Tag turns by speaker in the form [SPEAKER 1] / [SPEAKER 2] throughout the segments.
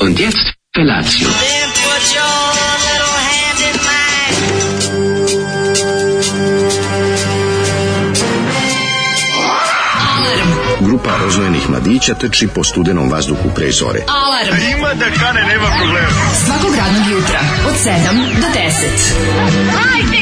[SPEAKER 1] Und jetzt Felatio.
[SPEAKER 2] Then put your little hand in mine.
[SPEAKER 3] Grupa rozvojenih mladića teči po studenom vazduhu pre zore.
[SPEAKER 4] Alarm. Ima da kane, nema problema. Svakog radnog jutra, od 7 do 10.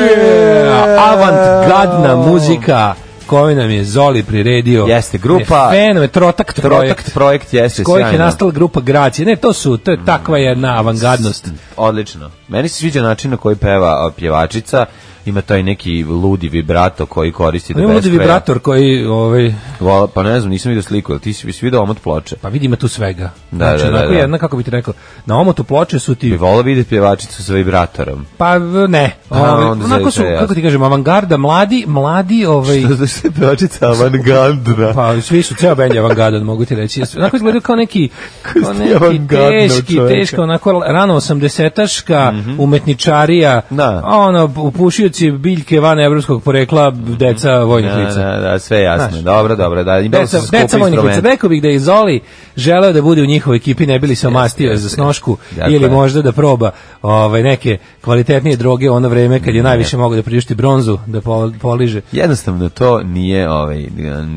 [SPEAKER 5] E, Avantgardna muzika koju nam je Zoli priredio.
[SPEAKER 6] Jeste, grupa-
[SPEAKER 5] Je Fenove, Trotakt,
[SPEAKER 6] Trotakt
[SPEAKER 5] projekt.
[SPEAKER 6] projekt jeste
[SPEAKER 5] s kojih je
[SPEAKER 6] sjajno.
[SPEAKER 5] nastala grupa Gracije. Ne, to su, to je takva jedna avangardnost.
[SPEAKER 6] Mm, Odlično. Meni se sviđa način na koji peva a, pjevačica. Ima taj neki ludi vibrato koji koristi da
[SPEAKER 5] Ima ovdje
[SPEAKER 6] beskraja.
[SPEAKER 5] vibrator koji, ovaj,
[SPEAKER 6] Vola- Pa ne znam, nisam vidio sliku, ali ti si si vidio omot ploče.
[SPEAKER 5] pa vidi ima tu svega.
[SPEAKER 6] Da,
[SPEAKER 5] znači,
[SPEAKER 6] da, da,
[SPEAKER 5] onako
[SPEAKER 6] da.
[SPEAKER 5] jedna, kako bi ti rekao, na omotu ploče su
[SPEAKER 6] Bi
[SPEAKER 5] ti,
[SPEAKER 6] volao vidjeti pjevačicu sa vibratorom.
[SPEAKER 5] pa v- ne,
[SPEAKER 6] Pa,
[SPEAKER 5] ovaj,
[SPEAKER 6] onda
[SPEAKER 5] onako
[SPEAKER 6] zaista
[SPEAKER 5] su,
[SPEAKER 6] je jasno.
[SPEAKER 5] kako ti kažem, avangarda, mladi, mladi, ovaj,
[SPEAKER 6] Što znači je pjevačica avangardna?
[SPEAKER 5] Pa svi su ceo bend je avangardan, mogu ti reći. Onako izgledaju kao neki kao
[SPEAKER 6] ste
[SPEAKER 5] neki
[SPEAKER 6] avangardno
[SPEAKER 5] teški,
[SPEAKER 6] čoveče. Mhm.
[SPEAKER 5] teško onako rano 80-taška umetničarija.
[SPEAKER 6] Da.
[SPEAKER 5] a Ono upušioci biljke van evropskog porekla deca vojnih
[SPEAKER 6] Mhm. Da,
[SPEAKER 5] lica.
[SPEAKER 6] da, da, sve je jasno.
[SPEAKER 5] Pa, Znaš.
[SPEAKER 6] Dobro, dobro, da. Imali
[SPEAKER 5] Deca,
[SPEAKER 6] su skupe
[SPEAKER 5] deca vojnih lica.
[SPEAKER 6] instrumente.
[SPEAKER 5] Rekao bih da je Zoli želeo da bude u njihovoj ekipi, ne bili se omastio za snošku
[SPEAKER 6] Dakle.
[SPEAKER 5] ili možda da proba ovaj, neke kvalitetnije droge u ono vreme kad je najviše mogao da priušti bronzu, da pol- poliže.
[SPEAKER 6] Jednostavno to nije ovaj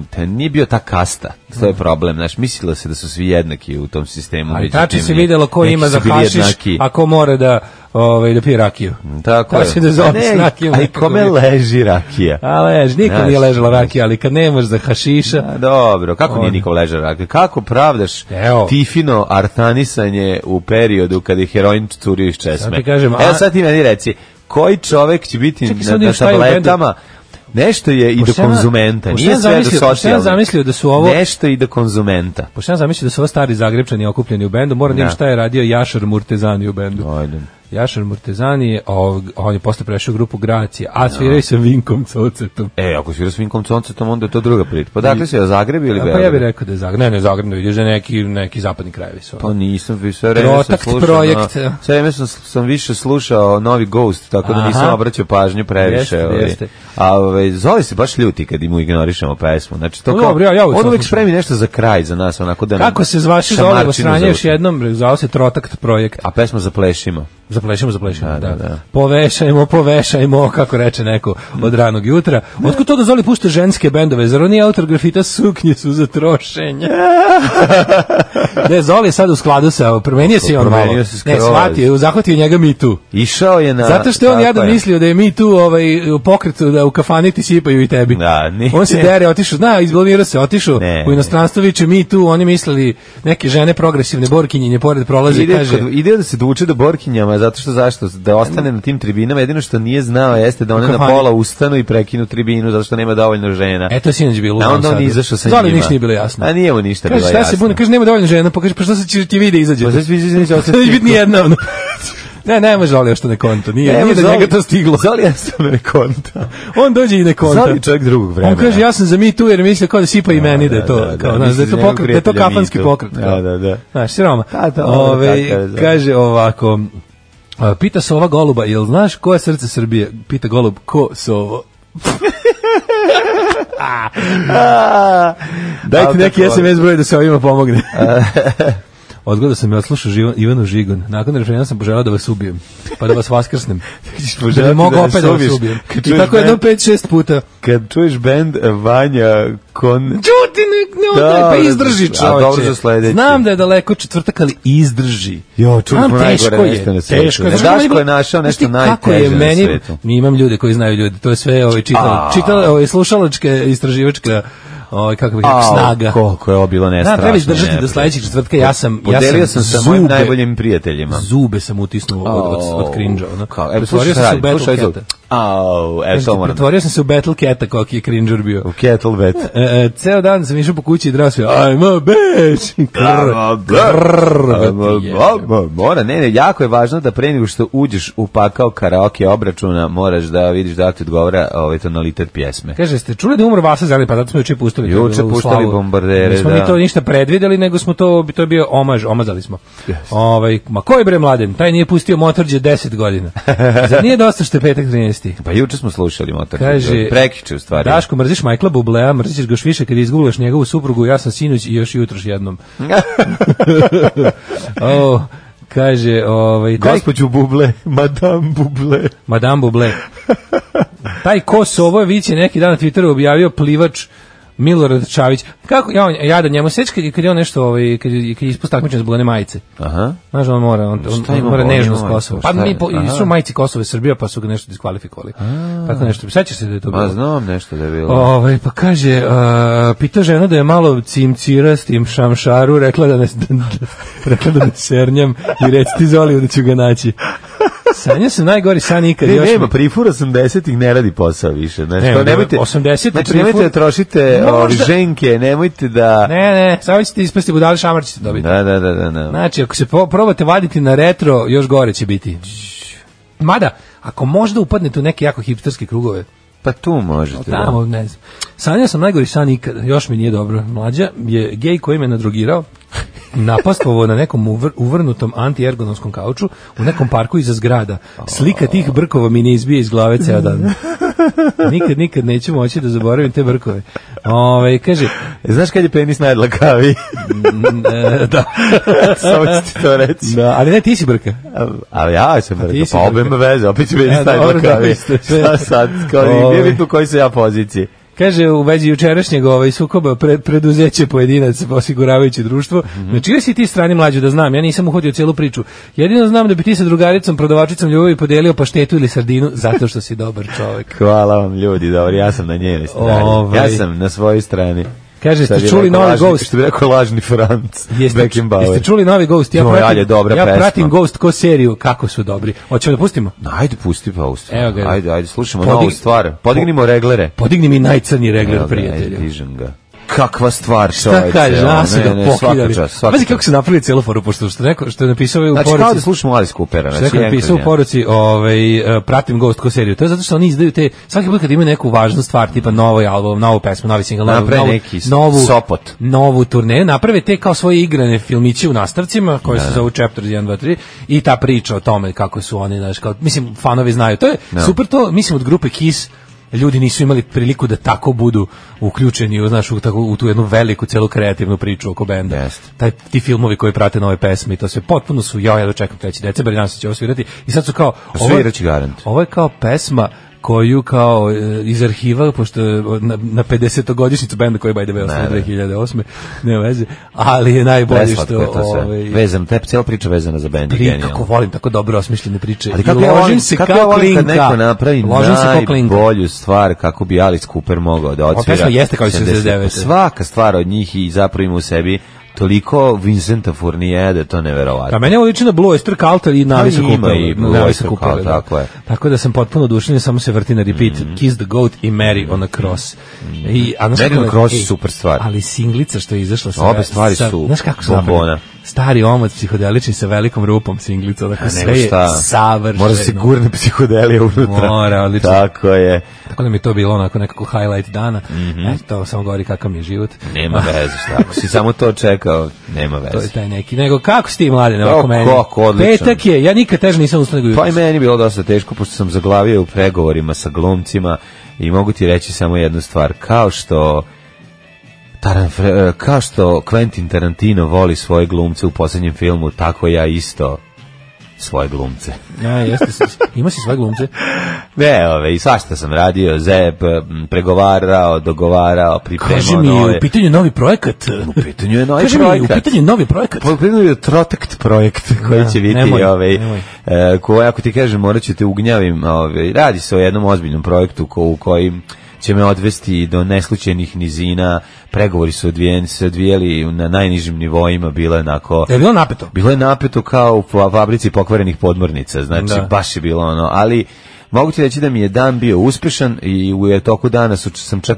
[SPEAKER 6] te- nije bio ta kasta. To je problem, znaš, mislilo se da su svi jednaki u tom sistemu.
[SPEAKER 5] Ali
[SPEAKER 6] međutim,
[SPEAKER 5] tačno se
[SPEAKER 6] nije.
[SPEAKER 5] videlo ko
[SPEAKER 6] Neki
[SPEAKER 5] ima
[SPEAKER 6] su
[SPEAKER 5] za
[SPEAKER 6] bili
[SPEAKER 5] hašiš,
[SPEAKER 6] jednaki. Mm,
[SPEAKER 5] a ko mora da, ovaj, da pije rakiju.
[SPEAKER 6] Tako je.
[SPEAKER 5] Tačno da zove
[SPEAKER 6] A ne,
[SPEAKER 5] s rakijom
[SPEAKER 6] A i
[SPEAKER 5] nekako
[SPEAKER 6] kome
[SPEAKER 5] bio.
[SPEAKER 6] leži rakija?
[SPEAKER 5] A lež, nikom
[SPEAKER 6] Znaš,
[SPEAKER 5] nije ležala rakija, ali kad nemaš za
[SPEAKER 6] A,
[SPEAKER 5] hašiša,
[SPEAKER 6] dobro, kako nije
[SPEAKER 5] On.
[SPEAKER 6] nikom leži rakija? Kako pravdaš
[SPEAKER 5] Evo.
[SPEAKER 6] Tifino artanisanje u periodu kada je heroin curio iz česme?
[SPEAKER 5] Sad ti kažem, a-
[SPEAKER 6] Evo sad ti meni reci, koji čovek će biti
[SPEAKER 5] Čekaj,
[SPEAKER 6] na,
[SPEAKER 5] sad
[SPEAKER 6] na
[SPEAKER 5] još taj u bendu.
[SPEAKER 6] tabletama Nešto je i do
[SPEAKER 5] Pošto sam ja-
[SPEAKER 6] konzumenta,
[SPEAKER 5] pošto
[SPEAKER 6] nije
[SPEAKER 5] sam
[SPEAKER 6] sve do
[SPEAKER 5] zamislio- pošto sam ja
[SPEAKER 6] socijalnog.
[SPEAKER 5] zamislio da su ovo-
[SPEAKER 6] Nešto i do konzumenta.
[SPEAKER 5] pošto sam zamislio da su ovo stari zagrebčani okupljeni u bendu, moram da im
[SPEAKER 6] Da.
[SPEAKER 5] šta je radio Jašar Murtezani u bendu.
[SPEAKER 6] Ajde.
[SPEAKER 5] Jašar Murtezani je, ovog- on je posle prešao u grupu Gracija, a sviraju sa Vinkom Cocetom.
[SPEAKER 6] E, ako svira s Vinkom Concetom, onda je to druga priča. Pa dakle se, Zagreb ili
[SPEAKER 5] A Pa ja
[SPEAKER 6] Beograd?
[SPEAKER 5] bih rekao da je Zagreb, ne, ne Zagreb, ne vidiš da je neki, neki zapadni krajevi su. ono.
[SPEAKER 6] Pa nisam, vi- sve vreme sam
[SPEAKER 5] Protakt
[SPEAKER 6] slušao.
[SPEAKER 5] projekt.
[SPEAKER 6] na- sve vreme sam, sam više slušao novi Ghost, tako da
[SPEAKER 5] Aha.
[SPEAKER 6] nisam obraćao pažnju previše.
[SPEAKER 5] Jeste,
[SPEAKER 6] ovaj.
[SPEAKER 5] jeste.
[SPEAKER 6] A ovaj, Zoli se baš ljuti kad mu ignorišemo pesmu. Znači, to
[SPEAKER 5] Pa
[SPEAKER 6] kao,
[SPEAKER 5] dobro, ja- ja uvek
[SPEAKER 6] on
[SPEAKER 5] sam
[SPEAKER 6] uvijek
[SPEAKER 5] slušao.
[SPEAKER 6] spremi nešto za kraj, za nas, onako da nam
[SPEAKER 5] Kako se zvaši Zoli
[SPEAKER 6] šamarčinu
[SPEAKER 5] sranje još
[SPEAKER 6] zauči.
[SPEAKER 5] jednom, zvao se Trotakt projekt.
[SPEAKER 6] A pesma za plešima.
[SPEAKER 5] Zaplešimo, zaplešimo,
[SPEAKER 6] Da,
[SPEAKER 5] da,
[SPEAKER 6] da, da.
[SPEAKER 5] Povešajmo, povešajmo, kako reče neko od ranog jutra. Otkud to da Zoli pušta ženske bendove? Zar on nije autor grafita suknje su za trošenje? ne, Zoli je sad u skladu sa, promenio se i on malo.
[SPEAKER 6] Promenio se skroz.
[SPEAKER 5] Ne, shvatio, je, zahvatio njega mi tu.
[SPEAKER 6] Išao je na...
[SPEAKER 5] Zato što je on
[SPEAKER 6] tako
[SPEAKER 5] jadan mislio da je mi tu ovaj, u pokretu, da u kafani ti sipaju i tebi.
[SPEAKER 6] Da, nije.
[SPEAKER 5] On se dere, otišao, zna, izblamirao se, otišao
[SPEAKER 6] Ne.
[SPEAKER 5] u inostranstvo, viče mi tu, oni mislili, neke žene progresivne borkinjenje pored prolaze i
[SPEAKER 6] Ide,
[SPEAKER 5] kaže...
[SPEAKER 6] kod- ide da se duče do Borkinjama, zato što zašto? Da ostane na tim tribinama, jedino što nije znao jeste da one na
[SPEAKER 5] Kafani.
[SPEAKER 6] pola ustanu i prekinu tribinu, zato što nema dovoljno žena.
[SPEAKER 5] E, to je sinoć bilo u
[SPEAKER 6] A
[SPEAKER 5] Novom
[SPEAKER 6] onda on
[SPEAKER 5] Sadu.
[SPEAKER 6] izašao sa
[SPEAKER 5] Zoli
[SPEAKER 6] njima.
[SPEAKER 5] ništa nije bilo jasno.
[SPEAKER 6] A nije mu ništa
[SPEAKER 5] Kaže,
[SPEAKER 6] bilo
[SPEAKER 5] šta
[SPEAKER 6] jasno.
[SPEAKER 5] se buni, kaže, nema dovoljno žena, pa kaže, pa što se će ti vide izađe?
[SPEAKER 6] Pa sad svi izvinite, ovo sad
[SPEAKER 5] Neće biti
[SPEAKER 6] stiglo.
[SPEAKER 5] nijedna, ono. Ne, ne može Zoli još to ne konta, nije,
[SPEAKER 6] Evo,
[SPEAKER 5] nije da
[SPEAKER 6] Zoli-
[SPEAKER 5] njega to stiglo.
[SPEAKER 6] Zoli jednostavno ne konta.
[SPEAKER 5] On dođe i ne konta.
[SPEAKER 6] Zoli je čovjek drugog vremena.
[SPEAKER 5] On kaže, ja sam za mi tu jer mislio kao da sipa i meni da je to,
[SPEAKER 6] da, da,
[SPEAKER 5] kao, znaš,
[SPEAKER 6] misli
[SPEAKER 5] da je
[SPEAKER 6] za
[SPEAKER 5] to,
[SPEAKER 6] njegovog
[SPEAKER 5] pokret, da je to
[SPEAKER 6] prijatelja
[SPEAKER 5] kafanski
[SPEAKER 6] Me Too.
[SPEAKER 5] pokret. kao.
[SPEAKER 6] Da, da, da.
[SPEAKER 5] Znaš, siroma.
[SPEAKER 6] Da, da, ono,
[SPEAKER 5] Ove,
[SPEAKER 6] tako je, da.
[SPEAKER 5] kaže ovako, a, pita se ova goluba, jel znaš ko je srce Srbije? Pita golub, ko se ovo? Dajte
[SPEAKER 6] Al
[SPEAKER 5] neki
[SPEAKER 6] tako je.
[SPEAKER 5] SMS broj da se ovima pomogne. Odgoda sam ja odslušao Živan, Ivanu Žigon. Nakon rešenja sam poželao da vas ubijem, pa da vas vaskrsnem.
[SPEAKER 6] Ćeš
[SPEAKER 5] da
[SPEAKER 6] poželjeti
[SPEAKER 5] bi mogu
[SPEAKER 6] da nas
[SPEAKER 5] opet da vas
[SPEAKER 6] ubiješ.
[SPEAKER 5] ubijem.
[SPEAKER 6] Kad
[SPEAKER 5] I
[SPEAKER 6] čuješ
[SPEAKER 5] tako
[SPEAKER 6] band-
[SPEAKER 5] jedno 5-6 puta.
[SPEAKER 6] Kad čuješ bend eh, Vanja kon...
[SPEAKER 5] Čuti, ne, ne
[SPEAKER 6] Da,
[SPEAKER 5] odaj, pa
[SPEAKER 6] ali-
[SPEAKER 5] izdrži
[SPEAKER 6] a
[SPEAKER 5] čoveče.
[SPEAKER 6] dobro za sledeći.
[SPEAKER 5] Znam da je daleko četvrtak, ali izdrži.
[SPEAKER 6] Jo, čuli
[SPEAKER 5] Znam,
[SPEAKER 6] smo najgore
[SPEAKER 5] teško
[SPEAKER 6] nešto
[SPEAKER 5] je,
[SPEAKER 6] na svetu.
[SPEAKER 5] teško je.
[SPEAKER 6] Ne,
[SPEAKER 5] Znaš kako
[SPEAKER 6] Daško
[SPEAKER 5] meni bilo-
[SPEAKER 6] je našao
[SPEAKER 5] znaš
[SPEAKER 6] nešto
[SPEAKER 5] ti kako je
[SPEAKER 6] najteže na
[SPEAKER 5] meni-
[SPEAKER 6] svetu.
[SPEAKER 5] Mi imam ljude koji znaju ljude, to je sve ovaj, čitala,
[SPEAKER 6] A.
[SPEAKER 5] čitala ovaj, slušalačka, istraživačka ovaj, kako bih rekao,
[SPEAKER 6] Au,
[SPEAKER 5] snaga.
[SPEAKER 6] Koliko je ovo bilo nestrašno.
[SPEAKER 5] Da, treba izdržati do
[SPEAKER 6] neprijatno.
[SPEAKER 5] sledećeg četvrtka, ja sam, ja
[SPEAKER 6] Podelio sam sa mojim najboljim prijateljima.
[SPEAKER 5] Zube sam utisnuo od, od, od cringe-a. Ono.
[SPEAKER 6] Kao, evo, slušaj,
[SPEAKER 5] Otvorio sam se u
[SPEAKER 6] slušaj,
[SPEAKER 5] Battle
[SPEAKER 6] slušaj,
[SPEAKER 5] Cat-a.
[SPEAKER 6] Au, e, to moram.
[SPEAKER 5] Pretvorio sam se u Battle Cat-a koliki je cringe bio.
[SPEAKER 6] U kettlebet.
[SPEAKER 5] E, e, ceo dan sam išao po kući i drao sve, I'm a bitch! Grr, grr,
[SPEAKER 6] Mora, ne, ne, jako je važno da pre nego što uđeš u pakao karaoke obračuna, moraš da vidiš da li ti odgovara ovaj tonalitet pjesme.
[SPEAKER 5] Kaže, ste čuli da je umro Vasa Zeleni, pa zato smo juče pustili. to je
[SPEAKER 6] Juče
[SPEAKER 5] bilo u
[SPEAKER 6] puštali
[SPEAKER 5] slavu.
[SPEAKER 6] bombardere,
[SPEAKER 5] Nismo
[SPEAKER 6] da.
[SPEAKER 5] mi to ništa predvideli, nego smo to, to je bio omaž, omazali smo. Ovaj, ma koji bre mladen, taj nije pustio Motorđe 10 godina. Zar nije dosta što je petak 13.
[SPEAKER 6] Pa juče smo slušali motor.
[SPEAKER 5] Kaže,
[SPEAKER 6] prekiče u stvari.
[SPEAKER 5] Daško, mrziš Michaela Bublea, mrziš ga još više kad izguglaš njegovu suprugu, ja sam sinuć i još jutroš jednom. o, kaže, ovaj, taj,
[SPEAKER 6] Gospođu Buble, Madame Buble.
[SPEAKER 5] Madame Buble, taj Kosovo je vici neki dan na Twitteru objavio plivač Milorad Čavić. Kako, ja, ja da njemu sećam kad, kad je on nešto, ovaj, kad, je- kad je ispod takmičenja zbog one majice.
[SPEAKER 6] Aha.
[SPEAKER 5] Znaš, on mora, on, on,
[SPEAKER 6] Šta
[SPEAKER 5] on
[SPEAKER 6] ima
[SPEAKER 5] mora
[SPEAKER 6] bolje
[SPEAKER 5] nežno s
[SPEAKER 6] majicu?
[SPEAKER 5] Kosovo.
[SPEAKER 6] Šta
[SPEAKER 5] Pa
[SPEAKER 6] je?
[SPEAKER 5] mi po,
[SPEAKER 6] Aha.
[SPEAKER 5] su majici Kosovo i Srbija, pa su ga nešto diskvalifikovali. Tako nešto. Sećaš se da je to bilo?
[SPEAKER 6] Ma znam nešto da je bilo.
[SPEAKER 5] Ovaj pa kaže, uh, pitao žena da je malo cimcira s tim šamšaru, rekla da ne, da, da- rekla da ne sernjam i reci ti Zoliju da ću ga naći. Sanja sam najgori san ikad.
[SPEAKER 6] Ne,
[SPEAKER 5] još
[SPEAKER 6] nema,
[SPEAKER 5] mi-
[SPEAKER 6] prifur 80-ih ne radi posao više. Znači,
[SPEAKER 5] Ne,
[SPEAKER 6] to nemojte,
[SPEAKER 5] 80-ih
[SPEAKER 6] znači,
[SPEAKER 5] prifur-
[SPEAKER 6] nemojte da trošite
[SPEAKER 5] Možda-
[SPEAKER 6] ovi ženke, nemojte da...
[SPEAKER 5] Ne, ne, samo ćete ispasti budali šamar ćete dobiti.
[SPEAKER 6] Da, da, da, da. da.
[SPEAKER 5] Znači, ako se po- probate vaditi na retro, još gore će biti. Mada, ako možda upadnete u neke jako hipsterske krugove,
[SPEAKER 6] Pa tu možete. da.
[SPEAKER 5] tamo, ne znam. Sanja sam najgori san ikad, još mi nije dobro. Mlađa je gej koji me nadrogirao, napastvovao na nekom uvr- uvrnutom antiergonomskom kauču u nekom parku iza zgrada. Slika tih brkova mi ne izbije iz glave ceo dan. Nikad, nikad neću moći da zaboravim te brkove. Ove, kaže,
[SPEAKER 6] E, Znaš kad je penis najdlakavi?
[SPEAKER 5] m, e, da,
[SPEAKER 6] Samo ću ti to reći.
[SPEAKER 5] da, ali ne, ti si brka.
[SPEAKER 6] A ja sam rekao,
[SPEAKER 5] si
[SPEAKER 6] pa
[SPEAKER 5] rekao.
[SPEAKER 6] obe me veze, opet će penis
[SPEAKER 5] E, dobro, da,
[SPEAKER 6] najdlakavi.
[SPEAKER 5] isto.
[SPEAKER 6] Šta sad? Kao,
[SPEAKER 5] Ovaj.
[SPEAKER 6] nije bitno u kojoj sam ja poziciji.
[SPEAKER 5] Kaže, u vezi jučerašnjeg ovaj sukoba pred, preduzeće pojedinac osiguravajuće društvo.
[SPEAKER 6] Mhm.
[SPEAKER 5] Na čijoj si ti strani mlađu da znam? Ja nisam uhodio cijelu priču. Jedino znam da bi ti sa drugaricom, prodavačicom ljubavi podelio paštetu ili sardinu zato što si dobar čovjek.
[SPEAKER 6] Hvala vam ljudi, dobro, ja sam na njenoj strani.
[SPEAKER 5] Ovaj.
[SPEAKER 6] Ja sam na svojoj strani.
[SPEAKER 5] Kaže,
[SPEAKER 6] Šta
[SPEAKER 5] ste
[SPEAKER 6] bi
[SPEAKER 5] čuli
[SPEAKER 6] rekao,
[SPEAKER 5] novi
[SPEAKER 6] lažni-
[SPEAKER 5] Ghost?
[SPEAKER 6] Što bi rekao lažni Franc
[SPEAKER 5] Jeste,
[SPEAKER 6] Beckenbauer.
[SPEAKER 5] jeste čuli novi Ghost? Ja
[SPEAKER 6] Joj,
[SPEAKER 5] pratim,
[SPEAKER 6] Alje, dobra
[SPEAKER 5] ja
[SPEAKER 6] pesma.
[SPEAKER 5] pratim Ghost ko seriju, kako su dobri. Hoćemo da pustimo?
[SPEAKER 6] No, Ajde, pusti pa u stvar.
[SPEAKER 5] Evo ga.
[SPEAKER 6] Ajde, ajde, slušamo
[SPEAKER 5] Podig-
[SPEAKER 6] novu stvar. Podignimo reglere.
[SPEAKER 5] Podigni mi najcrnji regler,
[SPEAKER 6] Evo ga, ajde,
[SPEAKER 5] prijatelju.
[SPEAKER 6] dižem ga. Kakva stvar,
[SPEAKER 5] Šta
[SPEAKER 6] čoveče.
[SPEAKER 5] kaže,
[SPEAKER 6] ono,
[SPEAKER 5] nas
[SPEAKER 6] ne,
[SPEAKER 5] ga
[SPEAKER 6] ne,
[SPEAKER 5] pokidali.
[SPEAKER 6] Svaka čast, svaka
[SPEAKER 5] Pazi kako
[SPEAKER 6] čast.
[SPEAKER 5] se napravili cijelu foru, pošto što je neko, što je napisao ovaj u
[SPEAKER 6] Znači,
[SPEAKER 5] poruci.
[SPEAKER 6] kao da slušamo Alice Coopera.
[SPEAKER 5] Što je
[SPEAKER 6] Znači,
[SPEAKER 5] neko napisao u
[SPEAKER 6] jedan-
[SPEAKER 5] poruci, ovaj, e, pratim Ghost ko seriju. To je zato što oni izdaju te, svaki put kad imaju neku važnu stvar, tipa novi album, novu pesmu, novi single, novu,
[SPEAKER 6] Naprave
[SPEAKER 5] novu,
[SPEAKER 6] neki s-
[SPEAKER 5] novu,
[SPEAKER 6] sopot.
[SPEAKER 5] novu turneju, naprave te kao svoje igrane filmiće u nastavcima, koje se zovu Chapters 1, 2, 3, i ta priča o tome kako su oni, znaš, kao, mislim, fanovi znaju. To je super to, mislim, od grupe Kiss, ljudi nisu imali priliku da tako budu uključeni u, znaš, u, tako, u tu jednu veliku celu kreativnu priču oko benda.
[SPEAKER 6] Jeste.
[SPEAKER 5] Taj, ti filmovi koji prate nove pesme i to sve potpuno su, ja, ja dočekam 3. decembar i nam se će ovo svirati. I sad su kao... ovo-
[SPEAKER 6] Sviraće Pa garant.
[SPEAKER 5] Ovo je kao pesma koju kao e, iz arhiva, pošto je na, na 50-godišnjicu benda koji je by the way osnovan
[SPEAKER 6] Ne, ne.
[SPEAKER 5] 2008. Ne veze, ali je najbolje
[SPEAKER 6] Preslatko
[SPEAKER 5] što...
[SPEAKER 6] je to sve.
[SPEAKER 5] Ovaj,
[SPEAKER 6] Vezam, te cijela priča vezana za bend je
[SPEAKER 5] pri,
[SPEAKER 6] genijalna.
[SPEAKER 5] kako volim tako dobro osmišljene priče.
[SPEAKER 6] Ali
[SPEAKER 5] I
[SPEAKER 6] kako ja
[SPEAKER 5] ložim
[SPEAKER 6] volim,
[SPEAKER 5] se
[SPEAKER 6] kako
[SPEAKER 5] kao
[SPEAKER 6] ja volim kad
[SPEAKER 5] klinka.
[SPEAKER 6] neko napravi
[SPEAKER 5] Ložim se kao klinka.
[SPEAKER 6] najbolju stvar kako bi Alice Cooper mogao da odsvira. Pa
[SPEAKER 5] pesma jeste kao iz 79.
[SPEAKER 6] Svaka stvar od njih i zapravo ima u sebi toliko Vincenta Fournije da je to
[SPEAKER 5] Pa
[SPEAKER 6] neverovatno.
[SPEAKER 5] meni ovo liči na Blue Oyster Cult ali i na
[SPEAKER 6] Pa
[SPEAKER 5] Alisa
[SPEAKER 6] ima
[SPEAKER 5] Coopera.
[SPEAKER 6] i Blue
[SPEAKER 5] Na Alisa
[SPEAKER 6] Oyster Cult,
[SPEAKER 5] Coopera, da.
[SPEAKER 6] tako je. Mhm.
[SPEAKER 5] Tako da sam potpuno oduševljen, samo se vrti na repeat. Kiss the Goat i Mary on a Cross. I, a, znaš
[SPEAKER 6] Mary
[SPEAKER 5] kako
[SPEAKER 6] on a
[SPEAKER 5] je-
[SPEAKER 6] Cross
[SPEAKER 5] ej,
[SPEAKER 6] je super stvar.
[SPEAKER 5] Ali singlica što je izašla sa...
[SPEAKER 6] Obe stvari
[SPEAKER 5] sa-
[SPEAKER 6] su
[SPEAKER 5] Znaš kako su
[SPEAKER 6] bombona.
[SPEAKER 5] napravili? Stari omot psihodelični sa velikom rupom singlica. Dakle, sve je savršeno.
[SPEAKER 6] Mora se gurne psihodelija unutra.
[SPEAKER 5] Mora, odlično.
[SPEAKER 6] Tako je.
[SPEAKER 5] Tako da mi je to bilo onako nekako highlight dana.
[SPEAKER 6] Mhm.
[SPEAKER 5] Eto, samo govori kakav mi je život.
[SPEAKER 6] Nema veze šta. Ako si samo to čekao, nema
[SPEAKER 5] To je
[SPEAKER 6] veze.
[SPEAKER 5] taj neki. Nego, kako si ti mladen, ovako
[SPEAKER 6] O,
[SPEAKER 5] meni?
[SPEAKER 6] kako, odlično.
[SPEAKER 5] Petak je, ja nikad teže nisam ustao nego jutros.
[SPEAKER 6] Pa i meni je bilo dosta teško, pošto sam zaglavio u pregovorima sa glumcima i mogu ti reći samo jednu stvar. Kao što Taran, Fre- e, kao što Quentin Tarantino voli svoje glumce u posljednjem filmu, tako ja isto svoje glumce.
[SPEAKER 5] Ja, jeste, s- ima si svoje glumce.
[SPEAKER 6] Ne, ove, i svašta sam radio, zeb, m, pregovarao, dogovarao,
[SPEAKER 5] Kaži
[SPEAKER 6] pripremao
[SPEAKER 5] mi,
[SPEAKER 6] nove.
[SPEAKER 5] u pitanju je novi projekat.
[SPEAKER 6] U pitanju je novi
[SPEAKER 5] Kaži mi, u
[SPEAKER 6] projekat.
[SPEAKER 5] pitanju je novi projekat.
[SPEAKER 6] Pogledaj je Trotect projekt koji
[SPEAKER 5] Da,
[SPEAKER 6] će biti
[SPEAKER 5] nemoj,
[SPEAKER 6] ovaj
[SPEAKER 5] nemoj.
[SPEAKER 6] e, koji ako ti kažem morat ću te ugnjavim, ovaj radi se o jednom ozbiljnom projektu ko, u kojim će me odvesti do neslučajnih nizina. Pregovori su odvijeni, se odvijeli na najnižim nivoima, bilo je onako
[SPEAKER 5] Je bilo napeto?
[SPEAKER 6] bilo je napeto kao u fa- fabrici pokvarenih podmornica, znači
[SPEAKER 5] Da.
[SPEAKER 6] baš je bilo ono, ali Mogu ti reći da mi je dan bio uspešan i u je toku dana su, sam čak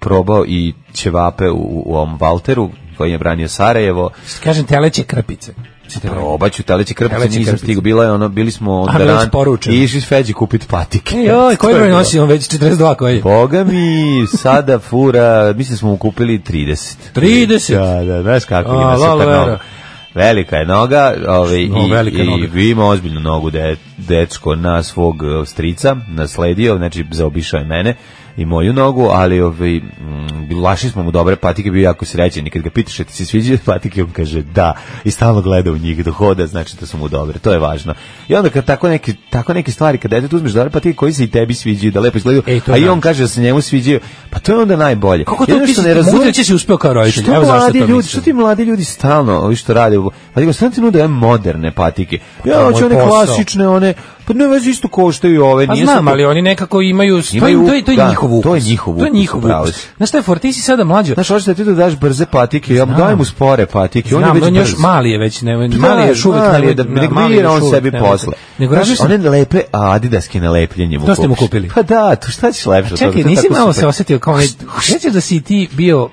[SPEAKER 6] probao i ćevape u, u ovom Valteru koji je branio Sarajevo.
[SPEAKER 5] Kažem, teleće krpice. Si te rekao.
[SPEAKER 6] Probaću teleće krpice,
[SPEAKER 5] Teleće
[SPEAKER 6] nisam
[SPEAKER 5] krpice.
[SPEAKER 6] stigao, bila je ono, bili smo
[SPEAKER 5] A, bila je
[SPEAKER 6] onda ran
[SPEAKER 5] isporučena.
[SPEAKER 6] i išli s Feđi kupit patike.
[SPEAKER 5] E, joj, koji
[SPEAKER 6] To je
[SPEAKER 5] broj
[SPEAKER 6] bilo.
[SPEAKER 5] nosi on već 42 koji?
[SPEAKER 6] Boga mi, sada fura, mislim smo mu kupili 30.
[SPEAKER 5] 30?
[SPEAKER 6] Da, da, znaš kako ima
[SPEAKER 5] A, la,
[SPEAKER 6] super
[SPEAKER 5] la,
[SPEAKER 6] noga.
[SPEAKER 5] la.
[SPEAKER 6] Velika je noga, ovaj, i,
[SPEAKER 5] No, velika
[SPEAKER 6] i
[SPEAKER 5] noga.
[SPEAKER 6] ima ozbiljnu nogu de, dečko na svog eh, strica, nasledio, znači zaobišao je mene i moju nogu, ali ovaj, mm, laši smo mu dobre patike, bio jako srećen i kad ga pitaš, "E, ti se sviđaju patike, on kaže da i stalno gleda u njih do hoda, znači da su mu dobre, to je važno. I onda kad tako neke, tako neke stvari, kad dete uzmeš dobre patike koji se i tebi sviđaju, da lepo izgledaju,
[SPEAKER 5] Ej, E, to
[SPEAKER 6] a
[SPEAKER 5] je
[SPEAKER 6] i on
[SPEAKER 5] najlepše.
[SPEAKER 6] kaže da se njemu sviđaju, pa to je onda najbolje.
[SPEAKER 5] Kako to
[SPEAKER 6] Jedino
[SPEAKER 5] ti
[SPEAKER 6] što
[SPEAKER 5] si,
[SPEAKER 6] ne razumem-
[SPEAKER 5] moguće si uspeo kao roditelj,
[SPEAKER 6] što
[SPEAKER 5] Pa evo zašto
[SPEAKER 6] mladi
[SPEAKER 5] to
[SPEAKER 6] ljudi,
[SPEAKER 5] mislim.
[SPEAKER 6] što ti mladi ljudi stalno, ovi što rade, ovo- pa ti stvarno ti nude ove moderne patike.
[SPEAKER 5] Pa to
[SPEAKER 6] Ja
[SPEAKER 5] je
[SPEAKER 6] hoću
[SPEAKER 5] moj
[SPEAKER 6] one
[SPEAKER 5] posao.
[SPEAKER 6] klasične, one, pa ne vezi isto koštaju i ove,
[SPEAKER 5] Pa
[SPEAKER 6] nije
[SPEAKER 5] znam,
[SPEAKER 6] sad-
[SPEAKER 5] ali oni nekako imaju,
[SPEAKER 6] Imaju
[SPEAKER 5] to je, to je
[SPEAKER 6] da,
[SPEAKER 5] njihov ukus.
[SPEAKER 6] to je njihov
[SPEAKER 5] To je
[SPEAKER 6] ukus,
[SPEAKER 5] njihov
[SPEAKER 6] upravo
[SPEAKER 5] ukus.
[SPEAKER 6] si.
[SPEAKER 5] Znaš šta je for, ti si sada mlađo.
[SPEAKER 6] Znaš, hoćeš da ti da daš brze patike, ja mu dajem mu spore patike, on je
[SPEAKER 5] Znam,
[SPEAKER 6] već
[SPEAKER 5] on je još
[SPEAKER 6] brz.
[SPEAKER 5] mali je već, ne,
[SPEAKER 6] Da,
[SPEAKER 5] mali je još uvek.
[SPEAKER 6] mali
[SPEAKER 5] ne-
[SPEAKER 6] je da
[SPEAKER 5] na-
[SPEAKER 6] nek
[SPEAKER 5] mali je
[SPEAKER 6] bira
[SPEAKER 5] još
[SPEAKER 6] on
[SPEAKER 5] uvek,
[SPEAKER 6] sebi
[SPEAKER 5] ne-
[SPEAKER 6] posle.
[SPEAKER 5] Nego
[SPEAKER 6] Znaš,
[SPEAKER 5] razmišljam,
[SPEAKER 6] one lepe a, adidaske nalepljenje mu
[SPEAKER 5] To ste mu
[SPEAKER 6] kupiš.
[SPEAKER 5] kupili?
[SPEAKER 6] Pa da, tu šta ćeš lepše od toga,
[SPEAKER 5] Čekaj,
[SPEAKER 6] to je
[SPEAKER 5] nisi
[SPEAKER 6] tako
[SPEAKER 5] malo
[SPEAKER 6] super.
[SPEAKER 5] se osetio kao onaj, rećeš da si ti bio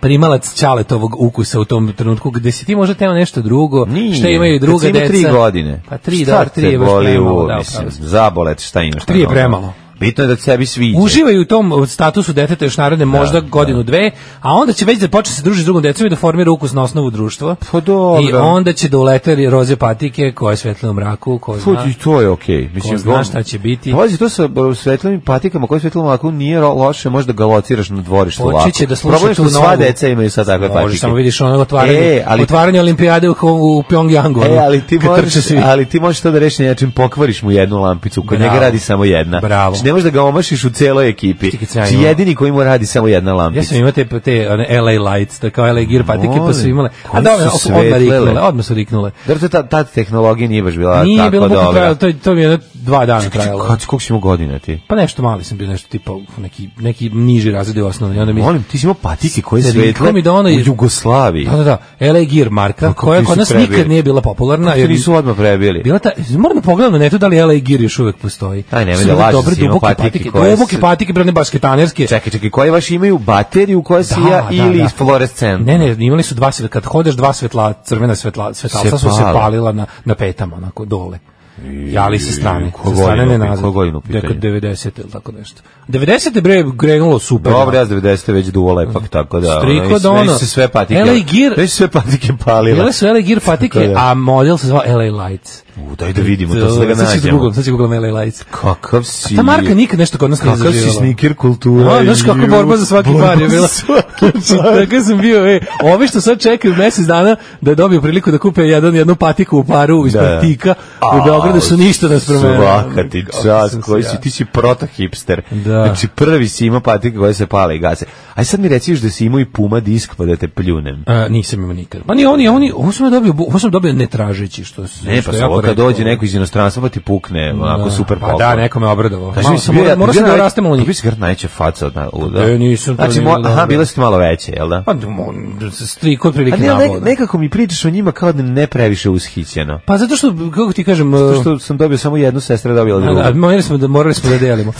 [SPEAKER 5] primalac čaletovog ukusa u tom trenutku, gde si ti možda teo nešto drugo,
[SPEAKER 6] Nije.
[SPEAKER 5] šta imaju i druga
[SPEAKER 6] Kad si
[SPEAKER 5] deca.
[SPEAKER 6] imao tri godine.
[SPEAKER 5] Pa tri,
[SPEAKER 6] Šta
[SPEAKER 5] da, tri
[SPEAKER 6] te
[SPEAKER 5] je baš
[SPEAKER 6] boli
[SPEAKER 5] premalo,
[SPEAKER 6] u,
[SPEAKER 5] da,
[SPEAKER 6] mislim,
[SPEAKER 5] upravo si.
[SPEAKER 6] zabolet, šta imaš?
[SPEAKER 5] Tri je
[SPEAKER 6] na nogu.
[SPEAKER 5] premalo.
[SPEAKER 6] Bitno je da sebi sviđa.
[SPEAKER 5] Uživaj u tom statusu deteta još naredne možda godinu dve, a onda će već da počne se družiti s drugom decom i da formira ukus na osnovu društva.
[SPEAKER 6] Pa dobro.
[SPEAKER 5] I onda će da ulete roze patike koje svetle u mraku, koje
[SPEAKER 6] Put
[SPEAKER 5] zna.
[SPEAKER 6] i to je okej. Mislim,
[SPEAKER 5] Ko zna
[SPEAKER 6] on- Pa
[SPEAKER 5] šta će biti.
[SPEAKER 6] Pazi, to sa bro, svetlim patikama, koje svetlom ako nije ro- loše, možda ga lociraš na dvorištu
[SPEAKER 5] Počet
[SPEAKER 6] lako.
[SPEAKER 5] će da sluša
[SPEAKER 6] Problem je što
[SPEAKER 5] tu
[SPEAKER 6] sva
[SPEAKER 5] novu.
[SPEAKER 6] deca imaju sad takve patike.
[SPEAKER 5] Može, samo vidiš ono otvaranje,
[SPEAKER 6] E, ali-
[SPEAKER 5] otvaranje olimpijade u, u Pjongjangu.
[SPEAKER 6] E,
[SPEAKER 5] ono,
[SPEAKER 6] ali ti
[SPEAKER 5] kad
[SPEAKER 6] možeš,
[SPEAKER 5] trče svi.
[SPEAKER 6] ali ti možeš to da reši na način pokvariš mu jednu lampicu, kod
[SPEAKER 5] Bravo.
[SPEAKER 6] njega radi samo jedna.
[SPEAKER 5] Bravo.
[SPEAKER 6] Znači, ne možeš da ga omašiš u celoj ekipi.
[SPEAKER 5] Čekaj, ja
[SPEAKER 6] Ti
[SPEAKER 5] imam-
[SPEAKER 6] jedini koji mu radi samo jedna
[SPEAKER 5] Ja
[SPEAKER 6] lampica.
[SPEAKER 5] sam imao te, te one LA Lights, to je kao LA Gear patike, pa su
[SPEAKER 6] Molim,
[SPEAKER 5] imale. A
[SPEAKER 6] koje
[SPEAKER 5] da, odmah
[SPEAKER 6] su
[SPEAKER 5] riknule,
[SPEAKER 6] svetlele.
[SPEAKER 5] odmah su riknule.
[SPEAKER 6] Zato što ta, ta tehnologija nije baš bila
[SPEAKER 5] Nije
[SPEAKER 6] Pa tako
[SPEAKER 5] bilo bukno
[SPEAKER 6] dobra.
[SPEAKER 5] trajalo, to, je- to mi je jedno dva dana trajalo.
[SPEAKER 6] Kako si imao godina ti?
[SPEAKER 5] Pa nešto mali sam bio, nešto tipa neki, neki niži razred je osnovni. Onda mi,
[SPEAKER 6] Molim, ti si imao patike koje
[SPEAKER 5] Sa
[SPEAKER 6] svetle
[SPEAKER 5] rikom i da ono
[SPEAKER 6] u
[SPEAKER 5] iz-
[SPEAKER 6] Jugoslaviji.
[SPEAKER 5] da, da, da, LA Gear marka,
[SPEAKER 6] Pa Kako
[SPEAKER 5] koja
[SPEAKER 6] ti
[SPEAKER 5] kod
[SPEAKER 6] su
[SPEAKER 5] nas
[SPEAKER 6] prebili?
[SPEAKER 5] nikad nije bila popularna.
[SPEAKER 6] Ti nisu odmah prebili.
[SPEAKER 5] Bila ta, moram da pogledam na netu da li LA Gear još uvek postoji.
[SPEAKER 6] Aj, nemoj
[SPEAKER 5] Su
[SPEAKER 6] da
[SPEAKER 5] bile
[SPEAKER 6] lažeš,
[SPEAKER 5] dobre,
[SPEAKER 6] ima
[SPEAKER 5] duboke
[SPEAKER 6] patike
[SPEAKER 5] patike,
[SPEAKER 6] koje
[SPEAKER 5] duboke
[SPEAKER 6] su-
[SPEAKER 5] patike, bre, one basketanerske.
[SPEAKER 6] Čekaj, čekaj, koje vaše imaju bateriju koja
[SPEAKER 5] Da,
[SPEAKER 6] sija
[SPEAKER 5] da,
[SPEAKER 6] ili
[SPEAKER 5] da.
[SPEAKER 6] iz fluorescent?
[SPEAKER 5] Ne, ne, imali su dva svetla, kad hodeš dva svetla, crvena svetla, svetalca
[SPEAKER 6] Se
[SPEAKER 5] su se
[SPEAKER 6] pale.
[SPEAKER 5] palila na, na petama, onako, dole. Jali sa strane,
[SPEAKER 6] koje
[SPEAKER 5] sa strane
[SPEAKER 6] godine
[SPEAKER 5] ne
[SPEAKER 6] u pi-
[SPEAKER 5] nazad.
[SPEAKER 6] koje godine u pitanju?
[SPEAKER 5] Nekad 90. ili tako nešto. 90. bre, grenulo super.
[SPEAKER 6] Dobro, ja s 90. već duo lepak, tako da...
[SPEAKER 5] Striko
[SPEAKER 6] i sve-
[SPEAKER 5] da ono-
[SPEAKER 6] već su se sve patike...
[SPEAKER 5] LA Gear-
[SPEAKER 6] Već su sve patike palile.
[SPEAKER 5] Bile su LA Gear patike,
[SPEAKER 6] Tako da.
[SPEAKER 5] a model se zvao LA Lights.
[SPEAKER 6] U, daj da vidimo, to sve da ga
[SPEAKER 5] Znači, Sad ću
[SPEAKER 6] nađemo.
[SPEAKER 5] googlam, sad ću googlam LA Lights.
[SPEAKER 6] Kakav si...
[SPEAKER 5] Ta marka nikad nešto kod nas nije
[SPEAKER 6] Kakav si
[SPEAKER 5] zaživjela.
[SPEAKER 6] sneaker kultura.
[SPEAKER 5] A, znaš kako
[SPEAKER 6] ju,
[SPEAKER 5] borba za svaki
[SPEAKER 6] borba
[SPEAKER 5] par je bila.
[SPEAKER 6] za svaki par.
[SPEAKER 5] Tako sam bio, e, ovi što sad čekaju mesec dana da dobiju priliku da kupe jedan, jednu patiku u paru iz
[SPEAKER 6] Da.
[SPEAKER 5] patika u Beogradu su ništa da spromenili.
[SPEAKER 6] Svaka ti
[SPEAKER 5] Kako
[SPEAKER 6] čas,
[SPEAKER 5] sam se
[SPEAKER 6] koji
[SPEAKER 5] ja-
[SPEAKER 6] si, ti si proto hipster.
[SPEAKER 5] Da.
[SPEAKER 6] Znači prvi si imao patike koje se pale i gase. Aj sad mi reci još da si imao i Puma disk pa da te pljunem.
[SPEAKER 5] A, nisam imao nikad. Pa ni oni, oni, ovo sam ja dobio, bu- ovo sam dobio ne tražeći, što su-
[SPEAKER 6] Ne,
[SPEAKER 5] što
[SPEAKER 6] pa
[SPEAKER 5] je
[SPEAKER 6] se
[SPEAKER 5] jako
[SPEAKER 6] ovo kad
[SPEAKER 5] retko.
[SPEAKER 6] dođe neko iz inostranstva pa ti pukne, onako
[SPEAKER 5] Da.
[SPEAKER 6] super
[SPEAKER 5] Pa
[SPEAKER 6] poklon.
[SPEAKER 5] da, neko me obradovao.
[SPEAKER 6] Kaži
[SPEAKER 5] Malo
[SPEAKER 6] mi
[SPEAKER 5] sam,
[SPEAKER 6] sam bio, pa
[SPEAKER 5] mora- morao sam da rastem u njih.
[SPEAKER 6] Bi si gar najče faca od na- u- da.
[SPEAKER 5] E, nisam, to
[SPEAKER 6] Znači,
[SPEAKER 5] nije
[SPEAKER 6] mo,
[SPEAKER 5] bilo
[SPEAKER 6] aha,
[SPEAKER 5] dobro.
[SPEAKER 6] bile su ti malo veće, jel da?
[SPEAKER 5] Pa, mo- strik od prilike
[SPEAKER 6] A ne, ne,
[SPEAKER 5] navoda.
[SPEAKER 6] nekako mi pričaš o njima kao da ne previše ushićeno.
[SPEAKER 5] Pa zato što, kako ti kažem... e,
[SPEAKER 6] To što sam dobio samo jednu, sestra je dobila drugu.
[SPEAKER 5] A, a, morali smo da morali smo da delimo.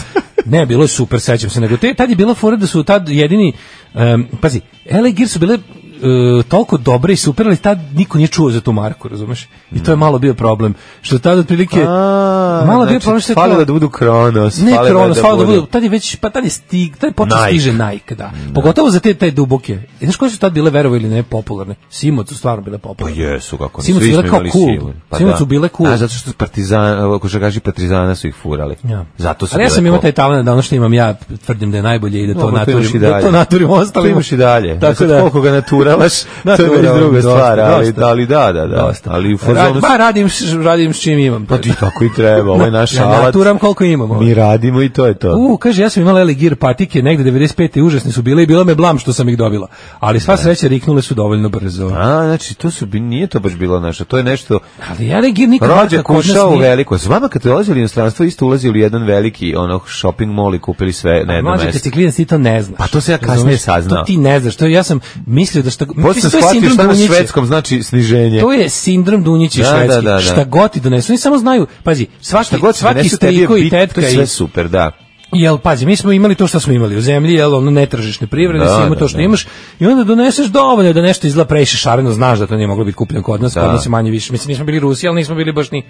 [SPEAKER 5] Ne, bilo je super, sećam se, nego te, tad je bila fora da su tad jedini em, pazi, LA Gear su bile e, toliko dobre i super, ali tad niko nije čuo za tu marku, razumeš? I to je malo bio problem. Što tad otprilike
[SPEAKER 6] Mm. A,
[SPEAKER 5] malo
[SPEAKER 6] znači,
[SPEAKER 5] bio problem što je
[SPEAKER 6] falilo
[SPEAKER 5] to-
[SPEAKER 6] da budu Kronos,
[SPEAKER 5] ne
[SPEAKER 6] falilo je
[SPEAKER 5] Kronos,
[SPEAKER 6] da
[SPEAKER 5] falilo da
[SPEAKER 6] budu-
[SPEAKER 5] budu, tad je već, pa tad je stig, tad je počeo
[SPEAKER 6] Nike.
[SPEAKER 5] stiže Nike, da. Pogotovo za te, te duboke. I znaš koje su tad bile, verovo ili ne, popularne? Simoc su stvarno bile popularne.
[SPEAKER 6] Pa jesu, kako ne.
[SPEAKER 5] Simoc
[SPEAKER 6] svi
[SPEAKER 5] su
[SPEAKER 6] smo
[SPEAKER 5] bile kao
[SPEAKER 6] imali
[SPEAKER 5] cool.
[SPEAKER 6] Simon.
[SPEAKER 5] Simoc su bile cool.
[SPEAKER 6] A, zato što su partizan, ako što kaži partizana su ih furali.
[SPEAKER 5] Ja.
[SPEAKER 6] Zato su
[SPEAKER 5] Ali ja
[SPEAKER 6] bile
[SPEAKER 5] sam imao
[SPEAKER 6] cool.
[SPEAKER 5] taj talent da ono što imam ja tvrdim da je najbolje i da to
[SPEAKER 6] Dobro, to imaš i
[SPEAKER 5] naturim, da
[SPEAKER 6] dalje.
[SPEAKER 5] to naturim
[SPEAKER 6] To
[SPEAKER 5] ostalima.
[SPEAKER 6] imaš i dalje.
[SPEAKER 5] Tako
[SPEAKER 6] Sad
[SPEAKER 5] da
[SPEAKER 6] Koliko ga naturalaš, to je već
[SPEAKER 5] Naturavam,
[SPEAKER 6] druga
[SPEAKER 5] dosta,
[SPEAKER 6] stvar, ali,
[SPEAKER 5] dosta.
[SPEAKER 6] ali da, da, da. Ali u
[SPEAKER 5] Rad,
[SPEAKER 6] fazonu
[SPEAKER 5] ba, radim, s- radim s čim imam.
[SPEAKER 6] Pa ti tako i treba, ovo je naš
[SPEAKER 5] Ja
[SPEAKER 6] alat.
[SPEAKER 5] naturam koliko imam. ovaj.
[SPEAKER 6] Mi radimo i to je to.
[SPEAKER 5] U, kaže, ja sam imala Eli Gear patike, negde 95. užasne su bile i bila me blam što sam ih dobila. Ali sva sreća riknule su dovoljno brzo.
[SPEAKER 6] A, znači, to su, bi- nije to baš bilo naše, to je nešto...
[SPEAKER 5] Ali Eli Gear nikad
[SPEAKER 6] Rođak
[SPEAKER 5] kod nas
[SPEAKER 6] ušao u
[SPEAKER 5] nije-
[SPEAKER 6] veliko. S vama kad dolazili u inostranstvo, isto ulazili u jedan veliki ono, shopping mall i kupili sve na jedno
[SPEAKER 5] Mlađe, kad
[SPEAKER 6] mesto.
[SPEAKER 5] si klinac, ti to ne znaš.
[SPEAKER 6] Pa to sam ja kasnije
[SPEAKER 5] Razumeš?
[SPEAKER 6] saznao.
[SPEAKER 5] To ti ne znaš. To ja sam mislio da šta,
[SPEAKER 6] Posle sam
[SPEAKER 5] mislim, to je
[SPEAKER 6] shvatio
[SPEAKER 5] sindrom
[SPEAKER 6] šta na
[SPEAKER 5] Dunjića.
[SPEAKER 6] švedskom znači sniženje.
[SPEAKER 5] To je sindrom Dunjića i
[SPEAKER 6] Da, da,
[SPEAKER 5] švedski.
[SPEAKER 6] da, da.
[SPEAKER 5] Šta god ti donesu, oni samo znaju, pazi, svaki,
[SPEAKER 6] Šta god se
[SPEAKER 5] svaki
[SPEAKER 6] donese, tebi je
[SPEAKER 5] striko i
[SPEAKER 6] bitno,
[SPEAKER 5] tetka
[SPEAKER 6] to je
[SPEAKER 5] i
[SPEAKER 6] sve super, da.
[SPEAKER 5] Jel, pazi, mi smo imali to što smo imali u zemlji, jel, ono netržišne privrede,
[SPEAKER 6] Da,
[SPEAKER 5] da,
[SPEAKER 6] da,
[SPEAKER 5] to što
[SPEAKER 6] da.
[SPEAKER 5] imaš, i onda doneseš dovoljno da nešto izgleda previše šareno, znaš da to nije moglo biti kupljeno kod nas,
[SPEAKER 6] Da.
[SPEAKER 5] kod nas je manje više, mislim, nismo bili Rusi, ali nismo bili baš ni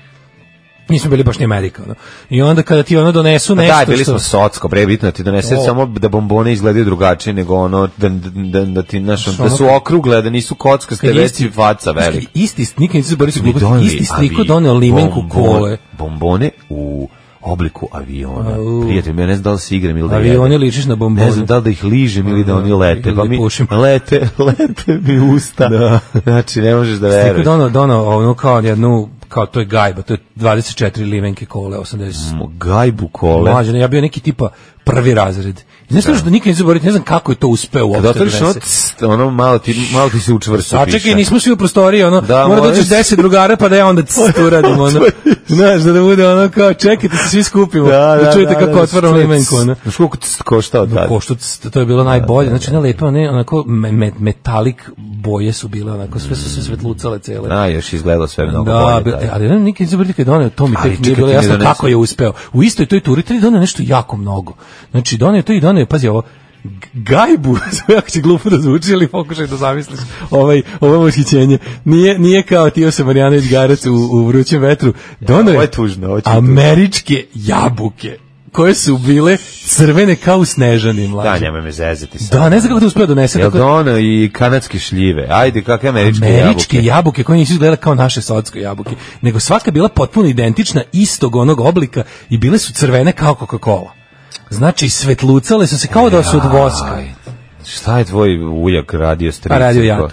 [SPEAKER 5] nismo bili baš ni Amerika. ono. I onda kada ti ono donesu
[SPEAKER 6] Pa
[SPEAKER 5] nešto
[SPEAKER 6] da, bili
[SPEAKER 5] što...
[SPEAKER 6] smo socko, bre, bitno da ti donese
[SPEAKER 5] O.
[SPEAKER 6] samo da bombone izgledaju drugačije nego ono, da, da, da, ti, znaš,
[SPEAKER 5] Znaš,
[SPEAKER 6] da
[SPEAKER 5] ono
[SPEAKER 6] su
[SPEAKER 5] kad-
[SPEAKER 6] okrugle, a da nisu kockaste,
[SPEAKER 5] Kad je
[SPEAKER 6] već i faca
[SPEAKER 5] Isti,
[SPEAKER 6] velika.
[SPEAKER 5] isti, nikad nisu bili su
[SPEAKER 6] Mi doneli,
[SPEAKER 5] isti striko
[SPEAKER 6] ali
[SPEAKER 5] doneo limenku
[SPEAKER 6] bombon-
[SPEAKER 5] kole.
[SPEAKER 6] Bombone u obliku aviona.
[SPEAKER 5] Au.
[SPEAKER 6] Prijatelj, ja ne znam da li se igram ili da
[SPEAKER 5] Avioni
[SPEAKER 6] jedem.
[SPEAKER 5] ličiš na bombone.
[SPEAKER 6] Pa Ne znam da li da ih ližem ili da oni lete,
[SPEAKER 5] Ili
[SPEAKER 6] pa
[SPEAKER 5] da
[SPEAKER 6] mi
[SPEAKER 5] pušim.
[SPEAKER 6] lete, lete mi usta. Znači, ne možeš da
[SPEAKER 5] Striko
[SPEAKER 6] veruješ.
[SPEAKER 5] doneo, doneo ono kao jednu, kao to je gajba, to je 24 limenke kole, 80
[SPEAKER 6] Gajbu kole.
[SPEAKER 5] Mlađe, ja bio neki tipa prvi razred. I Ne slušaš Mm, da nikad ne zaboraviti, ne znam kako je to uspeo uopšte.
[SPEAKER 6] Kad otvoriš
[SPEAKER 5] donese.
[SPEAKER 6] ono, tst, ono malo ti, malo ti se učvrsto
[SPEAKER 5] A
[SPEAKER 6] piše.
[SPEAKER 5] čekaj, nismo svi u prostoriji, ono,
[SPEAKER 6] Da,
[SPEAKER 5] mora da
[SPEAKER 6] moraš.
[SPEAKER 5] ćeš deset drugara pa da ja onda cst uradim, ono. Znaš, da bude ono kao, čekajte, se svi skupimo, da, čujete kako otvaramo
[SPEAKER 6] što je
[SPEAKER 5] limenku,
[SPEAKER 6] tst.
[SPEAKER 5] ono.
[SPEAKER 6] Znaš koliko tst koštao tad?
[SPEAKER 5] Pošto to je bilo najbolje, znači ne lepe, one onako me, me- metalik boje su bile, onako sve su se svetlucale cele.
[SPEAKER 6] A, još izgledalo sve mnogo
[SPEAKER 5] da,
[SPEAKER 6] bolje.
[SPEAKER 5] bil-
[SPEAKER 6] tad.
[SPEAKER 5] e, ali ne, nikad nisam vidio kad je doneo, to mi
[SPEAKER 6] Ali
[SPEAKER 5] tek
[SPEAKER 6] čekaj,
[SPEAKER 5] nije bilo
[SPEAKER 6] ti mi
[SPEAKER 5] jasno
[SPEAKER 6] donesi.
[SPEAKER 5] kako je uspeo. U istoj toj turi tri doneo nešto jako mnogo. Znači, doneo to i doneo, pazi ovo, g- gajbu, sve ako će glupo da zvuči, ali pokušaj da zamisliš ovaj, ovo ushićenje. Nije, nije kao Tio se Marijanović Garac u, u vrućem vetru. Doneo
[SPEAKER 6] ovo je tužno, ovo će biti tužno.
[SPEAKER 5] američke jabuke koje su bile crvene kao snežani
[SPEAKER 6] Da,
[SPEAKER 5] mlađe.
[SPEAKER 6] nemoj me zezati sad.
[SPEAKER 5] Da, ne znam kako to uspeo da donese.
[SPEAKER 6] Jel
[SPEAKER 5] tako-
[SPEAKER 6] dono i kanadske šljive? Ajde, kakve američke,
[SPEAKER 5] američke
[SPEAKER 6] jabuke?
[SPEAKER 5] jabuke. koje nisu izgledale kao naše sodske jabuke, nego svaka bila potpuno identična, istog onog oblika i bile su crvene kao Coca-Cola. Znači, svetlucale su se kao da su od voska.
[SPEAKER 6] Aj, šta je tvoj ujak radio stricu?
[SPEAKER 5] Pa radio ja to.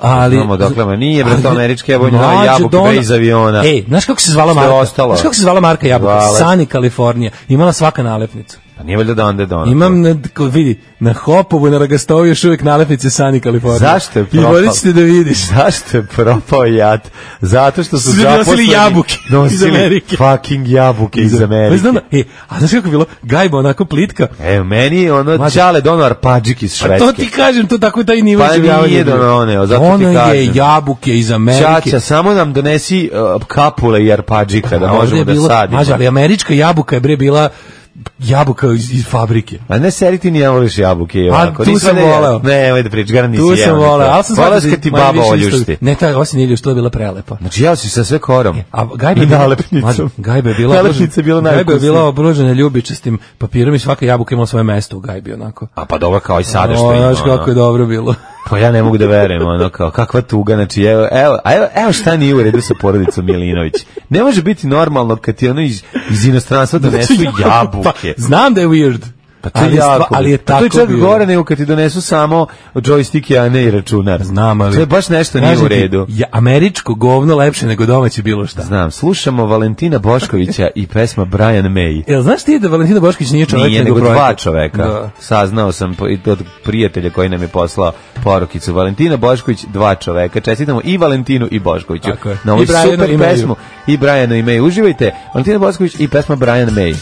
[SPEAKER 5] Ali,
[SPEAKER 6] Znamo odakle, ma nije, bre, to
[SPEAKER 5] ali-
[SPEAKER 6] američke jabuke,
[SPEAKER 5] Mlađe,
[SPEAKER 6] jabuke
[SPEAKER 5] Dona-
[SPEAKER 6] bre, iz aviona.
[SPEAKER 5] Ej, znaš kako se zvala
[SPEAKER 6] Što je
[SPEAKER 5] marka?
[SPEAKER 6] ostalo?
[SPEAKER 5] Znaš kako se zvala marka jabuka?
[SPEAKER 6] Zvala.
[SPEAKER 5] Sunny California. Imala svaka nalepnicu.
[SPEAKER 6] Pa nije valjda da onda je dono.
[SPEAKER 5] Imam, na, ko vidi, na Hopovu, na Ragastovu još uvijek nalepnice Sunny California.
[SPEAKER 6] Zašto je
[SPEAKER 5] I
[SPEAKER 6] propala?
[SPEAKER 5] morat ćete da vidiš.
[SPEAKER 6] Zašto je propao jat? Zato što su
[SPEAKER 5] Svi nosili
[SPEAKER 6] zaposleni...
[SPEAKER 5] jabuke iz
[SPEAKER 6] nosili
[SPEAKER 5] Amerike.
[SPEAKER 6] fucking jabuke iz Amerike.
[SPEAKER 5] Pa znam, e, a znaš kako je bilo? Gajba onako plitka,
[SPEAKER 6] E, meni je ono
[SPEAKER 5] Mlađe.
[SPEAKER 6] čale dono arpadžik iz
[SPEAKER 5] Pa
[SPEAKER 6] Švedske.
[SPEAKER 5] to ti kažem, to tako taj nivo
[SPEAKER 6] Pa
[SPEAKER 5] iživljavanja
[SPEAKER 6] nije
[SPEAKER 5] je bio.
[SPEAKER 6] doneo, zato ti
[SPEAKER 5] Ono je
[SPEAKER 6] kažem.
[SPEAKER 5] jabuke iz Amerike.
[SPEAKER 6] Čača, samo nam donesi uh, kapule i arpadžika da
[SPEAKER 5] A ovdje
[SPEAKER 6] možemo
[SPEAKER 5] je
[SPEAKER 6] da
[SPEAKER 5] bilo-
[SPEAKER 6] sadimo.
[SPEAKER 5] Mađo, ali američka jabuka je bre bila jabuka iz, iz fabrike.
[SPEAKER 6] A ne seri ti ni ja voliš jabuke i
[SPEAKER 5] A,
[SPEAKER 6] ovako.
[SPEAKER 5] tu
[SPEAKER 6] Nisam
[SPEAKER 5] sam
[SPEAKER 6] da je-
[SPEAKER 5] voleo.
[SPEAKER 6] Ne, ovaj da pričaš, garan nisi
[SPEAKER 5] Tu sam
[SPEAKER 6] jeo.
[SPEAKER 5] volao, ali sam
[SPEAKER 6] Volao
[SPEAKER 5] shvatio
[SPEAKER 6] kad ti
[SPEAKER 5] manje
[SPEAKER 6] baba
[SPEAKER 5] više
[SPEAKER 6] oljuš
[SPEAKER 5] isto-
[SPEAKER 6] ti.
[SPEAKER 5] Ne, ta osim iljuš, to je bila prelepa.
[SPEAKER 6] Znači jeo si sa sve korom.
[SPEAKER 5] E, A gajba
[SPEAKER 6] I
[SPEAKER 5] je bila-
[SPEAKER 6] nalepnicom.
[SPEAKER 5] Mađo, Gajba je bila
[SPEAKER 6] Nalepnica je bila
[SPEAKER 5] obložena- Gajba je
[SPEAKER 6] najvkusnija.
[SPEAKER 5] bila obložena ljubičastim papirom i svaka jabuka imala svoje mesto u gajbi onako.
[SPEAKER 6] A pa dobro kao i sada što
[SPEAKER 5] O,
[SPEAKER 6] ima.
[SPEAKER 5] Znaš kako je
[SPEAKER 6] ono.
[SPEAKER 5] dobro bilo.
[SPEAKER 6] Pa ja ne mogu da verujem, ono kao, kakva tuga, znači, evo, evo, a evo, evo šta nije u redu sa porodicom Milinović. Ne može biti normalno kad ti ono iz, iz inostranstva donesu
[SPEAKER 5] Znači, Pa,
[SPEAKER 6] jabuke.
[SPEAKER 5] znam da je weird.
[SPEAKER 6] Pa to je
[SPEAKER 5] ali, stva-
[SPEAKER 6] jako.
[SPEAKER 5] ali je
[SPEAKER 6] pa to
[SPEAKER 5] tako
[SPEAKER 6] je čak
[SPEAKER 5] bilo.
[SPEAKER 6] gore nego kad ti donesu samo joystick, a ne i računar.
[SPEAKER 5] Znam, ali...
[SPEAKER 6] To je baš nešto nije
[SPEAKER 5] Kažem
[SPEAKER 6] u
[SPEAKER 5] ti,
[SPEAKER 6] redu.
[SPEAKER 5] Ja, američko govno lepše nego domaće bilo šta.
[SPEAKER 6] Znam, slušamo Valentina Boškovića i pesma Brian May.
[SPEAKER 5] Jel znaš ti da Valentina Boškić nije čovjek
[SPEAKER 6] Nije nego dva
[SPEAKER 5] projekat?
[SPEAKER 6] čoveka.
[SPEAKER 5] Da.
[SPEAKER 6] Saznao sam po- i od prijatelja koji nam je poslao porukicu. Valentina Bošković, dva čoveka. Čestitamo i Valentinu i Boškoviću.
[SPEAKER 5] Tako je.
[SPEAKER 6] Na ovoj
[SPEAKER 5] I Brianu
[SPEAKER 6] super
[SPEAKER 5] i Mayu.
[SPEAKER 6] pesmu. I Brianu i May. Uživajte. Valentina Bošković i pesma Brian May.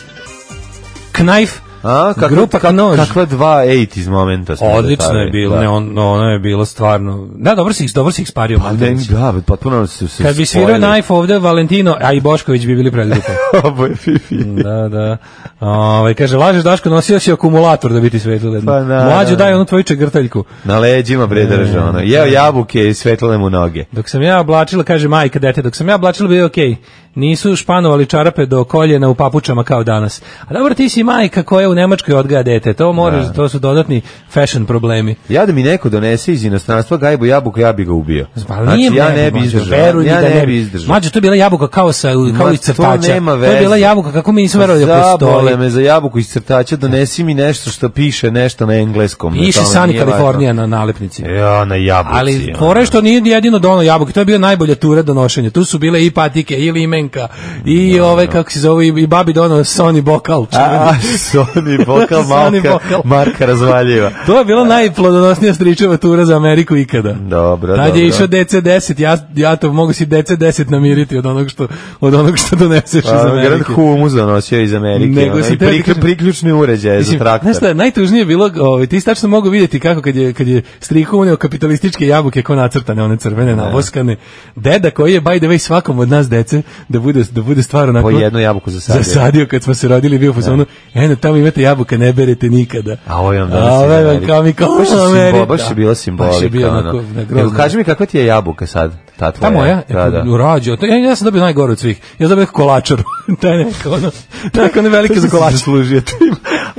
[SPEAKER 5] Knajf,
[SPEAKER 6] A, kakva,
[SPEAKER 5] grupa
[SPEAKER 6] kak-
[SPEAKER 5] Knož.
[SPEAKER 6] kakva dva 80s momenta. smo
[SPEAKER 5] Odlično je
[SPEAKER 6] dočarali.
[SPEAKER 5] bilo,
[SPEAKER 6] Da.
[SPEAKER 5] ne, on, no, ono je bilo stvarno... Da, dobro si ih, dobro si ih spario.
[SPEAKER 6] Pa ne,
[SPEAKER 5] Matanić.
[SPEAKER 6] da, potpuno su se
[SPEAKER 5] Kad bi svirao Knajf ovde, Valentino, a i Bošković bi bili predgrupa.
[SPEAKER 6] Oboje Fifi.
[SPEAKER 5] da, da. Ovaj kaže, lažeš Daško, nosio si akumulator da biti svetlo.
[SPEAKER 6] Pa, da,
[SPEAKER 5] Mlađo,
[SPEAKER 6] da.
[SPEAKER 5] daj onu tvoju čegrtaljku.
[SPEAKER 6] Na leđima bre drže ono. Jeo jabuke i svetlale mu noge.
[SPEAKER 5] Dok sam ja oblačila, kaže majka dete, dok sam ja oblačila bio je okej. Nisu španovali čarape do koljena u papučama kao danas. A dobro, ti si majka koja u Nemačkoj odgaja dete. To moraš, to su dodatni fashion problemi.
[SPEAKER 6] Ja da mi neko donese iz inostranstva gajbu jabuku, ja bi ga ubio.
[SPEAKER 5] Pa
[SPEAKER 6] znači,
[SPEAKER 5] nije
[SPEAKER 6] ja
[SPEAKER 5] meni,
[SPEAKER 6] ne bi
[SPEAKER 5] Mađo,
[SPEAKER 6] izdržao.
[SPEAKER 5] veruj mi
[SPEAKER 6] ja
[SPEAKER 5] da
[SPEAKER 6] ne bi izdržao.
[SPEAKER 5] Mađo, to je bila jabuka kao, sa, kao
[SPEAKER 6] Ma,
[SPEAKER 5] iz crtača.
[SPEAKER 6] to nema
[SPEAKER 5] je bila
[SPEAKER 6] veze. Pa
[SPEAKER 5] jabuka, kako mi nismo verovali da
[SPEAKER 6] Zabole
[SPEAKER 5] postoji.
[SPEAKER 6] me za jabuku iz crtača, donesi mi nešto što piše nešto na engleskom.
[SPEAKER 5] Piše
[SPEAKER 6] To mi
[SPEAKER 5] Sunny
[SPEAKER 6] nije E, važno.
[SPEAKER 5] California na nalepnici.
[SPEAKER 6] Ja, na jabuci.
[SPEAKER 5] Ali
[SPEAKER 6] ono.
[SPEAKER 5] fora je što nije jedino dono jabuke, to je bila najbolja tura donošenja. Tu su bile i patike, i limenke, Čenka i ove, kako se zove, i, i babi dono Sony bokal. čuveni.
[SPEAKER 6] A, Sony bokal
[SPEAKER 5] Sony
[SPEAKER 6] Marka,
[SPEAKER 5] bokal.
[SPEAKER 6] Marka razvaljiva.
[SPEAKER 5] To je bila najplodonosnija stričeva tura za Ameriku ikada.
[SPEAKER 6] Dobro,
[SPEAKER 5] Tad je
[SPEAKER 6] dobro.
[SPEAKER 5] išao DC-10, ja, ja to mogu si DC-10 namiriti od onog što, od onog što doneseš iz
[SPEAKER 6] A, Pa, Grad
[SPEAKER 5] Amerike.
[SPEAKER 6] humus donosio iz Amerike.
[SPEAKER 5] Nego
[SPEAKER 6] Nego
[SPEAKER 5] si
[SPEAKER 6] I
[SPEAKER 5] teo ti
[SPEAKER 6] prikl-
[SPEAKER 5] kažem-
[SPEAKER 6] priključni uređaj za
[SPEAKER 5] Mislim,
[SPEAKER 6] traktor.
[SPEAKER 5] znaš šta, je najtužnije bilo, ovaj, ti si tačno mogu vidjeti kako kad je, kad je strihu uneo kapitalističke jabuke ko nacrtane, one crvene, navoskane. Deda koji je, by the way, svakom od nas dece, da bude, da bude stvar onako...
[SPEAKER 6] Po jednu jabuku za sad.
[SPEAKER 5] Zasadio kad smo se rodili, bio u fazonu, eno, tamo imate jabuka, ne berete nikada.
[SPEAKER 6] A ovo je vam
[SPEAKER 5] A
[SPEAKER 6] donosi
[SPEAKER 5] ovo
[SPEAKER 6] iz
[SPEAKER 5] je vam
[SPEAKER 6] Amerike.
[SPEAKER 5] kao mi kao
[SPEAKER 6] Baš je simbo-
[SPEAKER 5] Amerika.
[SPEAKER 6] Baš je bila simbolika.
[SPEAKER 5] Baš je bio
[SPEAKER 6] ono.
[SPEAKER 5] onako, na
[SPEAKER 6] Nego,
[SPEAKER 5] grozno.
[SPEAKER 6] Kaži mi kakva ti je jabuka sad, ta tvoja?
[SPEAKER 5] Ta moja, E, pa,
[SPEAKER 6] Da, da.
[SPEAKER 5] rođo. To, ja, ja sam dobio najgore od svih. Ja sam dobio neku kolačaru. to je neka ono, tako one velike za kolač.
[SPEAKER 6] Zaslužio tim.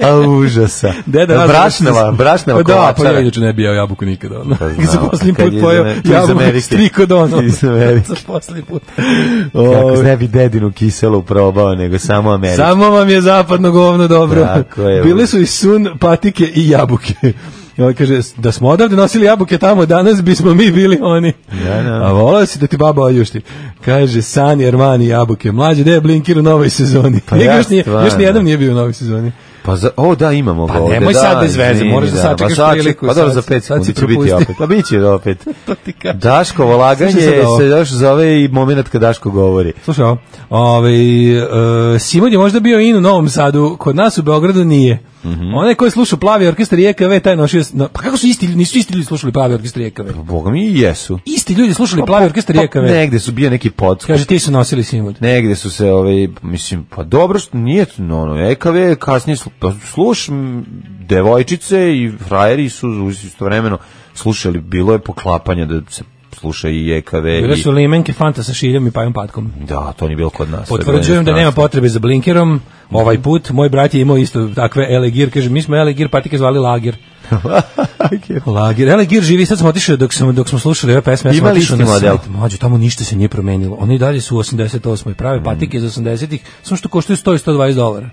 [SPEAKER 6] A užasa.
[SPEAKER 5] Deda
[SPEAKER 6] Da,
[SPEAKER 5] nas-
[SPEAKER 6] brašnava, brašnava
[SPEAKER 5] Da, pa ja
[SPEAKER 6] kolačara.
[SPEAKER 5] inače ne bi jeo jabuku nikada. Ono.
[SPEAKER 6] Pa
[SPEAKER 5] Pa
[SPEAKER 6] znam,
[SPEAKER 5] znam, posljednji
[SPEAKER 6] kad
[SPEAKER 5] put
[SPEAKER 6] je iz
[SPEAKER 5] pojeo
[SPEAKER 6] Amerike- iz
[SPEAKER 5] jabuku
[SPEAKER 6] Amerike.
[SPEAKER 5] s trikodonom.
[SPEAKER 6] Iz Amerike.
[SPEAKER 5] Za posljednji put.
[SPEAKER 6] Kako
[SPEAKER 5] Ovaj,
[SPEAKER 6] ne bi dedinu kiselu probao, nego samo Ameriku.
[SPEAKER 5] Samo vam je zapadno govno dobro.
[SPEAKER 6] Tako je.
[SPEAKER 5] Bili su i sun, patike i jabuke. I on kaže, da smo odavde nosili jabuke tamo, danas bismo mi bili oni.
[SPEAKER 6] Da, da.
[SPEAKER 5] A volao si da ti baba oljušti. Kaže, Sani, Armani, jabuke. Mlađe, gde je Blinkir u novoj sezoni?
[SPEAKER 6] Pa
[SPEAKER 5] Njega još,
[SPEAKER 6] ja
[SPEAKER 5] nije,
[SPEAKER 6] stvarno.
[SPEAKER 5] još nijedan nije bio u novoj sezoni.
[SPEAKER 6] Pa za, o da imamo
[SPEAKER 5] Pa
[SPEAKER 6] ga ovde.
[SPEAKER 5] nemoj sad bez veze,
[SPEAKER 6] izvini,
[SPEAKER 5] moraš da sačekaš
[SPEAKER 6] pa saček-
[SPEAKER 5] priliku,
[SPEAKER 6] Pa dobro, za
[SPEAKER 5] sad-
[SPEAKER 6] 5
[SPEAKER 5] sad si
[SPEAKER 6] sekundi će biti
[SPEAKER 5] propustio.
[SPEAKER 6] opet. Pa biće opet.
[SPEAKER 5] To ti kažem.
[SPEAKER 6] Daškovo laganje
[SPEAKER 5] Slušaj sad ovo.
[SPEAKER 6] se još zove i moment kad Daško govori.
[SPEAKER 5] Slušaj, ovo, ovaj, e, Simon je možda bio in u Novom Sadu, kod nas u Beogradu nije.
[SPEAKER 6] Mhm.
[SPEAKER 5] Onaj koji je slušao plavi orkestar i EKV, taj je nošio... no, pa kako su isti, ljudi- nisu isti ljudi slušali plavi orkestar i EKV?
[SPEAKER 6] Boga mi i jesu.
[SPEAKER 5] Isti ljudi slušali plavi orkestar i
[SPEAKER 6] Pa,
[SPEAKER 5] EKV.
[SPEAKER 6] negde su bio neki podskup.
[SPEAKER 5] Kaže, ti su nosili Simon.
[SPEAKER 6] Negde su se, ovaj, mislim, pa dobro što nije, no, ono, EKV je kasnije, slu- pa sluš, m, devojčice i frajeri su uz- istovremeno slušali, bilo je poklapanje da se sluša i EKV
[SPEAKER 5] Bile
[SPEAKER 6] i...
[SPEAKER 5] su limenke fanta sa šiljom i pajom patkom.
[SPEAKER 6] Da, to nije bilo kod nas.
[SPEAKER 5] Potvrđujem da nema potrebe za blinkerom. Ovaj put moj brat je imao isto takve elegir, kaže mi smo elegir patike zvali lagir. Lagir, elegir živi, sad smo otišli dok smo dok smo slušali ove pesme, ja sam
[SPEAKER 6] Ima li
[SPEAKER 5] otišao
[SPEAKER 6] isti
[SPEAKER 5] na
[SPEAKER 6] model?
[SPEAKER 5] sajt. Mlađe, tamo ništa se nije promenilo. Oni i dalje su u 88. prave
[SPEAKER 6] Mm.
[SPEAKER 5] patike iz 80-ih, samo što koštaju 100 i 120 dolara.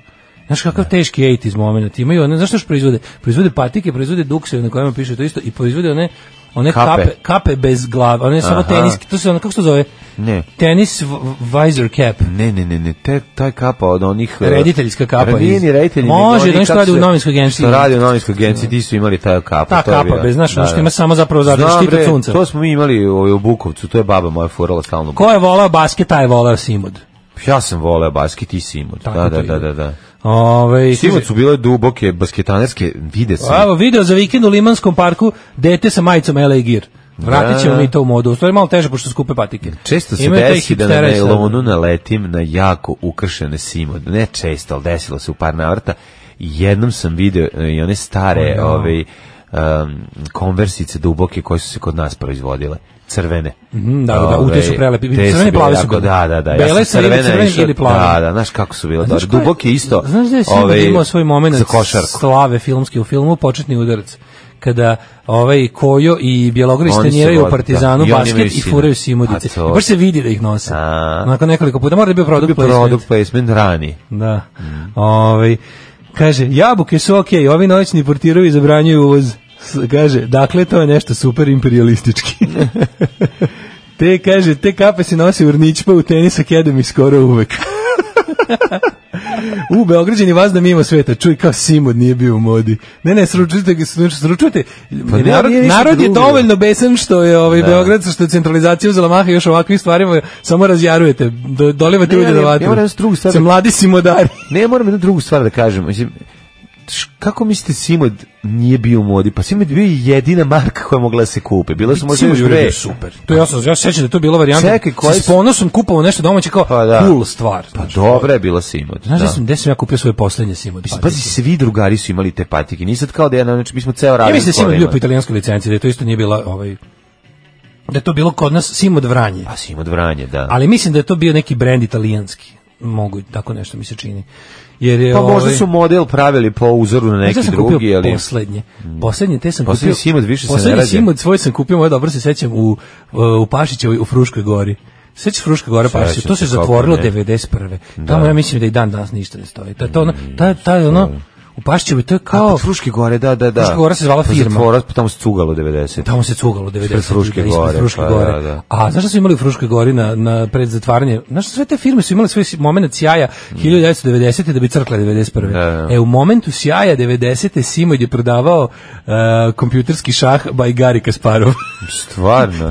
[SPEAKER 5] Znaš kakav teški 80s moment imaju, one, znaš što još proizvode? Proizvode patike, proizvode dukse na kojima piše to isto i proizvode one one
[SPEAKER 6] Kape.
[SPEAKER 5] kape, kape, bez glave, one samo
[SPEAKER 6] Aha.
[SPEAKER 5] teniski, to se ono, kako se to zove?
[SPEAKER 6] Ne.
[SPEAKER 5] Tenis v- visor cap.
[SPEAKER 6] Ne, ne, ne, ne, te, taj kapa od onih... eh,
[SPEAKER 5] Rediteljska kapa
[SPEAKER 6] pa Nije
[SPEAKER 5] iz-
[SPEAKER 6] ni reditelj.
[SPEAKER 5] Može, znaš što radi u novinskoj agenciji.
[SPEAKER 6] Što radi u novinskoj agenciji, ti su imali taj kapa.
[SPEAKER 5] Ta
[SPEAKER 6] to je
[SPEAKER 5] kapa,
[SPEAKER 6] bila-
[SPEAKER 5] bez, znaš, ono što ima samo zapravo zato
[SPEAKER 6] Znam,
[SPEAKER 5] štita
[SPEAKER 6] bre,
[SPEAKER 5] sunca.
[SPEAKER 6] To smo mi imali ovaj, u Bukovcu, to je baba moja furala stalno.
[SPEAKER 5] Ko je volao basket, taj je volao Simod.
[SPEAKER 6] Ja sam voleo basket, ti si imao.
[SPEAKER 5] Tako
[SPEAKER 6] Da,
[SPEAKER 5] to
[SPEAKER 6] da,
[SPEAKER 5] ide.
[SPEAKER 6] da, da, da.
[SPEAKER 5] Ove,
[SPEAKER 6] Simoć su bile duboke basketanerske, vide se.
[SPEAKER 5] Evo, video za vikend u Limanskom parku, dete sa majicom LA Gear. Vratit ćemo
[SPEAKER 6] Da, da.
[SPEAKER 5] mi to u modu. U stvari malo teže, pošto su skupe patike.
[SPEAKER 6] Često se
[SPEAKER 5] Imaju taj
[SPEAKER 6] desi da na
[SPEAKER 5] hipstera i sad.
[SPEAKER 6] nailonu naletim na jako ukršene simode. Ne često, ali desilo se u par navrata. Jednom sam video e, i one stare ove, um, konversice duboke koje su se kod nas proizvodile. Crvene.
[SPEAKER 5] Mhm, da, da, da, u, te su prelepi.
[SPEAKER 6] te su
[SPEAKER 5] Crvene i
[SPEAKER 6] bile
[SPEAKER 5] plave su
[SPEAKER 6] jako-
[SPEAKER 5] bile.
[SPEAKER 6] Da, da, da. ja
[SPEAKER 5] Bele
[SPEAKER 6] sam
[SPEAKER 5] su ili
[SPEAKER 6] crvene
[SPEAKER 5] crvene
[SPEAKER 6] išao-
[SPEAKER 5] ili plave.
[SPEAKER 6] Da, da, znaš kako su bile.
[SPEAKER 5] Znaš
[SPEAKER 6] Znaš
[SPEAKER 5] ko je-
[SPEAKER 6] duboke isto.
[SPEAKER 5] Znaš da je Simon
[SPEAKER 6] ove,
[SPEAKER 5] imao svoj moment
[SPEAKER 6] Za košarku.
[SPEAKER 5] slave filmski u filmu Početni udarac kada ovaj Kojo i Bjelogrlić
[SPEAKER 6] Oni su
[SPEAKER 5] treniraju
[SPEAKER 6] od-
[SPEAKER 5] u Partizanu
[SPEAKER 6] da, i oni imaju
[SPEAKER 5] basket i
[SPEAKER 6] sine.
[SPEAKER 5] furaju Simudice.
[SPEAKER 6] A to-
[SPEAKER 5] I Baš se vidi da ih nose.
[SPEAKER 6] A.
[SPEAKER 5] Nakon nekoliko puta. Mora da je bio product placement.
[SPEAKER 6] Product placement rani.
[SPEAKER 5] Da. Ovaj, kaže, jabuke su okej, ovi noćni portirovi zabranjuju uvoz. S- Kaže, dakle, to je nešto super imperialistički. te, kaže, te kape se nose urničpa u tenis academy skoro uvek. U, Beograđani vas da mimo sveta, čuj kao Simod nije bio u modi. Ne, ne, sručujte, ga, sruč- sručujte.
[SPEAKER 6] Pa ne,
[SPEAKER 5] narod,
[SPEAKER 6] nije ništa
[SPEAKER 5] narod je
[SPEAKER 6] drugo.
[SPEAKER 5] dovoljno besan što je ovaj
[SPEAKER 6] Da.
[SPEAKER 5] Beograd, što je centralizacija uzela maha i još ovakvim stvarima, samo razjarujete, do, dolivate
[SPEAKER 6] Ne,
[SPEAKER 5] ulje
[SPEAKER 6] ali
[SPEAKER 5] na
[SPEAKER 6] ja
[SPEAKER 5] vatru.
[SPEAKER 6] moram jednu drugu stvar
[SPEAKER 5] Se
[SPEAKER 6] da-
[SPEAKER 5] mladi simodari.
[SPEAKER 6] Ne, moram jednu drugu stvar da kažem. Mislim, š- kako mislite Simod nije bio u modi? Pa Simod je bio jedina marka koja je mogla da se kupe. Bila su možda
[SPEAKER 5] Simo
[SPEAKER 6] još
[SPEAKER 5] Đure
[SPEAKER 6] dve.
[SPEAKER 5] bio super. To je jasno, ja se sećam da je to bila varijanta.
[SPEAKER 6] Čekaj, koji
[SPEAKER 5] S
[SPEAKER 6] su-
[SPEAKER 5] ponosom kupovao nešto domaće kao
[SPEAKER 6] Pa da.
[SPEAKER 5] cool stvar.
[SPEAKER 6] Pa dobra je bila Simod.
[SPEAKER 5] Znaš
[SPEAKER 6] da.
[SPEAKER 5] da sam, gde sam ja kupio svoje poslednje Pa Simod?
[SPEAKER 6] Mislim, pazi, svi drugari su imali te patike. Nisad kao da je, znači, mi smo ceo
[SPEAKER 5] Ja
[SPEAKER 6] radnik.
[SPEAKER 5] mislim da Simod
[SPEAKER 6] skoro
[SPEAKER 5] bio
[SPEAKER 6] imali.
[SPEAKER 5] po italijanskoj licenciji, da je to isto nije bila ovaj da je to bilo kod nas Simod Vranje.
[SPEAKER 6] Pa Simod Vranje, da.
[SPEAKER 5] Ali mislim da je to bio neki brend italijanski. Mogu, tako nešto mi se čini. Jer je,
[SPEAKER 6] pa možda
[SPEAKER 5] ovaj,
[SPEAKER 6] su model pravili po uzoru na
[SPEAKER 5] Znaš
[SPEAKER 6] neki
[SPEAKER 5] šta sam
[SPEAKER 6] drugi,
[SPEAKER 5] kupio
[SPEAKER 6] ali...
[SPEAKER 5] poslednje. Poslednje te sam
[SPEAKER 6] Poslednji
[SPEAKER 5] kupio.
[SPEAKER 6] Simod više se ne
[SPEAKER 5] poslednji
[SPEAKER 6] radi.
[SPEAKER 5] Simod svoj sam kupio, moj dobro se sećam u u Pašićevoj u Fruškoj gori. Sećaš Fruška gora Pašić,
[SPEAKER 6] Sećam
[SPEAKER 5] to se
[SPEAKER 6] se kako
[SPEAKER 5] zatvorilo
[SPEAKER 6] ne. Mm,
[SPEAKER 5] 91. Tamo ja mislim da i dan danas ništa ne stoji. Ta to ono, ta ta ono U Pašćevoj to je
[SPEAKER 6] A,
[SPEAKER 5] kao...
[SPEAKER 6] kod Pa Fruške gore, da, da, da.
[SPEAKER 5] Fruška gora se zvala
[SPEAKER 6] Pa
[SPEAKER 5] firma.
[SPEAKER 6] Zatvora, pa tamo se cugalo 90.
[SPEAKER 5] Tamo se cugalo 90.
[SPEAKER 6] Ispred Fruške
[SPEAKER 5] da, ispred
[SPEAKER 6] gore,
[SPEAKER 5] Fruške
[SPEAKER 6] pa
[SPEAKER 5] gore.
[SPEAKER 6] da, da.
[SPEAKER 5] A znaš šta su imali u Fruškoj gori na, na pred zatvaranje? Znaš šta, sve te firme su imale svoj moment sjaja 1990. da bi crkle 91.
[SPEAKER 6] Mm. Da, da.
[SPEAKER 5] E, u momentu sjaja 90. Simoid je prodavao uh, kompjuterski šah by Gari Kasparov.
[SPEAKER 6] Stvarno.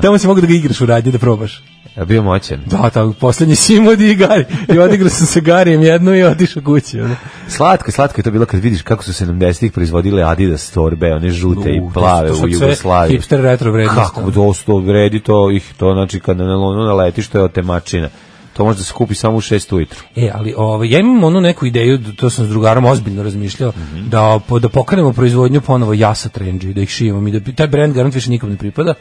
[SPEAKER 5] Tamo si mogu da ga igraš u radnji, da probaš.
[SPEAKER 6] A bio moćan.
[SPEAKER 5] Da, tamo, poslednji Simoid i Gari. I odigrao sam sa Garijem jednu i otišao kući. Ono.
[SPEAKER 6] Slatko, slatko je to bilo kad vidiš kako su 70-ih proizvodile Adidas torbe, one žute
[SPEAKER 5] U,
[SPEAKER 6] i plave
[SPEAKER 5] to su
[SPEAKER 6] u
[SPEAKER 5] sve
[SPEAKER 6] Jugoslaviji.
[SPEAKER 5] hipster retro vrednosti.
[SPEAKER 6] Kako dosta vredi to ih to znači kad na ono na letištu je od temačina. To može da se kupi samo u 6 ujutru.
[SPEAKER 5] E, ali ovaj, ja imam onu neku ideju, d- to sam s drugarom ozbiljno razmišljao,
[SPEAKER 6] Mhm.
[SPEAKER 5] da, po- da pokrenemo proizvodnju ponovo jasa trendži, da ih šijemo mi, da taj brand garant više nikom ne pripada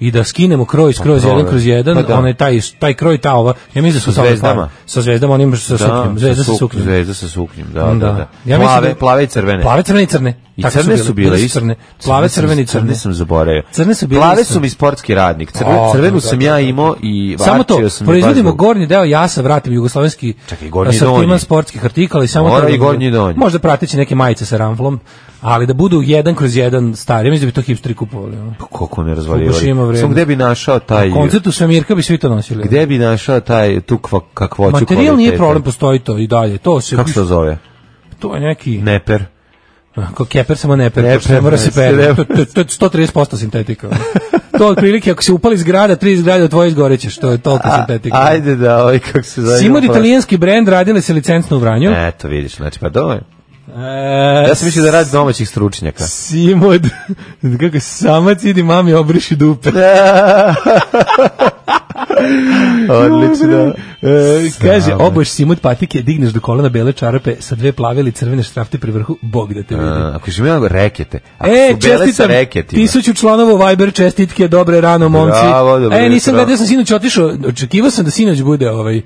[SPEAKER 5] i da skinemo kroj skroz
[SPEAKER 6] Pa,
[SPEAKER 5] jedan
[SPEAKER 6] da.
[SPEAKER 5] kroz jedan,
[SPEAKER 6] Pa, da.
[SPEAKER 5] onaj taj, taj kroj, ta ova, ja mislim da su
[SPEAKER 6] Sa
[SPEAKER 5] sa ove
[SPEAKER 6] zvezdama?
[SPEAKER 5] stvari. Sa zvezdama, onim sa suknjom, zvezda sa
[SPEAKER 6] suk-
[SPEAKER 5] suknjom.
[SPEAKER 6] Zvezda sa suknjom, da, da,
[SPEAKER 5] Da.
[SPEAKER 6] da.
[SPEAKER 5] Ja mislim
[SPEAKER 6] plave,
[SPEAKER 5] da-
[SPEAKER 6] plave i crvene.
[SPEAKER 5] Plave, crvene i crne.
[SPEAKER 6] I
[SPEAKER 5] Tako
[SPEAKER 6] crne su bile isto.
[SPEAKER 5] crne. Plave,
[SPEAKER 6] sam-
[SPEAKER 5] crvene i crne.
[SPEAKER 6] sam zaboravio.
[SPEAKER 5] Crne su bile
[SPEAKER 6] Plave
[SPEAKER 5] isto.
[SPEAKER 6] su mi sportski radnik. Crve,
[SPEAKER 5] O,
[SPEAKER 6] crvenu
[SPEAKER 5] da,
[SPEAKER 6] sam
[SPEAKER 5] da,
[SPEAKER 6] ja
[SPEAKER 5] da.
[SPEAKER 6] imao i
[SPEAKER 5] Samo to,
[SPEAKER 6] varčio sam je baš
[SPEAKER 5] proizvodimo
[SPEAKER 6] zbog-
[SPEAKER 5] gornji deo jasa, vratim jugoslovenski
[SPEAKER 6] Čekaj, gornji i donji.
[SPEAKER 5] asortiman sportskih artikala i samo
[SPEAKER 6] Mora
[SPEAKER 5] to da
[SPEAKER 6] i gornji i
[SPEAKER 5] bude.
[SPEAKER 6] donji.
[SPEAKER 5] Možda prateći neke majice sa ramflom, ali da budu jedan kroz jedan stari, ja mislim da bi to hipsteri kupovali. ono.
[SPEAKER 6] Koliko
[SPEAKER 5] Fukushima
[SPEAKER 6] ne razvaljivali.
[SPEAKER 5] vreme.
[SPEAKER 6] Samo gde bi našao taj...
[SPEAKER 5] Na koncertu Svemirka bi svi to nosili.
[SPEAKER 6] Gde bi našao taj tu kva- kakvoću
[SPEAKER 5] Materijal nije
[SPEAKER 6] kvaliteta?
[SPEAKER 5] problem, postoji to i dalje. To se
[SPEAKER 6] Kako se to zove?
[SPEAKER 5] to je neki
[SPEAKER 6] Neper.
[SPEAKER 5] Ko keper samo ne per,
[SPEAKER 6] Ne
[SPEAKER 5] pošto ne
[SPEAKER 6] per,
[SPEAKER 5] mora
[SPEAKER 6] ne,
[SPEAKER 5] se pere.
[SPEAKER 6] ne.
[SPEAKER 5] To, to, to je 130% sintetika. ono. To je otprilike, ako se upali zgrada, tri zgrade od tvoje izgorećeš, to je toliko sintetika.
[SPEAKER 6] Ajde da, ovaj kako se zove.
[SPEAKER 5] Simod italijanski brend radili se licencno u Vranju.
[SPEAKER 6] Eto, vidiš, znači, pa dobro.
[SPEAKER 5] E,
[SPEAKER 6] Ja sam mislio da radi domaćih stručnjaka.
[SPEAKER 5] Simod, kako samac idi mami obriši dupe.
[SPEAKER 6] Odlično.
[SPEAKER 5] E, kaže,
[SPEAKER 6] Same.
[SPEAKER 5] oboš Simod patike, digneš do kolena bele čarape sa dve plave ili crvene štrafte pri vrhu, bog da te vidi.
[SPEAKER 6] A, Ako ćeš imati rekete.
[SPEAKER 5] E,
[SPEAKER 6] Ako su bele sa
[SPEAKER 5] čestitam,
[SPEAKER 6] reketima.
[SPEAKER 5] tisuću članova Viber čestitke, dobre rano, momci.
[SPEAKER 6] Bravo, dobro
[SPEAKER 5] e, nisam
[SPEAKER 6] jutro.
[SPEAKER 5] gledao, ja sam sinoć otišao, očekivao sam da sinoć bude ovaj, e,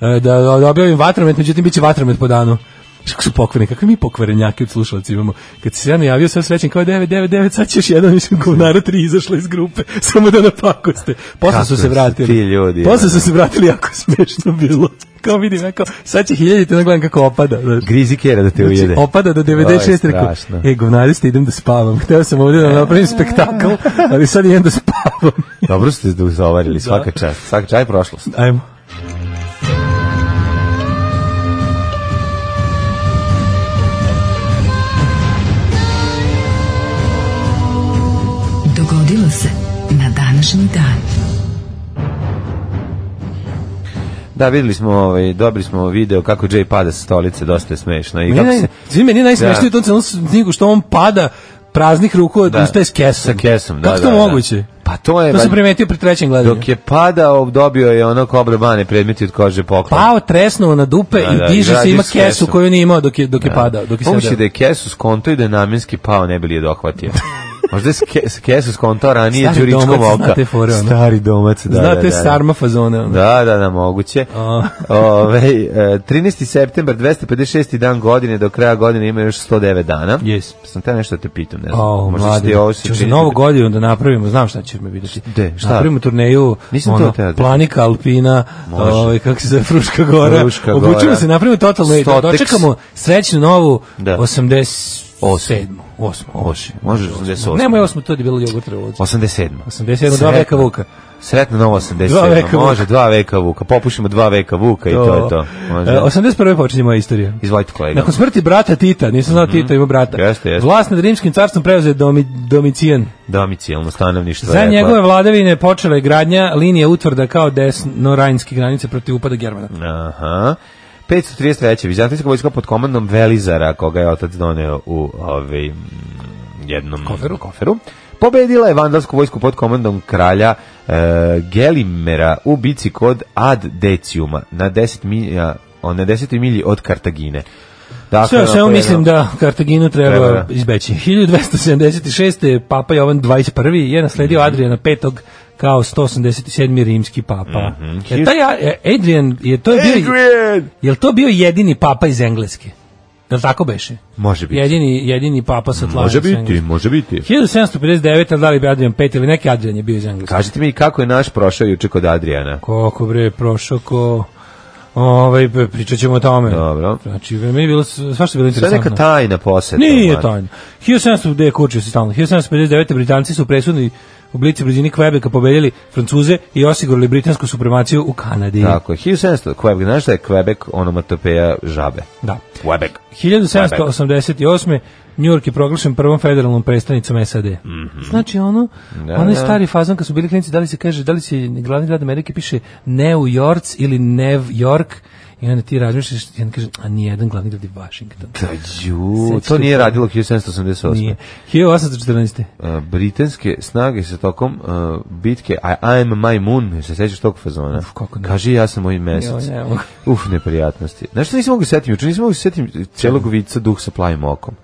[SPEAKER 5] da, da objavim vatromet, međutim, bit će vatromet po danu. Znaš Kako su pokvareni, kakve mi pokvarenjake od slušalaca imamo. Kad si se ja najavio, sve srećen, kao 999, sad ćeš jedan, mislim, govnara tri izašla iz grupe, samo da napakoste. Posle
[SPEAKER 6] Kako
[SPEAKER 5] su
[SPEAKER 6] su
[SPEAKER 5] se
[SPEAKER 6] ti
[SPEAKER 5] vratili.
[SPEAKER 6] ljudi,
[SPEAKER 5] Posle
[SPEAKER 6] ono.
[SPEAKER 5] su se vratili, jako smešno bilo. Kao vidim, ja kao, sad će hiljadite, ono gledam kako opada. znaš.
[SPEAKER 6] Grizi kjera da te
[SPEAKER 5] Znači,
[SPEAKER 6] ujede.
[SPEAKER 5] opada do 96
[SPEAKER 6] To je
[SPEAKER 5] rekao,
[SPEAKER 6] strašno.
[SPEAKER 5] e, govnari ste, idem da spavam. Hteo sam ovdje da napravim spektakl, ali sad idem da spavam.
[SPEAKER 6] Dobro ste da uzavarili, svaka čast. Svaka čast je prošlost.
[SPEAKER 5] Ajmo.
[SPEAKER 4] Dogodilo se na današnji dan.
[SPEAKER 6] Da, videli smo, ovaj, dobili smo video kako Jay pada sa stolice, dosta je smešno. I
[SPEAKER 5] Meni
[SPEAKER 6] kako
[SPEAKER 5] naj,
[SPEAKER 6] se...
[SPEAKER 5] svi meni je najsmešnije
[SPEAKER 6] Da.
[SPEAKER 5] u tom celom snigu što on pada praznih ruku od
[SPEAKER 6] Da.
[SPEAKER 5] ustaje s kesom.
[SPEAKER 6] Sa kesom, da,
[SPEAKER 5] Kako je to
[SPEAKER 6] da, da.
[SPEAKER 5] moguće?
[SPEAKER 6] Pa to je...
[SPEAKER 5] To sam
[SPEAKER 6] valjda-
[SPEAKER 5] primetio pri trećem gledanju.
[SPEAKER 6] Dok je padao, dobio je ono kobrebane predmeti od kože poklon.
[SPEAKER 5] Pao tresnuo na dupe
[SPEAKER 6] Da, da,
[SPEAKER 5] i diže se,
[SPEAKER 6] gradi
[SPEAKER 5] ima
[SPEAKER 6] s
[SPEAKER 5] kesu
[SPEAKER 6] kesom.
[SPEAKER 5] koju nije imao dok je, dok je padao, dok je
[SPEAKER 6] Pomoći
[SPEAKER 5] sedao.
[SPEAKER 6] da je Kesu skonto i da je namjenski pao, ne bi li je dohvatio. Možda je s ke- s Kesu skonto ranije
[SPEAKER 5] Stari
[SPEAKER 6] Đuričkom
[SPEAKER 5] domac,
[SPEAKER 6] oka.
[SPEAKER 5] znate fore, ono.
[SPEAKER 6] Stari domac, da, da,
[SPEAKER 5] Znate,
[SPEAKER 6] da, da.
[SPEAKER 5] sarma fazone. ono.
[SPEAKER 6] Da, da, da, moguće. e,
[SPEAKER 5] A.
[SPEAKER 6] Ove, 13. september, 256. dan godine, do kraja godine ima još 109 dana.
[SPEAKER 5] Yes.
[SPEAKER 6] Sam te nešto da te pitam, ne znam.
[SPEAKER 5] Pa, O,
[SPEAKER 6] Možda
[SPEAKER 5] mladi,
[SPEAKER 6] ti ovo se
[SPEAKER 5] ću za
[SPEAKER 6] čini-
[SPEAKER 5] novu godinu da napravimo, znam šta ćeš me vidjeti.
[SPEAKER 6] Gde, šta?
[SPEAKER 5] Napravimo turneju, ono,
[SPEAKER 6] Nisam to teo da-
[SPEAKER 5] Planika, Alpina,
[SPEAKER 6] Može.
[SPEAKER 5] ovaj, kako se zove, Fruška gora.
[SPEAKER 6] Fruška
[SPEAKER 5] Obučimo
[SPEAKER 6] gora.
[SPEAKER 5] se, napravimo totalno i
[SPEAKER 6] Stoteks.
[SPEAKER 5] dočekamo srećnu novu
[SPEAKER 6] Da.
[SPEAKER 5] 87.
[SPEAKER 6] Osam.
[SPEAKER 5] 8.
[SPEAKER 6] Može, može 88.
[SPEAKER 5] Nemoj 8, to je bilo jogurtra uvodca.
[SPEAKER 6] 87.
[SPEAKER 5] 87, dva
[SPEAKER 6] Sretno.
[SPEAKER 5] veka Vuka.
[SPEAKER 6] Sretno novo 87.
[SPEAKER 5] Dva veka Vuka.
[SPEAKER 6] Može, dva veka vuka. Popušimo dva veka vuka i to je to. Može.
[SPEAKER 5] E, 81. počinje moja istorija.
[SPEAKER 6] Izvolite kolega.
[SPEAKER 5] Nakon smrti brata Tita, nisam znao Tita ima brata.
[SPEAKER 6] Mhm. Jeste, jeste.
[SPEAKER 5] Vlast nad rimskim carstvom preuzeo domi, Domicijan.
[SPEAKER 6] Domicijalno stanovništvo.
[SPEAKER 5] Za
[SPEAKER 6] rekla.
[SPEAKER 5] njegove vladavine počela je gradnja linije utvrda kao desno-rajnske granice protiv upada Germana.
[SPEAKER 6] Aha. 533. Vizantijska vojska pod komandom Velizara, koga je otac doneo u ovaj, mm, jednom
[SPEAKER 5] Koferu.
[SPEAKER 6] koferu. Pobedila je vandalsku vojsku pod komandom kralja e, Gelimera u bici kod Ad Deciuma na 10 milja, o, na 10 milji od Kartagine. Dakle,
[SPEAKER 5] Sve o svemu
[SPEAKER 6] onako
[SPEAKER 5] mislim
[SPEAKER 6] jedno-
[SPEAKER 5] da Kartaginu treba,
[SPEAKER 6] Treba.
[SPEAKER 5] izbeći. 1276. je Papa Jovan 21. je
[SPEAKER 6] Mhm.
[SPEAKER 5] nasledio Adriana V. kao 187. rimski papa. Jer taj A- e, Adrian, je to je bio,
[SPEAKER 6] Mhm. Adrian!
[SPEAKER 5] je to bio jedini papa iz Engleske? Je li tako beše?
[SPEAKER 6] Može biti.
[SPEAKER 5] Jedini, jedini papa sa tlajem.
[SPEAKER 6] Može
[SPEAKER 5] sa
[SPEAKER 6] biti,
[SPEAKER 5] Engleske.
[SPEAKER 6] može biti.
[SPEAKER 5] 1759. da li bi Adrian V ili neki Adrian je bio iz Engleske?
[SPEAKER 6] Kažite mi kako je naš prošao juče kod Adriana.
[SPEAKER 5] Kako bre, prošao ko... Ovaj pričat ćemo o tome.
[SPEAKER 6] Dobro.
[SPEAKER 5] Znači, meni je bilo svašta je bilo
[SPEAKER 6] Sve
[SPEAKER 5] interesantno.
[SPEAKER 6] neka tajna poseta.
[SPEAKER 5] Nije
[SPEAKER 6] ono.
[SPEAKER 5] tajna. 1700, gde je kurčio se stalno? 1759. Britanci su presudni u blici blizini Quebeca pobedili Francuze i osigurali britansku supremaciju u Kanadi.
[SPEAKER 6] Tako, je. 1700, Quebec, znaš da je Quebec onomatopeja žabe?
[SPEAKER 5] Da.
[SPEAKER 6] Quebec.
[SPEAKER 5] 1788. New York je proglašen prvom federalnom predstavnicom SAD. Znači ono,
[SPEAKER 6] Mhm. Da,
[SPEAKER 5] onaj
[SPEAKER 6] da.
[SPEAKER 5] stari fazon kad su bili klinici, da li se kaže, da li se glavni grad Amerike piše New York ili New York, i onda ti razmišljaš, i onda kaže, a nijedan glavni grad je Washington.
[SPEAKER 6] Da, ju,
[SPEAKER 5] Sećate
[SPEAKER 6] to nije
[SPEAKER 5] se?
[SPEAKER 6] radilo 1788.
[SPEAKER 5] Nije. 1814.
[SPEAKER 6] Uh, britanske snage se tokom uh, bitke I, I am my moon, se sećaš tog fazona?
[SPEAKER 5] Uf, kako ne.
[SPEAKER 6] Kaži ja sam moj mesec.
[SPEAKER 5] Joj, ne mogu.
[SPEAKER 6] Uf, neprijatnosti. Znaš što nisam mogu setim? Juče nisam mogu setim celog vica duh sa plavim okom.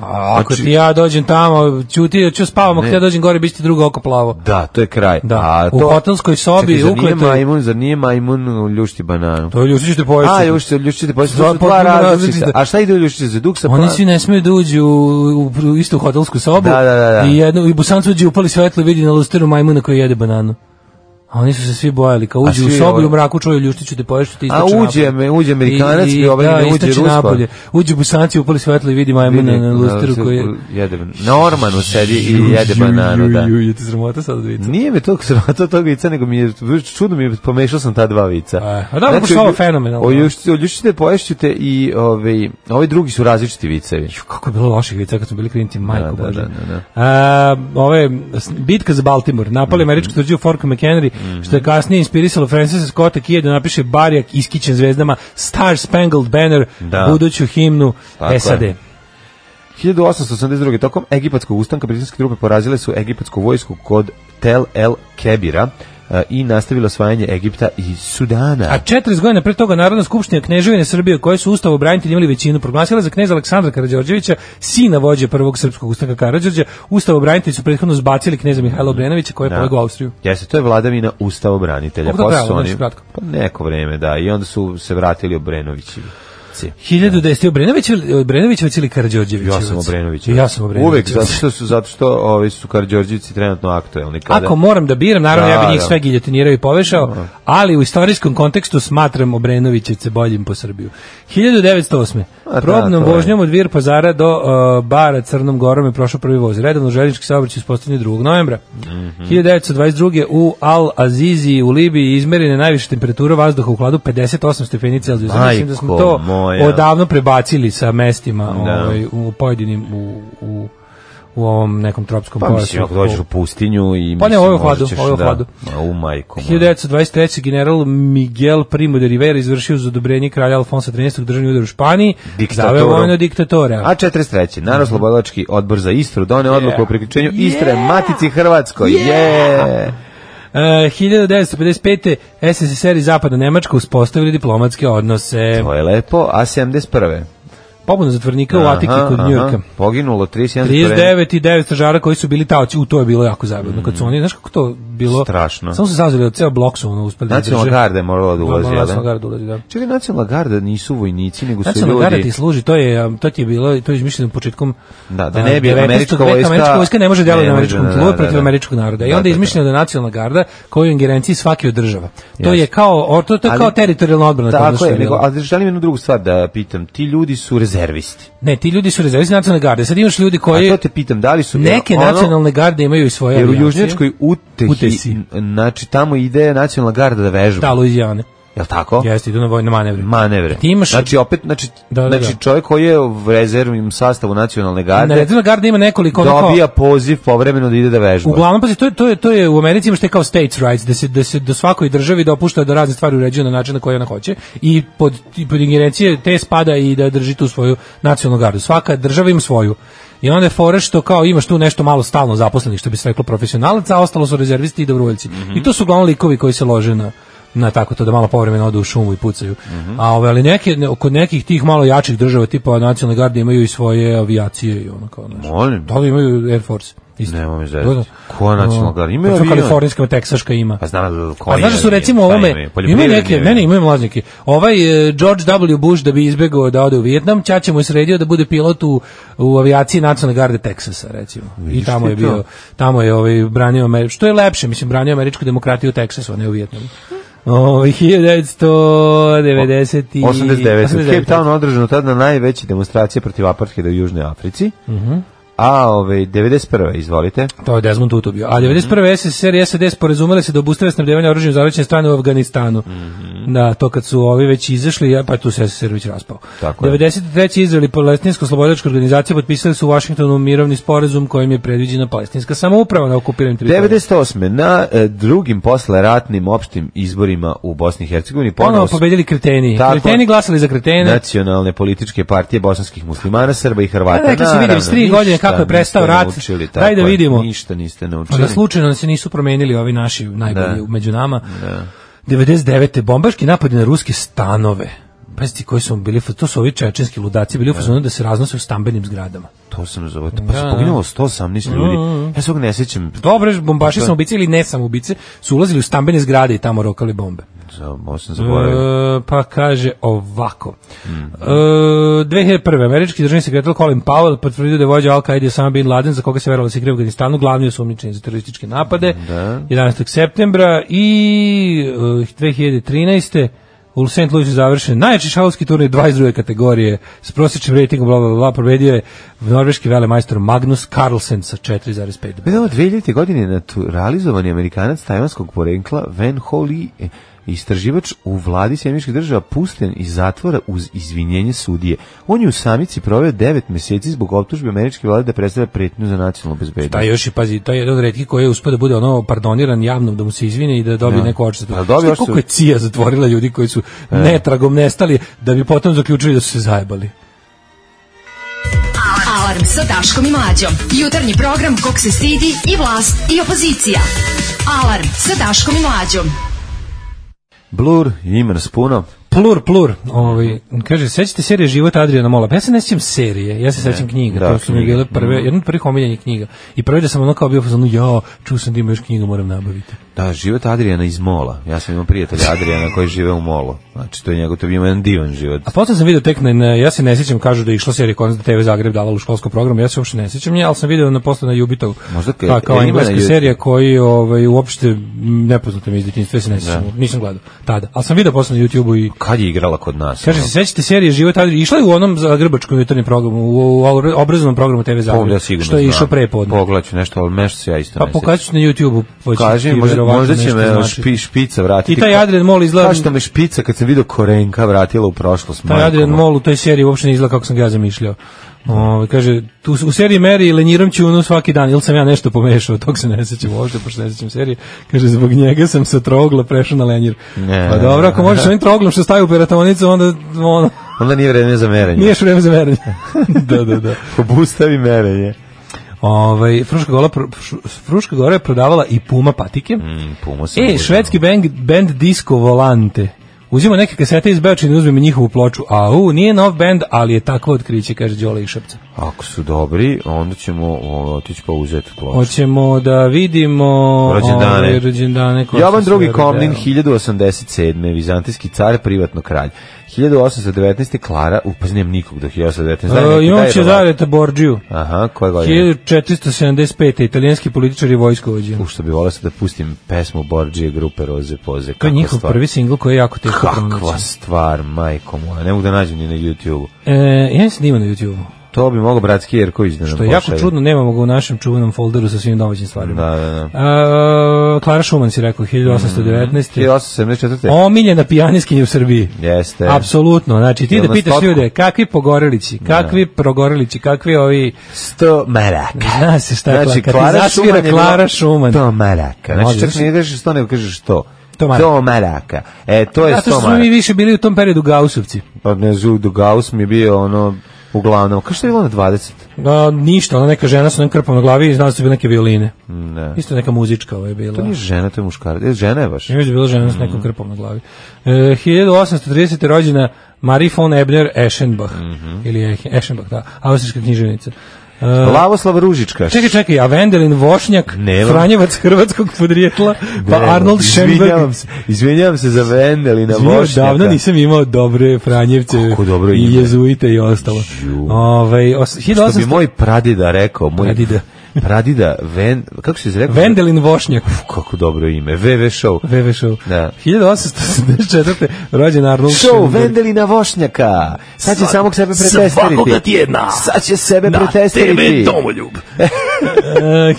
[SPEAKER 5] A ako
[SPEAKER 6] Znači-
[SPEAKER 5] ti ja dođem tamo, ćuti, ću spavam, ako
[SPEAKER 6] Ne.
[SPEAKER 5] ti ja dođem gore, biće ti drugo oko plavo.
[SPEAKER 6] Da, to je kraj.
[SPEAKER 5] Da.
[SPEAKER 6] A to,
[SPEAKER 5] U hotelskoj sobi,
[SPEAKER 6] Čekaj, zar nije
[SPEAKER 5] ukleto-
[SPEAKER 6] majmun, zar nije majmun u ljušti bananu?
[SPEAKER 5] To je ljusić te pojesti.
[SPEAKER 6] A, ljušti, ljušti, pa su
[SPEAKER 5] Dva
[SPEAKER 6] dva
[SPEAKER 5] potpuno
[SPEAKER 6] različita.
[SPEAKER 5] različita.
[SPEAKER 6] A šta ide u ljušti za Pa- duh sa
[SPEAKER 5] Oni
[SPEAKER 6] plavim?
[SPEAKER 5] svi ne smeju da uđu u, u istu hotelsku sobu.
[SPEAKER 6] Da, da, da, da.
[SPEAKER 5] I jedno i busancu uđe upali svetlo i vidi na lusteru majmuna koji jede bananu. A oni su se svi bojali, kao uđu u
[SPEAKER 6] svi
[SPEAKER 5] sobu
[SPEAKER 6] ovi-
[SPEAKER 5] i u mraku čuju ljuštiću te poješću ti
[SPEAKER 6] A
[SPEAKER 5] istoče
[SPEAKER 6] uđe, me, uđe Amerikanac i, ovaj ne uđe
[SPEAKER 5] istrči
[SPEAKER 6] Ruspa.
[SPEAKER 5] napolje. Uđu busanci, upali svetlo i vidi majmuna
[SPEAKER 6] Vidi,
[SPEAKER 5] na lusteru koji je...
[SPEAKER 6] Jede, ban- na ormanu sedi i jede bananu, da.
[SPEAKER 5] Ju, ju, ju, ti sramota sad od vica.
[SPEAKER 6] Nije mi toliko sramota tog vica, nego mi je, čudno mi je, pomešao sam ta dva vica. Znači,
[SPEAKER 5] E, a dobro, pošto je ovo fenomenalno.
[SPEAKER 6] Oljušćite, poješćite i ovaj, ovi drugi su različiti vicevi.
[SPEAKER 5] Ju, kako je bilo loših vica kad smo bili klinci, majko
[SPEAKER 6] da,
[SPEAKER 5] Božja.
[SPEAKER 6] da, da, da.
[SPEAKER 5] A, ove, s- bitka za Baltimore, napali
[SPEAKER 6] Mhm.
[SPEAKER 5] američku tvrđu Fort McHenry, što je kasnije inspirisalo Francisa Scotta Key da napiše barijak iskićen zvezdama Star Spangled Banner,
[SPEAKER 6] Da.
[SPEAKER 5] buduću himnu
[SPEAKER 6] Tako je.
[SPEAKER 5] SAD.
[SPEAKER 6] 1882. tokom egipatskog ustanka britanske trupe porazile su egipatsku vojsku kod Tel El Kebira e, i nastavilo osvajanje Egipta i Sudana.
[SPEAKER 5] A 40 godina pre toga Narodna skupština Kneževine Srbije, koje su ustavo branitelji imali većinu, proglasila za kneza Aleksandra Karađorđevića, sina vođe prvog srpskog ustanka Karađorđe, ustavo branitelji su prethodno zbacili kneza Mihajla Obrenovića, koji je
[SPEAKER 6] Da.
[SPEAKER 5] pobegao u Austriju.
[SPEAKER 6] Jeste, to je vladavina ustavobranitelja.
[SPEAKER 5] Koliko to
[SPEAKER 6] Posle
[SPEAKER 5] trajalo,
[SPEAKER 6] su oni-
[SPEAKER 5] znači, kratko?
[SPEAKER 6] Pa neko vreme, da. I onda su se vratili Obrenovići.
[SPEAKER 5] Hiljadu da jeste Obrenović ili Obrenovićevac ili Karađorđevićevac?
[SPEAKER 6] Ja sam Obrenović.
[SPEAKER 5] Znači, Ja sam Obrenović.
[SPEAKER 6] Uvek, zato što su, zato što ovi su Karđorđevici trenutno aktuelni. Kada...
[SPEAKER 5] Ako moram da biram, naravno
[SPEAKER 6] Da,
[SPEAKER 5] ja bi njih
[SPEAKER 6] da.
[SPEAKER 5] sve giljotinirao i povešao, ali u istorijskom kontekstu smatram Obrenovićevce boljim po Srbiju. 1908.
[SPEAKER 6] A da,
[SPEAKER 5] Probnom
[SPEAKER 6] to je.
[SPEAKER 5] vožnjom od Vir Pazara do uh, Bara Crnom Gorom je prošao prvi voz. Redovno željeznički saobraćaj uspostavljen je 2. novembra.
[SPEAKER 6] Mhm.
[SPEAKER 5] 1922. u Al Azizi u Libiji izmerena je najviša temperatura vazduha u hladu 58 stepeni Celzijusa. Mislim da smo
[SPEAKER 6] Majko
[SPEAKER 5] to
[SPEAKER 6] moja.
[SPEAKER 5] odavno prebacili sa mestima
[SPEAKER 6] Da.
[SPEAKER 5] ovaj, u pojedinim u, u u ovom nekom tropskom
[SPEAKER 6] Pa mislim, ako dođeš u pustinju i...
[SPEAKER 5] Pa ne,
[SPEAKER 6] mislim,
[SPEAKER 5] ovo je u
[SPEAKER 6] možda
[SPEAKER 5] hladu,
[SPEAKER 6] ćeš
[SPEAKER 5] ovo je u
[SPEAKER 6] da-
[SPEAKER 5] hladu.
[SPEAKER 6] Ma, U majku. moja.
[SPEAKER 5] 1923. general Miguel Primo de Rivera izvršio za odobrenje kralja Alfonsa XIII. državni udar u Španiji,
[SPEAKER 6] Diktatoru.
[SPEAKER 5] zaveo vojno diktatora.
[SPEAKER 6] A 43. Naroslobodlački odbor za Istru doneo odluku o priključenju Istre Matici Hrvatskoj. Yeah!
[SPEAKER 5] E, 1955. SSSR i Zapadna Nemačka uspostavili diplomatske odnose.
[SPEAKER 6] To je lepo. A 71.
[SPEAKER 5] Pobuna zatvornika u
[SPEAKER 6] Aha,
[SPEAKER 5] Atiki kod
[SPEAKER 6] aha.
[SPEAKER 5] Njurka.
[SPEAKER 6] Poginulo 31 zatvorenika.
[SPEAKER 5] 39 i 9 stražara koji su bili taoci, u to je bilo jako zabavno. Kad su oni, znaš kako to bilo?
[SPEAKER 6] Strašno.
[SPEAKER 5] Samo su zazvali od ceo blok su ono uspeli da
[SPEAKER 6] Nacionalna
[SPEAKER 5] izdrže.
[SPEAKER 6] garda je morala da ulazi, jel?
[SPEAKER 5] Nacionalna garda ulazi, da.
[SPEAKER 6] Čekaj, nacionalna garda nisu vojnici, nego su
[SPEAKER 5] Nacionalna garda ono, ti
[SPEAKER 6] ljudi...
[SPEAKER 5] služi, to je um, to ti je bilo to je izmišljeno početkom
[SPEAKER 6] Da, da
[SPEAKER 5] a,
[SPEAKER 6] ne bi
[SPEAKER 5] 19.
[SPEAKER 6] američka
[SPEAKER 5] veka.
[SPEAKER 6] vojska-
[SPEAKER 5] Američka vojska ne može djelovati
[SPEAKER 6] Ne
[SPEAKER 5] na
[SPEAKER 6] može,
[SPEAKER 5] američkom
[SPEAKER 6] da,
[SPEAKER 5] tlu
[SPEAKER 6] da,
[SPEAKER 5] protiv
[SPEAKER 6] da.
[SPEAKER 5] američkog naroda. I
[SPEAKER 6] Da,
[SPEAKER 5] onda je
[SPEAKER 6] da,
[SPEAKER 5] izmišljena da je nacionalna garda koju ingerenciji svake od država. To
[SPEAKER 6] Jasno.
[SPEAKER 5] je kao o, to, to je
[SPEAKER 6] Ali-
[SPEAKER 5] kao teritorijalna odbrana kao
[SPEAKER 6] Tako
[SPEAKER 5] što
[SPEAKER 6] je,
[SPEAKER 5] bilo.
[SPEAKER 6] nego, ali želim jednu drugu stvar da pitam. Ti ljudi su rezervisti.
[SPEAKER 5] Ne, ti ljudi su rezervisti nacionalne garde. Sad imaš ljudi
[SPEAKER 6] A
[SPEAKER 5] koji
[SPEAKER 6] to te pitam, da li su...
[SPEAKER 5] neke
[SPEAKER 6] ono-
[SPEAKER 5] nacionalne garde imaju i svoje
[SPEAKER 6] Jer u
[SPEAKER 5] avijacije.
[SPEAKER 6] južnjačkoj utehi,
[SPEAKER 5] Utesi.
[SPEAKER 6] n- znači tamo ide nacionalna garda da vežba.
[SPEAKER 5] da Luizijane.
[SPEAKER 6] Jel tako?
[SPEAKER 5] Jeste, idu na vojne manevre.
[SPEAKER 6] Manevre.
[SPEAKER 5] Ti imaš
[SPEAKER 6] Znači opet, znači,
[SPEAKER 5] Da, da,
[SPEAKER 6] znači
[SPEAKER 5] da.
[SPEAKER 6] čovjek koji je u rezervnim sastavu nacionalne
[SPEAKER 5] na
[SPEAKER 6] garde
[SPEAKER 5] nacionalna garda ima nekoliko ono kao-
[SPEAKER 6] dobija poziv povremeno da ide da vežba.
[SPEAKER 5] Uglavnom pazi to je, to je to je u Americi imaš te kao states rights da se da se do svakoj državi dopušta da razne stvari uređuje na način na koji ona hoće i pod i pod ingerencije te spada i da drži tu svoju nacionalnu gardu. Svaka država ima svoju. I onda je fora što kao imaš tu nešto malo stalno zaposlenih što bi se reklo profesionalaca, a ostalo su rezervisti i dobrovoljci. I to su uglavnom likovi koji se lože na na tako to da malo povremeno odu u šumu i pucaju. A ove ali neke ne- kod nekih tih malo jačih država tipa nacionalne garde imaju i svoje avijacije i ono kao znaš.
[SPEAKER 6] Molim.
[SPEAKER 5] Da li imaju Air Force? Isto.
[SPEAKER 6] Nemam izvedeći.
[SPEAKER 5] Dobro.
[SPEAKER 6] Koja nacionalna garda? Ima
[SPEAKER 5] Pa to
[SPEAKER 6] avion.
[SPEAKER 5] Kalifornijska, teksaška ima.
[SPEAKER 6] Pa znam koji
[SPEAKER 5] A
[SPEAKER 6] Pa
[SPEAKER 5] znaš da su recimo ovome, imaju neke, ne ne, imaju mlaznike. Ovaj eh, George W. Bush da bi izbegao da ode u Vijetnam, Ćaća mu je sredio da bude pilot u, u avijaciji Nacionalne garde Teksasa, recimo. I
[SPEAKER 6] Vidiš
[SPEAKER 5] tamo
[SPEAKER 6] ti
[SPEAKER 5] je
[SPEAKER 6] to?
[SPEAKER 5] bio, tamo je ovaj, branio, Ameri- što je lepše, mislim, branio američku demokratiju u Teksasu, a ne u Vijetnamu. Ovaj 1990 i-
[SPEAKER 6] 89. U Cape Town održano tada najveće demonstracije protiv apartheida u Južnoj Africi.
[SPEAKER 5] Mhm.
[SPEAKER 6] A ove, 91. izvolite.
[SPEAKER 5] To je Desmond Tutu bio. A 91.
[SPEAKER 6] Mhm.
[SPEAKER 5] SSR i SAD sporazumele se da obustave snabdevanje oružjem zavećene strane u Afganistanu.
[SPEAKER 6] Mhm.
[SPEAKER 5] Da, to kad su ovi već izašli, ja, pa tu se SSR već raspao.
[SPEAKER 6] Tako je.
[SPEAKER 5] 93. Izrael i Palestinsko slobodačka organizacija potpisali su u Vašingtonu mirovni sporazum kojim je predviđena palestinska samouprava na okupiranim teritorijama.
[SPEAKER 6] 98. na e, drugim posleratnim opštim izborima u Bosni i Hercegovini
[SPEAKER 5] Ponovo
[SPEAKER 6] ponovo su
[SPEAKER 5] pobedili kreteni.
[SPEAKER 6] Tako. Znači,
[SPEAKER 5] Kreteni glasali za kretene.
[SPEAKER 6] nacionalne političke partije bosanskih muslimana, Srba i Hrvata.
[SPEAKER 5] Pa, rekli su, vidjeli s tri
[SPEAKER 6] Naravno,
[SPEAKER 5] godine
[SPEAKER 6] ništa
[SPEAKER 5] kako je prestao
[SPEAKER 6] niste
[SPEAKER 5] rat.
[SPEAKER 6] naučili,
[SPEAKER 5] Daj
[SPEAKER 6] tako
[SPEAKER 5] da
[SPEAKER 6] je,
[SPEAKER 5] vidimo.
[SPEAKER 6] Ništa niste
[SPEAKER 5] A da
[SPEAKER 6] naučili.
[SPEAKER 5] slučajno se nisu promenili ovi naši najbolji
[SPEAKER 6] Da.
[SPEAKER 5] među nama. 99. bombaški napadi na ruske stanove. Pazite koji su bili, to su ovi čečenski ludaci bili u fazonu da se raznose u stambenim zgradama.
[SPEAKER 6] To sam zove. Pa
[SPEAKER 5] Da, Mm,
[SPEAKER 6] se
[SPEAKER 5] da.
[SPEAKER 6] poginulo 118 ljudi. Ja se ovog ne sjećam.
[SPEAKER 5] Dobre, bombaši sam ili ne sam su ulazili u stambene zgrade i tamo rokali bombe.
[SPEAKER 6] Za- Ovo sam zaboravio.
[SPEAKER 5] E, pa kaže ovako. e, 2001. američki državni sekretar Colin Powell potvrdio da je vođa Al-Qaida Osama Bin Laden, za koga se verovalo da se krije u Afganistanu, glavni osumnjičeni za terorističke napade 11. septembra i e, 2013. U St. Louisu je završen najjači šalovski turnir 22. kategorije s prosječnim rejtingom bla bla bla provedio je norveški velemajstor Magnus Carlsen sa 4,5.
[SPEAKER 6] Vidimo, 2000. godine naturalizovani amerikanac tajvanskog porekla Van Ho Lee, e, istraživač u vladi Sjemičkih država, pusten iz zatvora uz izvinjenje sudije. On je u samici proveo 9 meseci zbog optužbe američke vlade da predstavlja pretnju za nacionalnu bezbednost.
[SPEAKER 5] Taj još i pazi, taj je jedan od retkih koji je uspeo da bude ono pardoniran javno da mu se izvine i da dobije
[SPEAKER 6] Ja.
[SPEAKER 5] neku odštetu. E.
[SPEAKER 6] Pa dobio
[SPEAKER 5] Znaš ti koliko je
[SPEAKER 6] odštetu.
[SPEAKER 5] cija zatvorila ljudi koji su netragom nestali da bi potom zaključili da su se zajebali.
[SPEAKER 4] Alarm sa Daškom i Mlađom. Jutarnji program kog se stidi i vlast i opozicija. Alarm sa Daškom i Mlađom.
[SPEAKER 6] Blur, ima nas puno.
[SPEAKER 5] Plur, plur. Ovaj, kaže, sećate serije Život Adriana Mola? Pa ja se ne sjećam serije, ja se sećam knjiga. Mhm.
[SPEAKER 6] da,
[SPEAKER 5] to su mi
[SPEAKER 6] knjige.
[SPEAKER 5] bile prve, jedna od prvih omiljenih knjiga. I prvi da sam ono kao bio fazonu, ja, čuo sam da ima još knjiga, moram nabaviti.
[SPEAKER 6] Da, život Adrijana iz Mola. Ja sam imao prijatelja Adrijana koji žive u Molu. Znači, to je njegov, to bi imao jedan divan život.
[SPEAKER 5] A potom sam video tek na, na- ja se ne sjećam, kažu da je išla serija Konzda TV Zagreb davala u školskom programu, ja se uopšte ne sjećam nje, ali sam video na posle na Jubitovu.
[SPEAKER 6] Možda ka-
[SPEAKER 5] pa, kao
[SPEAKER 6] jel ima na
[SPEAKER 5] engleska
[SPEAKER 6] Youtube?
[SPEAKER 5] serija koji ovaj, uopšte nepoznata mi iz djetinjstva, ja se ne sjećam, nisam gledao tada, ali sam video posle na YouTubeu i
[SPEAKER 6] Kad je igrala kod nas?
[SPEAKER 5] Kaže
[SPEAKER 6] ono?
[SPEAKER 5] se, sećate serije Život Adriana? Išla je u onom zagrebačkom jutarnjem programu, u, u obra- obrazovnom programu TV
[SPEAKER 6] Pa,
[SPEAKER 5] Zagreb,
[SPEAKER 6] ja sigurno
[SPEAKER 5] što je
[SPEAKER 6] znam.
[SPEAKER 5] išao prepodne.
[SPEAKER 6] Pogledat ću nešto, ali nešto se ja isto
[SPEAKER 5] Pa
[SPEAKER 6] ne
[SPEAKER 5] pokazat ću na YouTubeu. pa će
[SPEAKER 6] Kaži,
[SPEAKER 5] ti
[SPEAKER 6] možda,
[SPEAKER 5] verovatno
[SPEAKER 6] možda će
[SPEAKER 5] nešto
[SPEAKER 6] me
[SPEAKER 5] značiti.
[SPEAKER 6] špi, špica vratiti.
[SPEAKER 5] I taj Adrian Mol izgleda-
[SPEAKER 6] Kao što me špica kad sam vidio Korenka vratila u prošlost.
[SPEAKER 5] Taj
[SPEAKER 6] majko
[SPEAKER 5] Adrian
[SPEAKER 6] moja.
[SPEAKER 5] Mol u toj seriji uopšte ne izgleda kako sam ga ja zamišljao. Ovaj, kaže, tu, u seriji Mary lenjiram ćunu svaki dan, ili sam ja nešto pomešao, tog se ne sećam uopšte, pošto ne sećam serije. Kaže, zbog njega sam sa trogla prešao na lenjir.
[SPEAKER 6] Ne.
[SPEAKER 5] Pa dobro, ako možeš ovim troglom što staje u peratonicu, onda ono,
[SPEAKER 6] Onda nije vreme za merenje.
[SPEAKER 5] niješ vreme za merenje. da, da, da.
[SPEAKER 6] Obustavi merenje.
[SPEAKER 5] Ovaj Fruška Gora pro- Fru- Fruška Gora je prodavala i Puma patike.
[SPEAKER 6] Mm, pumo sam
[SPEAKER 5] E,
[SPEAKER 6] uzeo.
[SPEAKER 5] švedski band, band Disco Volante. Uzima neke kasete iz Beočine, uzmem i njihovu ploču. Au, nije nov band, ali je takvo otkriće, kaže Đole i Šepca.
[SPEAKER 6] Ako su dobri, onda ćemo o, otići pa uzeti ploču.
[SPEAKER 5] Hoćemo da vidimo
[SPEAKER 6] Rođendane.
[SPEAKER 5] ovaj, rođendane koje
[SPEAKER 6] Jovan
[SPEAKER 5] su se
[SPEAKER 6] drugi
[SPEAKER 5] rodile.
[SPEAKER 6] Komnin 1087. Vizantijski car, privatno kralj. 1819. Klara, upaznijem nikog do 1819. Daj
[SPEAKER 5] E,
[SPEAKER 6] neki,
[SPEAKER 5] Imam
[SPEAKER 6] daj Hrvat.
[SPEAKER 5] Cezareta Borđiju.
[SPEAKER 6] Aha, koje godine?
[SPEAKER 5] 1475. Italijanski političar i vojskovođe.
[SPEAKER 6] U što bi volao sad da pustim pesmu Borđije grupe Roze Poze.
[SPEAKER 5] To je
[SPEAKER 6] Kakva
[SPEAKER 5] njihov
[SPEAKER 6] stvar.
[SPEAKER 5] prvi singl ono, znači. koji je jako teško
[SPEAKER 6] Kakva
[SPEAKER 5] pronaći.
[SPEAKER 6] stvar, majko moja. Ne mogu da nađem ni na YouTube-u.
[SPEAKER 5] E, ja nisam snimao na YouTube-u.
[SPEAKER 6] To bi mogao bratski Jerković da nam
[SPEAKER 5] Što je jako
[SPEAKER 6] pošalje.
[SPEAKER 5] čudno, nemamo ga u našem čuvenom folderu sa svim domaćim stvarima.
[SPEAKER 6] Da, da, da.
[SPEAKER 5] A, Klara Šuman si rekao, 1819.
[SPEAKER 6] 1874.
[SPEAKER 5] Omiljena pijaniskinja u Srbiji.
[SPEAKER 6] Jeste.
[SPEAKER 5] Apsolutno, znači ti
[SPEAKER 6] Jel
[SPEAKER 5] da
[SPEAKER 6] na
[SPEAKER 5] pitaš
[SPEAKER 6] stotku?
[SPEAKER 5] ljude kakvi pogorelići, kakvi progorelići, kakvi ovi,
[SPEAKER 6] 100 maraka.
[SPEAKER 5] zna se šta je
[SPEAKER 6] Znači,
[SPEAKER 5] Klara, Dakle, kad ti zasvira
[SPEAKER 6] Klara Šuman je bila
[SPEAKER 5] Klara Šuman.
[SPEAKER 6] 100 maraka.
[SPEAKER 5] Može,
[SPEAKER 6] Znači, čak
[SPEAKER 5] znači-
[SPEAKER 6] ne kažeš 100, nego kažeš 100.
[SPEAKER 5] To maraka.
[SPEAKER 6] 100 maraka. E, to je
[SPEAKER 5] Zato što
[SPEAKER 6] 100
[SPEAKER 5] smo mi
[SPEAKER 6] maraka.
[SPEAKER 5] više bili u tom periodu Gausovci.
[SPEAKER 6] Pa ne znam, do Gauss mi je bio ono, uglavnom, kao što je bilo na 20?
[SPEAKER 5] A, ništa, ona neka žena sa onim krpom na glavi i znala su bile neke violine.
[SPEAKER 6] Ne.
[SPEAKER 5] Isto neka muzička ovo je bila.
[SPEAKER 6] To nije Mhm. žena, to je muškarac. E, žena je baš.
[SPEAKER 5] Ja mislim da je bila žena s nekom krpom na glavi. E, 1830.
[SPEAKER 6] Mhm.
[SPEAKER 5] rođena Marie von Ebner Eschenbach, ili Ehe- Eschenbach, da, austrijska književnica. E,
[SPEAKER 6] Lavoslav Ružička.
[SPEAKER 5] Čekaj, čekaj, a Vendelin Vošnjak,
[SPEAKER 6] Nemam.
[SPEAKER 5] Franjevac hrvatskog podrijetla, pa
[SPEAKER 6] Ne,
[SPEAKER 5] Arnold Schoenberg.
[SPEAKER 6] Izvinjavam se, izvinjavam se za Vendelina
[SPEAKER 5] Izvinjavam,
[SPEAKER 6] Vošnjaka.
[SPEAKER 5] davno nisam imao dobre Franjevce
[SPEAKER 6] Kako dobro
[SPEAKER 5] i
[SPEAKER 6] ime.
[SPEAKER 5] jezuite i ostalo.
[SPEAKER 6] Ju.
[SPEAKER 5] Ovaj, os,
[SPEAKER 6] Što bi
[SPEAKER 5] 1800,
[SPEAKER 6] moj pradida rekao, moj
[SPEAKER 5] Pradida.
[SPEAKER 6] pradida Ven, kako se izrekao?
[SPEAKER 5] Vendelin Vošnjak.
[SPEAKER 6] Uf, kako dobro ime. VV show.
[SPEAKER 5] VV Show.
[SPEAKER 6] Da.
[SPEAKER 5] 1874. rođen Arnold
[SPEAKER 6] Show
[SPEAKER 5] Schoenberg.
[SPEAKER 6] Vendelina Vošnjaka. Sad će samog sebe pretestirati.
[SPEAKER 1] svakoga tjedna.
[SPEAKER 6] Sad će sebe
[SPEAKER 1] Na
[SPEAKER 6] pretestirati.
[SPEAKER 1] TV Domoljub.
[SPEAKER 5] E,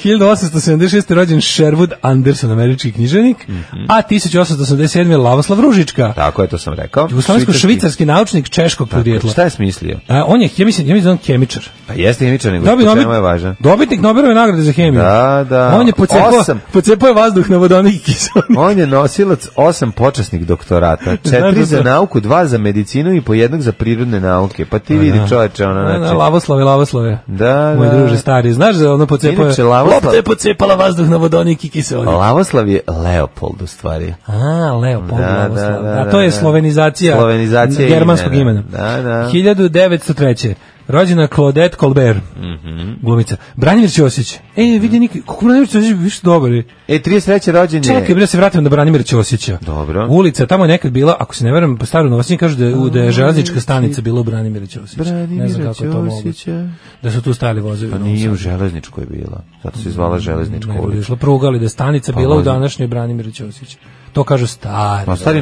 [SPEAKER 5] 1876. rođen Sherwood Anderson, američki knjiženik,
[SPEAKER 6] Mhm.
[SPEAKER 5] a 1887. Lavoslav Ružička,
[SPEAKER 6] Tako je, to sam rekao.
[SPEAKER 5] jugoslovensko-švicarski naučnik češkog podrijetla.
[SPEAKER 6] Šta je smislio?
[SPEAKER 5] A, on je, ja mislim, ja mislim da je on kemičar.
[SPEAKER 6] Pa jeste hemičar, nego
[SPEAKER 5] Dobio
[SPEAKER 6] što
[SPEAKER 5] Nobel,
[SPEAKER 6] čemu je važan.
[SPEAKER 5] dobitnik Nobelove nagrade za hemiju.
[SPEAKER 6] Da, da.
[SPEAKER 5] On je pocepao,
[SPEAKER 6] Osam.
[SPEAKER 5] pocepao je vazduh na vodonik i kiselnik.
[SPEAKER 6] On je nosilac osam počasnih doktorata, četiri
[SPEAKER 5] da
[SPEAKER 6] za
[SPEAKER 5] to-
[SPEAKER 6] nauku, dva za medicinu i po jednog za prirodne nauke. Pa ti vidi čoveče, ono
[SPEAKER 5] Da, da,
[SPEAKER 6] znači...
[SPEAKER 5] Lavoslave, Lavoslave.
[SPEAKER 6] Da,
[SPEAKER 5] Moj
[SPEAKER 6] da.
[SPEAKER 5] druže stari, znaš da ono pocepao je...
[SPEAKER 6] Inače, Lavoslav-
[SPEAKER 5] Lopta je pocepala vazduh na vodonik i kiselnik.
[SPEAKER 6] Lavoslav je Leopold u stvari.
[SPEAKER 5] A, Leopold
[SPEAKER 6] Da, da,
[SPEAKER 5] Lavoslav.
[SPEAKER 6] da,
[SPEAKER 5] A to je
[SPEAKER 6] da, da.
[SPEAKER 5] slovenizacija,
[SPEAKER 6] Slovenizacija
[SPEAKER 5] germanskog
[SPEAKER 6] imena.
[SPEAKER 5] imena.
[SPEAKER 6] Da, da.
[SPEAKER 5] 1903. Rođena Claudette Colbert,
[SPEAKER 6] Mhm.
[SPEAKER 5] glumica. Branimir Ćosić. E, vidi, Nik, kako Branimir Ćosić više dobar je.
[SPEAKER 6] E, 33. rođen je...
[SPEAKER 5] Čekaj, bre, da se vratimo na Branimira Ćosića.
[SPEAKER 6] Dobro.
[SPEAKER 5] Ulica tamo je nekad bila, ako se ne verujem, po starom novosti kažu da je, u- da je železnička stanica bila u Branimira Ćosića. ne znam
[SPEAKER 6] Branimira
[SPEAKER 5] kako je to moguće.
[SPEAKER 6] Ćosića.
[SPEAKER 5] Da su tu stali vozovi.
[SPEAKER 6] Pa
[SPEAKER 5] u Novom
[SPEAKER 6] nije u
[SPEAKER 5] Sadu.
[SPEAKER 6] železničkoj bila. Zato se zvala železnička
[SPEAKER 5] Nego da je
[SPEAKER 6] ulica.
[SPEAKER 5] išla pruga, ali da je stanica bila u
[SPEAKER 6] Pa vozi.
[SPEAKER 5] današnjoj Branimira Ćosića. To kažu stari.
[SPEAKER 6] Pa
[SPEAKER 5] Novosađani.
[SPEAKER 6] stari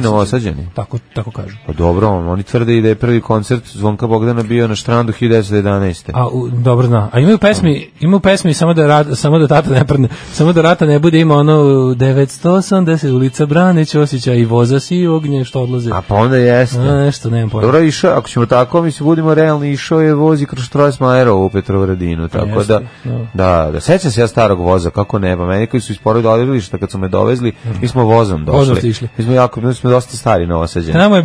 [SPEAKER 6] novosađani.
[SPEAKER 5] Tako, tako kažu.
[SPEAKER 6] Pa dobro, oni tvrde i da je prvi koncert Zvonka Bogdana bio na Štrandu 1911.
[SPEAKER 5] A u, dobro zna. A imaju pesmi, imaju pesmi samo da rad, samo da tata ne prdne, samo da rata ne bude ima ono 980 ulica Brane Ćosića i voza si i ognje što odlaze.
[SPEAKER 6] A pa onda jeste.
[SPEAKER 5] A, nešto nemam pojma.
[SPEAKER 6] Dobro išao, ako ćemo tako, mi se budimo realni, išao je vozi kroz Štrosmajera u Petrovaradinu, tako
[SPEAKER 5] Pa jeste,
[SPEAKER 6] da, da, da, sećam se ja starog voza, kako ne, pa meni koji su ispored odrilišta kad su me dovezli, mi smo vozom došli.
[SPEAKER 5] Vozom ste išli.
[SPEAKER 6] Mi smo jako, mi smo dosta stari novosađeni.
[SPEAKER 5] Tamo je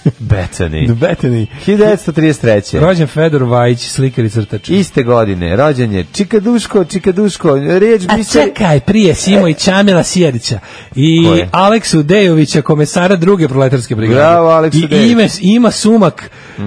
[SPEAKER 5] Bethany.
[SPEAKER 6] Betani.
[SPEAKER 5] Bethany.
[SPEAKER 6] 1933.
[SPEAKER 5] Rođen Fedor Vajić, slikar E. i crtač.
[SPEAKER 6] Iste godine, rođen je Čikaduško, Čikaduško, riječ
[SPEAKER 5] A
[SPEAKER 6] bi se...
[SPEAKER 5] čekaj, prije Simo i Čamila Sjerića i
[SPEAKER 6] Ko je?
[SPEAKER 5] Aleksu Dejovića, komesara druge proletarske brigade.
[SPEAKER 6] Bravo, Aleksu
[SPEAKER 5] I
[SPEAKER 6] Dejović. Mhm.
[SPEAKER 5] ime, ima sumak, e,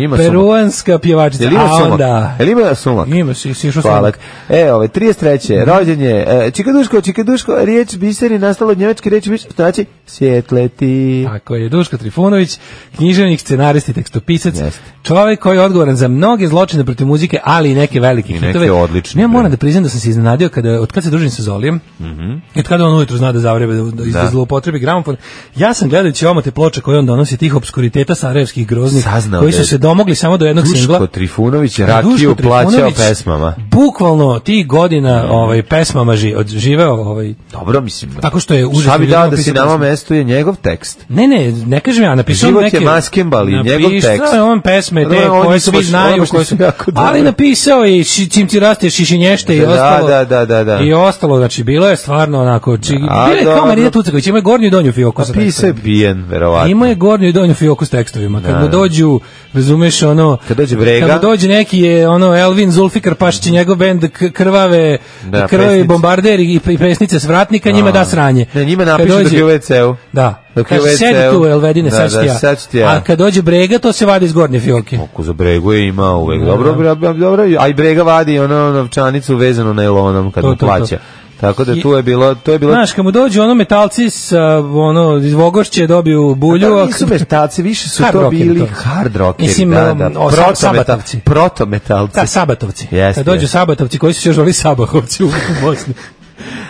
[SPEAKER 6] Ima
[SPEAKER 5] peruanska pjevačica.
[SPEAKER 6] Jel ima
[SPEAKER 5] A
[SPEAKER 6] sumak?
[SPEAKER 5] onda...
[SPEAKER 6] Jel ima sumak?
[SPEAKER 5] Ima, si, si išao
[SPEAKER 6] Hvala.
[SPEAKER 5] sumak.
[SPEAKER 6] E, ove, 33. Rođen je e, Čikaduško, Čikaduško, riječ biseri nastalo od njemačke riječi biseri, znači svjetleti.
[SPEAKER 5] Tako je, Duško Trifunović, književnik, scenarist i tekstopisac,
[SPEAKER 6] Jeste.
[SPEAKER 5] čovjek koji je odgovoran za mnoge zločine protiv muzike, ali i neke velike
[SPEAKER 6] I neke
[SPEAKER 5] hitove.
[SPEAKER 6] odlične,
[SPEAKER 5] Ja moram
[SPEAKER 6] bre.
[SPEAKER 5] da priznam da sam se iznenadio kada, od kad se družim sa Zolijem,
[SPEAKER 6] Mhm.
[SPEAKER 5] i od kada on ujutru zna da zavrebe, da, da, da zloupotrebi gramofon, ja sam gledajući omate ploče koje on donosi tih obskuriteta sarajevskih groznih,
[SPEAKER 6] Saznao
[SPEAKER 5] koji
[SPEAKER 6] da
[SPEAKER 5] su
[SPEAKER 6] je
[SPEAKER 5] se domogli samo do jednog singla.
[SPEAKER 6] Duško Trifunović je
[SPEAKER 5] Duško
[SPEAKER 6] rakiju plaćao
[SPEAKER 5] Trifunović
[SPEAKER 6] pesmama. Mhm.
[SPEAKER 5] Bukvalno tih godina ovaj, pesmama ži, od, živeo ovaj,
[SPEAKER 6] Dobro, mislim.
[SPEAKER 5] tako što je užasno
[SPEAKER 6] Šta bi dao
[SPEAKER 5] ljudima
[SPEAKER 6] da si
[SPEAKER 5] pisao
[SPEAKER 6] na ovom
[SPEAKER 5] pesme.
[SPEAKER 6] mestu je njegov tekst.
[SPEAKER 5] Ne, ne, ne kažem ja, napisao
[SPEAKER 6] Život je
[SPEAKER 5] neke...
[SPEAKER 6] maskembal i njegov tekst.
[SPEAKER 5] Napisao je on pesme, te
[SPEAKER 6] Ne, oni
[SPEAKER 5] koje
[SPEAKER 6] su
[SPEAKER 5] svi
[SPEAKER 6] baš- oni
[SPEAKER 5] znaju,
[SPEAKER 6] baš
[SPEAKER 5] koje
[SPEAKER 6] nisu
[SPEAKER 5] su...
[SPEAKER 6] jako dobre.
[SPEAKER 5] Ali napisao je i ši- čim ti raste šišinješte i
[SPEAKER 6] Da,
[SPEAKER 5] ostalo.
[SPEAKER 6] da, da, da, da.
[SPEAKER 5] I ostalo, znači, bilo je stvarno onako... Či,
[SPEAKER 6] A,
[SPEAKER 5] bilo je kao
[SPEAKER 6] dobro.
[SPEAKER 5] Marina Tucaković, ima je gornju i donju fioku sa
[SPEAKER 6] Pisao je
[SPEAKER 5] tekstovima.
[SPEAKER 6] bijen, verovatno.
[SPEAKER 5] Ima je gornju i donju fioku s tekstovima. Kad mu dođu, razumeš, ono...
[SPEAKER 6] Kad dođe Brega.
[SPEAKER 5] Kad mu dođe neki je, ono, Elvin Zulfikar Pašić i njegov bend k- krvave,
[SPEAKER 6] Da,
[SPEAKER 5] krvavi
[SPEAKER 6] pesnice.
[SPEAKER 5] bombarder i, i pesnice svratnika, njima da sranje.
[SPEAKER 6] Ne, njima
[SPEAKER 5] Kad
[SPEAKER 6] napiše dok
[SPEAKER 5] dođe-
[SPEAKER 6] je u WC-u.
[SPEAKER 5] da.
[SPEAKER 6] Dok je
[SPEAKER 5] Kaže,
[SPEAKER 6] u
[SPEAKER 5] sedi
[SPEAKER 6] WC-u.
[SPEAKER 5] tu, Elvedine,
[SPEAKER 6] Da,
[SPEAKER 5] sad ću
[SPEAKER 6] da,
[SPEAKER 5] ti ja.
[SPEAKER 6] sad ću ti ja.
[SPEAKER 5] A kad dođe brega, to se vadi iz gornje fioke.
[SPEAKER 6] Oko za bregu je ima uvek. Dobro, bra- bra- dobro. A i brega vadi ono novčanicu vezanu nailonom kad
[SPEAKER 5] To,
[SPEAKER 6] mu
[SPEAKER 5] to, to.
[SPEAKER 6] plaća. Tako da tu je bilo, to je bilo
[SPEAKER 5] Znaš, kad mu dođu ono metalci sa, ono, iz Vogošće dobiju bulju,
[SPEAKER 6] To
[SPEAKER 5] a
[SPEAKER 6] Pa nisu
[SPEAKER 5] kad-
[SPEAKER 6] metalci, više su
[SPEAKER 5] Hard
[SPEAKER 6] to
[SPEAKER 5] rockeri,
[SPEAKER 6] bili
[SPEAKER 5] to.
[SPEAKER 6] hard rockeri,
[SPEAKER 5] Mislim,
[SPEAKER 6] da,
[SPEAKER 5] um,
[SPEAKER 6] da,
[SPEAKER 5] o, sa-
[SPEAKER 6] protometalci.
[SPEAKER 5] sabatovci.
[SPEAKER 6] Protometalci.
[SPEAKER 5] Da, Sabatovci.
[SPEAKER 6] Jeste,
[SPEAKER 5] kad dođu
[SPEAKER 6] jeste.
[SPEAKER 5] Sabatovci, koji su se još zvali Sabahovci u u Bosni.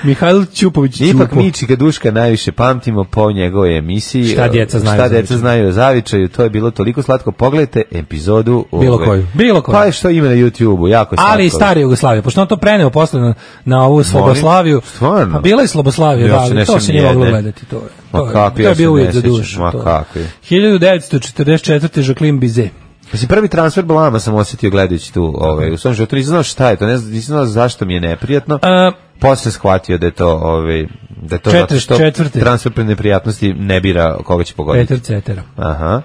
[SPEAKER 5] Mihajl Ćupović
[SPEAKER 6] Ipak
[SPEAKER 5] Ćupo.
[SPEAKER 6] mi Čika Duška najviše pamtimo po njegovoj emisiji. e,
[SPEAKER 5] Šta djeca znaju
[SPEAKER 6] Šta
[SPEAKER 5] o
[SPEAKER 6] djeca
[SPEAKER 5] zavičaju.
[SPEAKER 6] znaju o zavičaju, to je bilo toliko slatko. Pogledajte epizodu.
[SPEAKER 5] Bilo
[SPEAKER 6] ove-
[SPEAKER 5] koju, bilo koju.
[SPEAKER 6] Pa je što ima na YouTube-u, jako slatko.
[SPEAKER 5] Ali i stare Jugoslavije, pošto on to preneo posle na, na ovu Sloboslaviju.
[SPEAKER 6] Stvarno?
[SPEAKER 5] A bila je Sloboslavija,
[SPEAKER 6] Ja
[SPEAKER 5] da,
[SPEAKER 6] se
[SPEAKER 5] ali
[SPEAKER 6] ne
[SPEAKER 5] to se
[SPEAKER 6] sjećam
[SPEAKER 5] nije moglo
[SPEAKER 6] nijedne.
[SPEAKER 5] gledati. To je,
[SPEAKER 6] Ma
[SPEAKER 5] to je,
[SPEAKER 6] kako,
[SPEAKER 5] to
[SPEAKER 6] ja
[SPEAKER 5] je
[SPEAKER 6] se
[SPEAKER 5] bio
[SPEAKER 6] ne
[SPEAKER 5] uvijek za
[SPEAKER 6] sjećam,
[SPEAKER 5] dušu.
[SPEAKER 6] ma
[SPEAKER 5] to je.
[SPEAKER 6] kako je.
[SPEAKER 5] 1944. Jacqueline Bizet.
[SPEAKER 6] Mislim, prvi transfer blama sam osjetio gledajući tu ovaj, u svom životu. Nisam znao šta je to, ne znam, nisam znao zašto mi je neprijatno.
[SPEAKER 5] A,
[SPEAKER 6] Posle shvatio da je to, ovaj, da je to zato što
[SPEAKER 5] 44..
[SPEAKER 6] transfer pre neprijatnosti ne bira koga će pogoditi.
[SPEAKER 5] Peter Cetera.
[SPEAKER 6] Aha.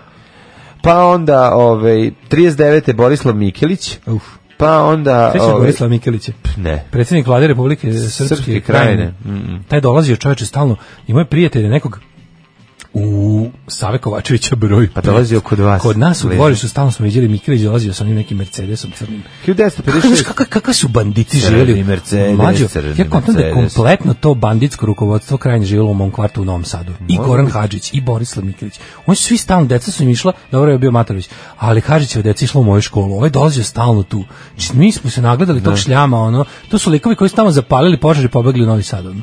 [SPEAKER 6] Pa onda, ovaj, 39. Borislav Mikelić.
[SPEAKER 5] Uf.
[SPEAKER 6] Pa onda...
[SPEAKER 5] Sećaš se
[SPEAKER 6] ovaj,
[SPEAKER 5] Borislava Mikelića?
[SPEAKER 6] Ne.
[SPEAKER 5] Predsjednik vlade Republike Srpske,
[SPEAKER 6] Srpske
[SPEAKER 5] Srpske
[SPEAKER 6] krajine.
[SPEAKER 5] krajine. Taj je dolazio čoveče stalno. Imao je prijatelje nekog u Save Kovačevića broj.
[SPEAKER 6] Pa dolazio kod vas.
[SPEAKER 5] Kod nas u
[SPEAKER 6] Blizu.
[SPEAKER 5] dvorištu stalno smo viđali Mikilić, dolazio sa onim nekim Mercedesom crnim. Kako, znaš,
[SPEAKER 6] 1956.
[SPEAKER 5] kakve, kakve su banditi
[SPEAKER 6] Crni
[SPEAKER 5] živjeli?
[SPEAKER 6] Mercedes,
[SPEAKER 5] Mlađo,
[SPEAKER 6] crni
[SPEAKER 5] ja kontam da je
[SPEAKER 6] Mercedes.
[SPEAKER 5] kompletno to banditsko rukovodstvo krajnje živjelo u mom kvartu u Novom Sadu. I
[SPEAKER 6] Može
[SPEAKER 5] Goran
[SPEAKER 6] biti.
[SPEAKER 5] Hadžić, i Borislav Mikilić. Oni su svi stalno, deca su im išla, dobro je bio Matarović, ali Hadžićeva deca išla u moju školu, ovaj dolazio stalno tu. Znači, mi smo se nagledali tog šljama, ono, to su likovi koji su tamo zapalili požar i pobegli u Novi Sad. Ono.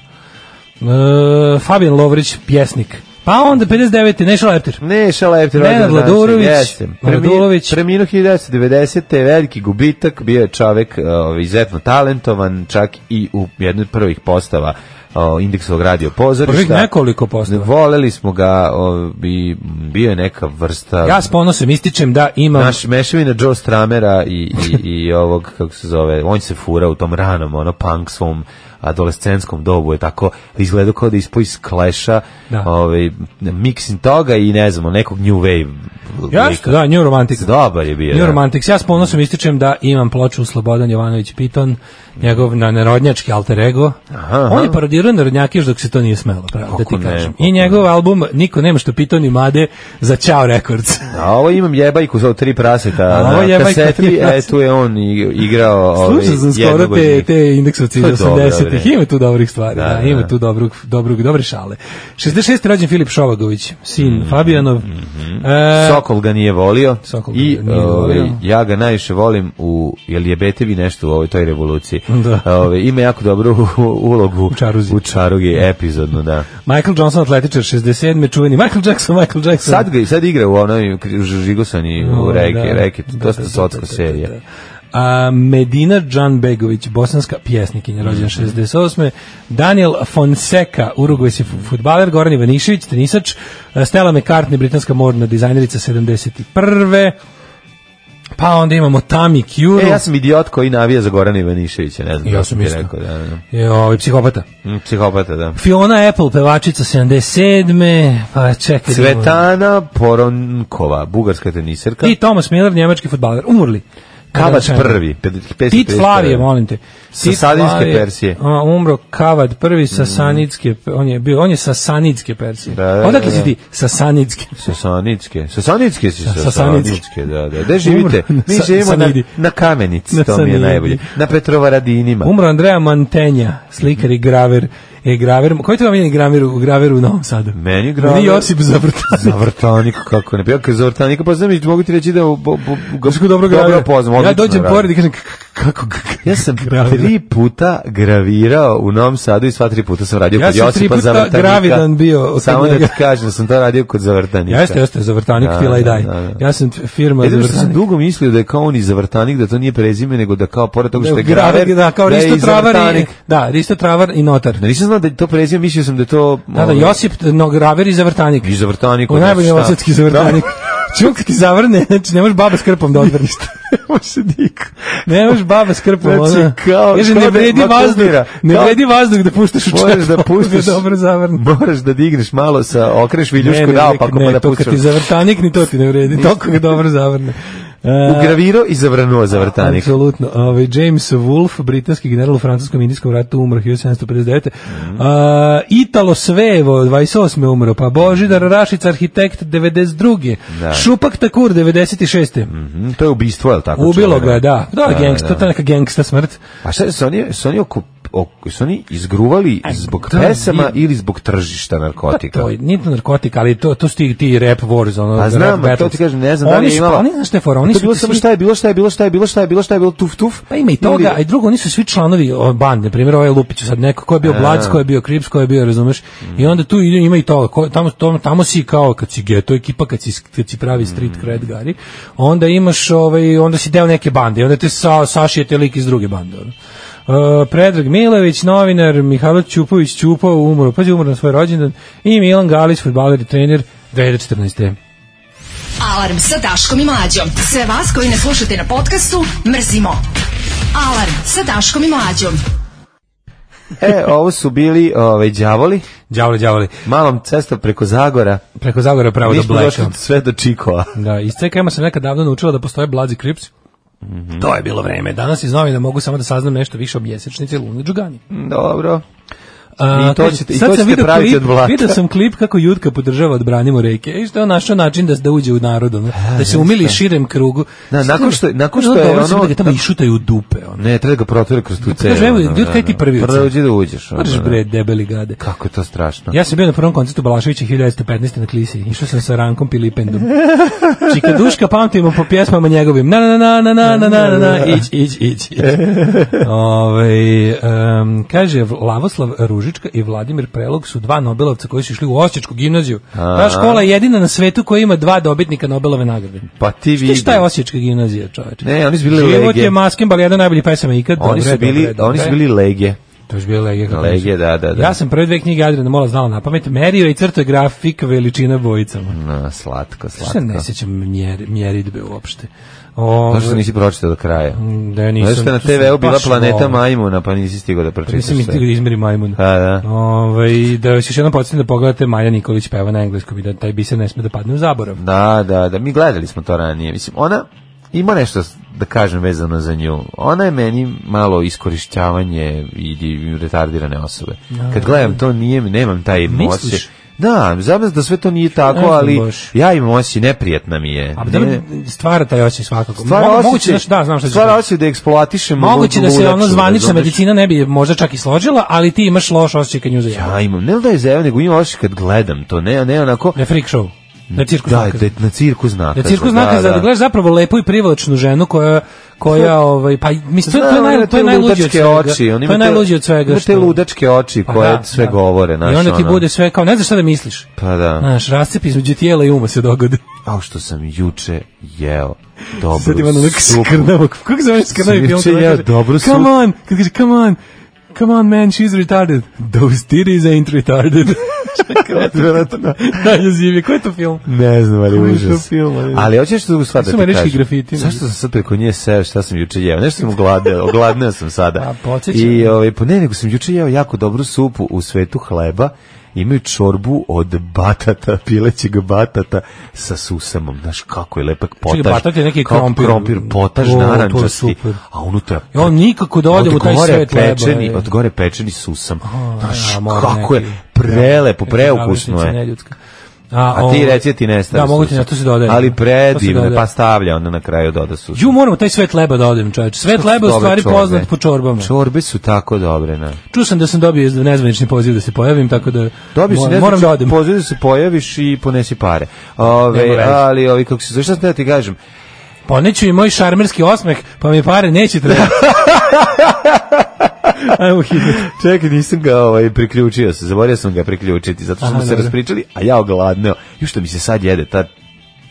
[SPEAKER 5] E, Fabijan Lovrić, pjesnik. Pa onda 59. Neša Lepter.
[SPEAKER 6] Ne, Šalepti
[SPEAKER 5] Nenad
[SPEAKER 6] rođendan današnji,
[SPEAKER 5] Vladurović,
[SPEAKER 6] jeste. Preminu-
[SPEAKER 5] Vladulović.
[SPEAKER 6] Preminuo 1990. veliki gubitak, bio je čovek ovaj, izuzetno talentovan, čak i u jednoj od prvih postava o, indeksovog radio pozorišta.
[SPEAKER 5] Prvih nekoliko postava.
[SPEAKER 6] Voleli smo ga, o, bi, bio je neka vrsta...
[SPEAKER 5] Ja s ponosom ističem da imam...
[SPEAKER 6] Naš mešavina Joe Stramera i, i, i ovog, kako se zove, on se fura u tom ranom, ono, punk svom adolescenskom dobu je tako izgledao kao da je ispao iz kleša
[SPEAKER 5] Da.
[SPEAKER 6] ovaj, miksin toga i ne znam, nekog new wave
[SPEAKER 5] Jasno, da, New Romantic.
[SPEAKER 6] Dobar je bio.
[SPEAKER 5] New
[SPEAKER 6] da.
[SPEAKER 5] Romantics. Ja s ponosom ističem da imam ploču Slobodan Jovanović Piton, njegov na narodnjački alter ego.
[SPEAKER 6] Aha, aha.
[SPEAKER 5] On je parodirao narodnjake još dok se to nije smelo, pravo, da
[SPEAKER 6] Kako
[SPEAKER 5] ti
[SPEAKER 6] ne,
[SPEAKER 5] kažem.
[SPEAKER 6] kako
[SPEAKER 5] I njegov album Niko nema što Piton i Made za Ćao Records.
[SPEAKER 6] A ovo imam jebajku za tri praseta
[SPEAKER 5] A ovo
[SPEAKER 6] na
[SPEAKER 5] je jebajka
[SPEAKER 6] kaseti,
[SPEAKER 5] tri
[SPEAKER 6] e,
[SPEAKER 5] praseta.
[SPEAKER 6] tu je on i- igrao ovaj,
[SPEAKER 5] Slušao sam skoro te,
[SPEAKER 6] jednogodnjak.
[SPEAKER 5] te indeksovci iz
[SPEAKER 6] To je dobro,
[SPEAKER 5] 80-ih.
[SPEAKER 6] bre.
[SPEAKER 5] Ima tu dobrih stvari,
[SPEAKER 6] Da,
[SPEAKER 5] da,
[SPEAKER 6] da.
[SPEAKER 5] ima tu dobrog, dobrog, dobre šale. 66. rođen Filip Šovagović, sin
[SPEAKER 6] Mhm,
[SPEAKER 5] Fabijanov. E,
[SPEAKER 6] Sokol ga nije volio
[SPEAKER 5] Sokol ga
[SPEAKER 6] i
[SPEAKER 5] nije
[SPEAKER 6] ovaj,
[SPEAKER 5] volio.
[SPEAKER 6] ja ga najviše volim u jel jebete vi nešto u ovoj toj revoluciji.
[SPEAKER 5] Da.
[SPEAKER 6] Ovaj, ima jako dobru u- ulogu
[SPEAKER 5] U Čaruzi.
[SPEAKER 6] U Čarugi epizodno, da.
[SPEAKER 5] Michael Johnson, atletičar, 67. čuveni Michael Jackson, Michael Jackson.
[SPEAKER 6] Sad ga sad igra u onoj u Žigosani u
[SPEAKER 5] O,
[SPEAKER 6] reke,
[SPEAKER 5] da.
[SPEAKER 6] reket,
[SPEAKER 5] Da,
[SPEAKER 6] dosta
[SPEAKER 5] da, da,
[SPEAKER 6] sotska
[SPEAKER 5] da, da,
[SPEAKER 6] serija.
[SPEAKER 5] da. A Medina Džanbegović, bosanska pjesnikinja, rođena
[SPEAKER 6] Mhm.
[SPEAKER 5] 68. Daniel Fonseca, urugvajski futbaler, Goran Ivanišević, tenisač, Stella McCartney, britanska modna dizajnerica 71. Pa onda imamo Tami Kjuru.
[SPEAKER 6] E, ja sam idiot koji navija za Gorana Ivaniševića, ne znam.
[SPEAKER 5] Ja
[SPEAKER 6] kako
[SPEAKER 5] sam
[SPEAKER 6] ti
[SPEAKER 5] isto.
[SPEAKER 6] Rekao, da, da.
[SPEAKER 5] je ovaj psihopata.
[SPEAKER 6] Mm, Psihopata, da.
[SPEAKER 5] Fiona Apple, pevačica 77. Pa čekaj. da imamo-
[SPEAKER 6] Cvetana Poronkova, bugarska tenisarka.
[SPEAKER 5] I Thomas Miller, njemački futbaler, umrli.
[SPEAKER 6] Kavač
[SPEAKER 5] Kada-
[SPEAKER 6] prvi, pet- 551.
[SPEAKER 5] Tit Flavije, molim te.
[SPEAKER 6] Sa
[SPEAKER 5] Tit
[SPEAKER 6] Savinske
[SPEAKER 5] Flavije,
[SPEAKER 6] Persije. Mhm.
[SPEAKER 5] a, umro Kavad prvi sa Sanidske, on je bio, on je sa Sanidske Persije.
[SPEAKER 6] Da, da,
[SPEAKER 5] Odakle
[SPEAKER 6] da.
[SPEAKER 5] si ti? Sa Sanidske.
[SPEAKER 6] Sasanitske. Sasanitske si
[SPEAKER 5] Sa-
[SPEAKER 6] Sasanitske,
[SPEAKER 5] Sasanitske.
[SPEAKER 6] da, da. Gde živite?
[SPEAKER 5] Umro-
[SPEAKER 6] Mi
[SPEAKER 5] Sa-
[SPEAKER 6] živimo na,
[SPEAKER 5] Sanidi.
[SPEAKER 6] na kamenici,
[SPEAKER 5] Na
[SPEAKER 6] to mi je
[SPEAKER 5] Sanidi. Um-
[SPEAKER 6] najbolje. Na Petrovaradinima.
[SPEAKER 5] Umro Andreja Mantenja, slikar i graver. E, graver, koji to vam je graver, u- graver u Novom Sadu?
[SPEAKER 6] Meni je graver-
[SPEAKER 5] Ni Josip Zavrtani.
[SPEAKER 6] Zavrtanik, kako ne. Ja kad zavrtanika poznam i mogu ti reći da u- bo- bo- ga
[SPEAKER 5] Znaš kako dobro gravira?
[SPEAKER 6] poznam.
[SPEAKER 5] Ja
[SPEAKER 6] odlično
[SPEAKER 5] dođem
[SPEAKER 6] radi.
[SPEAKER 5] pored i kažem, "K- k- kako g- g-
[SPEAKER 6] Ja sam
[SPEAKER 5] gravira?"
[SPEAKER 6] tri puta gravirao u Novom Sadu i sva tri puta sam radio
[SPEAKER 5] Ja
[SPEAKER 6] kod
[SPEAKER 5] sam
[SPEAKER 6] Josipa
[SPEAKER 5] tri puta
[SPEAKER 6] Zavrtanika.
[SPEAKER 5] gravidan bio od
[SPEAKER 6] Samo da
[SPEAKER 5] njega.
[SPEAKER 6] ti kažem, da sam to radio kod Zavrtanika.
[SPEAKER 5] Jeste, jeste, Zavrtanik,
[SPEAKER 6] Da,
[SPEAKER 5] Fila i
[SPEAKER 6] da,
[SPEAKER 5] Daj.
[SPEAKER 6] da, da.
[SPEAKER 5] Ja sam t- firma
[SPEAKER 6] Jedino što sam
[SPEAKER 5] Zavrtanik.
[SPEAKER 6] dugo mislio da je kao on i zavrtanik, da to nije prezime, nego da kao pored toga
[SPEAKER 5] Da,
[SPEAKER 6] što je
[SPEAKER 5] graver,
[SPEAKER 6] graver,
[SPEAKER 5] da, kao
[SPEAKER 6] da je
[SPEAKER 5] Risto
[SPEAKER 6] i
[SPEAKER 5] Travar i,
[SPEAKER 6] zavrtanik.
[SPEAKER 5] da, Risto Travar i Notar.
[SPEAKER 6] Da nisam znao da je to prezime, mislio sam da je to...
[SPEAKER 5] Da, da,
[SPEAKER 6] ovaj,
[SPEAKER 5] Josip no, Graver i Zavrtanik.
[SPEAKER 6] I zavrtanik.
[SPEAKER 5] U najbolji
[SPEAKER 6] šta?
[SPEAKER 5] osetski Zavrtanik. Čuk ti zavrne, znači ne možeš baba s krpom da odvrneš.
[SPEAKER 6] Može niko.
[SPEAKER 5] Ne možeš baba s krpom.
[SPEAKER 6] Znači,
[SPEAKER 5] ona.
[SPEAKER 6] kao-
[SPEAKER 5] Kaže,
[SPEAKER 6] kao
[SPEAKER 5] ne
[SPEAKER 6] da
[SPEAKER 5] vredi
[SPEAKER 6] ima
[SPEAKER 5] vazduh,
[SPEAKER 6] kumira.
[SPEAKER 5] ne
[SPEAKER 6] Kao-
[SPEAKER 5] vredi vazduh da puštaš u čep.
[SPEAKER 6] Moraš da
[SPEAKER 5] Ovo je
[SPEAKER 6] pustiš.
[SPEAKER 5] Dobro zavrne.
[SPEAKER 6] Moraš da digneš malo sa okreš viljušku dao pa ako
[SPEAKER 5] ne,
[SPEAKER 6] pa da
[SPEAKER 5] to kad ti
[SPEAKER 6] pustiš.
[SPEAKER 5] zavrtanik ni to ti ne vredi, toliko ga dobro zavrne. E,
[SPEAKER 6] Ugravirao i zavrnuo zavrtanik.
[SPEAKER 5] Apsolutno. Ovaj James Wolfe, britanski general u francuskom i indijskom ratu, umro 1759.
[SPEAKER 6] Mhm.
[SPEAKER 5] Mm. Italo Svevo, 28. umro, pa Božidar Rašic, arhitekt, 92.
[SPEAKER 6] Da.
[SPEAKER 5] Šupak Takur, 96.
[SPEAKER 6] Mhm, to je ubistvo, je li tako?
[SPEAKER 5] Ubilo ga,
[SPEAKER 6] čovjeka?
[SPEAKER 5] je, da. Da, gangsta, to je neka gangsta smrt.
[SPEAKER 6] A šta su oni, su oni, oko, oko- su oni izgruvali zbog
[SPEAKER 5] E, da,
[SPEAKER 6] pesama
[SPEAKER 5] nije-
[SPEAKER 6] ili zbog tržišta narkotika?
[SPEAKER 5] Pa to, je- nije to narkotik, ali to, to su ti, ti rap wars, ono,
[SPEAKER 6] A znam,
[SPEAKER 5] rap
[SPEAKER 6] a to
[SPEAKER 5] battles.
[SPEAKER 6] ti kažem, ne znam da li
[SPEAKER 5] Oni
[SPEAKER 6] je
[SPEAKER 5] su-
[SPEAKER 6] imala.
[SPEAKER 5] Oni, znaš šta je fora, oni
[SPEAKER 6] to
[SPEAKER 5] su
[SPEAKER 6] je bilo
[SPEAKER 5] ti
[SPEAKER 6] samo
[SPEAKER 5] svi-
[SPEAKER 6] šta je bilo, šta je bilo, šta je bilo, šta je bilo, šta je bilo, tuf tuf.
[SPEAKER 5] Pa ima i toga, a i drugo, nisu svi članovi o, bande, primjer ovaj Lupić sad neko, ko je bio Blac, ko je bio Krips, ko je bio, razumeš, i onda tu ide- ima i toga, ko, tamo, tamo, tamo si kao kad si geto ekipa, kad si, kad si pravi street cred gari, onda imaš, ovaj, onda si deo neke bande, i onda te sa, sašijete lik iz druge bande, ono. E, Predrag Milović, novinar, Mihajlo Ćupović, Ćupo, umro, pazi, umro na svoj rođendan, i Milan Galić, futbaler i trener, 2014.
[SPEAKER 4] Alarm sa Daškom i Mlađom. Sve vas koji ne slušate na podcastu, mrzimo. Alarm sa Daškom i Mlađom.
[SPEAKER 6] E, ovo su bili ovaj đavoli,
[SPEAKER 5] Đavole, đavole,
[SPEAKER 6] malom cestom preko Zagora.
[SPEAKER 5] preko Zagora pravo
[SPEAKER 6] Mi
[SPEAKER 5] do
[SPEAKER 6] smo
[SPEAKER 5] Bleka.
[SPEAKER 6] došli sve do Čikova.
[SPEAKER 5] Da, iz CKM-a sam nekad davno naučila da postoje Blazi Krips. To Mm, je bilo vreme. Danas iz novina mogu samo da saznam nešto više o mjesečnici Luni Đugani.
[SPEAKER 6] Dobro.
[SPEAKER 5] A,
[SPEAKER 6] I to
[SPEAKER 5] kaže,
[SPEAKER 6] ćete- i
[SPEAKER 5] sad
[SPEAKER 6] to
[SPEAKER 5] sam
[SPEAKER 6] ćete
[SPEAKER 5] video
[SPEAKER 6] praviti
[SPEAKER 5] klip,
[SPEAKER 6] od blata.
[SPEAKER 5] Video sam klip kako Jutka podržava Odbranimo reke i što je on našao način da, da uđe u narod, ono, da se umili širem krugu.
[SPEAKER 6] Da, nakon što- nakon što je
[SPEAKER 5] dobro
[SPEAKER 6] ono-
[SPEAKER 5] samo da ga tamo išutaju u dupe, ono.
[SPEAKER 6] Ne, treba da ga protura kroz tu celu.
[SPEAKER 5] Kaže, evo,
[SPEAKER 6] ono,
[SPEAKER 5] ljudi,
[SPEAKER 6] da,
[SPEAKER 5] kaj ti
[SPEAKER 6] da.
[SPEAKER 5] prvi u
[SPEAKER 6] Prvo
[SPEAKER 5] celu?
[SPEAKER 6] uđi da uđeš. ono,
[SPEAKER 5] Mrš
[SPEAKER 6] da.
[SPEAKER 5] bre, debeli gade.
[SPEAKER 6] Kako je to strašno.
[SPEAKER 5] Ja sam bio na prvom koncertu Balaševića 1915. na Klisi. Išao sam sa Rankom Pilipendom. Čika Duška pamtimo po pjesmama njegovim. Na, na, na, na, na, na, na, na, na, ić, ić, ić, ić. Ovaj, em, kaže, Lavoslav Ružička i Vladimir Prelog su dva Nobelovca koji su išli u Osječku gimnaziju. Ta škola je jedina na svetu koja ima dva dobitnika Nobelove nagrade.
[SPEAKER 6] Pa ti
[SPEAKER 5] Ti
[SPEAKER 6] vidi.
[SPEAKER 5] šta je Osječka gimnazija, čoveče?
[SPEAKER 6] Ne, oni su bili
[SPEAKER 5] Život
[SPEAKER 6] lege.
[SPEAKER 5] je maskimbal, jedan najbolji pesama ikad.
[SPEAKER 6] Oni
[SPEAKER 5] Dobre,
[SPEAKER 6] su bili,
[SPEAKER 5] dobre,
[SPEAKER 6] oni su
[SPEAKER 5] dobre.
[SPEAKER 6] bili lege.
[SPEAKER 5] To je još bio Legija. kako
[SPEAKER 6] Legija,
[SPEAKER 5] nisu.
[SPEAKER 6] da, da, da.
[SPEAKER 5] Ja sam prve dve knjige Adriana Mola znala na pamet, merio i crto je grafik veličina bojicama.
[SPEAKER 6] Na, slatko,
[SPEAKER 5] Šta ne
[SPEAKER 6] slatko.
[SPEAKER 5] sjećam mjer, mjeridbe uopšte. O,
[SPEAKER 6] To što nisi pročitao do kraja.
[SPEAKER 5] da ja nisam.
[SPEAKER 6] Zato što je na
[SPEAKER 5] to sam
[SPEAKER 6] TV-u bila
[SPEAKER 5] baš
[SPEAKER 6] planeta
[SPEAKER 5] volao.
[SPEAKER 6] majmuna, pa nisi stigao da pročitaš
[SPEAKER 5] Mislim,
[SPEAKER 6] sve.
[SPEAKER 5] iz- izmeri majmun.
[SPEAKER 6] Da, da.
[SPEAKER 5] Ovaj, da vas još jednom podsjetim da pogledate Maja Nikolić peva na engleskom i da taj biser ne sme da padne u zaborav.
[SPEAKER 6] Da, da, da, mi gledali smo to ranije. Mislim, ona ima nešto da kažem vezano za nju. Ona je meni malo iskorišćavanje i i retardirane osobe. Kad gledam to, nije, nemam taj
[SPEAKER 5] Misliš?
[SPEAKER 6] moće. Da, znam da sve to nije tako,
[SPEAKER 5] znam
[SPEAKER 6] ali
[SPEAKER 5] baš.
[SPEAKER 6] ja imam osjećaj, neprijatna mi je.
[SPEAKER 5] A da
[SPEAKER 6] Ne-
[SPEAKER 5] stvara taj oči svakako.
[SPEAKER 6] Stvara
[SPEAKER 5] Mo-
[SPEAKER 6] osjećaj-
[SPEAKER 5] moguće da, da, znam šta ćeš
[SPEAKER 6] stvara
[SPEAKER 5] reći.
[SPEAKER 6] osjećaj da eksploatišemo
[SPEAKER 5] Moguće da se
[SPEAKER 6] ludaču,
[SPEAKER 5] ono zvanična
[SPEAKER 6] razumeš?
[SPEAKER 5] medicina ne bi je možda čak i složila, ali ti imaš loš osjećaj kad nju zajebavaš.
[SPEAKER 6] Ja imam, ne da je zajeo, nego imam osjećaj kad gledam to, ne, ne onako...
[SPEAKER 5] Na freak show. Na cirkus
[SPEAKER 6] da,
[SPEAKER 5] nakazu.
[SPEAKER 6] da, na cirku znaka.
[SPEAKER 5] Na cirkus znaka da, da gledaš zapravo lepu i privlačnu ženu koja koja ovaj pa mislim to, je- to je naj to je najluđe od
[SPEAKER 6] ludačke
[SPEAKER 5] svega.
[SPEAKER 6] oči, on ima
[SPEAKER 5] to je
[SPEAKER 6] te-
[SPEAKER 5] najluđe od svega
[SPEAKER 6] Ima
[SPEAKER 5] što.
[SPEAKER 6] te ludačke oči
[SPEAKER 5] Pa
[SPEAKER 6] koje
[SPEAKER 5] da,
[SPEAKER 6] sve
[SPEAKER 5] da.
[SPEAKER 6] govore, znaš.
[SPEAKER 5] I onda ti
[SPEAKER 6] ono.
[SPEAKER 5] bude sve kao ne znaš šta da misliš.
[SPEAKER 6] Pa da.
[SPEAKER 5] Znaš, rascep između tijela i uma se dogodi.
[SPEAKER 6] Ao što sam juče jeo dobru
[SPEAKER 5] Sad ima onak
[SPEAKER 6] supu.
[SPEAKER 5] skrnavog. Kako se zove skrnavi
[SPEAKER 6] Sam
[SPEAKER 5] film?
[SPEAKER 6] juče
[SPEAKER 5] kada
[SPEAKER 6] jeo
[SPEAKER 5] kaže,
[SPEAKER 6] dobru
[SPEAKER 5] Come
[SPEAKER 6] supu."
[SPEAKER 5] on, kad kaže come on. Come on man, she's retarded. Those titties ain't retarded.
[SPEAKER 6] Odvratno.
[SPEAKER 5] Najjezivi, koji je to film?
[SPEAKER 6] Ne znam, ali
[SPEAKER 5] Koji je to
[SPEAKER 6] užas.
[SPEAKER 5] film, ali-
[SPEAKER 6] Ali hoćeš što sad da
[SPEAKER 5] Su
[SPEAKER 6] ti
[SPEAKER 5] američki
[SPEAKER 6] kažem.
[SPEAKER 5] grafiti, ne?
[SPEAKER 6] Zašto sam sad preko nje seo šta sam juče jeo? Nešto sam ogladneo, ogladneo sam sada.
[SPEAKER 5] A, Pa, podsjećam.
[SPEAKER 6] I ovaj, po ne, nego sam juče jeo jako dobru supu u svetu hleba. Imaju čorbu od batata, pilećeg batata sa susamom. Znaš kako je lepak potaž.
[SPEAKER 5] batat je neki
[SPEAKER 6] Kao
[SPEAKER 5] krompir.
[SPEAKER 6] krompir potaž,
[SPEAKER 5] O, to je
[SPEAKER 6] narančasti.
[SPEAKER 5] super.
[SPEAKER 6] A unutra
[SPEAKER 5] I on nikako da ode u taj
[SPEAKER 6] gore
[SPEAKER 5] svet leba.
[SPEAKER 6] pečeni,
[SPEAKER 5] je.
[SPEAKER 6] od gore pečeni susam. Znaš,
[SPEAKER 5] Ja, moram
[SPEAKER 6] kako je
[SPEAKER 5] neki-
[SPEAKER 6] prelepo,
[SPEAKER 5] Neka
[SPEAKER 6] preukusno
[SPEAKER 5] naljutnica
[SPEAKER 6] je.
[SPEAKER 5] neljudska. A, ovaj,
[SPEAKER 6] A ti
[SPEAKER 5] ovo-
[SPEAKER 6] reci da ti nestane.
[SPEAKER 5] Da, mogu ti
[SPEAKER 6] susam.
[SPEAKER 5] na to se dodaje.
[SPEAKER 6] Ali
[SPEAKER 5] To se
[SPEAKER 6] predivno,
[SPEAKER 5] dodaje.
[SPEAKER 6] pa stavlja onda na kraju doda susam.
[SPEAKER 5] Ju, moramo taj svet leba da odem, čoveč. Svet leba je u
[SPEAKER 6] Dobre e?
[SPEAKER 5] stvari
[SPEAKER 6] čorbe.
[SPEAKER 5] poznat po čorbama.
[SPEAKER 6] Čorbe su tako dobre, na.
[SPEAKER 5] Čuo sam da sam dobio nezvanični poziv da se pojavim, tako da
[SPEAKER 6] Dobiješ
[SPEAKER 5] mo-
[SPEAKER 6] ne
[SPEAKER 5] moram da odem.
[SPEAKER 6] Pozivi se pojaviš i ponesi pare. Ove,
[SPEAKER 5] Nema veze.
[SPEAKER 6] ali ovi kako se zove, šta sam teo ti kažem?
[SPEAKER 5] Poneću Pa i moj šarmerski osmeh, pa mi pare neće trebati. Ajmo hitno.
[SPEAKER 6] Čekaj, nisam ga ovaj, priključio se, zaboravio sam ga priključiti, zato što
[SPEAKER 5] Aha,
[SPEAKER 6] smo se
[SPEAKER 5] dobro.
[SPEAKER 6] raspričali, a ja ogladneo. Još što mi se sad jede ta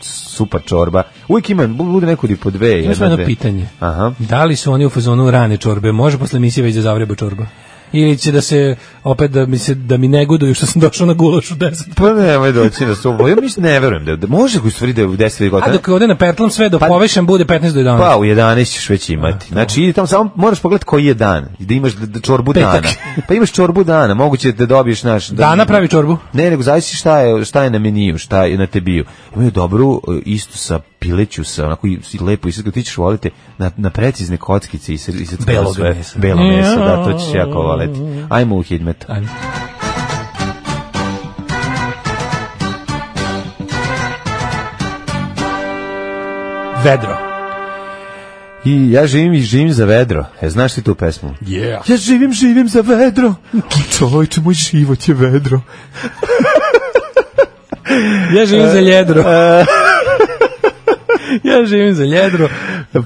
[SPEAKER 6] super čorba. Uvijek ima, bu- bude nekud i po dve.
[SPEAKER 5] Imaš
[SPEAKER 6] jedna,
[SPEAKER 5] jedno
[SPEAKER 6] dve.
[SPEAKER 5] pitanje.
[SPEAKER 6] Aha.
[SPEAKER 5] Da li su oni u fazonu rane čorbe? Može posle emisije već da zavreba čorba? Ili će da se, opet da mi, se, da mi ne goduju što sam došao na gulaš u 10?
[SPEAKER 6] Pa nemoj doći na sobu. Ja mislim, ne verujem da, da može u stvari da je u 10
[SPEAKER 5] A
[SPEAKER 6] godina.
[SPEAKER 5] dok ovde na pertlam sve do
[SPEAKER 6] Pa-
[SPEAKER 5] povešen bude 15 do 11.
[SPEAKER 6] Pa u 11 ćeš već imati. Znači idi tamo samo moraš pogledati koji je dan, da imaš d- d- čorbu
[SPEAKER 5] Petak.
[SPEAKER 6] dana. Pa imaš čorbu dana, moguće da dobiješ naš da-
[SPEAKER 5] Dana pravi čorbu.
[SPEAKER 6] Ne, nego zavisi šta je, šta je na meniju, šta je na tebiju. Imaju dobru e, istu sa pileću sa onako i i lepo i sad ti ćeš voliti na, na precizne kockice i sad i sad
[SPEAKER 5] Belog
[SPEAKER 6] sve-
[SPEAKER 5] mesa.
[SPEAKER 6] Belo meso, da, to ćeš jako voleti. Ajmo u hidmet.
[SPEAKER 5] Ajmo. Vedro.
[SPEAKER 6] I ja živim i živim za vedro. E, znaš ti tu pesmu?
[SPEAKER 5] Yeah.
[SPEAKER 6] Ja živim, živim za vedro. Čovječe, moj život je vedro.
[SPEAKER 5] Ja živim za ljedro.
[SPEAKER 6] E,
[SPEAKER 5] ja živim za ljedro.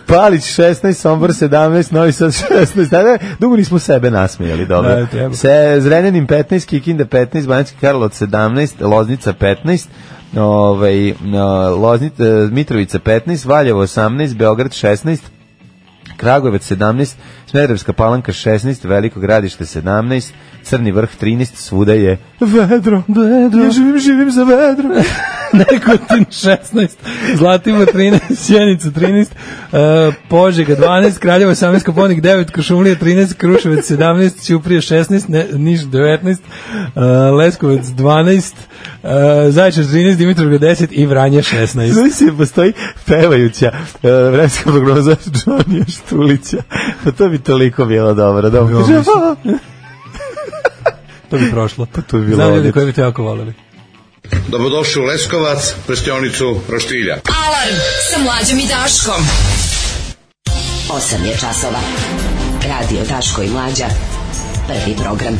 [SPEAKER 6] Palić 16, Sombor 17, Novi Sad 16. Da, ne, dugo nismo sebe nasmijali, dobro.
[SPEAKER 5] Da, treba.
[SPEAKER 6] Se, Zrenjanin 15, Kikinda 15, Banjski Karlovac 17, Loznica 15, ovaj, Loznica, Mitrovica 15, Valjevo 18, Beograd 16, Kragujevac 17, Smederevska palanka 16, Veliko gradište 17, Crni vrh 13, svuda je vedro, vedro. Ja živim, živim za vedro.
[SPEAKER 5] Nekotin 16, Zlatibor 13, Sjenica 13, uh, Požega 12, Kraljevo 18, Koponik 9, Košumlija 13, Kruševac 17, Ćuprije 16, ne, Niš 19, uh, Leskovac 12, uh, Zaječar 13, Dimitrovgrad 10 i Vranje 16.
[SPEAKER 6] Znaš se postoji pevajuća e, vremenska prognoza Johnny Štulića. Pa to bi toliko bilo dobro. Da, on kaže, "A,
[SPEAKER 5] To bi prošlo. Pa
[SPEAKER 6] to bi bilo
[SPEAKER 5] Znam ljudi
[SPEAKER 6] odlično.
[SPEAKER 5] koji bi to jako voleli.
[SPEAKER 1] Dobrodošli u Leskovac, prštionicu Roštilja.
[SPEAKER 4] Alarm sa mlađom i Daškom.
[SPEAKER 7] 8 je časova. Radio Daško i Mlađa. Prvi program.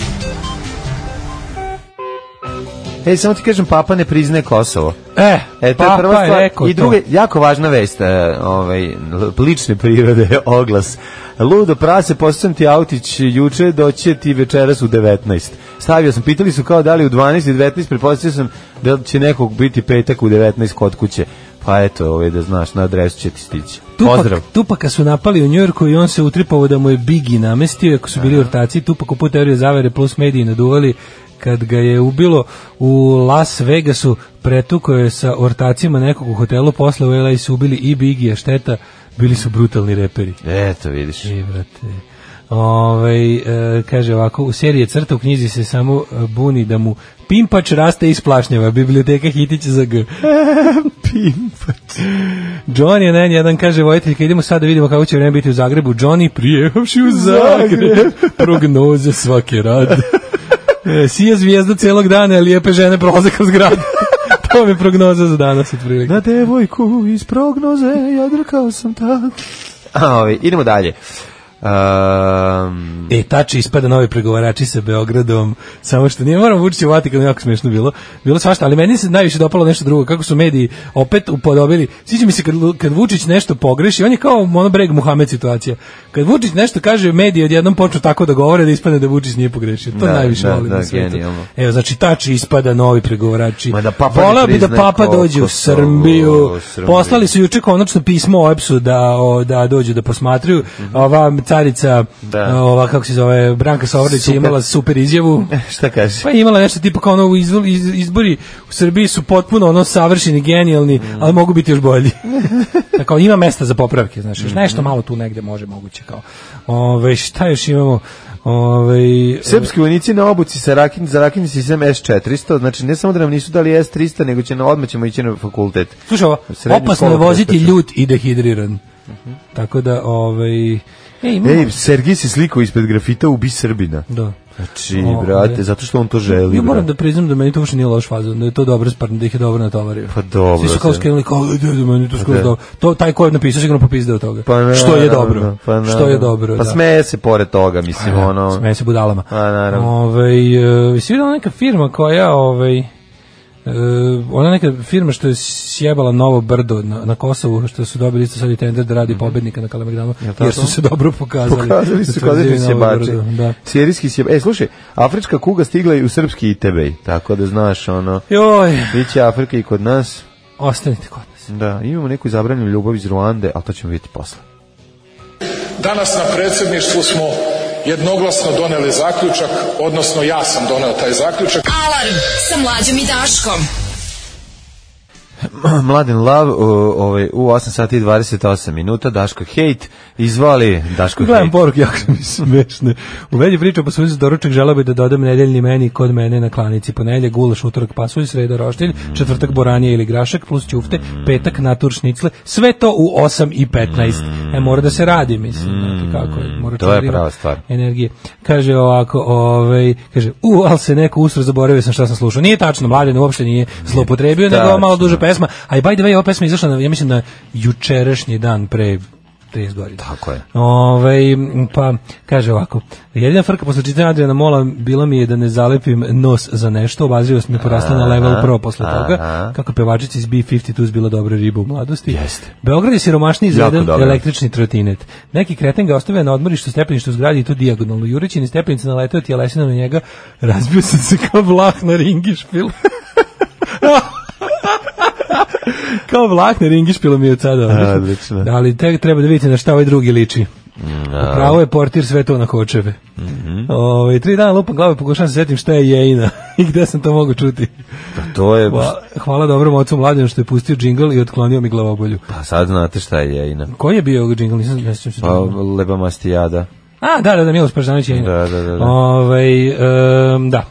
[SPEAKER 6] E, samo ti kažem, papa ne priznaje Kosovo.
[SPEAKER 5] E,
[SPEAKER 6] E, to je
[SPEAKER 5] papa
[SPEAKER 6] prva
[SPEAKER 5] je
[SPEAKER 6] stvar.
[SPEAKER 5] rekao
[SPEAKER 6] I
[SPEAKER 5] to.
[SPEAKER 6] druga, jako važna vest, e, ovaj, l- lične prirode, oglas. Ludo prase, postavim ti autić juče, doće ti večeras u 19. Stavio sam, pitali su kao da li u 12 i 19, prepostavio sam da će nekog biti petak u 19 kod kuće. Pa eto, ovaj, da znaš, na adresu će ti stići. Pozdrav.
[SPEAKER 5] Tupak, Tupaka su napali u Njujorku i on se utripao da mu je Bigi namestio, ako su bili ortaci, Tupak u put teorije zavere plus mediji naduvali kad ga je ubilo u Las Vegasu, pretukao je sa ortacima nekog u hotelu, posle u LA su ubili i Bigi, a šteta, bili su brutalni reperi.
[SPEAKER 6] Eto, vidiš.
[SPEAKER 5] E, brate. Ovaj, e, kaže ovako, u seriji je crta u knjizi se samo e, buni da mu pimpač raste iz plašnjava, biblioteka hitića za g. pimpač. Johnny je na N1, kaže vojiteljka, idemo sad da vidimo kako će vreme biti u Zagrebu. Johnny prijehavši u Zagreb, prognoze svake rade. E, Sija zvijezda celog dana, a lijepe žene prolaze kroz grad. to vam je prognoza za danas, otprilike.
[SPEAKER 6] Na devojku iz prognoze jadrkao sam tad. A, ovaj, idemo dalje. Um,
[SPEAKER 5] E, tači ispada novi pregovarači sa Beogradom, samo što nije, moram vući u Vatikanu, jako smiješno bilo, bilo svašta, ali meni se najviše dopalo nešto drugo, kako su mediji opet upodobili, sviđa mi se kad, Lu- kad Vučić nešto pogreši, on je kao ono breg Muhamed situacija, kad Vučić nešto kaže, mediji odjednom počnu tako da govore da ispadne da Vučić nije pogrešio, to
[SPEAKER 6] Da,
[SPEAKER 5] najviše
[SPEAKER 6] da,
[SPEAKER 5] volim
[SPEAKER 6] da,
[SPEAKER 5] na svetu.
[SPEAKER 6] genijalno.
[SPEAKER 5] Evo, znači, tači ispada novi pregovarači,
[SPEAKER 6] Ma da papa ne
[SPEAKER 5] voleo bi da
[SPEAKER 6] priznaje
[SPEAKER 5] papa dođe u
[SPEAKER 6] Kosovo,
[SPEAKER 5] Srbiju,
[SPEAKER 6] Srbiju.
[SPEAKER 5] poslali su juče konačno pismo o EPS-u da, o, da dođu da posmatruju, ova carica
[SPEAKER 6] Mhm. Da.
[SPEAKER 5] ova kako se zove Branka Sovrlić je
[SPEAKER 6] Super.
[SPEAKER 5] imala super izjavu.
[SPEAKER 6] šta kažeš?
[SPEAKER 5] Pa je imala nešto tipa kao ono u izvo- iz- izbori u Srbiji su potpuno ono savršeni, genijalni, ali mogu biti još bolji. Tako ima mesta za popravke, znači još nešto malo tu negde može moguće kao. Ovaj šta još imamo? Ovaj
[SPEAKER 6] Srpski vojnici na obuci sa rakin, za rakin sistem S-400, znači ne samo da nam nisu dali S-300, nego će na odmah ćemo ići na fakultet.
[SPEAKER 5] Slušaj ovo,
[SPEAKER 6] Srednju
[SPEAKER 5] opasno je
[SPEAKER 6] školu
[SPEAKER 5] voziti
[SPEAKER 6] preskaču.
[SPEAKER 5] ljut i dehidriran. Mhm. Tako da, ovaj... E, imamo-
[SPEAKER 6] Ej, Sergij se slikao ispred grafita Ubi Srbina.
[SPEAKER 5] Da.
[SPEAKER 6] Znači,
[SPEAKER 5] O,
[SPEAKER 6] brate,
[SPEAKER 5] e.
[SPEAKER 6] zato što on to želi.
[SPEAKER 5] Ja moram
[SPEAKER 6] brate.
[SPEAKER 5] da priznam da meni to uopšte nije loš fazon, da je to dobro sparno, da ih je dobro natovario.
[SPEAKER 6] Pa dobro,
[SPEAKER 5] Svi su kao
[SPEAKER 6] da.
[SPEAKER 5] skrenuli kao, "E, da, da, meni to skoro
[SPEAKER 6] da.
[SPEAKER 5] dobro. To, taj ko je napisao sigurno popizdeo toga.
[SPEAKER 6] Pa naravno,
[SPEAKER 5] što je dobro.
[SPEAKER 6] pa
[SPEAKER 5] što je
[SPEAKER 6] naravno.
[SPEAKER 5] dobro,
[SPEAKER 6] Pa
[SPEAKER 5] da.
[SPEAKER 6] smeje se pored toga, mislim, ono...
[SPEAKER 5] Smeje se budalama. Ovaj, e,
[SPEAKER 6] Pa, naravno.
[SPEAKER 5] Ove, si vidjela neka firma koja, ovaj, e, ona neka firma što je sjebala novo brdo na, na Kosovu, što su dobili isto sad i tender da radi pobednika na Kalemegdanu,
[SPEAKER 6] Mhm. tako?
[SPEAKER 5] jer su se dobro pokazali.
[SPEAKER 6] Pokazali su
[SPEAKER 5] Utvrđili
[SPEAKER 6] kodetni
[SPEAKER 5] novo
[SPEAKER 6] sjebače.
[SPEAKER 5] brdo, Da.
[SPEAKER 6] Sirijski sjebače. E, slušaj, afrička kuga stigla i u srpski i tebej. Tako da znaš, ono,
[SPEAKER 5] Joj,
[SPEAKER 6] biće Afrika i kod nas.
[SPEAKER 5] ostanite kod nas.
[SPEAKER 6] Da, imamo neku zabranjenu ljubav iz Ruande, ali to ćemo vidjeti posle.
[SPEAKER 8] Danas na predsjedništvu smo jednoglasno doneli zaključak, odnosno ja sam doneo taj zaključak.
[SPEAKER 4] Alarm sa mlađom i Daškom.
[SPEAKER 6] Mladen Lav u, ovaj, u 8 sati i 28 minuta, Daško Hejt, izvali Daško
[SPEAKER 5] Gledam
[SPEAKER 6] Hejt.
[SPEAKER 5] poruke, jako su mi smešne. U velji priča pasulj za doručak želeo bi da dodam nedeljni meni kod mene na klanici. Ponedjeljak gulaš, utorak pasulj, sreda roštilj, četvrtak boranije ili grašak plus ćufte, petak natur šnicle. Sve to u 8 i 15. E, mora da se radi, mislim. Znate kako je. Mora
[SPEAKER 6] Mm. To
[SPEAKER 5] čovjek
[SPEAKER 6] je
[SPEAKER 5] da ima
[SPEAKER 6] prava stvar.
[SPEAKER 5] Energije. Kaže ovako, ovaj, kaže, u, ali se neko ustro zaboravio sam šta sam slušao. Nije tačno, mladen uopšte nije zlopotrebio, nego ovo malo
[SPEAKER 6] tačno.
[SPEAKER 5] duža pesma. A i by the way, ova pesma je izašla, na, ja mislim, na jučerašnji dan pre 30 godina.
[SPEAKER 6] Tako je.
[SPEAKER 5] Ove, pa, kaže ovako, jedina frka posle čitanja Adriana Mola bila mi je da ne zalepim nos za nešto, obazrio sam je porasla na level pro posle toga,
[SPEAKER 6] aha.
[SPEAKER 5] kako pevačica iz B-52 bila dobra riba u mladosti.
[SPEAKER 6] Jeste.
[SPEAKER 5] Beograd je siromašniji za
[SPEAKER 6] Jako
[SPEAKER 5] jedan
[SPEAKER 6] dobra.
[SPEAKER 5] električni trotinet. Neki kreten ga ostavio na odmorištu stepeništu u zgradi i tu dijagonalno. Jureći ni stepenice naletao tjelesina na njega, razbio sam se kao vlah na ringišpil. kao vlah na ringišpilu mi je od sada. odlično.
[SPEAKER 6] Odlično.
[SPEAKER 5] Da, ali te treba da vidite na šta ovaj drugi liči. Pravo je portir sve to na kočeve. Ovaj, tri dana lupam glave, pokušavam se setim šta je jejina i gde sam to mogu čuti.
[SPEAKER 6] To je,
[SPEAKER 5] Hvala, hvala dobrom ocu mladenu što je pustio džingl i otklonio mi glavobolju.
[SPEAKER 6] pa sad znate šta je jejina.
[SPEAKER 5] Koji je bio džingl? Nisam ne sjećam se.
[SPEAKER 6] Pa leba mastijada.
[SPEAKER 5] A, da, da, da, Miloš Paždanović je.
[SPEAKER 6] Da, da, da, da.
[SPEAKER 5] Ovaj, em, da.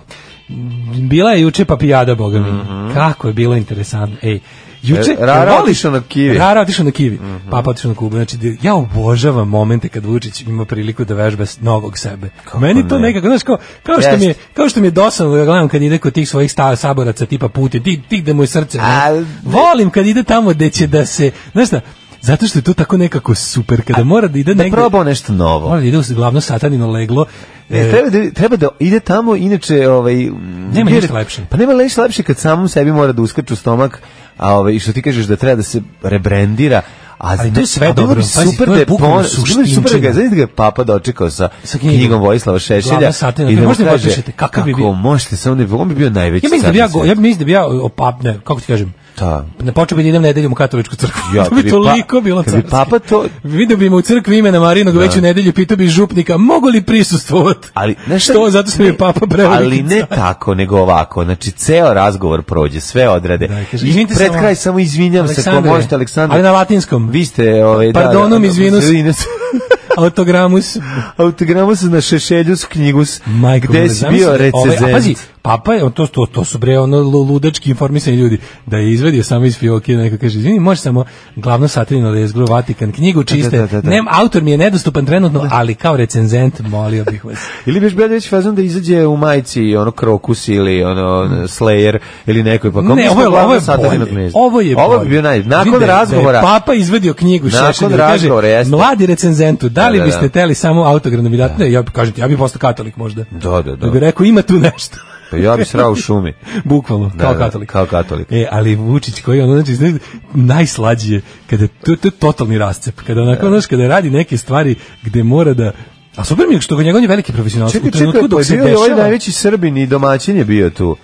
[SPEAKER 5] Bila je juče papijada, boga mi. Kako je bilo interesantno. Ej, Juče
[SPEAKER 6] Mhm. E, Rara
[SPEAKER 5] voliš-
[SPEAKER 6] otišao na Mhm. Kivi.
[SPEAKER 5] Rara otišao na Kivi. Papa otišao na Kubu. Znači di- ja obožavam momente kad Vučić ima priliku da vežba s- novog sebe. Meni to
[SPEAKER 6] ne?
[SPEAKER 5] nekako znaš kao, kao što
[SPEAKER 6] Jeste.
[SPEAKER 5] mi je kao što mi je dosadno da gledam kad ide kod tih svojih sta saboraca tipa Putin, ti ti gde mu je srce. ne?
[SPEAKER 6] A-
[SPEAKER 5] Volim kad ide tamo gde će da se, znaš šta, zato što je to tako nekako super kada mora da ide
[SPEAKER 6] Da
[SPEAKER 5] negde.
[SPEAKER 6] probao nešto novo.
[SPEAKER 5] Mora da ide u glavno satanino leglo.
[SPEAKER 6] Ne,
[SPEAKER 5] E,
[SPEAKER 6] treba, da, treba da ide tamo, inače... Ovaj, m,
[SPEAKER 5] Nema
[SPEAKER 6] jer-
[SPEAKER 5] ništa lepše.
[SPEAKER 6] Pa nema ništa lepše kad samom sebi mora da uskaču stomak, a ovaj, i što ti kažeš da treba da se rebrendira, a
[SPEAKER 5] Ali
[SPEAKER 6] zna-
[SPEAKER 5] to je sve
[SPEAKER 6] a bilo bi
[SPEAKER 5] dobro, pazi,
[SPEAKER 6] super
[SPEAKER 5] to je
[SPEAKER 6] da je
[SPEAKER 5] bukvalno
[SPEAKER 6] pon- bilo bi super da ga,
[SPEAKER 5] suštinčina.
[SPEAKER 6] znaš da ga je papa dočekao sa,
[SPEAKER 5] Sa knjigom.
[SPEAKER 6] knjigom, Vojislava Šešelja
[SPEAKER 5] Glavna satina,
[SPEAKER 6] i da mu
[SPEAKER 5] možda mi
[SPEAKER 6] kaže
[SPEAKER 5] potpišete, kakav bi bio?
[SPEAKER 6] kako možete, samo ne bi, on bi bio najveći
[SPEAKER 5] Ja mislim da bi ja,
[SPEAKER 6] car na
[SPEAKER 5] go-
[SPEAKER 6] svetu.
[SPEAKER 5] ja mislim da bi ja opapne, kako ti kažem,
[SPEAKER 6] Da.
[SPEAKER 5] Ne počeo bi da idem nedeljom u katoličku crkvu.
[SPEAKER 6] Ja,
[SPEAKER 5] to
[SPEAKER 6] kad
[SPEAKER 5] bi
[SPEAKER 6] bi
[SPEAKER 5] toliko
[SPEAKER 6] pa-
[SPEAKER 5] bilo
[SPEAKER 6] kad bi
[SPEAKER 5] carski.
[SPEAKER 6] papa to-
[SPEAKER 5] Video bi me u crkvi imena Marinog da. veću nedelju, pitao bi župnika, mogu li prisustvovati?
[SPEAKER 6] Ali ne šta-
[SPEAKER 5] Što, zato što mi je
[SPEAKER 6] ne,
[SPEAKER 5] papa preveliki
[SPEAKER 6] Ali ne
[SPEAKER 5] car.
[SPEAKER 6] tako, nego ovako. Znači, ceo razgovor prođe, sve odrade.
[SPEAKER 5] Da, kaže,
[SPEAKER 6] I
[SPEAKER 5] izvinite
[SPEAKER 6] pred
[SPEAKER 5] samo-
[SPEAKER 6] kraj samo izvinjam se, ako
[SPEAKER 5] Aleksandre,
[SPEAKER 6] možete, Aleksandar.
[SPEAKER 5] ali na latinskom.
[SPEAKER 6] Vi ste, ovaj, ove,
[SPEAKER 5] Pardonom, izvinus.
[SPEAKER 6] izvinus.
[SPEAKER 5] Autogramus.
[SPEAKER 6] Autogramus na šešeljus knjigus.
[SPEAKER 5] Majko,
[SPEAKER 6] gde
[SPEAKER 5] moja,
[SPEAKER 6] si
[SPEAKER 5] zamisli
[SPEAKER 6] bio
[SPEAKER 5] ovaj-
[SPEAKER 6] recezent.
[SPEAKER 5] a pazi, papa je, to, to, to su bre ono lu- ludački informisani ljudi, da je izvedio samo iz fioke, neko kaže, izvini, može samo glavno satirino lezgru Vatikan, knjigu čiste,
[SPEAKER 6] da, da, da.
[SPEAKER 5] Nem, autor mi je nedostupan trenutno, ali kao recenzent molio bih vas.
[SPEAKER 6] Ili biš Bedović fazon da izađe u majici ono Krokus ili ono Slayer ili nekoj pa kao, mi
[SPEAKER 5] ne,
[SPEAKER 6] smo
[SPEAKER 5] ovo je, ovo
[SPEAKER 6] glavno
[SPEAKER 5] je
[SPEAKER 6] satanino
[SPEAKER 5] bolje.
[SPEAKER 6] gnezdo.
[SPEAKER 5] Ovo je
[SPEAKER 6] Ovo
[SPEAKER 5] bolje.
[SPEAKER 6] bi bio naj... Nakon
[SPEAKER 5] Vidi da je-
[SPEAKER 6] razgovora.
[SPEAKER 5] Da je papa izvedio knjigu
[SPEAKER 6] Nakon
[SPEAKER 5] Šešelju, kaže,
[SPEAKER 6] razgovora, jeste.
[SPEAKER 5] mladi recenzentu, da li
[SPEAKER 6] Da, da,
[SPEAKER 5] biste
[SPEAKER 6] da.
[SPEAKER 5] teli samo autogram da mi date? Ne, ja bi, kažem ti, ja bi postao katolik možda.
[SPEAKER 6] Da, da, da.
[SPEAKER 5] bi rekao, ima tu nešto.
[SPEAKER 6] Pa ja bi srao u šumi.
[SPEAKER 5] Bukvalno,
[SPEAKER 6] Da,
[SPEAKER 5] kao
[SPEAKER 6] da,
[SPEAKER 5] katolik.
[SPEAKER 6] kao katolik.
[SPEAKER 5] E, ali Vučić koji je ono, znači, znaš, najslađi je, kada, to, to je totalni rascep, kada onako, znaš, kada radi neke stvari gde mora da, a super mi je što ga njegov on je veliki profesionalac.
[SPEAKER 6] Čekaj,
[SPEAKER 5] u trenutku
[SPEAKER 6] čekaj, pa
[SPEAKER 5] dok
[SPEAKER 6] je
[SPEAKER 5] se
[SPEAKER 6] bio i ovaj
[SPEAKER 5] dešava,
[SPEAKER 6] najveći Srbin i domaćin je bio tu.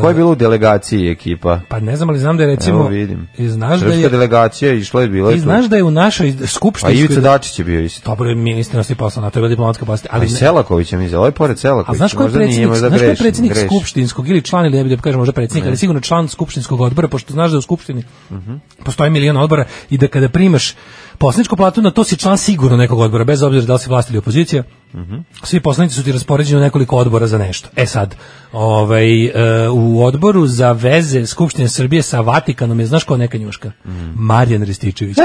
[SPEAKER 6] Ko je bilo u delegaciji ekipa?
[SPEAKER 5] pa ne znam, ali znam da je recimo,
[SPEAKER 6] Evo vidim.
[SPEAKER 5] i znaš da
[SPEAKER 6] Srpska
[SPEAKER 5] je,
[SPEAKER 6] delegacija je išla je bila
[SPEAKER 5] i
[SPEAKER 6] je tu.
[SPEAKER 5] znaš da je u našoj
[SPEAKER 6] A
[SPEAKER 5] skupštinskoj...
[SPEAKER 6] Ivica Dačić je bio isto.
[SPEAKER 5] Dobro, je ministar nas je poslao, na to je bila diplomatska pasta. Ali
[SPEAKER 6] Ali
[SPEAKER 5] ne,
[SPEAKER 6] Pa Selaković je mi izjel, ovaj pored Selakovića.
[SPEAKER 5] a znaš ko je
[SPEAKER 6] možda nije,
[SPEAKER 5] predsjednik,
[SPEAKER 6] možda
[SPEAKER 5] znaš ko je
[SPEAKER 6] grešim,
[SPEAKER 5] predsjednik
[SPEAKER 6] grešim.
[SPEAKER 5] skupštinskog ili član ili ne bi da kažem možda predsjednik, ali sigurno član skupštinskog odbora, pošto znaš da u skupštini
[SPEAKER 6] Mhm.
[SPEAKER 5] postoji milion odbora i da kada primaš poslaničku platu, na to si član sigurno nekog odbora, bez obzira da li si vlast ili opozicija.
[SPEAKER 6] Mhm.
[SPEAKER 5] Svi poslanici su ti raspoređeni u nekoliko odbora za nešto. E sad, ovaj, e, u odboru za veze Skupštine Srbije sa Vatikanom je, znaš ko neka njuška?
[SPEAKER 6] Mhm.
[SPEAKER 5] Marjan Rističević. I,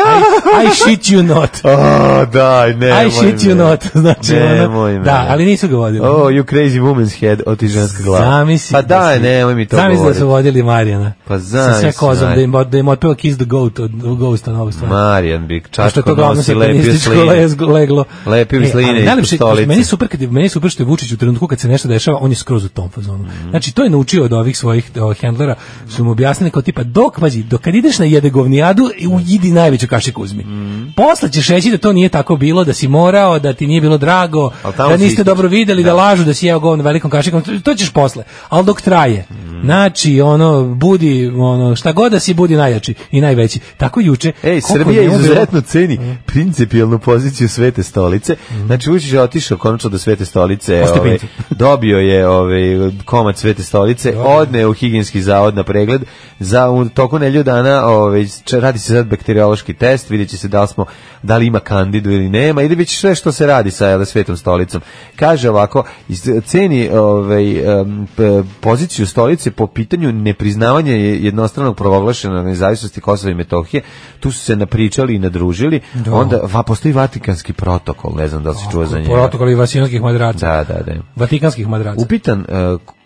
[SPEAKER 5] I shit you not.
[SPEAKER 6] A, daj, nemoj
[SPEAKER 5] I shit you
[SPEAKER 6] me.
[SPEAKER 5] not, znači ono,
[SPEAKER 6] Nemoj me.
[SPEAKER 5] da, ali nisu ga vodili.
[SPEAKER 6] Oh, you crazy woman's head, o ti ženska glava.
[SPEAKER 5] Zamisli.
[SPEAKER 6] Pa daj,
[SPEAKER 5] su-
[SPEAKER 6] nemoj mi to
[SPEAKER 5] Zamisli da
[SPEAKER 6] govoriti.
[SPEAKER 5] su vodili Marijana.
[SPEAKER 6] Pa
[SPEAKER 5] Sa sve
[SPEAKER 6] zamisli,
[SPEAKER 5] kozom,
[SPEAKER 6] Marija.
[SPEAKER 5] da im, da im otpeva Kiss the Goat od Ghosta na ovu stvar.
[SPEAKER 6] Marijan bi
[SPEAKER 5] Pošto je
[SPEAKER 6] čačko
[SPEAKER 5] to glavno
[SPEAKER 6] nosi lepio
[SPEAKER 5] satanističko
[SPEAKER 6] sline.
[SPEAKER 5] lezgo- leglo.
[SPEAKER 6] Lepio
[SPEAKER 5] E,
[SPEAKER 6] sline
[SPEAKER 5] ali
[SPEAKER 6] ispod
[SPEAKER 5] najlepše-
[SPEAKER 6] stolice.
[SPEAKER 5] Meni je super, kad, je- meni je super što je Vučić u trenutku kad se nešto dešava, on je skroz u tom fazonu.
[SPEAKER 6] Mhm.
[SPEAKER 5] Znači, to je naučio od ovih svojih o, handlera, su mu objasnili kao tipa, dok, mađi, dok kad ideš na jedegovnijadu, i u- idi najveću kašiku uzmi.
[SPEAKER 6] Mhm.
[SPEAKER 5] Posle ćeš reći da to nije tako bilo, da si morao, da ti nije bilo drago,
[SPEAKER 6] Ali tamo
[SPEAKER 5] da
[SPEAKER 6] si
[SPEAKER 5] niste
[SPEAKER 6] ističe.
[SPEAKER 5] dobro videli, da lažu da si jeo govno velikom kašikom, to- to ćeš posle. Ali dok traje,
[SPEAKER 6] Mhm.
[SPEAKER 5] znači, ono, budi, ono, šta god da si, budi najjači i najveći. Tako juče.
[SPEAKER 6] Ej,
[SPEAKER 5] koliko
[SPEAKER 6] Srbija
[SPEAKER 5] je njemu bilo- Mm.
[SPEAKER 6] izuzetno ceni principijelnu poziciju Svete stolice. Znači, Vučić je otišao konačno do Svete stolice.
[SPEAKER 5] Ostao
[SPEAKER 6] Ovaj,
[SPEAKER 5] pinci.
[SPEAKER 6] dobio je ovaj, komad Svete stolice, odne u higijenski zavod na pregled. Za, u toku nelju dana ovaj, č- radi se sad bakteriološki test, vidjet će se da li, smo, da li ima kandidu ili nema. Ide već sve što se radi sa jel, Svetom stolicom. Kaže ovako, iz- ceni ovaj, em, p- poziciju stolice po pitanju nepriznavanja je- jednostranog proglašene nezavisnosti Kosova i Metohije. Tu su se napričali i nadružili. Onda va, postoji Vatikanski protokol, ne znam da li si čuo za njega.
[SPEAKER 5] protokoli vasijanskih madraca.
[SPEAKER 6] Da, da, da.
[SPEAKER 5] Vatikanskih madraca.
[SPEAKER 6] Upitan e,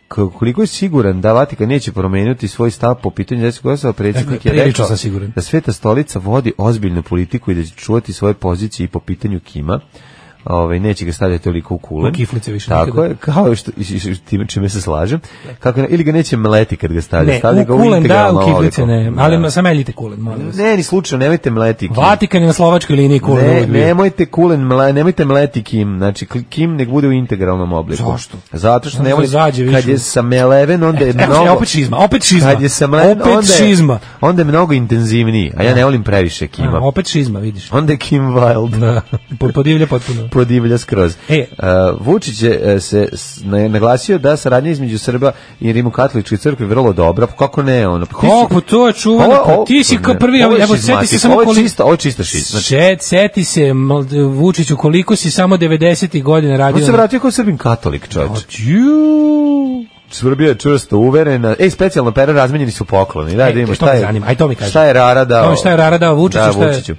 [SPEAKER 6] k- koliko je siguran da Vatikan neće promeniti svoj stav po pitanju Jesu Kosova, predsjednik
[SPEAKER 5] Dakle,
[SPEAKER 6] je
[SPEAKER 5] prilično
[SPEAKER 6] rekao
[SPEAKER 5] sam siguran.
[SPEAKER 6] da Sveta stolica vodi ozbiljnu politiku i da će čuvati svoje pozicije i po pitanju Kima. Ovaj neće ga stavljati toliko u kulen.
[SPEAKER 5] U kiflice više
[SPEAKER 6] Tako
[SPEAKER 5] nikada.
[SPEAKER 6] je, kao što i- i- i- time čime se slažem. Kako ne- ili ga neće mleti kad ga stavlja,
[SPEAKER 5] ne,
[SPEAKER 6] stavlja
[SPEAKER 5] u
[SPEAKER 6] ga
[SPEAKER 5] kulen da,
[SPEAKER 6] integralno
[SPEAKER 5] u kiflice
[SPEAKER 6] oliko.
[SPEAKER 5] ne, ali da. sameljite kulen, molim vas.
[SPEAKER 6] Ne, ni slučajno, nemojte mleti Kim.
[SPEAKER 5] Vatikan je na slovačkoj liniji kulen.
[SPEAKER 6] Ne,
[SPEAKER 5] uvek bio.
[SPEAKER 6] nemojte kulen, mle, nemojte mleti Kim, znači kl- Kim nek bude u integralnom obliku.
[SPEAKER 5] Zašto?
[SPEAKER 6] Zato što
[SPEAKER 5] Onda
[SPEAKER 6] ne voli,
[SPEAKER 5] zađe više.
[SPEAKER 6] kad je sa meleven, onda je
[SPEAKER 5] Evo,
[SPEAKER 6] mnogo...
[SPEAKER 5] opet šizma, opet šizma.
[SPEAKER 6] Kad je sa meleven,
[SPEAKER 5] opet
[SPEAKER 6] onda je,
[SPEAKER 5] šizma.
[SPEAKER 6] onda je mnogo intenzivniji, a ja ne volim previše Kima.
[SPEAKER 5] A, opet šizma, vidiš.
[SPEAKER 6] Onda je Kim Wild.
[SPEAKER 5] Da, po- podivlja potpuno.
[SPEAKER 6] prodivlja skroz.
[SPEAKER 5] E.
[SPEAKER 6] Uh, Vučić je uh, se s- na- naglasio da saradnja između Srba i Rimokatoličke crkve je vrlo dobra, pa kako ne, ono, pa ti si-
[SPEAKER 5] Kako to je čuvano?
[SPEAKER 6] Ovo-
[SPEAKER 5] Pa
[SPEAKER 6] ovo-
[SPEAKER 5] ti si kao prvi,
[SPEAKER 6] ovo je
[SPEAKER 5] evo, seti se
[SPEAKER 6] šizmatik,
[SPEAKER 5] samo
[SPEAKER 6] ovo je
[SPEAKER 5] koliko...
[SPEAKER 6] čista- ovo je čista šiz, znači-
[SPEAKER 5] Šet, seti se, mal- Vučiću, koliko si samo 90. godina radio...
[SPEAKER 6] On se
[SPEAKER 5] na-
[SPEAKER 6] vratio kao srbin katolik, čovječ.
[SPEAKER 5] Odju.
[SPEAKER 6] Srbija je čvrsto uverena. Ej, specijalno pera razmenjeni su pokloni. Da,
[SPEAKER 5] E,
[SPEAKER 6] da vidimo
[SPEAKER 5] što
[SPEAKER 6] šta
[SPEAKER 5] me
[SPEAKER 6] je.
[SPEAKER 5] zanima, aj to mi kaži.
[SPEAKER 6] Šta je Rara dao?
[SPEAKER 5] To mi šta je Rara dao Vučiću,
[SPEAKER 6] Da,
[SPEAKER 5] šta je-
[SPEAKER 6] Vučiću.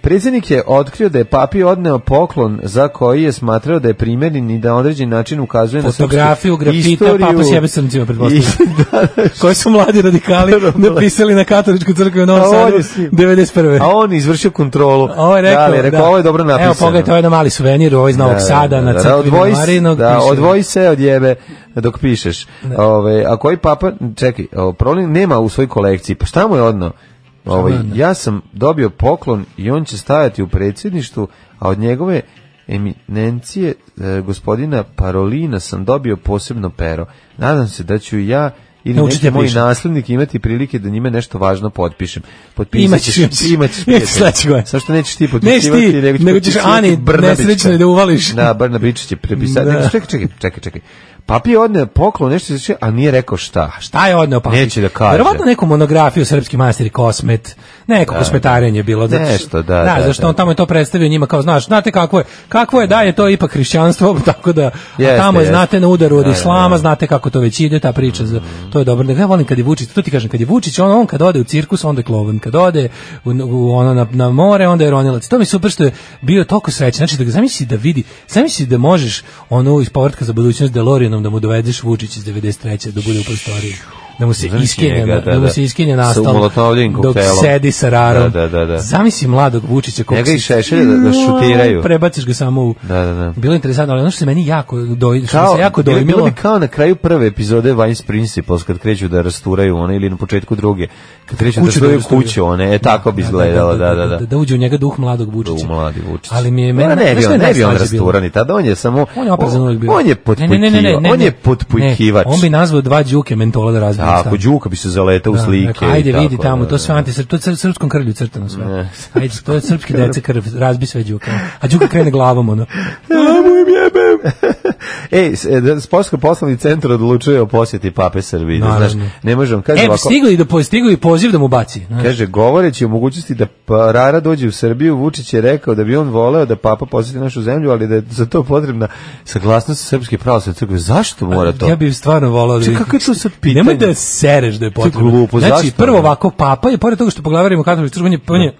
[SPEAKER 6] Predsjednik je otkrio da je papi odneo poklon za koji je smatrao da je primjeren i da na određen način ukazuje na srpsku
[SPEAKER 5] Fotografiju, grafita,
[SPEAKER 6] istoriju.
[SPEAKER 5] papa sjebe srncima, pretpostavljam.
[SPEAKER 6] I- da, da,
[SPEAKER 5] Koji su mladi radikali napisali na katoličku crkvu u
[SPEAKER 6] A
[SPEAKER 5] Novom
[SPEAKER 6] on
[SPEAKER 5] Sadu
[SPEAKER 6] je s njim.
[SPEAKER 5] 91.
[SPEAKER 6] A on je izvršio kontrolu.
[SPEAKER 5] Ovo je rekao,
[SPEAKER 6] da, ali je rekao,
[SPEAKER 5] da.
[SPEAKER 6] ovo je dobro napisano.
[SPEAKER 5] Evo pogledajte, ovo je jedan mali suvenir, ovo je iz Novog Sada, na
[SPEAKER 6] da,
[SPEAKER 5] crkvi
[SPEAKER 6] odvoji se-
[SPEAKER 5] Marinog.
[SPEAKER 6] Da,
[SPEAKER 5] piše.
[SPEAKER 6] odvoji se od jebe dok pišeš. Ove, a koji papa, čekaj, o, problem nema u svojoj kolekciji, pa šta mu je odno? Ovaj, ja sam dobio poklon i on će stajati u predsjedništvu, a od njegove eminencije e, gospodina Parolina sam dobio posebno pero. Nadam se da ću ja ili
[SPEAKER 5] Naučite
[SPEAKER 6] neki moj
[SPEAKER 5] pišem.
[SPEAKER 6] naslednik imati prilike da njime nešto važno potpišem. Potpisat
[SPEAKER 5] Imaćeš,
[SPEAKER 6] ćeš, imaćeš,
[SPEAKER 5] imaćeš. Sledeće godine.
[SPEAKER 6] imaćeš, Samo što nećeš ti
[SPEAKER 5] Neš
[SPEAKER 6] potpisivati,
[SPEAKER 5] ti, nego ćeš
[SPEAKER 6] potpisivati
[SPEAKER 5] Ani
[SPEAKER 6] Brnabićka.
[SPEAKER 5] nesrećno da uvališ.
[SPEAKER 6] Da, Brnabić će prepisati.
[SPEAKER 5] Da.
[SPEAKER 6] Nego, Čekaj, čekaj, čekaj, čekaj. Papi je odneo poklon, nešto se a nije rekao šta. A šta?
[SPEAKER 5] Šta je odneo papić?
[SPEAKER 6] Neće da kaže.
[SPEAKER 5] Verovatno neku monografiju srpski masteri kosmet, neko kosmetarenje je bilo. zato što-
[SPEAKER 6] Nešto, da, da,
[SPEAKER 5] zašto
[SPEAKER 6] da.
[SPEAKER 5] on tamo je to predstavio njima kao, znaš, znate kakvo je, kakvo je da je to ipak hrišćanstvo, tako da, a
[SPEAKER 6] Jeste,
[SPEAKER 5] tamo je,
[SPEAKER 6] jeste.
[SPEAKER 5] znate, na udaru od
[SPEAKER 6] Da, da,
[SPEAKER 5] islama, znate kako to već ide, ta priča, za- to je dobro. Nego Ja volim kad je Vučić, to ti kažem, kad je Vučić, on, on kad ode u cirkus, onda je klovan, kad ode u, u- ono na, na more, onda je ronilac. To mi je super što je bio toliko srećan, znači da ga zamisli da vidi, zamisli da možeš ono iz povratka za budućnost DeLoreanom da mu dovedeš Vučić iz 93. da bude u prostoriji. Da mu se
[SPEAKER 6] Znači
[SPEAKER 5] iskenje,
[SPEAKER 6] njega,
[SPEAKER 5] da,
[SPEAKER 6] da,
[SPEAKER 5] da mu
[SPEAKER 6] da.
[SPEAKER 5] se iskenje
[SPEAKER 6] Sa
[SPEAKER 5] nastal
[SPEAKER 6] umolotovljivim
[SPEAKER 5] dok
[SPEAKER 6] koktelom.
[SPEAKER 5] sedi sa rarom.
[SPEAKER 6] Da, da, da, da.
[SPEAKER 5] Zamisli mladog Vučića. kako
[SPEAKER 6] Njega i
[SPEAKER 5] se-
[SPEAKER 6] Šešelja da- da šutiraju.
[SPEAKER 5] Prebaciš ga samo u...
[SPEAKER 6] Da, da, da.
[SPEAKER 5] Bilo je interesantno, ali ono što se meni jako, doj, što mi se jako
[SPEAKER 6] bilo-
[SPEAKER 5] dojmilo...
[SPEAKER 6] Bilo bi kao na kraju prve epizode Vice Principles kad kreću da rasturaju one ili na početku druge. Kad kreću
[SPEAKER 5] Kuću da
[SPEAKER 6] da rasturaju
[SPEAKER 5] rasturaju.
[SPEAKER 6] kuću one, e tako bi izgledalo, da, da, da.
[SPEAKER 5] da uđe u njega duh mladog Vučića.
[SPEAKER 6] U mladi Vučić.
[SPEAKER 5] Ali mi je
[SPEAKER 6] Ma
[SPEAKER 5] meni...
[SPEAKER 6] ne
[SPEAKER 5] znaš
[SPEAKER 6] bi
[SPEAKER 5] šta
[SPEAKER 6] on,
[SPEAKER 5] je
[SPEAKER 6] ne bi on
[SPEAKER 5] najslađe bilo?
[SPEAKER 6] rasturan i tada on je samo
[SPEAKER 5] On je oprezan uvijek bio.
[SPEAKER 6] on je
[SPEAKER 5] Ne, ne, ne, ne, ne,
[SPEAKER 6] potpujkivač. On
[SPEAKER 5] ne.
[SPEAKER 6] je potpujkivač.
[SPEAKER 5] Ne, on bi nazvao dva đuke mentola da razbiju
[SPEAKER 6] Tako,
[SPEAKER 5] stan.
[SPEAKER 6] Đuka bi se zaletao u
[SPEAKER 5] Da,
[SPEAKER 6] slike.
[SPEAKER 5] rekao, Ajde,
[SPEAKER 6] i tako,
[SPEAKER 5] vidi tamo,
[SPEAKER 6] da,
[SPEAKER 5] to sve
[SPEAKER 6] da.
[SPEAKER 5] antisrp, to je cr- srpskom krvlju crtano sve. Ajde, to je srpski dece krv, razbi sve đuke. A đuka krene glavom, ono.
[SPEAKER 6] E, Ej, s- e, da, Sportsko poslovni centar odlučuje o posjeti pape Srbije. Znaš,
[SPEAKER 5] Naravno.
[SPEAKER 6] ne možemo, kaže
[SPEAKER 5] E,
[SPEAKER 6] ovako,
[SPEAKER 5] stigli, do, po- stigli i poziv da mu baci. znaš.
[SPEAKER 6] kaže, govoreći o mogućnosti da pa- Rara dođe u Srbiju, Vučić je rekao da bi on voleo da papa posjeti našu zemlju, ali da je za to potrebna saglasnost Srpske pravoslavne crkve. Zašto mora to?
[SPEAKER 5] Ja bih stvarno volao da...
[SPEAKER 6] Čekaj,
[SPEAKER 5] vidim.
[SPEAKER 6] kako je to sad pitanje?
[SPEAKER 5] Nemoj da sereš da je potrebno.
[SPEAKER 6] glupo,
[SPEAKER 5] znači,
[SPEAKER 6] zašto?
[SPEAKER 5] prvo ovako, papa je, pored toga što poglavarimo katoličku crkvu, on je, on je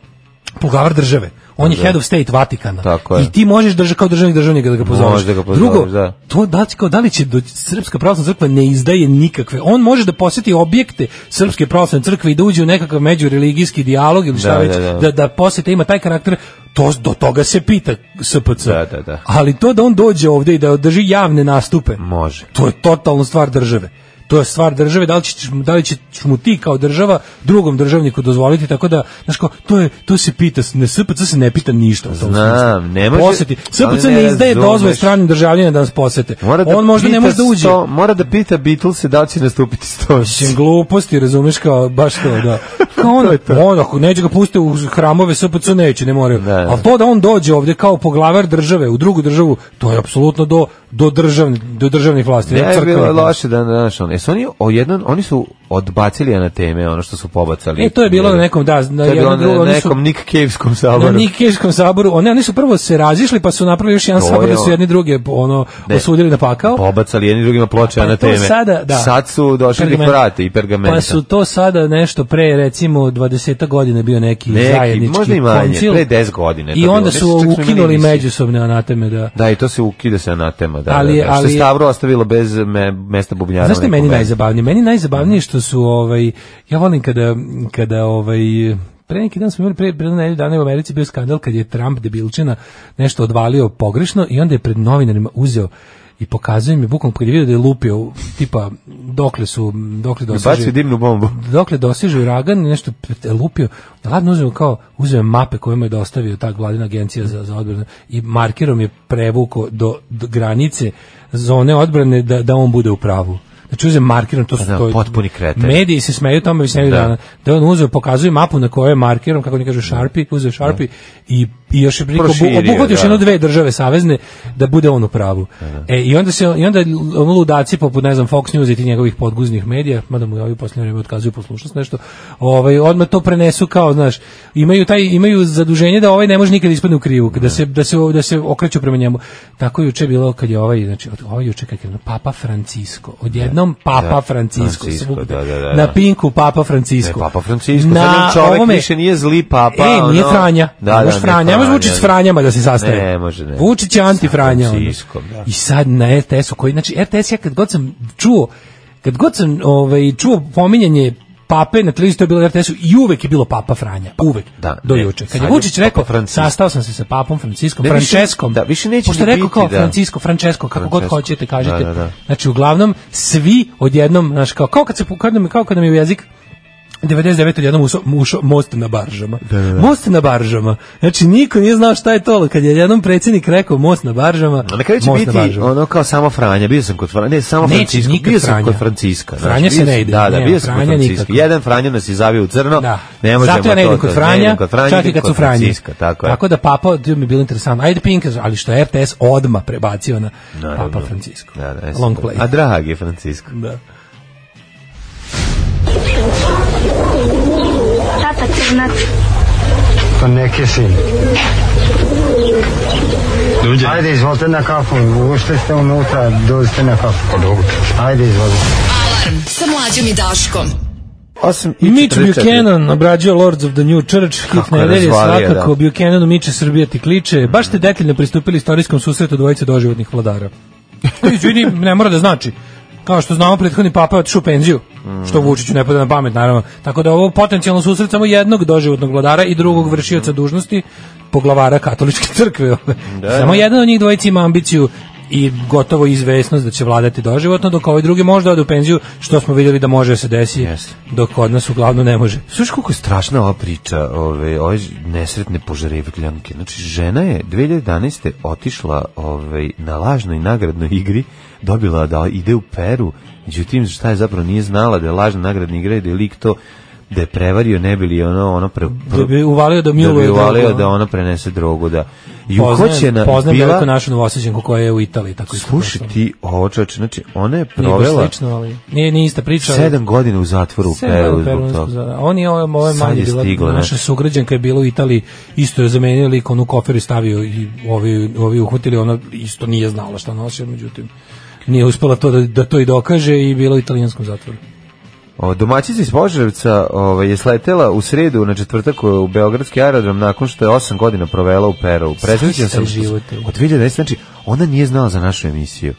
[SPEAKER 5] poglavar države. On je head of state Vatikana.
[SPEAKER 6] Tako je.
[SPEAKER 5] I ti možeš drža, kao državnik državnika da ga pozoveš.
[SPEAKER 6] Možeš da ga pozoveš,
[SPEAKER 5] Drugo,
[SPEAKER 6] da.
[SPEAKER 5] to da, li će- kao, da li će do, Srpska pravoslavna crkva ne izdaje nikakve. On može da posjeti objekte Srpske pravoslavne crkve i da uđe u nekakav međureligijski dijalog ili šta
[SPEAKER 6] Da,
[SPEAKER 5] već, da,
[SPEAKER 6] da, da.
[SPEAKER 5] da, posjeta ima taj karakter, to, do toga se pita SPC.
[SPEAKER 6] Da, da, da. Mm.
[SPEAKER 5] Ali to da on dođe ovde i da održi javne nastupe,
[SPEAKER 6] Može.
[SPEAKER 5] to je totalno stvar države. To je stvar države, da li ćeš, da li ćeš mu ti kao država drugom državniku dozvoliti, tako da, znaš kao, to, je, to se pita, ne, SPC se ne pita ništa. u tom
[SPEAKER 6] Znam,
[SPEAKER 5] smislu.
[SPEAKER 6] ne može-
[SPEAKER 5] Posjeti.
[SPEAKER 6] ali
[SPEAKER 5] SPC
[SPEAKER 6] ne
[SPEAKER 5] ne izdaje
[SPEAKER 6] razumeš.
[SPEAKER 5] dozvole stranim državljanima da nas posete.
[SPEAKER 6] Mora da
[SPEAKER 5] On možda ne
[SPEAKER 6] pita
[SPEAKER 5] može da uđe.
[SPEAKER 6] sto- mora da pita Beatles da li će nastupiti sto.
[SPEAKER 5] Mislim, gluposti, razumeš kao, baš to, da. Kao on, on, ako neće ga pustiti u hramove SPC, neće, ne moraju.
[SPEAKER 6] Da, da.
[SPEAKER 5] Ali to da on dođe ovdje kao poglavar države, u drugu državu, to je apsolutno do, do, državni, do državnih vlasti.
[SPEAKER 6] Ne je
[SPEAKER 5] crkvenih
[SPEAKER 6] bilo
[SPEAKER 5] vlasti.
[SPEAKER 6] loše da znaš on. Jesu oni o jednom, oni su odbacili anateme, ono što su pobacali.
[SPEAKER 5] E, to je bilo na nekom, da,
[SPEAKER 6] To
[SPEAKER 5] na
[SPEAKER 6] je bilo
[SPEAKER 5] jednom drugom,
[SPEAKER 6] na
[SPEAKER 5] oni su
[SPEAKER 6] nekom Nick Caveskom
[SPEAKER 5] na
[SPEAKER 6] saboru.
[SPEAKER 5] Nikeškom saboru, oni, oni su prvo se razišli pa su napravili još jedan
[SPEAKER 6] To
[SPEAKER 5] sabor
[SPEAKER 6] je
[SPEAKER 5] da su
[SPEAKER 6] ono.
[SPEAKER 5] jedni druge ono,
[SPEAKER 6] Ne. Pa,
[SPEAKER 5] osudili na pakao.
[SPEAKER 6] Pobacali jedni drugima ploče
[SPEAKER 5] Pa je to
[SPEAKER 6] anateme.
[SPEAKER 5] sada, da.
[SPEAKER 6] Sad su došli
[SPEAKER 5] Pergamen-
[SPEAKER 6] dekorate i pergamenta.
[SPEAKER 5] Pa su to sada nešto pre recimo 20 godina bio neki,
[SPEAKER 6] Neki,
[SPEAKER 5] zajednički
[SPEAKER 6] možda i manje,
[SPEAKER 5] koncil.
[SPEAKER 6] pre 10 godina je to
[SPEAKER 5] I
[SPEAKER 6] bilo.
[SPEAKER 5] onda
[SPEAKER 6] Mislim,
[SPEAKER 5] su
[SPEAKER 6] čak smo imali
[SPEAKER 5] ukinuli
[SPEAKER 6] emisiju.
[SPEAKER 5] međusobne anateme da.
[SPEAKER 6] Da, i to se ukida se anatema, da.
[SPEAKER 5] Ali-
[SPEAKER 6] da, da. Što
[SPEAKER 5] ali-
[SPEAKER 6] je Stavro ostavilo bez me, mesta bubnjara.
[SPEAKER 5] Znaš šta je
[SPEAKER 6] u nekom
[SPEAKER 5] meni
[SPEAKER 6] bendu.
[SPEAKER 5] najzabavnije? Meni najzabavnije što su, ovaj, ja volim kada, kada ovaj, pre neki dan smo imali, pre, pre jedno nedelju dana je u Americi bio skandal kad je Trump debilčina nešto odvalio pogrešno i onda je pred novinarima uzeo i pokazuje mi bukom kad je vidio da je lupio tipa dokle su dokle
[SPEAKER 6] Bacio
[SPEAKER 5] doseže
[SPEAKER 6] dimnu bombu.
[SPEAKER 5] dokle doseže uragan i nešto je lupio ladno uzeo kao uzeo je mape koje mu je dostavio ta vladina agencija za za odbranu i markerom je prevuko do, do granice zone odbrane da da on bude u pravu Znači uzem markerom, to su
[SPEAKER 6] Da,
[SPEAKER 5] to je-
[SPEAKER 6] potpuni kreten.
[SPEAKER 5] Mediji se smeju tome već ne da.
[SPEAKER 6] Da.
[SPEAKER 5] dana. Da je on uzeo, pokazuje mapu na kojoj je markerom, kako oni kažu Sharpie, uzeo Sharpie i i još je priko-
[SPEAKER 6] Proširio,
[SPEAKER 5] obuhvatio još
[SPEAKER 6] da.
[SPEAKER 5] jedno dve države savezne da bude on u pravu. E, i onda se i onda ono ludaci poput ne znam Fox News i ti njegovih podguznih medija, mada mu i ovi u posljednje vrijeme otkazuju poslušnost nešto. Ovaj odmah to prenesu kao, znaš, imaju taj imaju zaduženje da ovaj ne može nikad ispadne u krivu, da se da se da se okreću prema njemu. Tako je juče bilo kad je ovaj, znači od ovaj juče kad je ono, Papa Francisko, odjednom Papa
[SPEAKER 6] Da.
[SPEAKER 5] Francisko,
[SPEAKER 6] Francisko,
[SPEAKER 5] svugde.
[SPEAKER 6] da, da, da, da.
[SPEAKER 5] na Pinku Papa Francisko.
[SPEAKER 6] Ne, Papa Francisko,
[SPEAKER 5] Na
[SPEAKER 6] sad on čovek
[SPEAKER 5] ovome-
[SPEAKER 6] više nije zli papa.
[SPEAKER 5] E, nije
[SPEAKER 6] ono-
[SPEAKER 5] Franja.
[SPEAKER 6] Da, da,
[SPEAKER 5] ne može
[SPEAKER 6] ne,
[SPEAKER 5] Franja. Ne može Vučić s Franjama da se sastaje.
[SPEAKER 6] Ne, može, ne.
[SPEAKER 5] Vučić je anti-Franja.
[SPEAKER 6] Sa
[SPEAKER 5] ono.
[SPEAKER 6] Franciskom, da.
[SPEAKER 5] I sad na RTS-u koji, znači RTS ja kad god sam čuo, kad god sam ovaj, čuo pominjanje pape na televiziji, to je bilo na RTS-u i uvek je bilo papa Franja. Uvek.
[SPEAKER 6] Pa, da,
[SPEAKER 5] do
[SPEAKER 6] ne,
[SPEAKER 5] juče. Kad
[SPEAKER 6] sad
[SPEAKER 5] je
[SPEAKER 6] je
[SPEAKER 5] Vučić
[SPEAKER 6] Papa
[SPEAKER 5] rekao,
[SPEAKER 6] Francisco.
[SPEAKER 5] sastao sam se sa papom Franciskom,
[SPEAKER 6] Ne, više-
[SPEAKER 5] Franceskom.
[SPEAKER 6] da, više neće
[SPEAKER 5] Pošto je
[SPEAKER 6] ni
[SPEAKER 5] rekao
[SPEAKER 6] biti,
[SPEAKER 5] kao
[SPEAKER 6] da.
[SPEAKER 5] Francisco, Francesco, kako god
[SPEAKER 6] Francesco.
[SPEAKER 5] hoćete, kažete.
[SPEAKER 6] Da, da, da.
[SPEAKER 5] Znači, uglavnom, svi odjednom, znaš, kao, kao kad se, kao kad nam- kao kad nam je u jezik 99. jednom ušao, ušao most na baržama. Most na baržama. Znači, niko nije znao šta je to, ali kad je jednom predsjednik rekao most na baržama,
[SPEAKER 6] A na kraju će
[SPEAKER 5] most na
[SPEAKER 6] biti
[SPEAKER 5] baržama.
[SPEAKER 6] ono kao samo Franja, bio sam kod Franja, ne, samo
[SPEAKER 5] Neće
[SPEAKER 6] Francisco,
[SPEAKER 5] nikad
[SPEAKER 6] bio sam
[SPEAKER 5] Franja.
[SPEAKER 6] kod Franciska. znaš,
[SPEAKER 5] Franja se
[SPEAKER 6] bio
[SPEAKER 5] ne
[SPEAKER 6] sam-
[SPEAKER 5] ide,
[SPEAKER 6] Da, da,
[SPEAKER 5] ne,
[SPEAKER 6] bio sam kod
[SPEAKER 5] Franja
[SPEAKER 6] Franciska.
[SPEAKER 5] nikako.
[SPEAKER 6] Jedan Franja nas je zavio u crno,
[SPEAKER 5] Da.
[SPEAKER 6] ne možemo
[SPEAKER 5] Zato ja ne idem kod
[SPEAKER 6] to, to, ne idem
[SPEAKER 5] Franja,
[SPEAKER 6] kod Franja,
[SPEAKER 5] čak i kad
[SPEAKER 6] idem
[SPEAKER 5] su
[SPEAKER 6] kod
[SPEAKER 5] Franje.
[SPEAKER 6] Franciska, tako je.
[SPEAKER 5] da papa, to mi je bilo interesantno. Ajde Pink, ali što je RTS odma prebacio na Papa Francisco.
[SPEAKER 6] Da, da, jesam.
[SPEAKER 5] Long play.
[SPEAKER 6] A drag je Francisco.
[SPEAKER 5] Da.
[SPEAKER 9] Tata crnac.
[SPEAKER 10] Pa neke sin. Duđe. Ajde, izvolite na kafu. Ušli ste unutra, dođite na kafu. Pa dobro. Ajde, izvolite.
[SPEAKER 4] Alarm sa mlađom i Daškom.
[SPEAKER 6] 8 i
[SPEAKER 5] Mitch
[SPEAKER 6] 44.
[SPEAKER 5] Buchanan obrađuje Lords of the New Church, hit
[SPEAKER 6] Kako je
[SPEAKER 5] nedelje
[SPEAKER 6] razvalio,
[SPEAKER 5] svakako,
[SPEAKER 6] da. Mhm.
[SPEAKER 5] Buchananu Miče Srbija ti kliče, baš ste detaljno pristupili istorijskom susretu dvojice doživotnih vladara. To izvini, ne mora da znači. Kao što znamo, prethodni papa je otišao u penziju, što Vučiću ne pada na pamet, naravno. Tako da ovo potencijalno susret samo jednog doživotnog vladara i drugog vršioca dužnosti, poglavara katoličke crkve. samo jedan od njih dvojica ima ambiciju i gotovo izvesnost da će vladati doživotno, dok ovaj drugi možda ode u penziju, što smo vidjeli da može da se desi,
[SPEAKER 6] Jeste.
[SPEAKER 5] dok kod nas uglavnom ne može.
[SPEAKER 6] Slušaj kako je strašna ova priča, ove, ove ž- nesretne požarevljanke. Znači, žena je 2011. otišla ove, na lažnoj nagradnoj igri, dobila da ide u Peru, međutim, šta je zapravo nije znala da je lažna nagradna igra i da je lik to da je prevario, ne bi li ono, ono pre,
[SPEAKER 5] Da bi uvalio da
[SPEAKER 6] da
[SPEAKER 5] miluje
[SPEAKER 6] bi
[SPEAKER 5] drogu,
[SPEAKER 6] uvalio
[SPEAKER 5] ono.
[SPEAKER 6] da ona prenese drogu, da. I
[SPEAKER 5] Poznajem-
[SPEAKER 6] uhoćena
[SPEAKER 5] Poznajem
[SPEAKER 6] bila...
[SPEAKER 5] veliku našu novoseđenku koja je u Italiji. Tako isto
[SPEAKER 6] Slušaj
[SPEAKER 5] prošla.
[SPEAKER 6] ti, ovo čoveče, znači, ona je
[SPEAKER 5] Nije baš
[SPEAKER 6] provela
[SPEAKER 5] slično, ali nije, nije ista priča. ali-
[SPEAKER 6] sedam godina u zatvoru u
[SPEAKER 5] Sedam
[SPEAKER 6] Peru
[SPEAKER 5] u Peru, ono
[SPEAKER 6] zbog
[SPEAKER 5] nisam
[SPEAKER 6] toga.
[SPEAKER 5] znala. On je ovo ovo je
[SPEAKER 6] Sad
[SPEAKER 5] manje
[SPEAKER 6] je
[SPEAKER 5] bila,
[SPEAKER 6] stigla, ne.
[SPEAKER 5] naša sugrađanka je bila u Italiji, isto je zamenio lik, onu koferu stavio i ovi, ovi uhvatili, ona isto nije znala šta nosi, međutim nije uspela to da, da to i dokaže i bila u italijanskom zatvoru.
[SPEAKER 6] O, domaćica iz Požarevca ovaj, je sletela u sredu na četvrtak u Beogradski aerodrom nakon što je osam godina provela u Peru. Presrećen sam što
[SPEAKER 5] život, ej.
[SPEAKER 6] od 2010, znači ona nije znala za našu emisiju.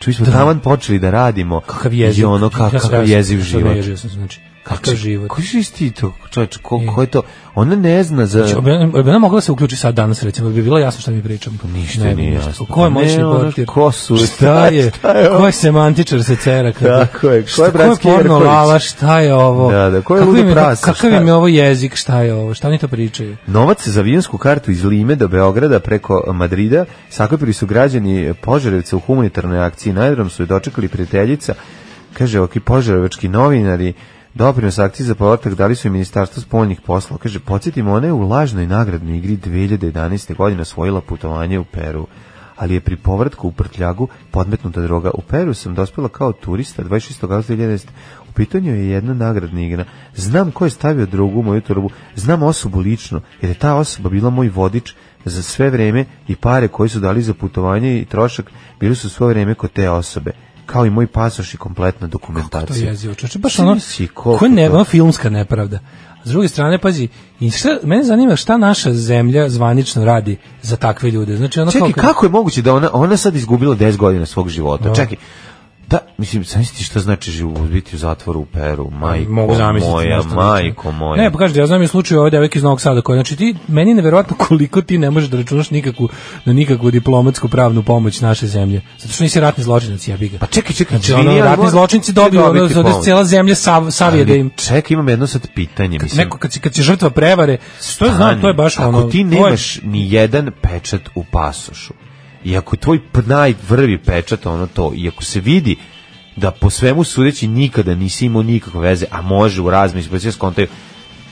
[SPEAKER 6] Čuli smo taman počeli da radimo
[SPEAKER 5] Kakav jeziv.
[SPEAKER 6] i ono ka-
[SPEAKER 5] Ja sam
[SPEAKER 6] kakav
[SPEAKER 5] razmišljao,
[SPEAKER 6] jeziv
[SPEAKER 5] sad
[SPEAKER 6] život.
[SPEAKER 5] naježio sam se, znači, kakav život.
[SPEAKER 6] Koji si ti to, čovječ, ko, ko je to? Ona ne zna za...
[SPEAKER 5] E. Znači, bi ona- bi ona mogla da se uključi sad danas, recimo, bi bilo jasno šta mi pričam.
[SPEAKER 6] Pa Ništa
[SPEAKER 5] Ne bi
[SPEAKER 6] nije
[SPEAKER 5] ništa.
[SPEAKER 6] jasno.
[SPEAKER 5] Ko je
[SPEAKER 6] Ne,
[SPEAKER 5] moćni
[SPEAKER 6] ono,
[SPEAKER 5] portir?
[SPEAKER 6] ko su-
[SPEAKER 5] Šta je?
[SPEAKER 6] šta je ovo?
[SPEAKER 5] Ko je semantičar se cera? kada-
[SPEAKER 6] Tako je, ko
[SPEAKER 5] Šta-
[SPEAKER 6] je bratski
[SPEAKER 5] porno
[SPEAKER 6] Jerković?
[SPEAKER 5] lava? Šta je ovo?
[SPEAKER 6] Da, da, ko je
[SPEAKER 5] Kako
[SPEAKER 6] ludo
[SPEAKER 5] im
[SPEAKER 6] prase?
[SPEAKER 5] Kakav
[SPEAKER 6] Šta
[SPEAKER 5] im
[SPEAKER 6] je?
[SPEAKER 5] je ovo jezik? Šta je ovo? Šta oni to pričaju?
[SPEAKER 6] Novac za avionsku kartu iz Lime do Beograda preko Madrida sakupili su građani Požarevca u humanitarnoj akciji. Na aerodrom su je dočekali prijateljica, kaže oki požarevački novinari, doprinos akciji za povratak dali su i ministarstvo spoljnih poslova. Kaže, podsjetimo, ona je u lažnoj nagradnoj igri 2011. godine osvojila putovanje u Peru ali je pri povratku u prtljagu podmetnuta droga. U Peru sam dospela kao turista 26. augusta 2011. U pitanju je jedna nagradna igra. Znam ko je stavio drogu u moju torbu, znam osobu lično, jer je ta osoba bila moj vodič za sve vreme i pare koje su dali za putovanje i trošak bili su svo vreme kod te osobe kao i moj pasoš i kompletna
[SPEAKER 5] To
[SPEAKER 6] dokumentacija.
[SPEAKER 5] je jezivo. čoveče, baš ono,
[SPEAKER 6] Zamisli koliko
[SPEAKER 5] ko ne,
[SPEAKER 6] to-
[SPEAKER 5] ono filmska nepravda. S druge strane, pazi, i šta, mene zanima šta naša zemlja zvanično radi za takve ljude. Znači, ono
[SPEAKER 6] Čekaj,
[SPEAKER 5] kao-
[SPEAKER 6] kako je moguće da ona ona sad izgubila 10 godina svog života? Čekaj. Da, mislim, sam ti šta znači živo biti u zatvoru u Peru, majko
[SPEAKER 5] mogu zamisliti
[SPEAKER 6] moja,
[SPEAKER 5] nešto
[SPEAKER 6] majko
[SPEAKER 5] slično.
[SPEAKER 6] moja.
[SPEAKER 5] Ne, pa kažete, ja znam i slučaj ovdje devojke iz Novog Sada koja, znači ti, meni je neverovatno koliko ti ne možeš da računaš nikakvu, na nikakvu diplomatsku pravnu pomoć naše zemlje. Zato što nisi ratni zločinac, ja ga.
[SPEAKER 6] Pa čekaj, čekaj,
[SPEAKER 5] Znači,
[SPEAKER 6] izvini,
[SPEAKER 5] ono,
[SPEAKER 6] ali
[SPEAKER 5] ratni
[SPEAKER 6] moram-
[SPEAKER 5] zločinci
[SPEAKER 6] ću
[SPEAKER 5] dobiju, ono,
[SPEAKER 6] dobiti
[SPEAKER 5] ovdje
[SPEAKER 6] pomoć.
[SPEAKER 5] cijela zemlja sav, savije da
[SPEAKER 6] Ali,
[SPEAKER 5] im...
[SPEAKER 6] Čekaj, imam jedno sad pitanje, mislim.
[SPEAKER 5] Neko, kad, si- kad si žrtva prevare, to je, znam, to je baš
[SPEAKER 6] Ako
[SPEAKER 5] ono...
[SPEAKER 6] ti
[SPEAKER 5] to je-
[SPEAKER 6] nemaš ni jedan pečat u pasošu, i ako je tvoj p- najvrvi pečat, ono to, i ako se vidi da po svemu sudeći nikada nisi imao nikakve veze, a može u razmisli, pa se skontaju,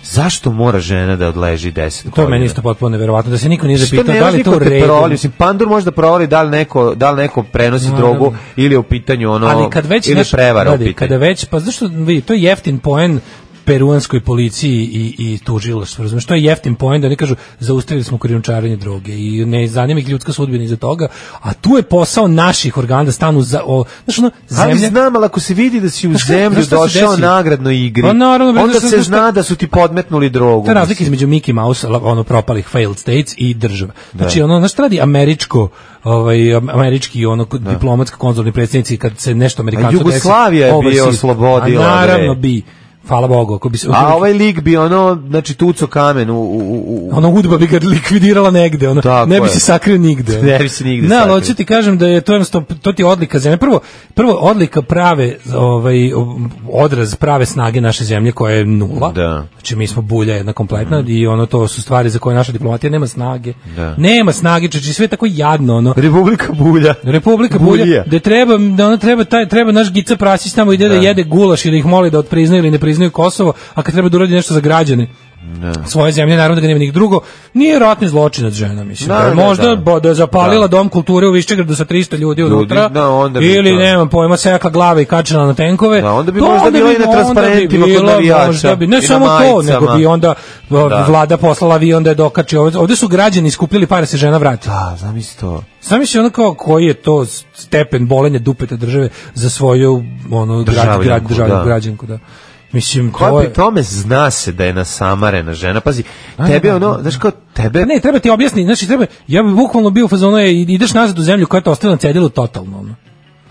[SPEAKER 6] Zašto mora žena da odleži 10 godina?
[SPEAKER 5] To je meni isto potpuno neverovatno da se niko nije
[SPEAKER 6] Što
[SPEAKER 5] zapitao
[SPEAKER 6] ne
[SPEAKER 5] da
[SPEAKER 6] znaš
[SPEAKER 5] li je to
[SPEAKER 6] niko
[SPEAKER 5] u
[SPEAKER 6] te
[SPEAKER 5] redu.
[SPEAKER 6] provali? Mislim, pandur može da provali da li neko, da li neko prenosi
[SPEAKER 5] Ma,
[SPEAKER 6] drogu
[SPEAKER 5] da.
[SPEAKER 6] ili je u pitanju ono,
[SPEAKER 5] ali kad već
[SPEAKER 6] ili
[SPEAKER 5] znaš,
[SPEAKER 6] prevara u
[SPEAKER 5] gledaj,
[SPEAKER 6] pitanju.
[SPEAKER 5] kada već pa zašto vidi to je jeftin poen peruanskoj policiji i i tužilaštvu razumeš to je jeftin poen da ne kažu zaustavili smo krijumčarenje droge i ne zanima ih ljudska sudbina iza toga a tu je posao naših organa da stanu za o znaš ono
[SPEAKER 6] Ali
[SPEAKER 5] zemlja
[SPEAKER 6] znam, ali ako se vidi da si u
[SPEAKER 5] Znaš šta-
[SPEAKER 6] zemlju
[SPEAKER 5] znaš šta se
[SPEAKER 6] došao
[SPEAKER 5] desi?
[SPEAKER 6] nagradno igri,
[SPEAKER 5] Pa naravno, bre,
[SPEAKER 6] onda
[SPEAKER 5] znaš
[SPEAKER 6] se
[SPEAKER 5] šta-
[SPEAKER 6] zna da su ti podmetnuli drogu.
[SPEAKER 5] To je razlika između Mickey Mouse, la- ono propalih failed states i država. Znači ono znaš šta radi američko, ovaj am- američki ono ko- diplomatsko konzulni predstavnici kad se nešto Amerikancu desi.
[SPEAKER 6] Jugoslavija je bio
[SPEAKER 5] overseas.
[SPEAKER 6] oslobodila,
[SPEAKER 5] A Naravno
[SPEAKER 6] bre.
[SPEAKER 5] bi. Hvala Bogu, ako bi se
[SPEAKER 6] A ovaj lik bi ono, znači tuco kamen u, u, u, u
[SPEAKER 5] ono udba bi ga likvidirala negde, ono,
[SPEAKER 6] Tako
[SPEAKER 5] ne bi
[SPEAKER 6] je.
[SPEAKER 5] se sakrio nigde. ono.
[SPEAKER 6] Ne bi se nigde
[SPEAKER 5] Ne, ali
[SPEAKER 6] sakrio.
[SPEAKER 5] hoću ti kažem da je to jednostavno, to ti je odlika zemlje. Prvo, prvo odlika prave, ovaj, odraz prave snage naše zemlje koja je nula.
[SPEAKER 6] Da.
[SPEAKER 5] Znači mi smo bulja jedna kompletna i ono to su stvari za koje naša diplomatija nema snage.
[SPEAKER 6] Da.
[SPEAKER 5] Nema snage, znači sve je tako jadno, ono.
[SPEAKER 6] Republika Bulja.
[SPEAKER 5] Republika Bulja,
[SPEAKER 6] Bulje.
[SPEAKER 5] da treba, da ona treba, taj, treba naš Gica Prasić tamo ide da. jede gulaš i da ih moli da otpriznaju ili ne priznaju Kosovo, a kad treba da uradi nešto za građane svoje zemlje, naravno da ga nema nik drugo, nije ratni zločinac žena, mislim. Da,
[SPEAKER 6] Naravno,
[SPEAKER 5] možda
[SPEAKER 6] da.
[SPEAKER 5] bo- da je zapalila
[SPEAKER 6] Da.
[SPEAKER 5] dom kulture u Višćegradu sa 300 ljudi unutra,
[SPEAKER 6] da, onda bi
[SPEAKER 5] ili
[SPEAKER 6] to-
[SPEAKER 5] nemam pojma, sekla glave i kačila na tenkove.
[SPEAKER 6] Da, onda bi
[SPEAKER 5] to
[SPEAKER 6] možda bila i na
[SPEAKER 5] onda bi
[SPEAKER 6] transparentima kod
[SPEAKER 5] bila,
[SPEAKER 6] navijača
[SPEAKER 5] možda bi-
[SPEAKER 6] i
[SPEAKER 5] ne
[SPEAKER 6] na
[SPEAKER 5] samo to,
[SPEAKER 6] majicama.
[SPEAKER 5] nego bi onda o,
[SPEAKER 6] Da.
[SPEAKER 5] vlada poslala avion da je dokači. Ovde, ovde su građani skupljali pare se žena vrati.
[SPEAKER 6] Da, zamisli to.
[SPEAKER 5] Sam ono kao koji je to stepen bolenja dupeta države za svoju ono grad,
[SPEAKER 6] Državljanku,
[SPEAKER 5] grad, državljanku,
[SPEAKER 6] da.
[SPEAKER 5] građanku, da. Mislim,
[SPEAKER 6] Koja
[SPEAKER 5] to je...
[SPEAKER 6] pri tome zna se da je nasamarena žena. Pazi, tebe
[SPEAKER 5] da,
[SPEAKER 6] ono,
[SPEAKER 5] da.
[SPEAKER 6] znaš kao, tebe...
[SPEAKER 5] Pa Ne, treba ti objasniti, znači treba, ja bih bukvalno bio u fazonu, je, ideš nazad u zemlju koja te ostavila na cedilu totalno, ono.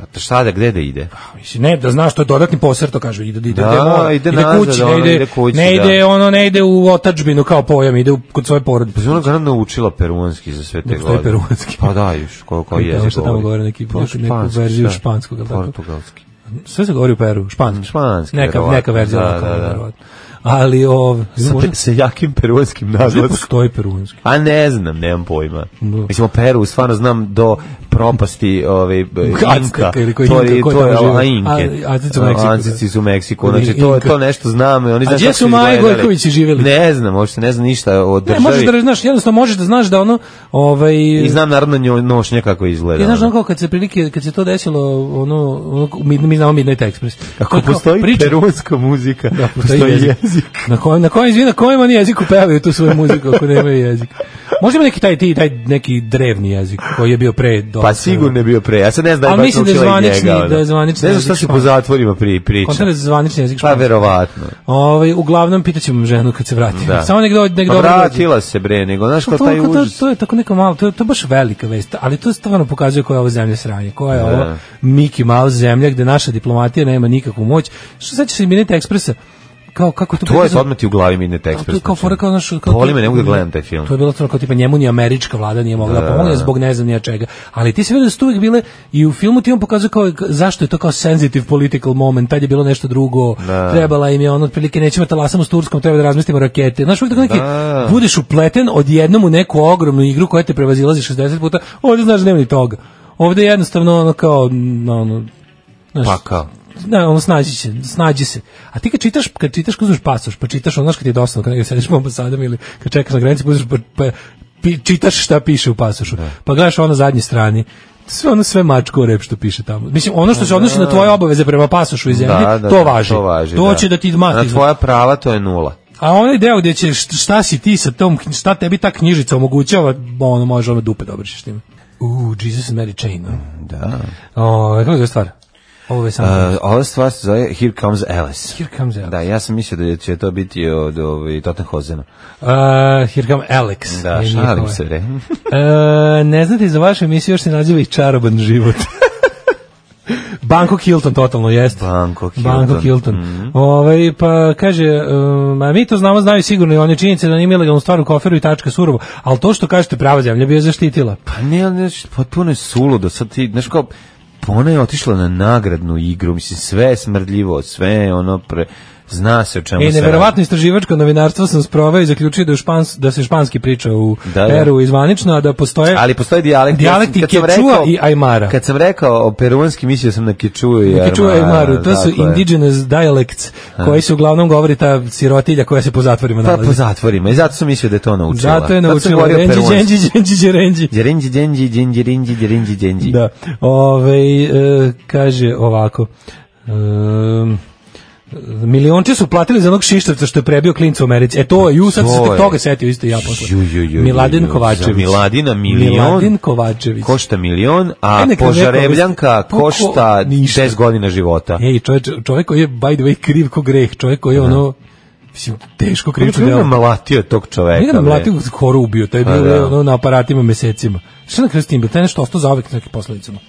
[SPEAKER 6] A Pa Šta da, gde da ide?
[SPEAKER 5] Mislim, ne, da znaš, to je dodatni posjer, to kaže, ide, ide,
[SPEAKER 6] Da,
[SPEAKER 5] mora,
[SPEAKER 6] ide nazad,
[SPEAKER 5] kući, ne
[SPEAKER 6] ono,
[SPEAKER 5] ide,
[SPEAKER 6] ide kući,
[SPEAKER 5] ne
[SPEAKER 6] da.
[SPEAKER 5] ide, ono, ne ide u otačbinu kao pojam, ide u, kod svoje porodice.
[SPEAKER 6] Pazi, ona ga naučila peruanski za sve te
[SPEAKER 5] Ne postoji
[SPEAKER 6] godine.
[SPEAKER 5] peruanski.
[SPEAKER 6] Pa da, još, ko, ko
[SPEAKER 5] Koji
[SPEAKER 6] je
[SPEAKER 5] tamo što tamo govore neki- neku- neku verziju španskog, jel tako?
[SPEAKER 6] Portugalski.
[SPEAKER 5] Pa Sve se govori u Peru, španski.
[SPEAKER 6] Španski,
[SPEAKER 5] Neka,
[SPEAKER 6] verovatno.
[SPEAKER 5] neka verzija,
[SPEAKER 6] Da,
[SPEAKER 5] lokalna,
[SPEAKER 6] da, da.
[SPEAKER 5] verovatno. Ali, ov,
[SPEAKER 6] Sa,
[SPEAKER 5] možda,
[SPEAKER 6] pe- sa jakim peruanskim
[SPEAKER 5] možda
[SPEAKER 6] naglaskom.
[SPEAKER 5] postoji peruanski.
[SPEAKER 6] A ne znam, nemam pojma.
[SPEAKER 5] Da.
[SPEAKER 6] Mislim, o Peru stvarno znam do propasti ove, b- Inka.
[SPEAKER 5] Azteka ili koji
[SPEAKER 6] to
[SPEAKER 5] Inka,
[SPEAKER 6] je,
[SPEAKER 5] ko je
[SPEAKER 6] to je
[SPEAKER 5] tamo živio?
[SPEAKER 6] a, Inke.
[SPEAKER 5] A- Azteci u Meksiku, da.
[SPEAKER 6] Azteci su u Meksiku.
[SPEAKER 5] Ili
[SPEAKER 6] Znači, to,
[SPEAKER 5] Inka.
[SPEAKER 6] to nešto znam. i Oni
[SPEAKER 5] A
[SPEAKER 6] znaju
[SPEAKER 5] gdje
[SPEAKER 6] kako
[SPEAKER 5] su Maja
[SPEAKER 6] izgledali.
[SPEAKER 5] Gojković živjeli?
[SPEAKER 6] Ne znam, uopšte ne znam ništa o
[SPEAKER 5] Ne,
[SPEAKER 6] državi.
[SPEAKER 5] možeš da znaš, jednostavno možeš da znaš da ono, ovaj...
[SPEAKER 6] I znam naravno njo- nošnje kako izgleda.
[SPEAKER 5] Ja znaš ono
[SPEAKER 6] ono.
[SPEAKER 5] kao kad se prilike kad se to desilo ono ono mi, mi znamo Midnight Express.
[SPEAKER 6] Ako
[SPEAKER 5] Kad kao
[SPEAKER 6] postoji
[SPEAKER 5] priča-
[SPEAKER 6] perunska muzika,
[SPEAKER 5] Da,
[SPEAKER 6] postoji, jezik.
[SPEAKER 5] Na kojem na kojem izvi- na kojem oni jeziku pevaju tu svoju muziku ako nemaju jezik. Možda ima neki taj ti taj neki drevni jezik koji je bio pre do.
[SPEAKER 6] Pa sigurno je bio pre. Ja sad ne znam
[SPEAKER 5] Ali
[SPEAKER 6] baš
[SPEAKER 5] mislim da je
[SPEAKER 6] naučila i
[SPEAKER 5] zvanični-
[SPEAKER 6] njega, ono.
[SPEAKER 5] da je zvanični
[SPEAKER 6] Ne znam šta
[SPEAKER 5] jezik
[SPEAKER 6] se po
[SPEAKER 5] Španije.
[SPEAKER 6] zatvorima pri, priča.
[SPEAKER 5] Kontra za zvanični jezik.
[SPEAKER 6] Pa verovatno.
[SPEAKER 5] Ovaj uglavnom pitaćemo ženu kad se vrati.
[SPEAKER 6] Da.
[SPEAKER 5] Samo nek dođe nek
[SPEAKER 6] Pa
[SPEAKER 5] dobro dođe. Pa
[SPEAKER 6] vratila se bre, nego znaš kao
[SPEAKER 5] to,
[SPEAKER 6] taj
[SPEAKER 5] to,
[SPEAKER 6] užas.
[SPEAKER 5] to je tako neka malo, to je, to je baš velika vest, ali to stvarno pokazuje koja je ovo zemlja sranje, koja je ovo Mickey Mouse zemlja gde naša diplomatija nema nikakvu moć. Što sećaš se Minute Ekspresa? Kao, kako je to
[SPEAKER 6] To je
[SPEAKER 5] prikazano?
[SPEAKER 6] odmah ti u glavi Midnight
[SPEAKER 5] A To je
[SPEAKER 6] Express.
[SPEAKER 5] kao fora kao znaš, kao
[SPEAKER 6] Boli me, ne mogu da gledam taj film.
[SPEAKER 5] To je bilo to kao tipa njemu ni američka vlada nije mogla da, pomogne zbog ne znam ni ja čega. Ali ti se vidio da su tu uvijek bile i u filmu ti on pokazuje kao zašto je to kao sensitive political moment, tad je bilo nešto drugo. Trebala im je ono otprilike nećemo talasamo s Turskom, treba da razmislimo rakete. Znaš, uvijek tako neki budeš upleten odjednom u neku ogromnu igru koja te prevazilazi 60 puta. Ovdje znaš da nema ni toga. Ovdje jednostavno ono kao mm, ono znaš,
[SPEAKER 6] Pa kao.
[SPEAKER 5] ne, ono snađi se, snađi se. A ti kad čitaš, kad čitaš, kad uzmeš pasoš, pa čitaš ono, znaš kad je dosadno, kad negdje sediš u ambasadama ili kad čekaš na granici, pa, uzmeš, pa, pa pi- čitaš šta piše u pasošu, pa gledaš ono na zadnjoj strani, sve ono sve mačko u rep što piše tamo. Mislim, ono
[SPEAKER 6] Pa
[SPEAKER 5] što se odnosi na tvoje obaveze prema pasošu i zemlji, to važi.
[SPEAKER 6] To važi,
[SPEAKER 5] To će da ti
[SPEAKER 6] Na
[SPEAKER 5] mati.
[SPEAKER 6] tvoja prava to je nula.
[SPEAKER 5] A onaj deo gdje će št- šta si ti sa tom, knji- šta tebi ta knjižica omogućava, ono može ono dupe dobrišiš tim. Uuu, Jesus and Mary Chain. no.
[SPEAKER 6] Da.
[SPEAKER 5] O, kako je zove stvar? Ovo je samo...
[SPEAKER 6] Uh, ova stvar se zove Here Comes Alice.
[SPEAKER 5] Here comes Alice.
[SPEAKER 6] Da, ja sam mislio da će to biti od ovaj, Tottenhozena.
[SPEAKER 5] Uh, here come Alex.
[SPEAKER 6] Da,
[SPEAKER 5] Je
[SPEAKER 6] šalim
[SPEAKER 5] njihova.
[SPEAKER 6] se, re.
[SPEAKER 5] E, ne znate za vašu emisiju još se naziva i čaroban život. Bangkok Hilton totalno jeste.
[SPEAKER 6] Bangkok Hilton. mhm.
[SPEAKER 5] Bangkok Hilton. Ovaj, pa kaže, um, a mi to znamo, znaju sigurno i one činjenice da nije ilegalnu stvar u koferu i tačka surovo, ali to što kažete prava zemlja bi je zaštitila.
[SPEAKER 6] Pa ne, ali znaš, potpuno je suludo. Sad ti, znaš kao, pa ona je otišla na nagradnu igru, mislim, sve je smrdljivo, sve je ono pre... Zna se o čemu
[SPEAKER 5] E,
[SPEAKER 6] se radi.
[SPEAKER 5] neverovatno istraživačko novinarstvo sam sproveo i zaključio da, je špans, da se španski priča u
[SPEAKER 6] Da, da.
[SPEAKER 5] Peru izvanično, a da postoje...
[SPEAKER 6] Ali postoji dijalekt.
[SPEAKER 5] Dijalekti
[SPEAKER 6] Kad sam
[SPEAKER 5] Kečua
[SPEAKER 6] rekao-
[SPEAKER 5] i Ajmara.
[SPEAKER 6] Kad sam rekao o peruanski, mislio sam na Kečuju i
[SPEAKER 5] Neki čuje
[SPEAKER 6] Ajmara,
[SPEAKER 5] Maru, to su
[SPEAKER 6] tako je.
[SPEAKER 5] indigenous dialects, koji se uglavnom govori ta sirotilja koja se po zatvorima
[SPEAKER 6] Pa po
[SPEAKER 5] nalazi.
[SPEAKER 6] zatvorima, i zato sam mislio da je to naučila.
[SPEAKER 5] Zato je
[SPEAKER 6] Zato sam
[SPEAKER 5] naučila
[SPEAKER 6] govorio
[SPEAKER 5] Renđi,
[SPEAKER 6] peruanski.
[SPEAKER 5] Đenđi, Đenđi, Đerenđi.
[SPEAKER 6] Đerinđi, đenđi, đenđi, rinđi, đerinđi, đenđi.
[SPEAKER 5] Da. Ove, e, kaže ovako. Um, Milionče su platili za onog Šištavca što je prebio klinca u Americi. E to je, ju sad
[SPEAKER 6] To
[SPEAKER 5] se
[SPEAKER 6] je.
[SPEAKER 5] tek toga setio isto ja posle.
[SPEAKER 6] Ju, ju, ju, ju,
[SPEAKER 5] Miladin
[SPEAKER 6] ju, za
[SPEAKER 5] Kovačević.
[SPEAKER 6] Miladina milion.
[SPEAKER 5] Miladin Kovačević.
[SPEAKER 6] Košta milion,
[SPEAKER 5] E,
[SPEAKER 6] a
[SPEAKER 5] neka
[SPEAKER 6] požarebljanka
[SPEAKER 5] neko- ko- ko-
[SPEAKER 6] košta
[SPEAKER 5] ništa.
[SPEAKER 6] 10 godina života.
[SPEAKER 5] Ej, čovjek, čovjek koji je, by the way, kriv ko greh. Čovjek koji je ono, mislim, teško krivično
[SPEAKER 6] Kako je
[SPEAKER 5] delo.
[SPEAKER 6] namlatio tog čoveka?
[SPEAKER 5] Nije nam
[SPEAKER 6] bre?
[SPEAKER 5] mlatio skoro ubio, to je
[SPEAKER 6] Pa
[SPEAKER 5] bilo
[SPEAKER 6] da.
[SPEAKER 5] ono, na aparatima mesecima. Šta na kraju s tim bilo? To je nešto ostao zaovek s nekim posledicama.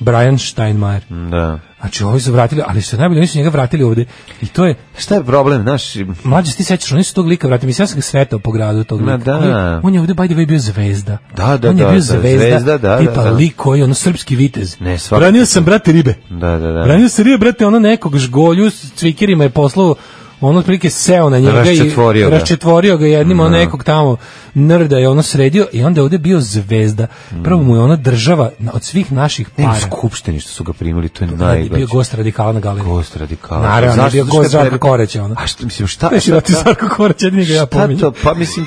[SPEAKER 5] Brian Steinmeier.
[SPEAKER 6] Da.
[SPEAKER 5] Znači, ovi su vratili, ali što je najbolje, oni su njega vratili ovde. I to je,
[SPEAKER 6] Šta je problem, znaš,
[SPEAKER 5] mlađe se ti sećaš, oni su tog lika vratili. Mislim, ja sam ga sretao po gradu tog
[SPEAKER 6] Ma
[SPEAKER 5] lika.
[SPEAKER 6] da.
[SPEAKER 5] On je, on je ovde, by the way, bio zvezda.
[SPEAKER 6] Da, da,
[SPEAKER 5] on je
[SPEAKER 6] da,
[SPEAKER 5] bio
[SPEAKER 6] da,
[SPEAKER 5] zvezda,
[SPEAKER 6] zvezda, da,
[SPEAKER 5] tipa
[SPEAKER 6] da, da.
[SPEAKER 5] lik koji je ono srpski vitez.
[SPEAKER 6] Ne, svakako.
[SPEAKER 5] Branio sam, brate, ribe.
[SPEAKER 6] Da, da, da.
[SPEAKER 5] Branio sam ribe, brate, ono nekog žgolju s cvikirima je poslao ono otprilike seo na njega
[SPEAKER 6] Raščetvorio
[SPEAKER 5] i
[SPEAKER 6] ga.
[SPEAKER 5] raščetvorio ga jednim ono nekog tamo nerda je ono sredio i onda je ovde bio zvezda.
[SPEAKER 6] Mm.
[SPEAKER 5] Prvo mu je ona država na- od svih naših
[SPEAKER 6] ne, u
[SPEAKER 5] para.
[SPEAKER 6] skupštini što su ga primili, to je
[SPEAKER 5] Tad je bio
[SPEAKER 6] najgleđe.
[SPEAKER 5] gost radikala na galeriji.
[SPEAKER 6] Gost radikala.
[SPEAKER 5] Naravno,
[SPEAKER 6] Zašto?
[SPEAKER 5] je bio
[SPEAKER 6] Zato što
[SPEAKER 5] gost
[SPEAKER 6] je
[SPEAKER 5] Žarka
[SPEAKER 6] pre-
[SPEAKER 5] Koreća, ono.
[SPEAKER 6] A što, mislim, šta?
[SPEAKER 5] Znaš,
[SPEAKER 6] šta-
[SPEAKER 5] ja ti Sarko Korać, jedini ga ja
[SPEAKER 6] šta
[SPEAKER 5] pominjem.
[SPEAKER 6] to, pa mislim,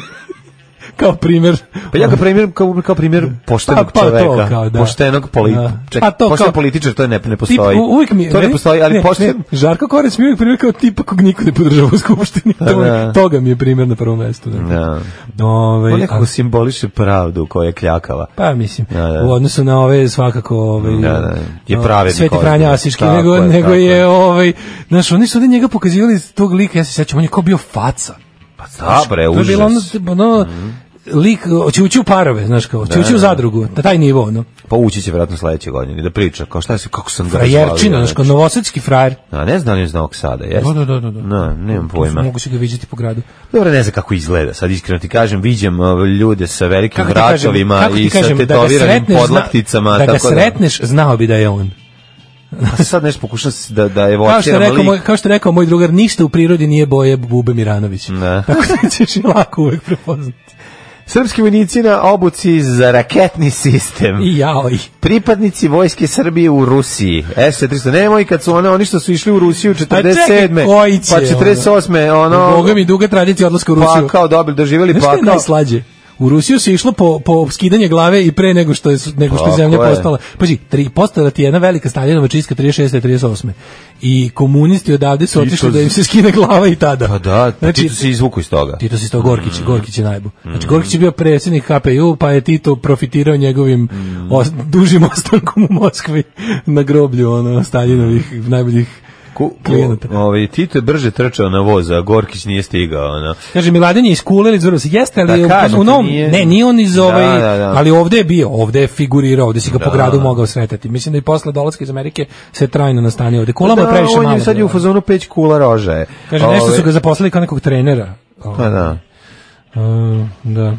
[SPEAKER 5] Kao primjer.
[SPEAKER 6] Pa ja ga primjer kao, kao primjer poštenog
[SPEAKER 5] Pa- pa to
[SPEAKER 6] čoveka.
[SPEAKER 5] kao, da.
[SPEAKER 6] Poštenog poli...
[SPEAKER 5] Da.
[SPEAKER 6] Ček,
[SPEAKER 5] Pa to
[SPEAKER 6] pošten
[SPEAKER 5] kao-
[SPEAKER 6] političar, to ne, ne
[SPEAKER 5] Tip,
[SPEAKER 6] postoji.
[SPEAKER 5] u- uvijek mi,
[SPEAKER 6] to ne
[SPEAKER 5] meni-
[SPEAKER 6] postoji, ali pošten...
[SPEAKER 5] ne, Žarko Korać mi je uvijek primjer kao tipa kog niko ne podržava u skupštini. To,
[SPEAKER 6] Pa da.
[SPEAKER 5] Toga mi je primjer na prvom mestu. Da.
[SPEAKER 6] Da.
[SPEAKER 5] Ovaj,
[SPEAKER 6] On nekako
[SPEAKER 5] a-
[SPEAKER 6] simboliše pravdu koja je kljakava.
[SPEAKER 5] Pa mislim,
[SPEAKER 6] Da, da.
[SPEAKER 5] u odnosu na ove svakako ove,
[SPEAKER 6] Da, da, je
[SPEAKER 5] o,
[SPEAKER 6] pravednik
[SPEAKER 5] Sveti
[SPEAKER 6] ovaj,
[SPEAKER 5] Franja Asiški,
[SPEAKER 6] tako
[SPEAKER 5] nego,
[SPEAKER 6] je,
[SPEAKER 5] nego
[SPEAKER 6] tako
[SPEAKER 5] je,
[SPEAKER 6] je.
[SPEAKER 5] ovaj, znaš, oni su ovde njega pokazivali iz tog lika, ja se sjećam, on je kao bio faca.
[SPEAKER 6] Pa da, bre,
[SPEAKER 5] To je
[SPEAKER 6] užas. Mhm.
[SPEAKER 5] bilo ono, ono lik, hoće ući u parove, znaš kao, hoće ući u zadrugu, na taj nivo, ono,
[SPEAKER 6] Pa ući će vjerojatno sledeće godine i da priča, kao šta se, kako sam ga
[SPEAKER 5] frajerčina,
[SPEAKER 6] razvalio,
[SPEAKER 5] znaš kao,
[SPEAKER 6] znači.
[SPEAKER 5] novosadski frajer.
[SPEAKER 6] A ne znam li iz Novog Sada, jeste?
[SPEAKER 5] Da, da, da, da, da.
[SPEAKER 6] No, nemam
[SPEAKER 5] To su-
[SPEAKER 6] pojma.
[SPEAKER 5] Mogu se ga vidjeti po gradu.
[SPEAKER 6] Dobro, ne znam kako izgleda, sad iskreno ti kažem, viđem ove, ljude sa velikim
[SPEAKER 5] ti kažem,
[SPEAKER 6] vratovima
[SPEAKER 5] kako ti
[SPEAKER 6] i sa
[SPEAKER 5] kažem, da ga
[SPEAKER 6] tetoviranim
[SPEAKER 5] sretneš, zna-
[SPEAKER 6] podlakticama,
[SPEAKER 5] Da ga
[SPEAKER 6] tako da,
[SPEAKER 5] sretneš, znao bi da je on.
[SPEAKER 6] Pa sad nešto pokušam s- da, da
[SPEAKER 5] Kao što, je
[SPEAKER 6] evociram
[SPEAKER 5] rekao
[SPEAKER 6] lik.
[SPEAKER 5] moj, kao što je rekao moj drugar, ništa u prirodi nije boje Bube Miranović.
[SPEAKER 6] Da.
[SPEAKER 5] Tako da ćeš je lako uvek prepoznati.
[SPEAKER 6] Srpski vojnici na obuci za raketni sistem.
[SPEAKER 5] I jao i.
[SPEAKER 6] Pripadnici vojske Srbije u Rusiji. E, S-400, nemoj kad su one, oni što su išli u Rusiju
[SPEAKER 5] A Pa čekaj,
[SPEAKER 6] 47.
[SPEAKER 5] koji će, ono?
[SPEAKER 6] pa 48. ono,
[SPEAKER 5] Boga mi duga tradicija odlaska u
[SPEAKER 6] pa
[SPEAKER 5] Rusiju.
[SPEAKER 6] kao dobili, doživjeli
[SPEAKER 5] Znaš
[SPEAKER 6] pa
[SPEAKER 5] što je
[SPEAKER 6] kao.
[SPEAKER 5] najslađe? U Rusiju se išlo po, po skidanje glave i pre nego što je, nego što je
[SPEAKER 6] Tako
[SPEAKER 5] zemlja
[SPEAKER 6] je.
[SPEAKER 5] postala. Pazi, tri, postala ti je jedna velika Staljinova čistka 36. i 38. I komunisti odavde su
[SPEAKER 6] Tito
[SPEAKER 5] otišli da im
[SPEAKER 6] z-
[SPEAKER 5] se skine glava i tada.
[SPEAKER 6] Pa da, pa
[SPEAKER 5] znači,
[SPEAKER 6] Tito se izvuku iz toga.
[SPEAKER 5] Tito si to
[SPEAKER 6] Mm.
[SPEAKER 5] Gorkić, Gorkić je najbu. Znači, Gorkić je bio predsjednik HPU, pa je Tito profitirao njegovim
[SPEAKER 6] Mm.
[SPEAKER 5] os- dužim ostankom u Moskvi na groblju ono, Staljinovih najboljih
[SPEAKER 6] Ku,
[SPEAKER 5] klijenata.
[SPEAKER 6] ku, ovaj, Tito je brže trčao na voz, a Gorkić nije stigao. Ono.
[SPEAKER 5] Kaže Miladin je iz Kule ili iz Vrsa. Jeste, ali
[SPEAKER 6] Da,
[SPEAKER 5] je u-
[SPEAKER 6] kažem
[SPEAKER 5] u
[SPEAKER 6] ti,
[SPEAKER 5] novom,
[SPEAKER 6] nije-
[SPEAKER 5] ne, nije on iz
[SPEAKER 6] Da,
[SPEAKER 5] ovaj,
[SPEAKER 6] da, da.
[SPEAKER 5] ali ovde je bio, ovde je figurirao, ovde si ga po
[SPEAKER 6] Da.
[SPEAKER 5] gradu mogao sretati. Mislim da i posle dolaska iz Amerike se trajno nastanio ovde. Kula mu je
[SPEAKER 6] Da,
[SPEAKER 5] previše
[SPEAKER 6] on
[SPEAKER 5] malo.
[SPEAKER 6] je sad je u
[SPEAKER 5] bila.
[SPEAKER 6] fazonu peć kula roža je.
[SPEAKER 5] Kaže, nešto
[SPEAKER 6] Ovaj,
[SPEAKER 5] su ga zaposlili kao nekog trenera.
[SPEAKER 6] Pa da.
[SPEAKER 5] Uh, da.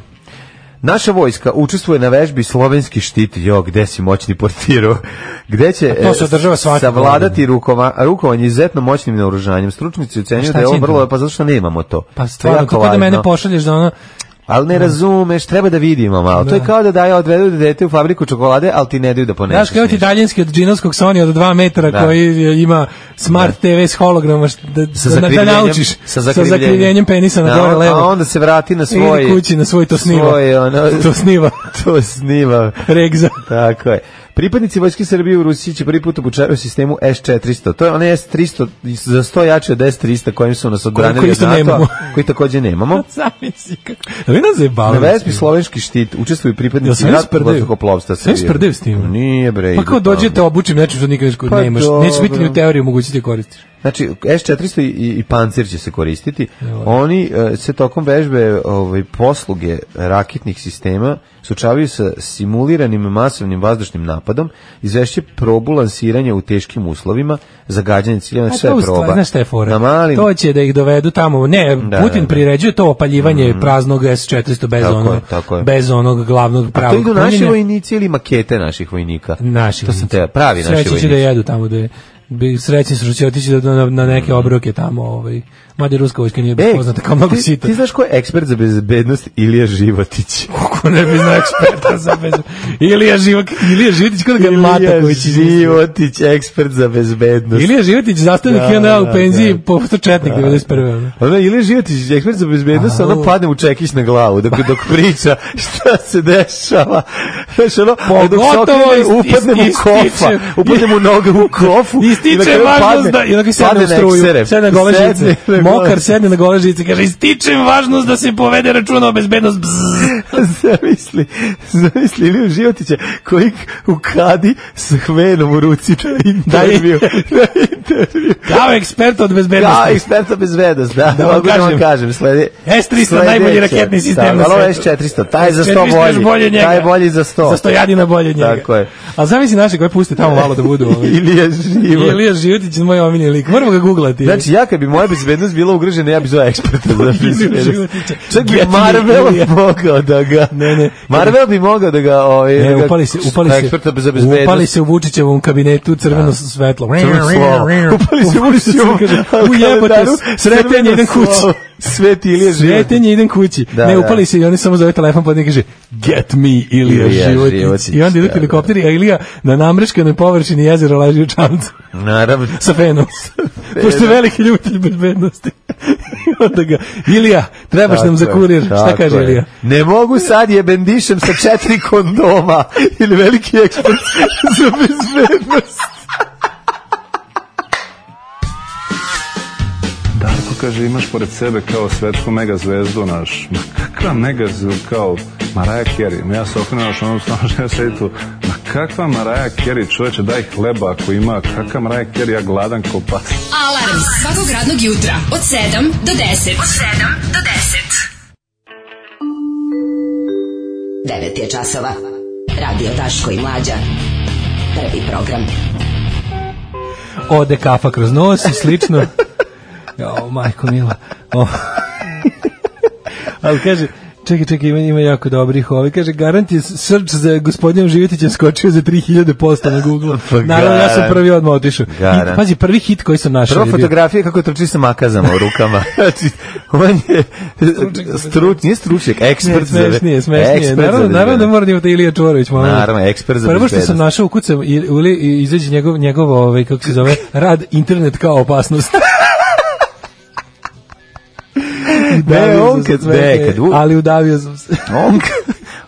[SPEAKER 6] Naša vojska učestvuje na vežbi slovenski štit, jo, gde si moćni portiru, gde će
[SPEAKER 5] A to se
[SPEAKER 6] e,
[SPEAKER 5] održava svake
[SPEAKER 6] savladati rukova, rukovanje izuzetno moćnim naoružanjem. Stručnici ocenjuju
[SPEAKER 5] šta
[SPEAKER 6] da je
[SPEAKER 5] će
[SPEAKER 6] ovo
[SPEAKER 5] im to?
[SPEAKER 6] vrlo, pa zato što nemamo to. To
[SPEAKER 5] Pa
[SPEAKER 6] je
[SPEAKER 5] stvarno,
[SPEAKER 6] jako
[SPEAKER 5] kako da mene
[SPEAKER 6] važno.
[SPEAKER 5] pošalješ da ono,
[SPEAKER 6] Ali ne razumeš, treba da vidimo malo. To je kao da daje odvedu dete u fabriku čokolade, ali ti ne daju da poneseš.
[SPEAKER 5] Znaš kao ti
[SPEAKER 6] ništa.
[SPEAKER 5] daljanski od džinovskog Sony od 2 metara
[SPEAKER 6] Da.
[SPEAKER 5] koji je- ima smart TV s hologramom što- da,
[SPEAKER 6] sa
[SPEAKER 5] da, da
[SPEAKER 6] zakrivljenjem,
[SPEAKER 5] naučiš
[SPEAKER 6] sa zakrivljenjem,
[SPEAKER 5] penisa na gore
[SPEAKER 6] a-
[SPEAKER 5] levo.
[SPEAKER 6] A onda se vrati na
[SPEAKER 5] Idi
[SPEAKER 6] svoje.
[SPEAKER 5] kući na svoj to sniva.
[SPEAKER 6] Svoje, ono,
[SPEAKER 5] To sniva.
[SPEAKER 6] to snima.
[SPEAKER 5] Regza.
[SPEAKER 6] Tako je. Pripadnici vojske Srbije u Rusiji će prvi put obučavaju u sistemu S-400. To je onaj S-300 za 100 jače od S-300 kojim su nas odbranili
[SPEAKER 5] koji
[SPEAKER 6] od
[SPEAKER 5] isto
[SPEAKER 6] NATO-a,
[SPEAKER 5] nemamo.
[SPEAKER 6] koji takođe nemamo.
[SPEAKER 5] Zamisli kako. Da vi nas
[SPEAKER 6] Na
[SPEAKER 5] zajebavaju.
[SPEAKER 6] vespi slovenski štit učestvuju
[SPEAKER 5] Jel
[SPEAKER 6] pripadnici
[SPEAKER 5] se oni
[SPEAKER 6] ratnog
[SPEAKER 5] sprdaju?
[SPEAKER 6] vazduhoplovstva
[SPEAKER 5] Se oni
[SPEAKER 6] Srbije.
[SPEAKER 5] sprdaju s tim?
[SPEAKER 6] Nije bre.
[SPEAKER 5] Pa
[SPEAKER 6] idu
[SPEAKER 5] kao
[SPEAKER 6] tamo.
[SPEAKER 5] dođete obučim nečim što nikad što
[SPEAKER 6] Pa
[SPEAKER 5] nemaš. Neće biti ni
[SPEAKER 6] dobro.
[SPEAKER 5] u teoriji mogućnosti da koristiš.
[SPEAKER 6] Znači, S-400 i, i pancir će se koristiti. Oni e, se tokom vežbe ovaj, posluge raketnih sistema sučavaju sa simuliranim masovnim vazdušnim napadom, izvešće probu lansiranja u teškim uslovima, zagađanje cilja,
[SPEAKER 5] A
[SPEAKER 6] znači sve
[SPEAKER 5] Pa to
[SPEAKER 6] je
[SPEAKER 5] u stvari,
[SPEAKER 6] proba.
[SPEAKER 5] znaš šta je
[SPEAKER 6] Na
[SPEAKER 5] fora?
[SPEAKER 6] malim,
[SPEAKER 5] To će da ih dovedu tamo. Ne,
[SPEAKER 6] Da,
[SPEAKER 5] Putin
[SPEAKER 6] da, da.
[SPEAKER 5] priređuje to opaljivanje praznog S400 bez
[SPEAKER 6] Tako je,
[SPEAKER 5] onog
[SPEAKER 6] tako je.
[SPEAKER 5] bez onog glavnog
[SPEAKER 6] a to
[SPEAKER 5] pravog
[SPEAKER 6] idu naši
[SPEAKER 5] punjenja.
[SPEAKER 6] vojnici ili makete naših vojnika?
[SPEAKER 5] Naši
[SPEAKER 6] To sam
[SPEAKER 5] vojnici.
[SPEAKER 6] te, pravi naši
[SPEAKER 5] Sreći će da
[SPEAKER 6] vojnici.
[SPEAKER 5] jedu tamo da je bi srećni su što će otići na, na, na neke obroke tamo, ovaj. Mada je ruska vojska nije
[SPEAKER 6] Mm. E,
[SPEAKER 5] baš poznata kao mnogo
[SPEAKER 6] ti-
[SPEAKER 5] sita.
[SPEAKER 6] Ti znaš ko je ekspert za bezbednost Ilija Životić?
[SPEAKER 5] Kako ne bi znao eksperta za bezu. Ilija Živok, Ilija Životić kada ga je mata koji će
[SPEAKER 6] Životić, ekspert za bezbednost.
[SPEAKER 5] Ilija Životić, zastavnik
[SPEAKER 6] Da,
[SPEAKER 5] da,
[SPEAKER 6] da,
[SPEAKER 5] u penziji,
[SPEAKER 6] da.
[SPEAKER 5] da, četnik 91. ono.
[SPEAKER 6] Ona Ilija Životić, ekspert za bezbednost,
[SPEAKER 5] Au.
[SPEAKER 6] ona padne mu čekić na glavu dok, dok priča šta se dešava. Znaš, ono, a dok se
[SPEAKER 5] Pogotovo
[SPEAKER 6] okrene,
[SPEAKER 5] ist-
[SPEAKER 6] upadne mu
[SPEAKER 5] ist-
[SPEAKER 6] kofa,
[SPEAKER 5] ističe-
[SPEAKER 6] upadne mu noga u kofu.
[SPEAKER 5] I
[SPEAKER 6] i na
[SPEAKER 5] stiče
[SPEAKER 6] kraju
[SPEAKER 5] važnost
[SPEAKER 6] padne-
[SPEAKER 5] da... I onako
[SPEAKER 6] padne
[SPEAKER 5] sedne u
[SPEAKER 6] na
[SPEAKER 5] struju,
[SPEAKER 6] eksere.
[SPEAKER 5] sedne na gole žice.
[SPEAKER 6] Sedne na gole
[SPEAKER 5] Mokar sedne na gole žice. Kaže, ističem važnost da se povede računa o bezbednost. Bzzz.
[SPEAKER 6] Zamisli, zamisli Iliju Životića koji u kadi s hvenom u ruci na intervju. na intervju.
[SPEAKER 5] Kao ekspert od bezbednosti.
[SPEAKER 6] Da, eksperta bez vednost, da.
[SPEAKER 5] Da vam
[SPEAKER 6] mogu da vam
[SPEAKER 5] kažem.
[SPEAKER 6] kažem, sledi.
[SPEAKER 5] S-300
[SPEAKER 6] sledeće.
[SPEAKER 5] najbolji raketni sistem
[SPEAKER 6] da,
[SPEAKER 5] na
[SPEAKER 6] ali ovo je
[SPEAKER 5] svetu.
[SPEAKER 6] S-400, taj je za 100
[SPEAKER 5] 400 još
[SPEAKER 6] bolji.
[SPEAKER 5] njega.
[SPEAKER 6] Taj je bolji za 100.
[SPEAKER 5] Za 100 jadina bolje od njega.
[SPEAKER 6] Tako je.
[SPEAKER 5] A zamisli naše koje puste tamo malo da budu. Ovaj.
[SPEAKER 6] Ilija Životić.
[SPEAKER 5] Ilija Životić je moj omiljeni lik. Moramo ga googlati.
[SPEAKER 6] Znači, ja kad bi moja bezbednost bila ugrožena, ja bi zvao eksperta za bezbednost.
[SPEAKER 5] Životića.
[SPEAKER 6] Čak bi
[SPEAKER 5] Get me Ilija.
[SPEAKER 6] Marvel mogao da ga...
[SPEAKER 5] Ne, ne.
[SPEAKER 6] Marvel bi mogao da ga... Ovaj, da
[SPEAKER 5] E,
[SPEAKER 6] ga-
[SPEAKER 5] upali se, upali se,
[SPEAKER 6] Eksperta za bezbednost.
[SPEAKER 5] upali se u Vučićevom kabinetu crveno svetlo.
[SPEAKER 6] Crveno slovo. Upali se u Vučićevom
[SPEAKER 5] Kaže,
[SPEAKER 6] kalendaru,
[SPEAKER 5] U jebote, sretenje
[SPEAKER 6] crveno
[SPEAKER 5] idem
[SPEAKER 6] slovo.
[SPEAKER 5] kući.
[SPEAKER 6] Sveti Ilija Životić.
[SPEAKER 5] Sretenje idem kući.
[SPEAKER 6] Da,
[SPEAKER 5] ne,
[SPEAKER 6] da.
[SPEAKER 5] upali se i oni samo zove telefon, pa ne kaže get me Ilija
[SPEAKER 6] Ilija
[SPEAKER 5] Životić.
[SPEAKER 6] Životić,
[SPEAKER 5] I onda idu
[SPEAKER 6] da, da.
[SPEAKER 5] helikopteri, a Ilija na namreškanoj površini jezera leži u čamcu.
[SPEAKER 6] Naravno.
[SPEAKER 5] sa fenom. Pošto je veliki ljubitelj bezbednosti. I onda ga, Ilija, trebaš nam za
[SPEAKER 6] Tako je,
[SPEAKER 5] kurir. Šta
[SPEAKER 6] tako
[SPEAKER 5] kaže
[SPEAKER 6] je.
[SPEAKER 5] Ilija?
[SPEAKER 6] Ne mogu sad je bendišem sa četiri kondoma ili veliki ekspert za bezbednost.
[SPEAKER 9] Darko kaže, imaš pored sebe kao svetsku megazvezdu naš. Ma kakva megazvezdu kao Maraja Kerry? Ma ja se okrenuo naš onom stanu što ja sedi tu. Ma kakva Maraja Kerry? Čoveče, daj hleba ako ima. Kakva Maraja Kerry? Ja gladan ko pas.
[SPEAKER 4] Alarm svakog radnog jutra od 7 do 10. Od 7 do 10.
[SPEAKER 7] 9 je časova. Radio Daško i Mlađa. Prvi program.
[SPEAKER 5] Ode kafa kroz nos i slično. Jo, majko mila. O. Ali kaže, čekaj, čekaj, ima, ima jako dobrih ovi. Kaže, garant je srč za gospodinom Živjetićem skočio za 3000% na Google.
[SPEAKER 6] Pa
[SPEAKER 5] Naravno, ja sam
[SPEAKER 6] garant.
[SPEAKER 5] prvi odmah otišao. I,
[SPEAKER 6] Garant.
[SPEAKER 5] Pazi, prvi hit koji sam našao. je
[SPEAKER 6] Prva
[SPEAKER 5] bio-
[SPEAKER 6] fotografija kako trči sa makazama u rukama. Znači, on je struč, nije stručnjak, ekspert
[SPEAKER 5] Ne, smešnije,
[SPEAKER 6] za
[SPEAKER 5] smešnije.
[SPEAKER 6] ekspert za
[SPEAKER 5] Naravno, naravno da
[SPEAKER 6] bezbednost.
[SPEAKER 5] mora da ima taj Ilija Čvorović. molim.
[SPEAKER 6] Naravno, ekspert za
[SPEAKER 5] Prvo što sam
[SPEAKER 6] bezbednost.
[SPEAKER 5] našao u kucam ili izađe njegov, njegov ovaj, kako se zove, rad internet kao opasnost.
[SPEAKER 6] Ne,
[SPEAKER 5] Udavio
[SPEAKER 6] on
[SPEAKER 5] sam se,
[SPEAKER 6] kad,
[SPEAKER 5] čovječe,
[SPEAKER 6] ne, kad, u-
[SPEAKER 5] Ali udavio sam se.
[SPEAKER 6] on, k-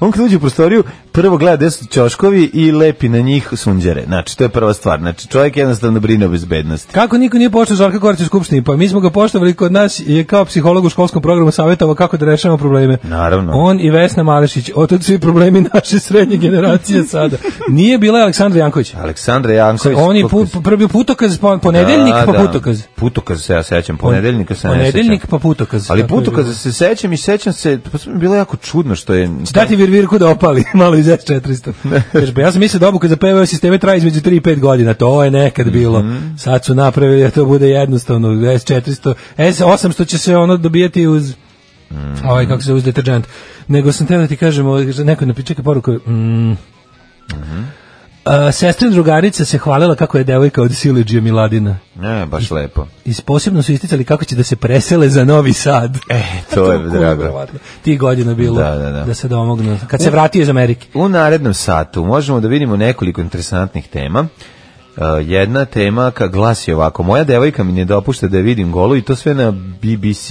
[SPEAKER 6] on kad uđe u prostoriju, prvo gleda gde su ćoškovi i lepi na njih sunđere. Znači, to je prva stvar. Znači, čovjek jednostavno brine o bezbednosti.
[SPEAKER 5] Kako niko nije počeo Žarka Korać u Skupštini? Pa mi smo ga poštovali kod nas je kao psiholog u školskom programu savjetovao kako da rešavamo probleme.
[SPEAKER 6] Naravno.
[SPEAKER 5] On i Vesna Malešić, otud svi problemi naše srednje generacije sada. Nije bila Aleksandra Janković.
[SPEAKER 6] Aleksandra Janković...
[SPEAKER 5] On je
[SPEAKER 6] koliko
[SPEAKER 5] pu, prvi putokaz, pa ponedeljnik,
[SPEAKER 6] Da,
[SPEAKER 5] pa
[SPEAKER 6] da.
[SPEAKER 5] putokaz.
[SPEAKER 6] Putokaz se ja sećam, ponedeljnika se ne
[SPEAKER 5] Ponedeljnik
[SPEAKER 6] sećam.
[SPEAKER 5] pa putokaz.
[SPEAKER 6] Ali
[SPEAKER 5] Tako je bilo.
[SPEAKER 6] putokaza se sećam i sećam se, pa sve mi je bilo jako čudno što je...
[SPEAKER 5] Dati virvirku da opali, malo iz S400. Kažeš, ba, ja sam mislio da obuka za PVO sisteme traje između 3 i 5 godina, to je nekad bilo. Sad su napravili da to bude jednostavno, S400, S800 će se ono dobijati uz ovaj, kako se zove, uz deterđent. Nego sam teo da ti kažem, ovaj, kaže, neko ne pričeka poruku, mm, Mhm. A, sestrin drugarica se hvalila kako je devojka od Siliđija Miladina.
[SPEAKER 6] Ne, baš lepo.
[SPEAKER 5] I posebno su isticali kako će da se presele za Novi Sad. E,
[SPEAKER 6] to je drago.
[SPEAKER 5] Ti godina bilo
[SPEAKER 6] Da, da, da.
[SPEAKER 5] se domognu. Kad se vratio iz Amerike.
[SPEAKER 6] U narednom satu možemo da vidimo nekoliko interesantnih tema. Uh, jedna tema ka glasi ovako, moja devojka mi ne dopušta da je vidim golu i to sve na BBC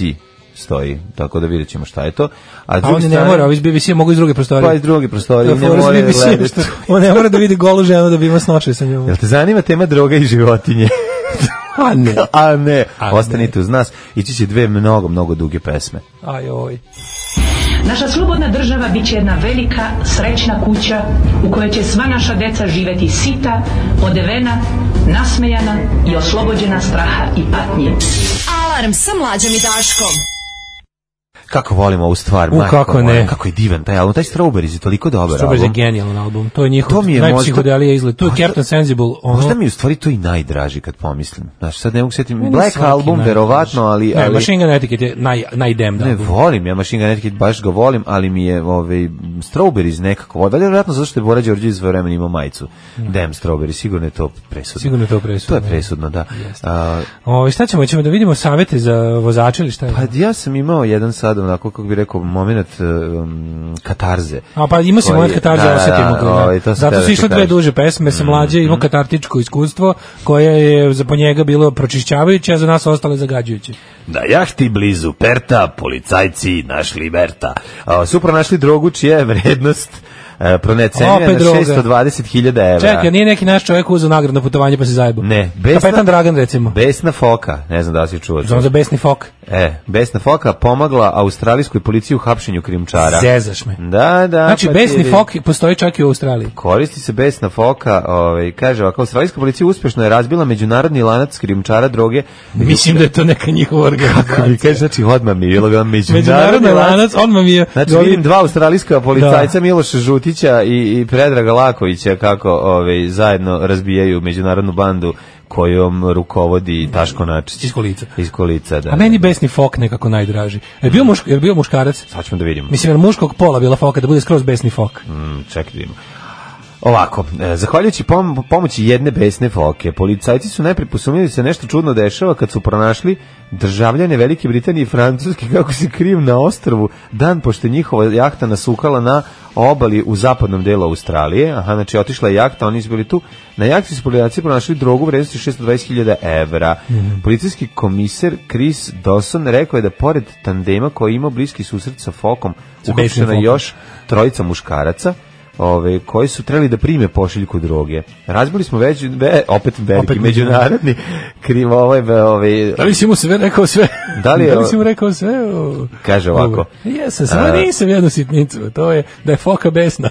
[SPEAKER 6] stoji, tako da vidjet ćemo šta je to. A,
[SPEAKER 5] A on ne mora, ovi iz BBC mogu iz druge prostorije.
[SPEAKER 6] Pa iz druge prostorije,
[SPEAKER 5] Da,
[SPEAKER 6] ne
[SPEAKER 5] fora s
[SPEAKER 6] mora
[SPEAKER 5] BBC-em,
[SPEAKER 6] gledati.
[SPEAKER 5] što On ne mora da vidi golu ženu da bi imao snoče sa njom.
[SPEAKER 6] Jel te zanima tema droga i životinje?
[SPEAKER 5] A ne.
[SPEAKER 6] A ne,
[SPEAKER 5] A
[SPEAKER 6] ostanite uz nas, ići će dve mnogo, mnogo duge pesme.
[SPEAKER 5] Aj, oj.
[SPEAKER 11] Naša slobodna država bit će jedna velika, srećna kuća u kojoj će sva naša deca živeti sita, odevena, nasmejana i oslobođena straha i patnje.
[SPEAKER 4] Alarm sa mlađom i Daškom.
[SPEAKER 6] kako volim ovu stvar,
[SPEAKER 5] U,
[SPEAKER 6] majko
[SPEAKER 5] kako
[SPEAKER 6] moja,
[SPEAKER 5] ne.
[SPEAKER 6] kako je divan taj album, taj Strawberries je toliko dobar
[SPEAKER 5] Strawberries je
[SPEAKER 6] album.
[SPEAKER 5] genijalan album. To je njihov
[SPEAKER 6] To mi je
[SPEAKER 5] najpsihodelija
[SPEAKER 6] možda-
[SPEAKER 5] izgled. To je
[SPEAKER 6] možda-
[SPEAKER 5] Captain Sensible. Ono,
[SPEAKER 6] Možda mi je u stvari to i najdraži kad pomislim. Znaš, sad ne mogu sjetiti,
[SPEAKER 5] Meni
[SPEAKER 6] Black
[SPEAKER 5] svaki
[SPEAKER 6] album,
[SPEAKER 5] najdraži.
[SPEAKER 6] verovatno, ali...
[SPEAKER 5] Ne,
[SPEAKER 6] ali-
[SPEAKER 5] Machine Gun Etiquette je naj, najdemda.
[SPEAKER 6] Ne, volim ja Machine Gun Etiquette, baš ga volim, ali mi je ovaj, Strawberries nekako... Da li je vjerojatno zato što je Bora Đorđević svoje vremena imao majicu? Damn Strawberries, sigurno je to presudno.
[SPEAKER 5] Sigurno je to presudno,
[SPEAKER 6] To
[SPEAKER 5] ne.
[SPEAKER 6] je presudno, da. A,
[SPEAKER 5] Ovo, Ovaj, šta ćemo? Ćemo da vidimo savete za vozače ili šta je?
[SPEAKER 6] pa ja sam imao jedan sad, onako, kako bi rekao, moment um, katarze.
[SPEAKER 5] A pa ima se
[SPEAKER 6] Koji
[SPEAKER 5] moment
[SPEAKER 6] je-
[SPEAKER 5] katarze
[SPEAKER 6] da, da,
[SPEAKER 5] osetimo.
[SPEAKER 6] da,
[SPEAKER 5] ga, da.
[SPEAKER 6] ovaj, to sam
[SPEAKER 5] Zato
[SPEAKER 6] teo da
[SPEAKER 5] su
[SPEAKER 6] ti
[SPEAKER 5] išle dve
[SPEAKER 6] kažem.
[SPEAKER 5] duže pesme
[SPEAKER 6] Mm,
[SPEAKER 5] sa mlađe, imao katartičko iskustvo koje je za po njega bilo pročišćavajuće, a za nas ostale zagađujuće.
[SPEAKER 6] Na jahti blizu Perta policajci našli Berta. A, Supra našli drogu čija je vrednost e, pronecenjena
[SPEAKER 5] Opet
[SPEAKER 6] na
[SPEAKER 5] droga.
[SPEAKER 6] 620.000 evra.
[SPEAKER 5] Čekaj, nije neki naš čovjek uzeo nagradno putovanje pa se zajebo.
[SPEAKER 6] Ne, besna,
[SPEAKER 5] Kapetan Dragan recimo.
[SPEAKER 6] besna foka, ne znam da li si čuo.
[SPEAKER 5] Znam za besni fok.
[SPEAKER 6] E, besna foka pomagla australijskoj policiji u hapšenju krijumčara.
[SPEAKER 5] Zezaš me.
[SPEAKER 6] Da, da.
[SPEAKER 5] Znači,
[SPEAKER 6] pa ti
[SPEAKER 5] besni
[SPEAKER 6] vidi.
[SPEAKER 5] fok postoji čak i u Australiji.
[SPEAKER 6] Koristi se besna foka, ovaj, kaže ovako, australijska policija uspješno je razbila međunarodni lanac krijumčara droge.
[SPEAKER 5] Mislim da je to neka njihova
[SPEAKER 6] Kako mi
[SPEAKER 5] organizacija.
[SPEAKER 6] kaže, znači, odmah mi je bilo bilo
[SPEAKER 5] Međunarodni lanac, odmah mi je...
[SPEAKER 6] Znači
[SPEAKER 5] Govorim-
[SPEAKER 6] vidim dva australijska policajca
[SPEAKER 5] Da.
[SPEAKER 6] Miloša Žutića i, i Predraga Lakovića kako ovaj, zajedno razbijaju međunarodnu bandu kojom rukovodi Taško Načić.
[SPEAKER 5] Iz Kolica.
[SPEAKER 6] Iz Kolica, da.
[SPEAKER 5] A Pa meni besni fok nekako najdraži. Je bio, mušk, je bio muškarac?
[SPEAKER 6] Sad ćemo da vidimo.
[SPEAKER 5] Mislim, je muškog pola bila foka, da bude skroz besni fok.
[SPEAKER 6] Mm, čekaj da vidimo. Ovako, e, zahvaljujući pom- pomoći jedne besne foke, policajci su najprije posumnjali da se nešto čudno dešava kad su pronašli državljane Velike Britanije i Francuske kako se kriju na ostrvu dan pošto je njihova jahta nasukala na obali u zapadnom delu Australije. Aha, znači otišla je jahta, oni su bili tu. Na jahti su policajci pronašli drogu u vrednosti 620.000 evra.
[SPEAKER 5] Mhm.
[SPEAKER 6] Policijski komisar Chris Dawson rekao je da pored tandema koji je imao bliski susret sa fokom,
[SPEAKER 5] Sa besnim
[SPEAKER 6] uhapšena je
[SPEAKER 5] fokom.
[SPEAKER 6] još trojica muškaraca ove, koji su trebali da prime pošiljku droge. Razbili smo već, ve, opet veliki
[SPEAKER 5] Opet
[SPEAKER 6] međunarodni krivo ovaj, ve- ovaj,
[SPEAKER 5] Da li si mu sve rekao sve?
[SPEAKER 6] Da li je-
[SPEAKER 5] si mu rekao sve? O,
[SPEAKER 6] Kaže ovako.
[SPEAKER 5] dobro. Jesam, samo
[SPEAKER 6] A-
[SPEAKER 5] nisam jednu sitnicu. To je da je foka besna.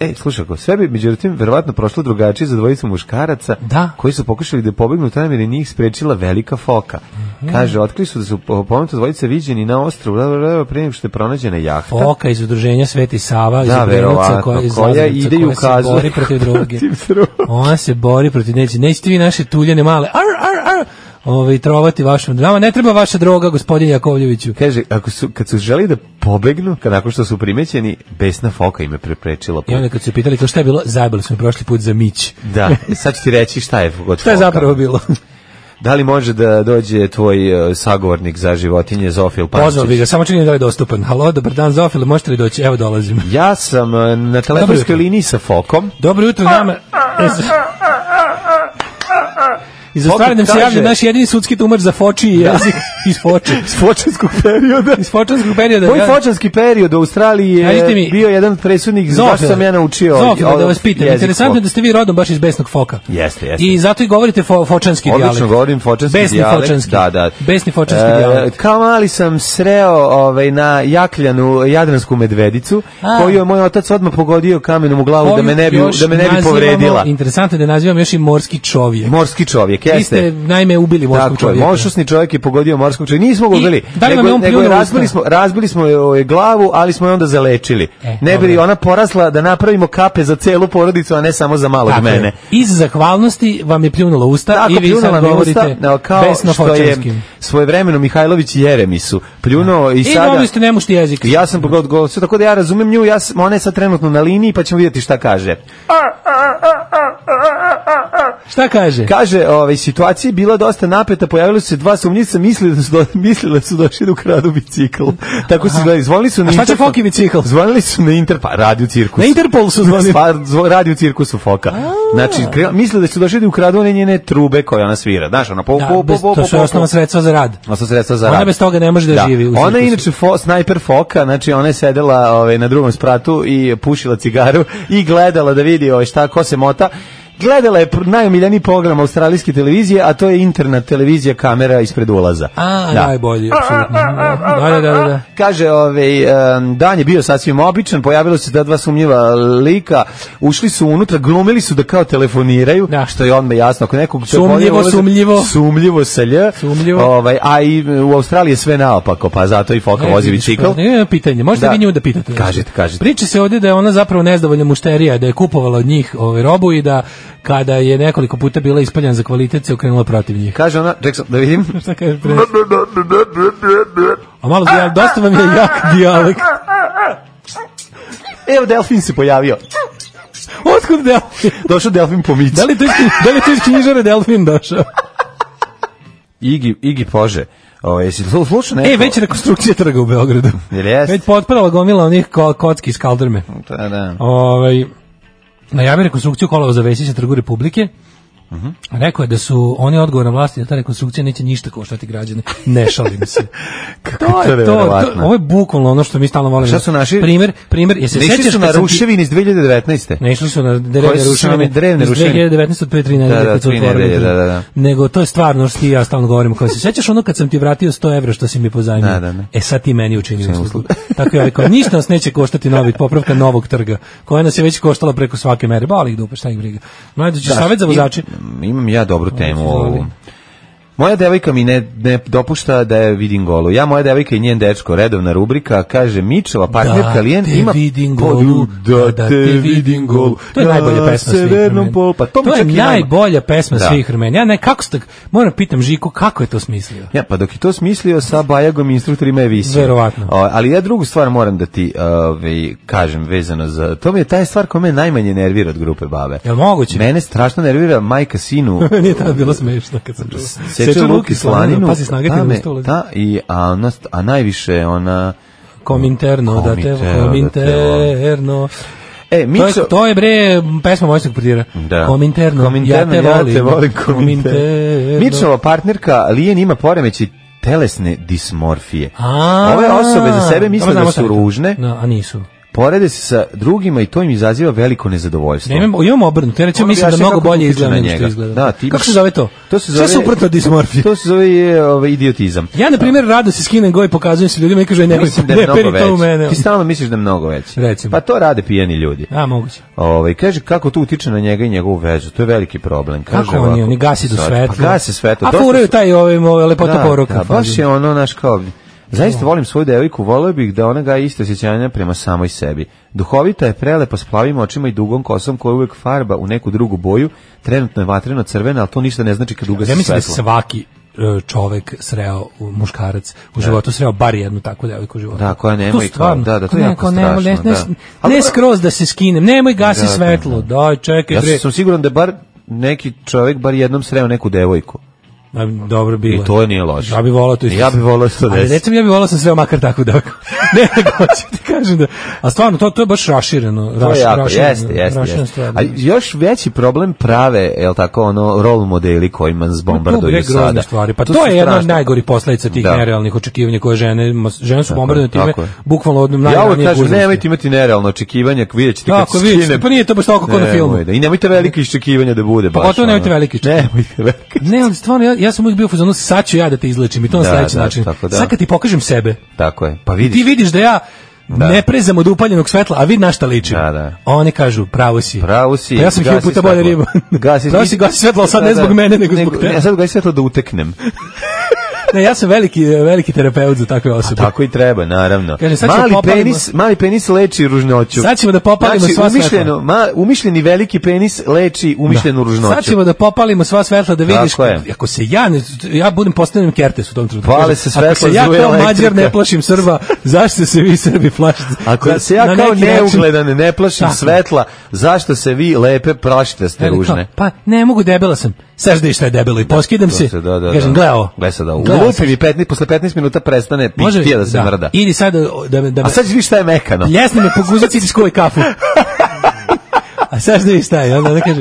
[SPEAKER 6] E, slušaj, ako sve bi međutim verovatno prošlo drugačije za dvojicu muškaraca
[SPEAKER 5] Da.
[SPEAKER 6] koji su pokušali da pobegnu tamo jer je njih sprečila velika foka.
[SPEAKER 5] Mhm.
[SPEAKER 6] Kaže, otkrili su da su po- pomenuta dvojica viđeni na ostrovu, da, da, da, pre nego što je pronađena jahta.
[SPEAKER 5] Foka iz udruženja Sveti Sava, iz
[SPEAKER 6] Da,
[SPEAKER 5] Obrenovca,
[SPEAKER 6] verovatno,
[SPEAKER 5] koja, iz
[SPEAKER 6] koja
[SPEAKER 5] Lazarevca,
[SPEAKER 6] ide i
[SPEAKER 5] koja se
[SPEAKER 6] ukazuje
[SPEAKER 5] bori protiv droge.
[SPEAKER 6] protiv droge.
[SPEAKER 5] Ona se bori protiv neće. Nećete vi naše tuljane male. Ar, ar, ar. Ove, trovati vašom. Nama ne treba vaša droga, gospodin Jakovljeviću.
[SPEAKER 6] Kaže, ako su, kad su želi da pobegnu, kad nakon što su primećeni, besna foka im je preprečila put.
[SPEAKER 5] I onda kad su pitali kao šta je bilo, zajbali smo prošli put za mić.
[SPEAKER 6] Da, sad ću ti reći šta je god
[SPEAKER 5] Šta je
[SPEAKER 6] foka.
[SPEAKER 5] zapravo bilo?
[SPEAKER 6] Da li može da dođe tvoj e, sagovornik za životinje, Zofil Pančić?
[SPEAKER 5] Pozvao bi ga, samo činim da li je dostupan. Halo, dobar dan, Zofile, možete li doći? Evo dolazim.
[SPEAKER 6] Ja sam e, na
[SPEAKER 5] Dobro jutro.
[SPEAKER 6] telefonskoj liniji sa Fokom.
[SPEAKER 5] Dobro jutro E, nama. I za stvari nam se
[SPEAKER 6] Foka
[SPEAKER 5] javlja
[SPEAKER 6] kaže-
[SPEAKER 5] naš jedini sudski tumač za foči i jezik iz foče.
[SPEAKER 6] S fočanskog perioda.
[SPEAKER 5] Iz fočanskog perioda.
[SPEAKER 6] Moj
[SPEAKER 5] ja-
[SPEAKER 6] fočanski period u Australiji
[SPEAKER 5] Kažite
[SPEAKER 6] je
[SPEAKER 5] mi-
[SPEAKER 6] bio jedan od presudnih zašto
[SPEAKER 5] Zofile,
[SPEAKER 6] sam ja naučio
[SPEAKER 5] Zofile,
[SPEAKER 6] ovaj-
[SPEAKER 5] da vas pitam,
[SPEAKER 6] jezik
[SPEAKER 5] interesantno je
[SPEAKER 6] Foka.
[SPEAKER 5] da ste vi rodom baš iz besnog foka.
[SPEAKER 6] Jeste, jeste.
[SPEAKER 5] I zato i govorite fo, fočanski
[SPEAKER 6] Odlično
[SPEAKER 5] dijalekt.
[SPEAKER 6] govorim fočanski
[SPEAKER 5] Besni
[SPEAKER 6] dijalekt.
[SPEAKER 5] fočanski.
[SPEAKER 6] Da, da.
[SPEAKER 5] Besni fočanski
[SPEAKER 6] E,
[SPEAKER 5] dijalekt.
[SPEAKER 6] Kao mali sam sreo ovaj, na Jakljanu jadransku medvedicu,
[SPEAKER 5] A.
[SPEAKER 6] koju je moj otac odmah pogodio kamenom u glavu da me ne bi,
[SPEAKER 5] Koju još
[SPEAKER 6] da me ne bi
[SPEAKER 5] nazivamo-
[SPEAKER 6] povredila.
[SPEAKER 5] Interesantno je da nazivamo još i morski čovjek.
[SPEAKER 6] Morski čovjek,
[SPEAKER 5] Vi ste,
[SPEAKER 6] jeste.
[SPEAKER 5] naime, ubili morskog
[SPEAKER 6] Tako je,
[SPEAKER 5] čovjeka.
[SPEAKER 6] mošusni čovjek je pogodio morskog čovjeka. Nismo ga
[SPEAKER 5] I
[SPEAKER 6] ubili.
[SPEAKER 5] da li vam je on
[SPEAKER 6] nego je
[SPEAKER 5] pljunuo u
[SPEAKER 6] razbili
[SPEAKER 5] usta?
[SPEAKER 6] smo, razbili smo joj glavu, ali smo je onda zalečili.
[SPEAKER 5] E,
[SPEAKER 6] ne bi
[SPEAKER 5] dobro.
[SPEAKER 6] li ona porasla da napravimo kape za celu porodicu, a ne samo za malog
[SPEAKER 5] Tako je.
[SPEAKER 6] mene.
[SPEAKER 5] Iz zahvalnosti vam je pljunula usta
[SPEAKER 6] Tako,
[SPEAKER 5] i vi
[SPEAKER 6] pljunula
[SPEAKER 5] sad
[SPEAKER 6] mi
[SPEAKER 5] govorite
[SPEAKER 6] usta, no, kao
[SPEAKER 5] besno
[SPEAKER 6] što je
[SPEAKER 5] fočanskim.
[SPEAKER 6] svojevremeno Mihajlović Jeremisu pljunuo i
[SPEAKER 5] I
[SPEAKER 6] sada...
[SPEAKER 5] dobili ste nemušti jezik.
[SPEAKER 6] Ja sam pogodio govor, sve tako da ja razumem nju, ja sam, ona je sad trenutno na liniji pa ćemo vidjeti šta kaže.
[SPEAKER 5] Šta kaže?
[SPEAKER 6] Kaže, ovaj, situacija je bila dosta napeta, pojavili su se dva sumnjica, mislili da su, do, mislili da su došli da ukradu bicikl. Tako su gledali, zvonili su na
[SPEAKER 5] A šta će
[SPEAKER 6] Interpol-
[SPEAKER 5] Foki bicikl?
[SPEAKER 6] Zvonili su na Inter, pa radi u cirkusu.
[SPEAKER 5] Na Interpol su zvonili.
[SPEAKER 6] Stvar- Pa, zvo- radi u cirkusu Foka. Znači, kre- mislili da su došli da ukradu one njene trube koje ona svira. Znaš, ona po,
[SPEAKER 5] Da,
[SPEAKER 6] po, po,
[SPEAKER 5] bez-
[SPEAKER 6] po, po,
[SPEAKER 5] to su
[SPEAKER 6] po-
[SPEAKER 5] osnovna sredstva za rad.
[SPEAKER 6] Osnovna sredstva za
[SPEAKER 5] Ona
[SPEAKER 6] rad.
[SPEAKER 5] bez toga ne može da živi u
[SPEAKER 6] Ona je
[SPEAKER 5] cirkusu.
[SPEAKER 6] inače fo, snajper foka, znači ona je sedela ovaj, na drugom spratu i pušila cigaru i gledala da vidi ovaj, šta, ko se mota gledala je pr- najomiljeniji program australijske televizije, a to je interna televizija kamera ispred ulaza.
[SPEAKER 5] A,
[SPEAKER 6] Da.
[SPEAKER 5] najbolji, apsolutno. Da, da, da, da.
[SPEAKER 6] Kaže, ovaj, em, dan je bio sasvim običan, pojavilo se da dva sumnjiva lika, ušli su unutra, glumili su da kao telefoniraju, što je odmah jasno, ako nekog...
[SPEAKER 5] Sumnjivo,
[SPEAKER 6] ulazi-
[SPEAKER 5] sumnjivo.
[SPEAKER 6] Sumnjivo sa lj.
[SPEAKER 5] Sumnjivo.
[SPEAKER 6] Ovaj, a i u Australiji je sve naopako, pa zato i Foka
[SPEAKER 5] Ne,
[SPEAKER 6] vozi
[SPEAKER 5] vidiš,
[SPEAKER 6] bicikl.
[SPEAKER 5] pa, ne, pitanje, možete
[SPEAKER 6] Da.
[SPEAKER 5] vi nju da pitate. nešto?
[SPEAKER 6] Kažite, kažite.
[SPEAKER 5] Priča se ovdje da je ona zapravo nezdovoljna mušterija, da je kupovala od njih ovaj, robu i da kada je nekoliko puta bila ispaljan za kvalitet se okrenula protiv njih.
[SPEAKER 6] Kaže ona, ček sam, da vidim.
[SPEAKER 5] Šta kaže pre? A malo, ja, dosta vam je jak dijalekt.
[SPEAKER 6] Evo, Delfin se pojavio.
[SPEAKER 5] Otkud Delfin?
[SPEAKER 6] Došao Delfin po micu.
[SPEAKER 5] Da li to iz, da li to iz knjižare Delfin došao?
[SPEAKER 6] Igi, Igi Pože. Ovaj, jesi slu- slušao neko?
[SPEAKER 5] E, već je rekonstrukcija trga u Beogradu.
[SPEAKER 6] Jel jest?
[SPEAKER 5] Već potpadala gomila onih ko, kocki iz kaldrme.
[SPEAKER 6] Da, da.
[SPEAKER 5] Ovaj najavio rekonstrukciju kolova za Vesića trgu Republike.
[SPEAKER 6] Mhm.
[SPEAKER 5] Rekao je da su oni odgovorna vlasti da ta rekonstrukcija neće ništa koštati građane. Ne šalim se. to
[SPEAKER 6] to
[SPEAKER 5] je to, to,
[SPEAKER 6] neverovatno.
[SPEAKER 5] ovo je bukvalno ono što mi stalno volimo.
[SPEAKER 6] Šta su naši-
[SPEAKER 5] Primer, primer, jesi se
[SPEAKER 6] Nešli
[SPEAKER 5] sećaš
[SPEAKER 6] su na
[SPEAKER 5] kad sam ti-
[SPEAKER 6] ruševini iz 2019.
[SPEAKER 5] ne išli su na
[SPEAKER 6] Koje
[SPEAKER 5] drevne
[SPEAKER 6] su
[SPEAKER 5] ruševine,
[SPEAKER 6] same drevne
[SPEAKER 5] iz
[SPEAKER 6] ruševine?
[SPEAKER 5] 2019 od pre 3 nedelje
[SPEAKER 6] Da, da,
[SPEAKER 5] kad su
[SPEAKER 6] tri
[SPEAKER 5] otvorili.
[SPEAKER 6] nedelje, da, da, da.
[SPEAKER 5] Nego to je stvarno što ti i ja stalno govorim, kao se sećaš ono kad sam ti vratio 100 evra što si mi pozajmio.
[SPEAKER 6] Da, da, da.
[SPEAKER 5] E sad ti meni učini uslugu. Tako je rekao, ništa nas neće koštati novi popravka novog trga, koja nas je već koštala preko svake mere. Bali ih dupe, šta ih briga. Mlađe, da, savjet za vozače.
[SPEAKER 6] Im- Imam ja dobru temu
[SPEAKER 5] Izvoli.
[SPEAKER 6] ovu. Moja devojka mi ne, ne dopušta da je vidim golu. Ja, moja devojka i njen dečko, redovna rubrika, kaže Mičeva, partnerka
[SPEAKER 5] Da
[SPEAKER 6] Lijen,
[SPEAKER 5] te
[SPEAKER 6] ima...
[SPEAKER 5] vidim
[SPEAKER 6] polju-
[SPEAKER 5] golu,
[SPEAKER 6] da, te vidim golu.
[SPEAKER 5] To je
[SPEAKER 6] na
[SPEAKER 5] najbolja pesma svih
[SPEAKER 6] severnom
[SPEAKER 5] vremena.
[SPEAKER 6] polu. Pa to, mi
[SPEAKER 5] je
[SPEAKER 6] čak i najma-
[SPEAKER 5] najbolja pesma
[SPEAKER 6] Da.
[SPEAKER 5] svih vremena. Ja ne, kako ste, moram pitam Žiku, kako je to smislio?
[SPEAKER 6] Ja, pa dok je to smislio sa Bajagom i instruktorima je visio.
[SPEAKER 5] Verovatno.
[SPEAKER 6] O, ali ja drugu stvar moram da ti ovaj, kažem vezano za... To mi je taj stvar koja me najmanje nervira od grupe babe.
[SPEAKER 5] Jel moguće?
[SPEAKER 6] Mene strašno nervira majka sinu
[SPEAKER 5] Meni je tada bilo smešno kad sam čuo.
[SPEAKER 6] seče luk i slaninu.
[SPEAKER 5] Pazi, snaga ti
[SPEAKER 6] ta me-
[SPEAKER 5] ne ulazi.
[SPEAKER 6] ta i, a, ona, a najviše ona...
[SPEAKER 5] Kominterno, da te,
[SPEAKER 6] Komintero, da te-
[SPEAKER 5] kominterno. To
[SPEAKER 6] E,
[SPEAKER 5] je,
[SPEAKER 6] Mico,
[SPEAKER 5] to je bre pesma Mojsnog portira.
[SPEAKER 6] Da.
[SPEAKER 5] Kominterno, ja te volim.
[SPEAKER 6] kominterno. Mičova partnerka Lijen ima poremeći telesne dismorfije.
[SPEAKER 5] A,
[SPEAKER 6] Ove osobe za sebe
[SPEAKER 5] dobro,
[SPEAKER 6] misle
[SPEAKER 5] znamo
[SPEAKER 6] da
[SPEAKER 5] šta je to.
[SPEAKER 6] su ružne,
[SPEAKER 5] Da, a nisu.
[SPEAKER 6] porede se sa drugima i to im izaziva veliko nezadovoljstvo.
[SPEAKER 5] Ne, imam, imam obrnuto. Ja
[SPEAKER 6] Ono
[SPEAKER 5] rećem, mislim da
[SPEAKER 6] objašnjava
[SPEAKER 5] mnogo
[SPEAKER 6] kako
[SPEAKER 5] bolje
[SPEAKER 6] utiče
[SPEAKER 5] izgleda
[SPEAKER 6] na
[SPEAKER 5] nego što
[SPEAKER 6] njega.
[SPEAKER 5] izgleda.
[SPEAKER 6] Da, ti
[SPEAKER 5] Kako
[SPEAKER 6] imaš-
[SPEAKER 5] se zove to?
[SPEAKER 6] To se
[SPEAKER 5] Sve
[SPEAKER 6] zove-
[SPEAKER 5] suprotno dismorfiji.
[SPEAKER 6] To se zove je, ovaj, idiotizam.
[SPEAKER 5] Ja, na primjer, rado se skinem go i pokazujem se ljudima i kažu, "E, nemoj,
[SPEAKER 6] Mislim da
[SPEAKER 5] ne
[SPEAKER 6] je mnogo
[SPEAKER 5] peri to u mene.
[SPEAKER 6] veći. Ti stalno misliš da je mnogo veći.
[SPEAKER 5] Recimo.
[SPEAKER 6] Pa to rade pijeni ljudi.
[SPEAKER 5] A, moguće.
[SPEAKER 6] Ovaj kaže kako to utiče na njega i njegovu vezu. To je veliki problem. Kaže
[SPEAKER 5] Kako oni,
[SPEAKER 6] ovako,
[SPEAKER 5] oni gasi do
[SPEAKER 6] sad,
[SPEAKER 5] svetla.
[SPEAKER 6] Pa gasi svetlo.
[SPEAKER 5] A
[SPEAKER 6] Dosta
[SPEAKER 5] furaju
[SPEAKER 6] su-
[SPEAKER 5] taj ovim, ovaj, lepota poruka.
[SPEAKER 6] Da, baš
[SPEAKER 5] fazi.
[SPEAKER 6] je ono naš kao Zaista volim svoju devojku, volio bih da ona ga isto osjećanja prema samoj sebi. Duhovita je prelepa s plavim očima i dugom kosom koja uvek farba u neku drugu boju. Trenutno je vatreno crvena, ali to ništa ne znači kad ugasi
[SPEAKER 5] Ja mislim da
[SPEAKER 6] svetlo.
[SPEAKER 5] svaki e, čovek sreo u- muškarac u životu sreo bar jednu takvu devojku u životu.
[SPEAKER 6] Da, koja nema
[SPEAKER 5] To
[SPEAKER 6] i kao-
[SPEAKER 5] stvarno,
[SPEAKER 6] da, da, to je
[SPEAKER 5] ne,
[SPEAKER 6] jako
[SPEAKER 5] kao nemoj, ne,
[SPEAKER 6] strašno,
[SPEAKER 5] ne,
[SPEAKER 6] da.
[SPEAKER 5] Ne,
[SPEAKER 6] Ali-
[SPEAKER 5] skroz da se skinem, nemoj gasi
[SPEAKER 6] Da, da,
[SPEAKER 5] svetlo, daj, čekaj,
[SPEAKER 6] Ja
[SPEAKER 5] bre.
[SPEAKER 6] sam siguran da je bar neki čovjek bar jednom sreo neku devojku.
[SPEAKER 5] Da, dobro bilo.
[SPEAKER 6] I to je nije loše.
[SPEAKER 5] Ja bih volao to.
[SPEAKER 6] Ja bih volao što
[SPEAKER 5] Ali
[SPEAKER 6] desi.
[SPEAKER 5] recimo ja bih volao da sam sreo makar takvu devojku. ne, nego hoću ti kažem da. A stvarno, to, to je baš rašireno.
[SPEAKER 6] To
[SPEAKER 5] raš-
[SPEAKER 6] je jako,
[SPEAKER 5] rašireno,
[SPEAKER 6] jeste, jeste,
[SPEAKER 5] raširena
[SPEAKER 6] jeste.
[SPEAKER 5] stvar, da.
[SPEAKER 6] A još veći problem prave, je tako, ono, rol modeli kojima
[SPEAKER 5] Tu bi
[SPEAKER 6] zbombarduju
[SPEAKER 5] rekao grozne
[SPEAKER 6] sada.
[SPEAKER 5] Stvari. Pa to,
[SPEAKER 6] su
[SPEAKER 5] je jedna od
[SPEAKER 6] strašne.
[SPEAKER 5] najgorih posledica tih
[SPEAKER 6] Da.
[SPEAKER 5] nerealnih očekivanja koje žene, žene su bombardovane time,
[SPEAKER 6] tako je.
[SPEAKER 5] bukvalno od
[SPEAKER 6] Ja uvek
[SPEAKER 5] najranije
[SPEAKER 6] kažem,
[SPEAKER 5] gužvosti.
[SPEAKER 6] nemojte imati nerealno očekivanje, vidjet ćete kad
[SPEAKER 5] Tako, vidjet ćete,
[SPEAKER 6] skine.
[SPEAKER 5] pa nije to baš toliko kao na filmu. Pa
[SPEAKER 6] Nemoj da- I nemojte velike iščekivanja da bude baš.
[SPEAKER 5] Pogotovo
[SPEAKER 6] ono.
[SPEAKER 5] nemojte velike iščekivanja.
[SPEAKER 6] Nemojte velike.
[SPEAKER 5] Ne, ali stvarno, ja, ja sam uvijek bio u fazonu, sad ću ja da te izlečim i to na
[SPEAKER 6] Da,
[SPEAKER 5] sledeći
[SPEAKER 6] da,
[SPEAKER 5] način.
[SPEAKER 6] tako da.
[SPEAKER 5] Sad kad ti pokažem sebe,
[SPEAKER 6] Tako je. Pa
[SPEAKER 5] ti
[SPEAKER 6] vidiš.
[SPEAKER 5] vidiš da ja ne prezam od upaljenog svetla, a vidi na šta ličim.
[SPEAKER 6] Da, da.
[SPEAKER 5] Oni kažu, pravo si.
[SPEAKER 6] Pravo si.
[SPEAKER 5] Pa ja sam
[SPEAKER 6] gasi
[SPEAKER 5] hiljadu puta bolje
[SPEAKER 6] svetlo.
[SPEAKER 5] riba.
[SPEAKER 6] Gasi,
[SPEAKER 5] pravo si, gasi svetlo, ali sad
[SPEAKER 6] Da,
[SPEAKER 5] ne
[SPEAKER 6] da.
[SPEAKER 5] zbog mene, nego zbog
[SPEAKER 6] Ne,
[SPEAKER 5] tebe.
[SPEAKER 6] sad gasi svetlo da uteknem.
[SPEAKER 5] Ne, ja sam veliki, veliki terapeut za takve osobe.
[SPEAKER 6] Tako i treba, naravno.
[SPEAKER 5] Kaže, sad ćemo
[SPEAKER 6] mali,
[SPEAKER 5] popalimo-
[SPEAKER 6] penis, mali penis leči ružnoću.
[SPEAKER 5] Sad ćemo da popalimo
[SPEAKER 6] znači,
[SPEAKER 5] sva
[SPEAKER 6] umišljeno,
[SPEAKER 5] svetla.
[SPEAKER 6] ma, umišljeni veliki penis leči umišljenu ružnoću.
[SPEAKER 5] Sad ćemo da popalimo sva svetla da vidiš
[SPEAKER 6] Tako je.
[SPEAKER 5] ako se ja ne, ja budem postavljen kertes u tom trenutku.
[SPEAKER 6] Pale se
[SPEAKER 5] Ako se
[SPEAKER 6] svetla,
[SPEAKER 5] ja
[SPEAKER 6] zuje
[SPEAKER 5] kao mađar ne
[SPEAKER 6] elektrika.
[SPEAKER 5] plašim Srba, zašto se vi Srbi plašite?
[SPEAKER 6] Ako
[SPEAKER 5] Na-
[SPEAKER 6] se ja
[SPEAKER 5] na
[SPEAKER 6] kao
[SPEAKER 5] neki način-
[SPEAKER 6] neugledan ne plašim
[SPEAKER 5] Tako.
[SPEAKER 6] svetla, zašto se vi lepe plašite ste
[SPEAKER 5] Veli
[SPEAKER 6] ružne?
[SPEAKER 5] kao, pa ne mogu, debela sam. Saš da šta je debelo i poskidam
[SPEAKER 6] To
[SPEAKER 5] se.
[SPEAKER 6] se, da, da,
[SPEAKER 5] kažem,
[SPEAKER 6] da.
[SPEAKER 5] gle ovo.
[SPEAKER 6] Gle sad ovo.
[SPEAKER 5] Gle ovo
[SPEAKER 6] Lupi mi 15, posle 15 minuta prestane pihtija da se mrda.
[SPEAKER 5] Idi sad o, da me... Da me
[SPEAKER 6] A sad vidiš šta je mekano.
[SPEAKER 5] Ljesni me poguzac idi skuvaj kafu. A saš da šta je. Onda ona kaže...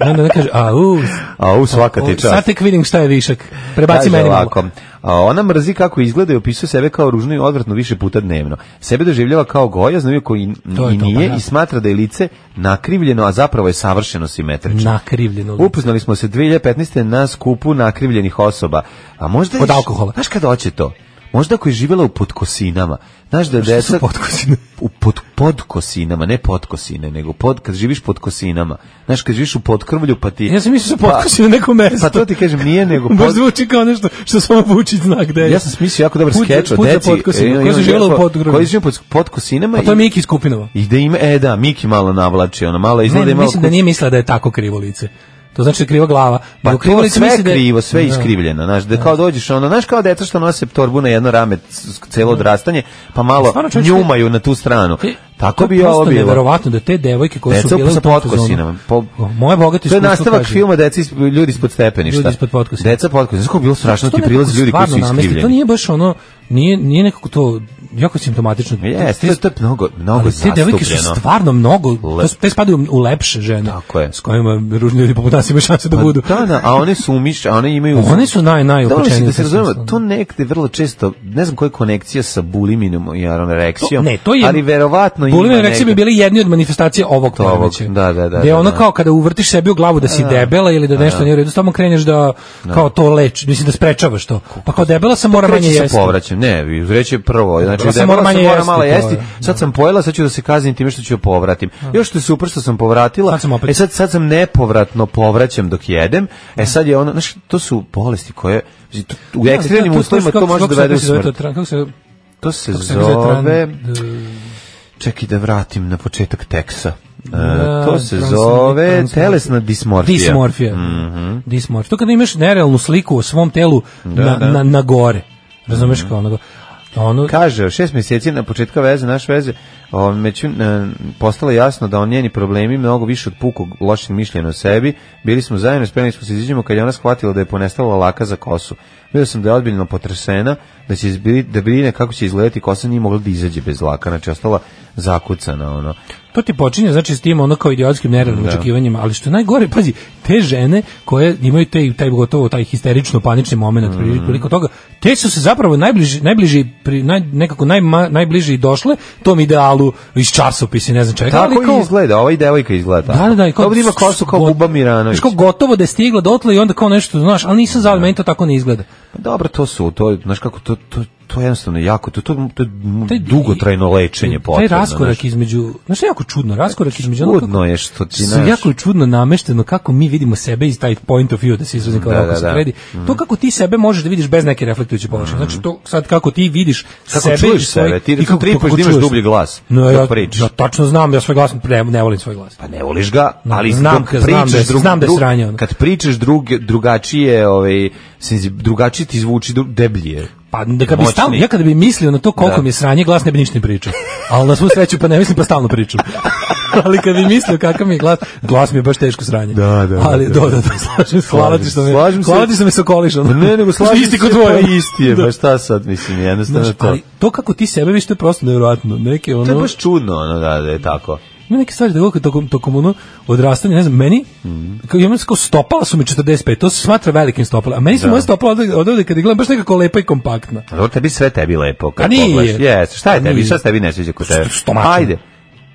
[SPEAKER 5] Onda ona kaže, a u...
[SPEAKER 6] A u svaka ti čast.
[SPEAKER 5] Sad tek vidim šta je višak. Prebaci
[SPEAKER 6] Kaže
[SPEAKER 5] meni malo.
[SPEAKER 6] ovako, A ona mrzi kako izgleda i opisuje sebe kao ružno i odvratno više puta dnevno. Sebe doživljava kao gojazno, iako i,
[SPEAKER 5] To je
[SPEAKER 6] i
[SPEAKER 5] to, pa
[SPEAKER 6] nije
[SPEAKER 5] da.
[SPEAKER 6] i smatra da je lice nakrivljeno, a zapravo je savršeno simetrično.
[SPEAKER 5] Nakrivljeno lice.
[SPEAKER 6] Upoznali smo se 2015. na skupu nakrivljenih osoba. A možda
[SPEAKER 5] Od
[SPEAKER 6] je-
[SPEAKER 5] alkohola.
[SPEAKER 6] Znaš kada hoće to? Možda ako je živjela u potkosinama. Znaš da
[SPEAKER 5] Šta su
[SPEAKER 6] deca...
[SPEAKER 5] potkosine?
[SPEAKER 6] U pod, podkosinama, ne potkosine, nego pod, kad živiš pod kosinama. Znaš, kad živiš u podkrvlju, pa ti...
[SPEAKER 5] Ja sam mislio da
[SPEAKER 6] Pa-
[SPEAKER 5] potkosi na neko mesto.
[SPEAKER 6] Pa to ti kažem, nije nego...
[SPEAKER 5] Baš
[SPEAKER 6] pod-
[SPEAKER 5] zvuči kao nešto što samo Vučić zna gde je.
[SPEAKER 6] Ja sam smislio jako dobar
[SPEAKER 5] Put-
[SPEAKER 6] skeč o
[SPEAKER 5] put za
[SPEAKER 6] deci.
[SPEAKER 5] potkosinu.
[SPEAKER 6] e,
[SPEAKER 5] Koja
[SPEAKER 6] imam
[SPEAKER 5] su živjela u
[SPEAKER 6] jako-
[SPEAKER 5] podgrlu.
[SPEAKER 6] Koja su živjela pod, pod kosinama.
[SPEAKER 5] Pa to je
[SPEAKER 6] i-
[SPEAKER 5] Miki iz Kupinova.
[SPEAKER 6] I da ima, e da, Miki malo navlači, ono, malo izgleda
[SPEAKER 5] Ne,
[SPEAKER 6] i malo...
[SPEAKER 5] mislim da
[SPEAKER 6] kuc-
[SPEAKER 5] nije mislila da je tako krivo lice. To znači da je kriva glava.
[SPEAKER 6] Pa
[SPEAKER 5] Dok krivo
[SPEAKER 6] to
[SPEAKER 5] lice
[SPEAKER 6] sve
[SPEAKER 5] misli da je-
[SPEAKER 6] krivo, sve
[SPEAKER 5] Da.
[SPEAKER 6] iskrivljeno, znaš, da kao dođeš, ono, znaš kao deca što nose torbu na jedno rame c- celo odrastanje, pa malo
[SPEAKER 5] Stvarno, čovječe,
[SPEAKER 6] njumaju na tu stranu.
[SPEAKER 5] E,
[SPEAKER 6] Tako
[SPEAKER 5] to
[SPEAKER 6] bi
[SPEAKER 5] je
[SPEAKER 6] ovo
[SPEAKER 5] Prosto
[SPEAKER 6] bilo.
[SPEAKER 5] neverovatno da te devojke koje
[SPEAKER 6] Deca
[SPEAKER 5] su bile
[SPEAKER 6] sa
[SPEAKER 5] u tom
[SPEAKER 6] potkosinama. Po,
[SPEAKER 5] Moje bogato
[SPEAKER 6] to je
[SPEAKER 5] iskustvo
[SPEAKER 6] nastavak
[SPEAKER 5] kaže.
[SPEAKER 6] filma Deca iz, ljudi ispod stepeništa.
[SPEAKER 5] Ljudi ispod potkosina.
[SPEAKER 6] Deca potkosina. Znaš kako bi bilo strašno
[SPEAKER 5] To
[SPEAKER 6] ti
[SPEAKER 5] nekako
[SPEAKER 6] prilazi ljudi koji su
[SPEAKER 5] stvarno namesti,
[SPEAKER 6] iskrivljeni.
[SPEAKER 5] To nije baš ono, nije, nije nekako to jako simptomatično.
[SPEAKER 6] Jeste, to je- to je mnogo, mnogo
[SPEAKER 5] Ali te devojke su
[SPEAKER 6] zastupljeno.
[SPEAKER 5] stvarno mnogo,
[SPEAKER 6] Le-
[SPEAKER 5] to su- te spadaju u lepše žene.
[SPEAKER 6] Tako je.
[SPEAKER 5] S kojima ružni ljudi poput nas imaju šanse da
[SPEAKER 6] Pa
[SPEAKER 5] budu.
[SPEAKER 6] Da, da, a one su umiš, a one imaju...
[SPEAKER 5] One su naj- ono. najopačenije
[SPEAKER 6] Da, ono mislim, da
[SPEAKER 5] u
[SPEAKER 6] se
[SPEAKER 5] tom
[SPEAKER 6] razumemo,
[SPEAKER 5] smislu.
[SPEAKER 6] to nekde vrlo često, ne znam koja je konekcija sa buliminom i anoreksijom,
[SPEAKER 5] To- ne, to je-
[SPEAKER 6] ali verovatno ima
[SPEAKER 5] Bulimija
[SPEAKER 6] negde.
[SPEAKER 5] reakcije bi bili jedni od manifestacija ovog
[SPEAKER 6] To ovog,
[SPEAKER 5] poremećaja.
[SPEAKER 6] da, da, da,
[SPEAKER 5] Gde
[SPEAKER 6] da,
[SPEAKER 5] ono
[SPEAKER 6] da.
[SPEAKER 5] kao kada uvrtiš sebi u glavu da si debela ili da nešto nije u redu, samo kreneš da kao to leči, mislim da sprečavaš to. Pa kao debela sam mora manje
[SPEAKER 6] Kreće se
[SPEAKER 5] jesti.
[SPEAKER 6] povraćam, ne, vi- reći je prvo, znači
[SPEAKER 5] Ja sam
[SPEAKER 6] da sam
[SPEAKER 5] moram
[SPEAKER 6] mora
[SPEAKER 5] manje jesti,
[SPEAKER 6] malo
[SPEAKER 5] to je,
[SPEAKER 6] jesti, sad sam pojela, sad ću da se kaznim time što ću joj povratim. Još što je super što sam povratila,
[SPEAKER 5] Sad sam opet.
[SPEAKER 6] e sad, sad sam nepovratno povraćam dok jedem, e sad je ono, znaš, to su bolesti koje, to- u
[SPEAKER 5] Da,
[SPEAKER 6] ekstremnim
[SPEAKER 5] to- to-
[SPEAKER 6] uslovima
[SPEAKER 5] kako-
[SPEAKER 6] to može
[SPEAKER 5] kako
[SPEAKER 6] da
[SPEAKER 5] se
[SPEAKER 6] vede u
[SPEAKER 5] zove to,
[SPEAKER 6] smrt.
[SPEAKER 5] tran- Kako se
[SPEAKER 6] To se
[SPEAKER 5] kako se zove
[SPEAKER 6] zove,
[SPEAKER 5] tran-
[SPEAKER 6] Čekaj da vratim na početak teksa. E,
[SPEAKER 5] Da,
[SPEAKER 6] to se
[SPEAKER 5] transno-
[SPEAKER 6] zove
[SPEAKER 5] transno-
[SPEAKER 6] telesna dismorfija.
[SPEAKER 5] Dismorfija. Dismorfija. To kada imaš nerealnu sliku o svom telu na,
[SPEAKER 6] Mhm. da. Mhm.
[SPEAKER 5] Na, na gore. Razumeš kao ono, ono
[SPEAKER 6] Kaže, šest mjeseci na početka veze, naš veze, o, među, e, postalo je jasno da on njeni problemi mnogo više od pukog lošeg mišljenja o sebi. Bili smo zajedno, spremili smo se iziđemo kad je ona shvatila da je ponestala laka za kosu. Bio sam da je odbiljno potresena, da će izbili, da brine kako će izgledati kosa, nije mogla da izađe bez laka, znači ostala zakucana, ono.
[SPEAKER 5] To ti počinje znači s tim ono kao idiotskim nerealnim očekivanjima, ali što je najgore, pazi, te žene koje imaju taj taj gotovo taj histerično panični momenat
[SPEAKER 6] Mhm.
[SPEAKER 5] mm. prilikom toga, te su se zapravo najbliži najbliži pri, naj, nekako najma, najbliži i došle tom idealu iz časopisa, i ne znam čega, ali
[SPEAKER 6] Tako i
[SPEAKER 5] kao-
[SPEAKER 6] izgleda, ova i devojka izgleda.
[SPEAKER 5] Da,
[SPEAKER 6] tako.
[SPEAKER 5] da, da. i kao-
[SPEAKER 6] Dobro, ima kosu kao
[SPEAKER 5] got-
[SPEAKER 6] Buba Miranović.
[SPEAKER 5] Znaš, kao gotovo da je stigla dotle i onda kao nešto, znaš, ali nisam zadovoljna, meni to tako ne izgleda.
[SPEAKER 6] Pa Dobro, to su, to, je, znaš kako, to, to, to je jednostavno jako, to, to, to je dugotrajno lečenje potrebno.
[SPEAKER 5] Taj raskorak
[SPEAKER 6] znaš.
[SPEAKER 5] između, znaš, jako čudno, raskorak između onog
[SPEAKER 6] Čudno je što ti,
[SPEAKER 5] Su
[SPEAKER 6] znaš-
[SPEAKER 5] jako je čudno namešteno kako mi vidimo sebe iz taj point of view da se izrazim kao
[SPEAKER 6] Da,
[SPEAKER 5] da,
[SPEAKER 6] da, Mhm. da.
[SPEAKER 5] kredi. To kako ti sebe možeš da vidiš bez neke reflektujuće površine. Znači to sad kako ti vidiš
[SPEAKER 6] Mhm. Kako
[SPEAKER 5] sebe
[SPEAKER 6] čuješ
[SPEAKER 5] i svoj-
[SPEAKER 6] sebe, ti
[SPEAKER 5] i
[SPEAKER 6] recimo
[SPEAKER 5] kako-
[SPEAKER 6] tripaš
[SPEAKER 5] kako
[SPEAKER 6] da imaš
[SPEAKER 5] čuješ.
[SPEAKER 6] dublji glas
[SPEAKER 5] No,
[SPEAKER 6] dok
[SPEAKER 5] ja,
[SPEAKER 6] pričaš.
[SPEAKER 5] ja tačno znam, ja svoj glas ne, ne volim svoj glas.
[SPEAKER 6] Pa ne voliš ga,
[SPEAKER 5] No,
[SPEAKER 6] ali
[SPEAKER 5] znam
[SPEAKER 6] dok
[SPEAKER 5] ga, znam da je-
[SPEAKER 6] pričaš drug-
[SPEAKER 5] znam da je
[SPEAKER 6] drug-
[SPEAKER 5] sranje, ono.
[SPEAKER 6] Kad pričaš drug, drugačije, ovaj, senzi- drugačije ti zvuči dru- deblje.
[SPEAKER 5] Pa da kad bi
[SPEAKER 6] Moćni.
[SPEAKER 5] stalno, ja kada bi mislio na to koliko
[SPEAKER 6] Da.
[SPEAKER 5] mi je sranje glas ne bi ništa ni pričao. Ali na svu sreću pa ne mislim pa stalno pričam. Ali kad bi mislio kakav mi je glas, glas mi je baš teško sranje.
[SPEAKER 6] Da, da,
[SPEAKER 5] Ali
[SPEAKER 6] da,
[SPEAKER 5] da, da,
[SPEAKER 6] da.
[SPEAKER 5] da, slažem se. Hvala ti što me,
[SPEAKER 6] Slažem se.
[SPEAKER 5] hvala ti što me sokoliš. ono.
[SPEAKER 6] Pa ne, nego slažem
[SPEAKER 5] Isti
[SPEAKER 6] se,
[SPEAKER 5] kod
[SPEAKER 6] pa
[SPEAKER 5] tvoje.
[SPEAKER 6] isti je, pa šta sad, mislim, jednostavno
[SPEAKER 5] Znaš,
[SPEAKER 6] to.
[SPEAKER 5] ali to kako ti sebe vidiš, to je prosto nevjerojatno. Neke ono,
[SPEAKER 6] To je baš čudno, ono, da, da je tako.
[SPEAKER 5] ima neke stvari da govorim tokom, tokom ono odrastanja, ne znam, meni,
[SPEAKER 6] Mhm.
[SPEAKER 5] kao, imam kao stopala su mi 45, to se smatra velikim stopala, a meni su moje stopala odavde, odavde kad ih gledam baš nekako lepa i kompaktna.
[SPEAKER 6] A Dobro, tebi sve tebi lepo. Kad
[SPEAKER 5] A nije.
[SPEAKER 6] pogledaš. Jes, šta je
[SPEAKER 5] A
[SPEAKER 6] tebi,
[SPEAKER 5] nije.
[SPEAKER 6] šta se tebi ne sviđa kod tebe?
[SPEAKER 5] stomačina.
[SPEAKER 6] Ajde.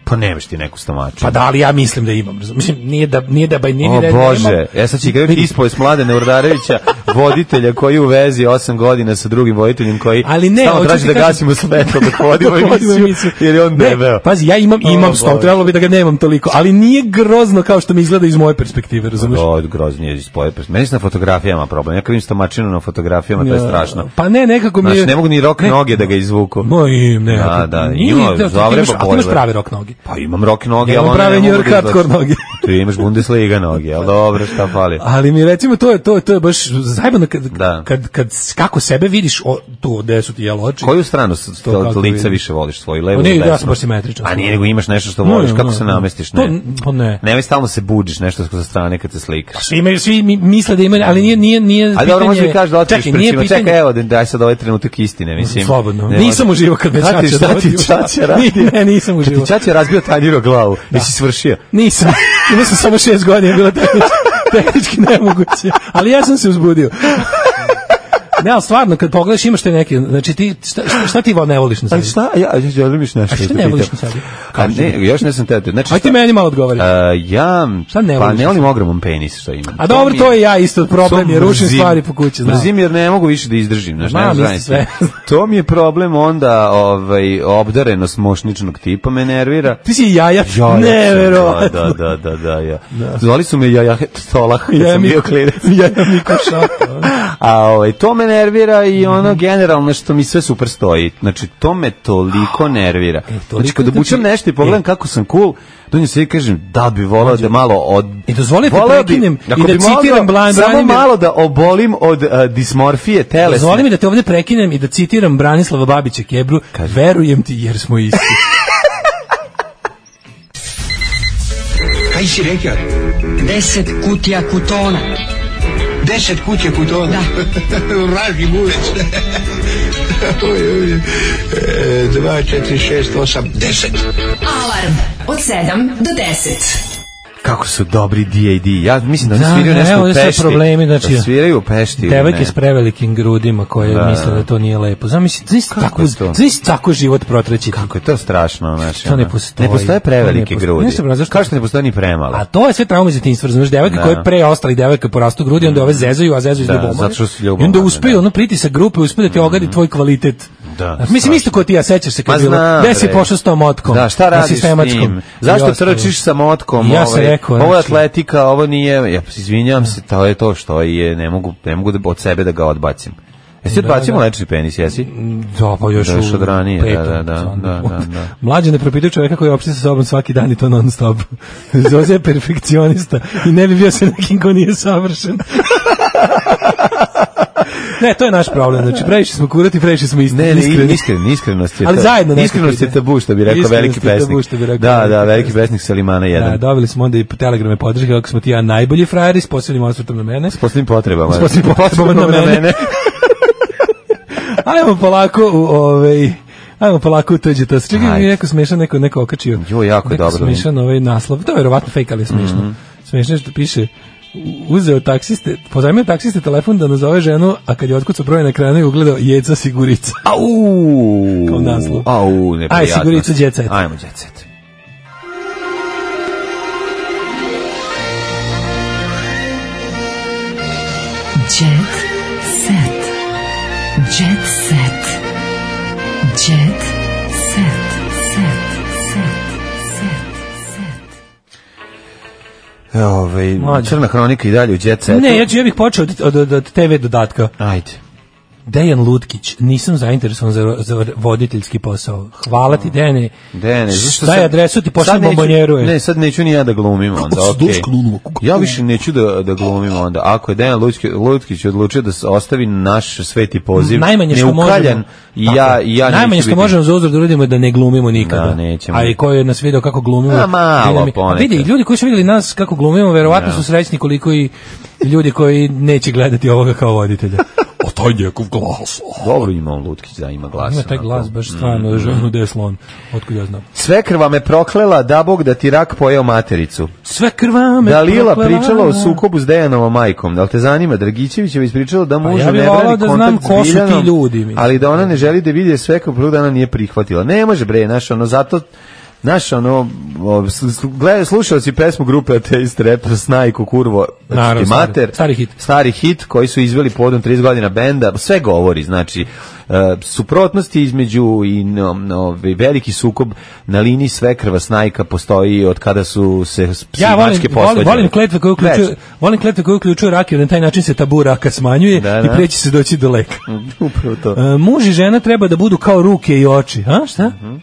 [SPEAKER 6] Pa nemaš ti neku stomačinu.
[SPEAKER 5] Pa da, ali ja mislim da imam. razum- Mislim, nije da, nije da, ba, nije ni
[SPEAKER 6] O
[SPEAKER 5] da ja
[SPEAKER 6] Bože,
[SPEAKER 5] nemam.
[SPEAKER 6] ja sad ću igrati
[SPEAKER 5] Vidi,
[SPEAKER 6] ispoj s Mladena Urdarevića, voditelja koji je u vezi 8 godina sa drugim voditeljem koji
[SPEAKER 5] Ali ne,
[SPEAKER 6] samo
[SPEAKER 5] hoću
[SPEAKER 6] traži
[SPEAKER 5] ti
[SPEAKER 6] da
[SPEAKER 5] kažem-
[SPEAKER 6] gasimo svetlo dok vodimo
[SPEAKER 5] dok vodimo
[SPEAKER 6] emisiju,
[SPEAKER 5] emisiju.
[SPEAKER 6] jer je on
[SPEAKER 5] Ne, pa,
[SPEAKER 6] debel.
[SPEAKER 5] Pazi, ja imam,
[SPEAKER 6] O,
[SPEAKER 5] imam stop,
[SPEAKER 6] Bože.
[SPEAKER 5] trebalo bi da ga nemam toliko, ali nije grozno kao što mi izgleda iz moje perspektive, razumeš?
[SPEAKER 6] To je groznije ispoj. Meni su na fotografijama problem. Ja kad vidim stomačinu na fotografijama, to je
[SPEAKER 5] Ja,
[SPEAKER 6] strašno.
[SPEAKER 5] Pa ne, nekako mi je...
[SPEAKER 6] Znači, ne mogu ni rok
[SPEAKER 5] Ne.
[SPEAKER 6] noge da ga izvuku.
[SPEAKER 5] No, im, ne.
[SPEAKER 6] Da,
[SPEAKER 5] ako-
[SPEAKER 6] da,
[SPEAKER 5] nije,
[SPEAKER 6] ima
[SPEAKER 5] da, ti
[SPEAKER 6] zavreba
[SPEAKER 5] imaš- a ti imaš
[SPEAKER 6] bojler.
[SPEAKER 5] prave rok noge.
[SPEAKER 6] Pa imam rok noge,
[SPEAKER 5] Ja
[SPEAKER 6] ali
[SPEAKER 5] imam
[SPEAKER 6] one ne
[SPEAKER 5] prave
[SPEAKER 6] mogu
[SPEAKER 5] New
[SPEAKER 6] da
[SPEAKER 5] York hardcore
[SPEAKER 6] izlaze.
[SPEAKER 5] noge.
[SPEAKER 6] Ti imaš Bundesliga noge, ali dobro, šta fali.
[SPEAKER 5] Ali mi recimo to je to je to je baš zajebano kad,
[SPEAKER 6] Da.
[SPEAKER 5] kad kad kako sebe vidiš o, tu gde su ti jelo oči.
[SPEAKER 6] Koju stranu s-
[SPEAKER 5] To kako
[SPEAKER 6] lica
[SPEAKER 5] vidim.
[SPEAKER 6] više voliš, svoju levu
[SPEAKER 5] Pa nije,
[SPEAKER 6] ili
[SPEAKER 5] ja sam
[SPEAKER 6] desnu?
[SPEAKER 5] baš simetričan.
[SPEAKER 6] A nije, nego imaš nešto što
[SPEAKER 5] Ne,
[SPEAKER 6] voliš,
[SPEAKER 5] ne,
[SPEAKER 6] kako
[SPEAKER 5] ne,
[SPEAKER 6] se
[SPEAKER 5] ne.
[SPEAKER 6] namestiš,
[SPEAKER 5] To
[SPEAKER 6] ne.
[SPEAKER 5] n- pa ne.
[SPEAKER 6] Nemoj stalno se budiš nešto sa strane kad se slikaš.
[SPEAKER 5] Svi imaju svi mi- misle da imaju, ali nije nije nije
[SPEAKER 6] Ali dobro, možda mi
[SPEAKER 5] pitanje-
[SPEAKER 6] kažeš da otvoriš
[SPEAKER 5] Čekaj, nije
[SPEAKER 6] pričima.
[SPEAKER 5] pitanje-
[SPEAKER 6] Čekaj, evo, da- daj sad ovaj trenutak istine, mislim.
[SPEAKER 5] Slobodno.
[SPEAKER 6] Ne,
[SPEAKER 5] nisam
[SPEAKER 6] možda-
[SPEAKER 5] uživo kad me
[SPEAKER 6] Šta ti-
[SPEAKER 5] čača
[SPEAKER 6] Šta ti
[SPEAKER 5] dovodi u
[SPEAKER 6] čača
[SPEAKER 5] šal.
[SPEAKER 6] radio?
[SPEAKER 5] Ne, nisam
[SPEAKER 6] Šta ti
[SPEAKER 5] uživo.
[SPEAKER 6] Čača je razbio tanjiro glavu. Jesi svršio?
[SPEAKER 5] Nisam. Imao sam samo šest godina, bilo tehnički, tehnički nemoguće. Ali ja sam se uzbudio. Ne, ali stvarno, kad pogledaš imaš te neke, znači ti, šta, šta, šta ti vo ne voliš na
[SPEAKER 6] Ali
[SPEAKER 5] sebi?
[SPEAKER 6] šta? Ja, ja, ja želim još nešto.
[SPEAKER 5] A šta
[SPEAKER 6] da te
[SPEAKER 5] ne voliš na
[SPEAKER 6] pitam.
[SPEAKER 5] sebi?
[SPEAKER 6] A ne, još ne sam te... Znači,
[SPEAKER 5] Aj ti
[SPEAKER 6] šta-
[SPEAKER 5] meni malo odgovori.
[SPEAKER 6] A, ja,
[SPEAKER 5] Šta ne
[SPEAKER 6] pa
[SPEAKER 5] voliš
[SPEAKER 6] ne
[SPEAKER 5] na
[SPEAKER 6] volim ogroman penis što imam.
[SPEAKER 5] A dobro,
[SPEAKER 6] mi
[SPEAKER 5] to je ja isto problem,
[SPEAKER 6] to
[SPEAKER 5] jer rušim
[SPEAKER 6] mrzim.
[SPEAKER 5] stvari po kući, znam.
[SPEAKER 6] Mrzim jer ne mogu više da izdržim, znaš,
[SPEAKER 5] Znam,
[SPEAKER 6] ne znam
[SPEAKER 5] isto sve.
[SPEAKER 6] To mi je problem onda, ovaj, obdarenost mošničnog tipa me nervira.
[SPEAKER 5] Ti si jaja,
[SPEAKER 6] Ja,
[SPEAKER 5] neverovatno.
[SPEAKER 6] Da, da, da, da, ja. Zvali su me Jaja Tolah, kad
[SPEAKER 5] Ja
[SPEAKER 6] sam
[SPEAKER 5] mi-
[SPEAKER 6] bio klinec.
[SPEAKER 5] Jaja Miko Šato.
[SPEAKER 6] A ovaj, to me nervira
[SPEAKER 5] Mhm.
[SPEAKER 6] i ono generalno što mi sve super stoji. Znači, to me toliko nervira.
[SPEAKER 5] Ah, e, toliko
[SPEAKER 6] znači, kad
[SPEAKER 5] kad
[SPEAKER 6] obučem
[SPEAKER 5] ti-
[SPEAKER 6] nešto i pogledam
[SPEAKER 5] E.
[SPEAKER 6] kako sam cool, donju se i kažem, da bi volao da malo od...
[SPEAKER 5] I E, dozvolite da
[SPEAKER 6] Voleo bi-
[SPEAKER 5] prekinem
[SPEAKER 6] ako
[SPEAKER 5] i da
[SPEAKER 6] bi mogao,
[SPEAKER 5] citiram Blan
[SPEAKER 6] Samo
[SPEAKER 5] Branimir.
[SPEAKER 6] malo da obolim od a, dismorfije telesne.
[SPEAKER 5] Dozvoli mi da te ovdje prekinem i da citiram Branislava Babića Kebru, verujem ti jer smo isti.
[SPEAKER 12] Kaj si rekao?
[SPEAKER 10] E.
[SPEAKER 2] Deset kutija kutona.
[SPEAKER 12] Deset kuće kutona? Vraži buvec. Oj, oj, oj. E, Dva, četiri, šest, osam, deset.
[SPEAKER 4] Alarm od 7 do 10.
[SPEAKER 6] Kako su dobri D.A.D. Ja mislim da,
[SPEAKER 5] Da,
[SPEAKER 6] da sviraju
[SPEAKER 5] da,
[SPEAKER 6] nešto
[SPEAKER 5] evo,
[SPEAKER 6] u
[SPEAKER 5] ovdje sve
[SPEAKER 6] Pešti.
[SPEAKER 5] problemi, znači-
[SPEAKER 6] da sviraju u Pešti.
[SPEAKER 5] Devojke
[SPEAKER 6] ne?
[SPEAKER 5] s prevelikim grudima koje
[SPEAKER 6] Da,
[SPEAKER 5] misle
[SPEAKER 6] da.
[SPEAKER 5] da to nije lepo. Zamisli, zamisli
[SPEAKER 6] Kako
[SPEAKER 5] tako,
[SPEAKER 6] je to?
[SPEAKER 5] zamisli tako život protreći.
[SPEAKER 6] Kako je to strašno, znači.
[SPEAKER 5] To ne
[SPEAKER 6] ono.
[SPEAKER 5] postoji.
[SPEAKER 6] Ne postoje
[SPEAKER 5] To ne
[SPEAKER 6] prevelike
[SPEAKER 5] postoji.
[SPEAKER 6] grudi.
[SPEAKER 5] Nešto bro, zašto-
[SPEAKER 6] Kao što ne postoje ni premale.
[SPEAKER 5] A to je sve trauma iz djetinjstva, razumeš, devojka
[SPEAKER 6] Da.
[SPEAKER 5] koje pre ostalih devojka porastu grudi, onda ove zezaju, a zezaju iz
[SPEAKER 6] Da,
[SPEAKER 5] ljubomore.
[SPEAKER 6] zato što su
[SPEAKER 5] I
[SPEAKER 6] ljubomorne,
[SPEAKER 5] onda uspeju,
[SPEAKER 6] da. Mhm.
[SPEAKER 5] ono pritisak grupe, uspeju da ti ogadi tvoj kvalitet.
[SPEAKER 6] Da,
[SPEAKER 5] Znaš, Mislim, isto ko ti ja sećaš se
[SPEAKER 6] Ma
[SPEAKER 5] kad je bilo,
[SPEAKER 6] znam,
[SPEAKER 5] gde si
[SPEAKER 6] bre.
[SPEAKER 5] pošao s tom motkom?
[SPEAKER 6] Da, šta
[SPEAKER 5] Na
[SPEAKER 6] radiš s
[SPEAKER 5] sistemačkom.
[SPEAKER 6] tim?
[SPEAKER 5] I
[SPEAKER 6] Zašto
[SPEAKER 5] ostalo.
[SPEAKER 6] trčiš sa motkom?
[SPEAKER 5] I ja sam
[SPEAKER 6] ovaj,
[SPEAKER 5] rekao,
[SPEAKER 6] ovo je
[SPEAKER 5] znači-
[SPEAKER 6] atletika, ovo nije, ja se izvinjavam se, to je to što je, ne mogu, ne mogu da od sebe da ga odbacim. Jesi odbacio
[SPEAKER 5] da.
[SPEAKER 6] mlečni penis, jesi?
[SPEAKER 5] Da, pa još,
[SPEAKER 6] Da, još
[SPEAKER 5] u
[SPEAKER 6] od ranije, da,
[SPEAKER 5] petom,
[SPEAKER 6] da, da,
[SPEAKER 5] stvarno.
[SPEAKER 6] da, da, da.
[SPEAKER 5] Mlađe ne propituje čovjeka koji je opšte sa sobom svaki dan i to non stop. Zoze je perfekcionista i ne bi bio sa nekim ko nije savršen. ne, to je naš problem. Znači, previše smo kurati, previše smo isti.
[SPEAKER 6] Ne, ne,
[SPEAKER 5] iskreni.
[SPEAKER 6] iskren, iskrenost je
[SPEAKER 5] Ali
[SPEAKER 6] to.
[SPEAKER 5] zajedno nekako
[SPEAKER 6] Iskrenost je
[SPEAKER 5] ide.
[SPEAKER 6] tabu, što bi rekao
[SPEAKER 5] Iskrenost
[SPEAKER 6] veliki
[SPEAKER 5] je tabu,
[SPEAKER 6] pesnik.
[SPEAKER 5] što bi rekao
[SPEAKER 6] da, da,
[SPEAKER 5] veliki
[SPEAKER 6] veliki pesnik Salimana 1.
[SPEAKER 5] Da, dobili smo onda i telegrame podrške kako smo ti ja najbolji frajeri s posebnim osvrtom na mene.
[SPEAKER 6] S posebnim potrebama.
[SPEAKER 5] S posebnim potrebama na mene. Ajmo polako u ovaj Ajmo polako u tuđe to. Čekaj, mi
[SPEAKER 6] Ajde.
[SPEAKER 5] je neko smešan, neko, neko okačio.
[SPEAKER 6] Jo, jako je
[SPEAKER 5] neko
[SPEAKER 6] dobro. Mhm.
[SPEAKER 5] smešan ovaj naslov. To je verovatno fake, ali je smešno. Smešno je što piše u- uzeo taksiste, pozajmio taksiste telefon da nazove ženu, a kad je otkucao broj na ekranu i ugledao jeca sigurica.
[SPEAKER 6] Au!
[SPEAKER 5] Kao naslov.
[SPEAKER 6] Au, neprijatno.
[SPEAKER 5] Aj, sigurica, Jet Set.
[SPEAKER 6] Ajmo, Jet Set.
[SPEAKER 4] Jet set. Jet set. Jet set. Set.
[SPEAKER 6] Ove,
[SPEAKER 5] Mlađe.
[SPEAKER 6] E, ovaj, crna hronika i dalje u Jet Setu.
[SPEAKER 5] Ne, ja, ću, ja bih počeo od, od, od TV dodatka.
[SPEAKER 6] Ajde.
[SPEAKER 5] Dejan Lutkić, nisam zainteresovan za, za voditeljski posao. Hvala
[SPEAKER 6] Mhm.
[SPEAKER 5] ti, Dene.
[SPEAKER 6] Dene, zašto
[SPEAKER 5] Daj
[SPEAKER 6] sad-
[SPEAKER 5] adresu, ti pošli
[SPEAKER 6] sad neću-
[SPEAKER 5] bombonjeru. je.
[SPEAKER 6] Ne, sad neću ni ja da glumim onda, okej. Ja više neću da, da glumim onda. Ako je Dejan Lutki, Lutkić odlučio da se ostavi naš sveti poziv,
[SPEAKER 5] najmanje što
[SPEAKER 6] neukaljan,
[SPEAKER 5] možemo.
[SPEAKER 6] i
[SPEAKER 5] Tako
[SPEAKER 6] ja,
[SPEAKER 5] je.
[SPEAKER 6] i ja neću
[SPEAKER 5] najmanje što
[SPEAKER 6] biti-
[SPEAKER 5] možemo za uzor da uradimo je da ne glumimo nikada.
[SPEAKER 6] Da, nećemo.
[SPEAKER 5] A i ko je nas video kako glumimo.
[SPEAKER 6] A, malo
[SPEAKER 5] vidi mi-
[SPEAKER 6] ponekad.
[SPEAKER 5] Vidi, ljudi koji su vidjeli nas kako glumimo, verovatno su srećni koliko i ljudi koji neće gledati ovoga kao voditelja.
[SPEAKER 6] O, taj njegov glas. Dobro ima on Lutkić, da ima glas.
[SPEAKER 5] Ima taj
[SPEAKER 6] onako.
[SPEAKER 5] glas baš stvarno, mm. gde je slon, otkud ja znam.
[SPEAKER 6] Svekrva me proklela, da bog da ti rak pojeo matericu.
[SPEAKER 5] Sve krvame
[SPEAKER 6] Da Lila
[SPEAKER 5] proklevana.
[SPEAKER 6] pričala o sukobu s Dejanovom majkom, da li te zanima? Drgićević je ispričala da muž
[SPEAKER 5] Pa ja bih
[SPEAKER 6] ne
[SPEAKER 5] volao
[SPEAKER 6] brani
[SPEAKER 5] da znam
[SPEAKER 6] kontakt
[SPEAKER 5] ko su
[SPEAKER 6] s
[SPEAKER 5] ti
[SPEAKER 6] Biljanom,
[SPEAKER 5] ljudi, mislim.
[SPEAKER 6] ali da ona ne želi da vidi je sve kao prvog dana nije prihvatila. Ne može bre, znaš, ono, zato Znaš, ono, o, s- s- gledaj, slušao si pesmu grupe Ateist Rap, Snajku, kurvo,
[SPEAKER 5] Naravno,
[SPEAKER 6] ti mater,
[SPEAKER 5] stari- stari hit.
[SPEAKER 6] stari hit koji su izveli podom 30 godina benda, sve govori, znači, e, suprotnosti između i no, no, veliki sukob na liniji svekrva Snajka postoji od kada su se s-
[SPEAKER 5] Ja volim,
[SPEAKER 6] mačke
[SPEAKER 5] volim,
[SPEAKER 6] posvađale.
[SPEAKER 5] volim kletve koje uključuju,
[SPEAKER 6] Već.
[SPEAKER 5] volim kletve koje uključuju rak jer na taj način se tabu raka smanjuje
[SPEAKER 6] Da, da.
[SPEAKER 5] i preći se doći do leka.
[SPEAKER 6] Upravo to.
[SPEAKER 5] E, muž i žena treba da budu kao ruke i oči, a šta?
[SPEAKER 6] Mhm.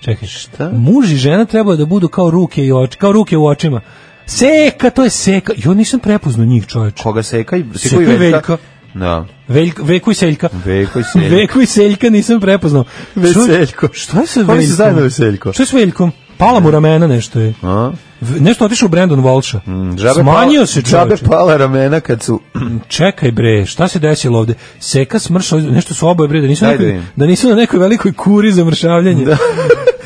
[SPEAKER 5] Čekaj, šta? Muž i žena treba da budu kao ruke i oči, kao ruke u očima. Seka, to je seka. Jo, nisam prepoznao njih, čoveče.
[SPEAKER 6] Koga seka i seko
[SPEAKER 5] Seko
[SPEAKER 6] i
[SPEAKER 5] i
[SPEAKER 6] veljka.
[SPEAKER 5] Veljka.
[SPEAKER 6] Da.
[SPEAKER 5] Veljko, veku i seljka.
[SPEAKER 6] Veljko i Seljka.
[SPEAKER 5] Veku i seljka nisam prepoznao.
[SPEAKER 6] Veseljko.
[SPEAKER 5] Što- Šta je sa
[SPEAKER 6] Oni su
[SPEAKER 5] veljkom?
[SPEAKER 6] zajedno Veseljko.
[SPEAKER 5] Šta je s veljkom? Pala mu ramena nešto je.
[SPEAKER 6] A? Mm, pa-
[SPEAKER 5] V- Nešto otišao u Brandon Walsha.
[SPEAKER 6] Džabe
[SPEAKER 5] Smanjio
[SPEAKER 6] pala-
[SPEAKER 5] se
[SPEAKER 6] Džabe
[SPEAKER 5] čoveče.
[SPEAKER 6] pala ramena kad su...
[SPEAKER 5] Čekaj bre, šta se desilo ovde? Seka smrša, nešto su oboje bre, da nisu,
[SPEAKER 6] Daj
[SPEAKER 5] nekoj-
[SPEAKER 6] da vidim.
[SPEAKER 5] da nisu na nekoj velikoj kuri za mršavljanje.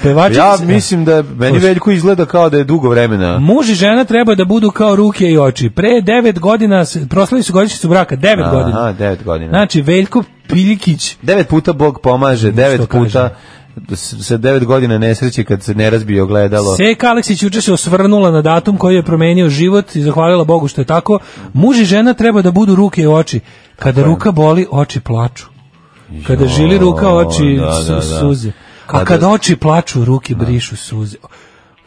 [SPEAKER 5] Pevačica-
[SPEAKER 6] ja mislim da meni
[SPEAKER 5] Slušaj.
[SPEAKER 6] Veljko izgleda kao da je dugo vremena.
[SPEAKER 5] Muž i žena treba da budu kao ruke i oči. Pre devet godina, s- proslavili su godišnjicu braka, devet
[SPEAKER 6] Aha,
[SPEAKER 5] godina.
[SPEAKER 6] devet godina.
[SPEAKER 5] Znači, Veljko Piljikić,
[SPEAKER 6] Devet puta Bog pomaže, devet puta s- sa devet godina nesreće kad se ne razbije ogledalo.
[SPEAKER 5] Seka Aleksić juče se osvrnula na datum koji je promenio život i zahvalila Bogu što je tako. Muž i žena treba da budu ruke i oči. Kada ruka boli, oči plaču. Kada
[SPEAKER 6] Jo,
[SPEAKER 5] žili ruka, oči
[SPEAKER 6] da,
[SPEAKER 5] su-
[SPEAKER 6] da, da.
[SPEAKER 5] suze. A
[SPEAKER 6] Kada-
[SPEAKER 5] kada oči plaču, ruke brišu suze.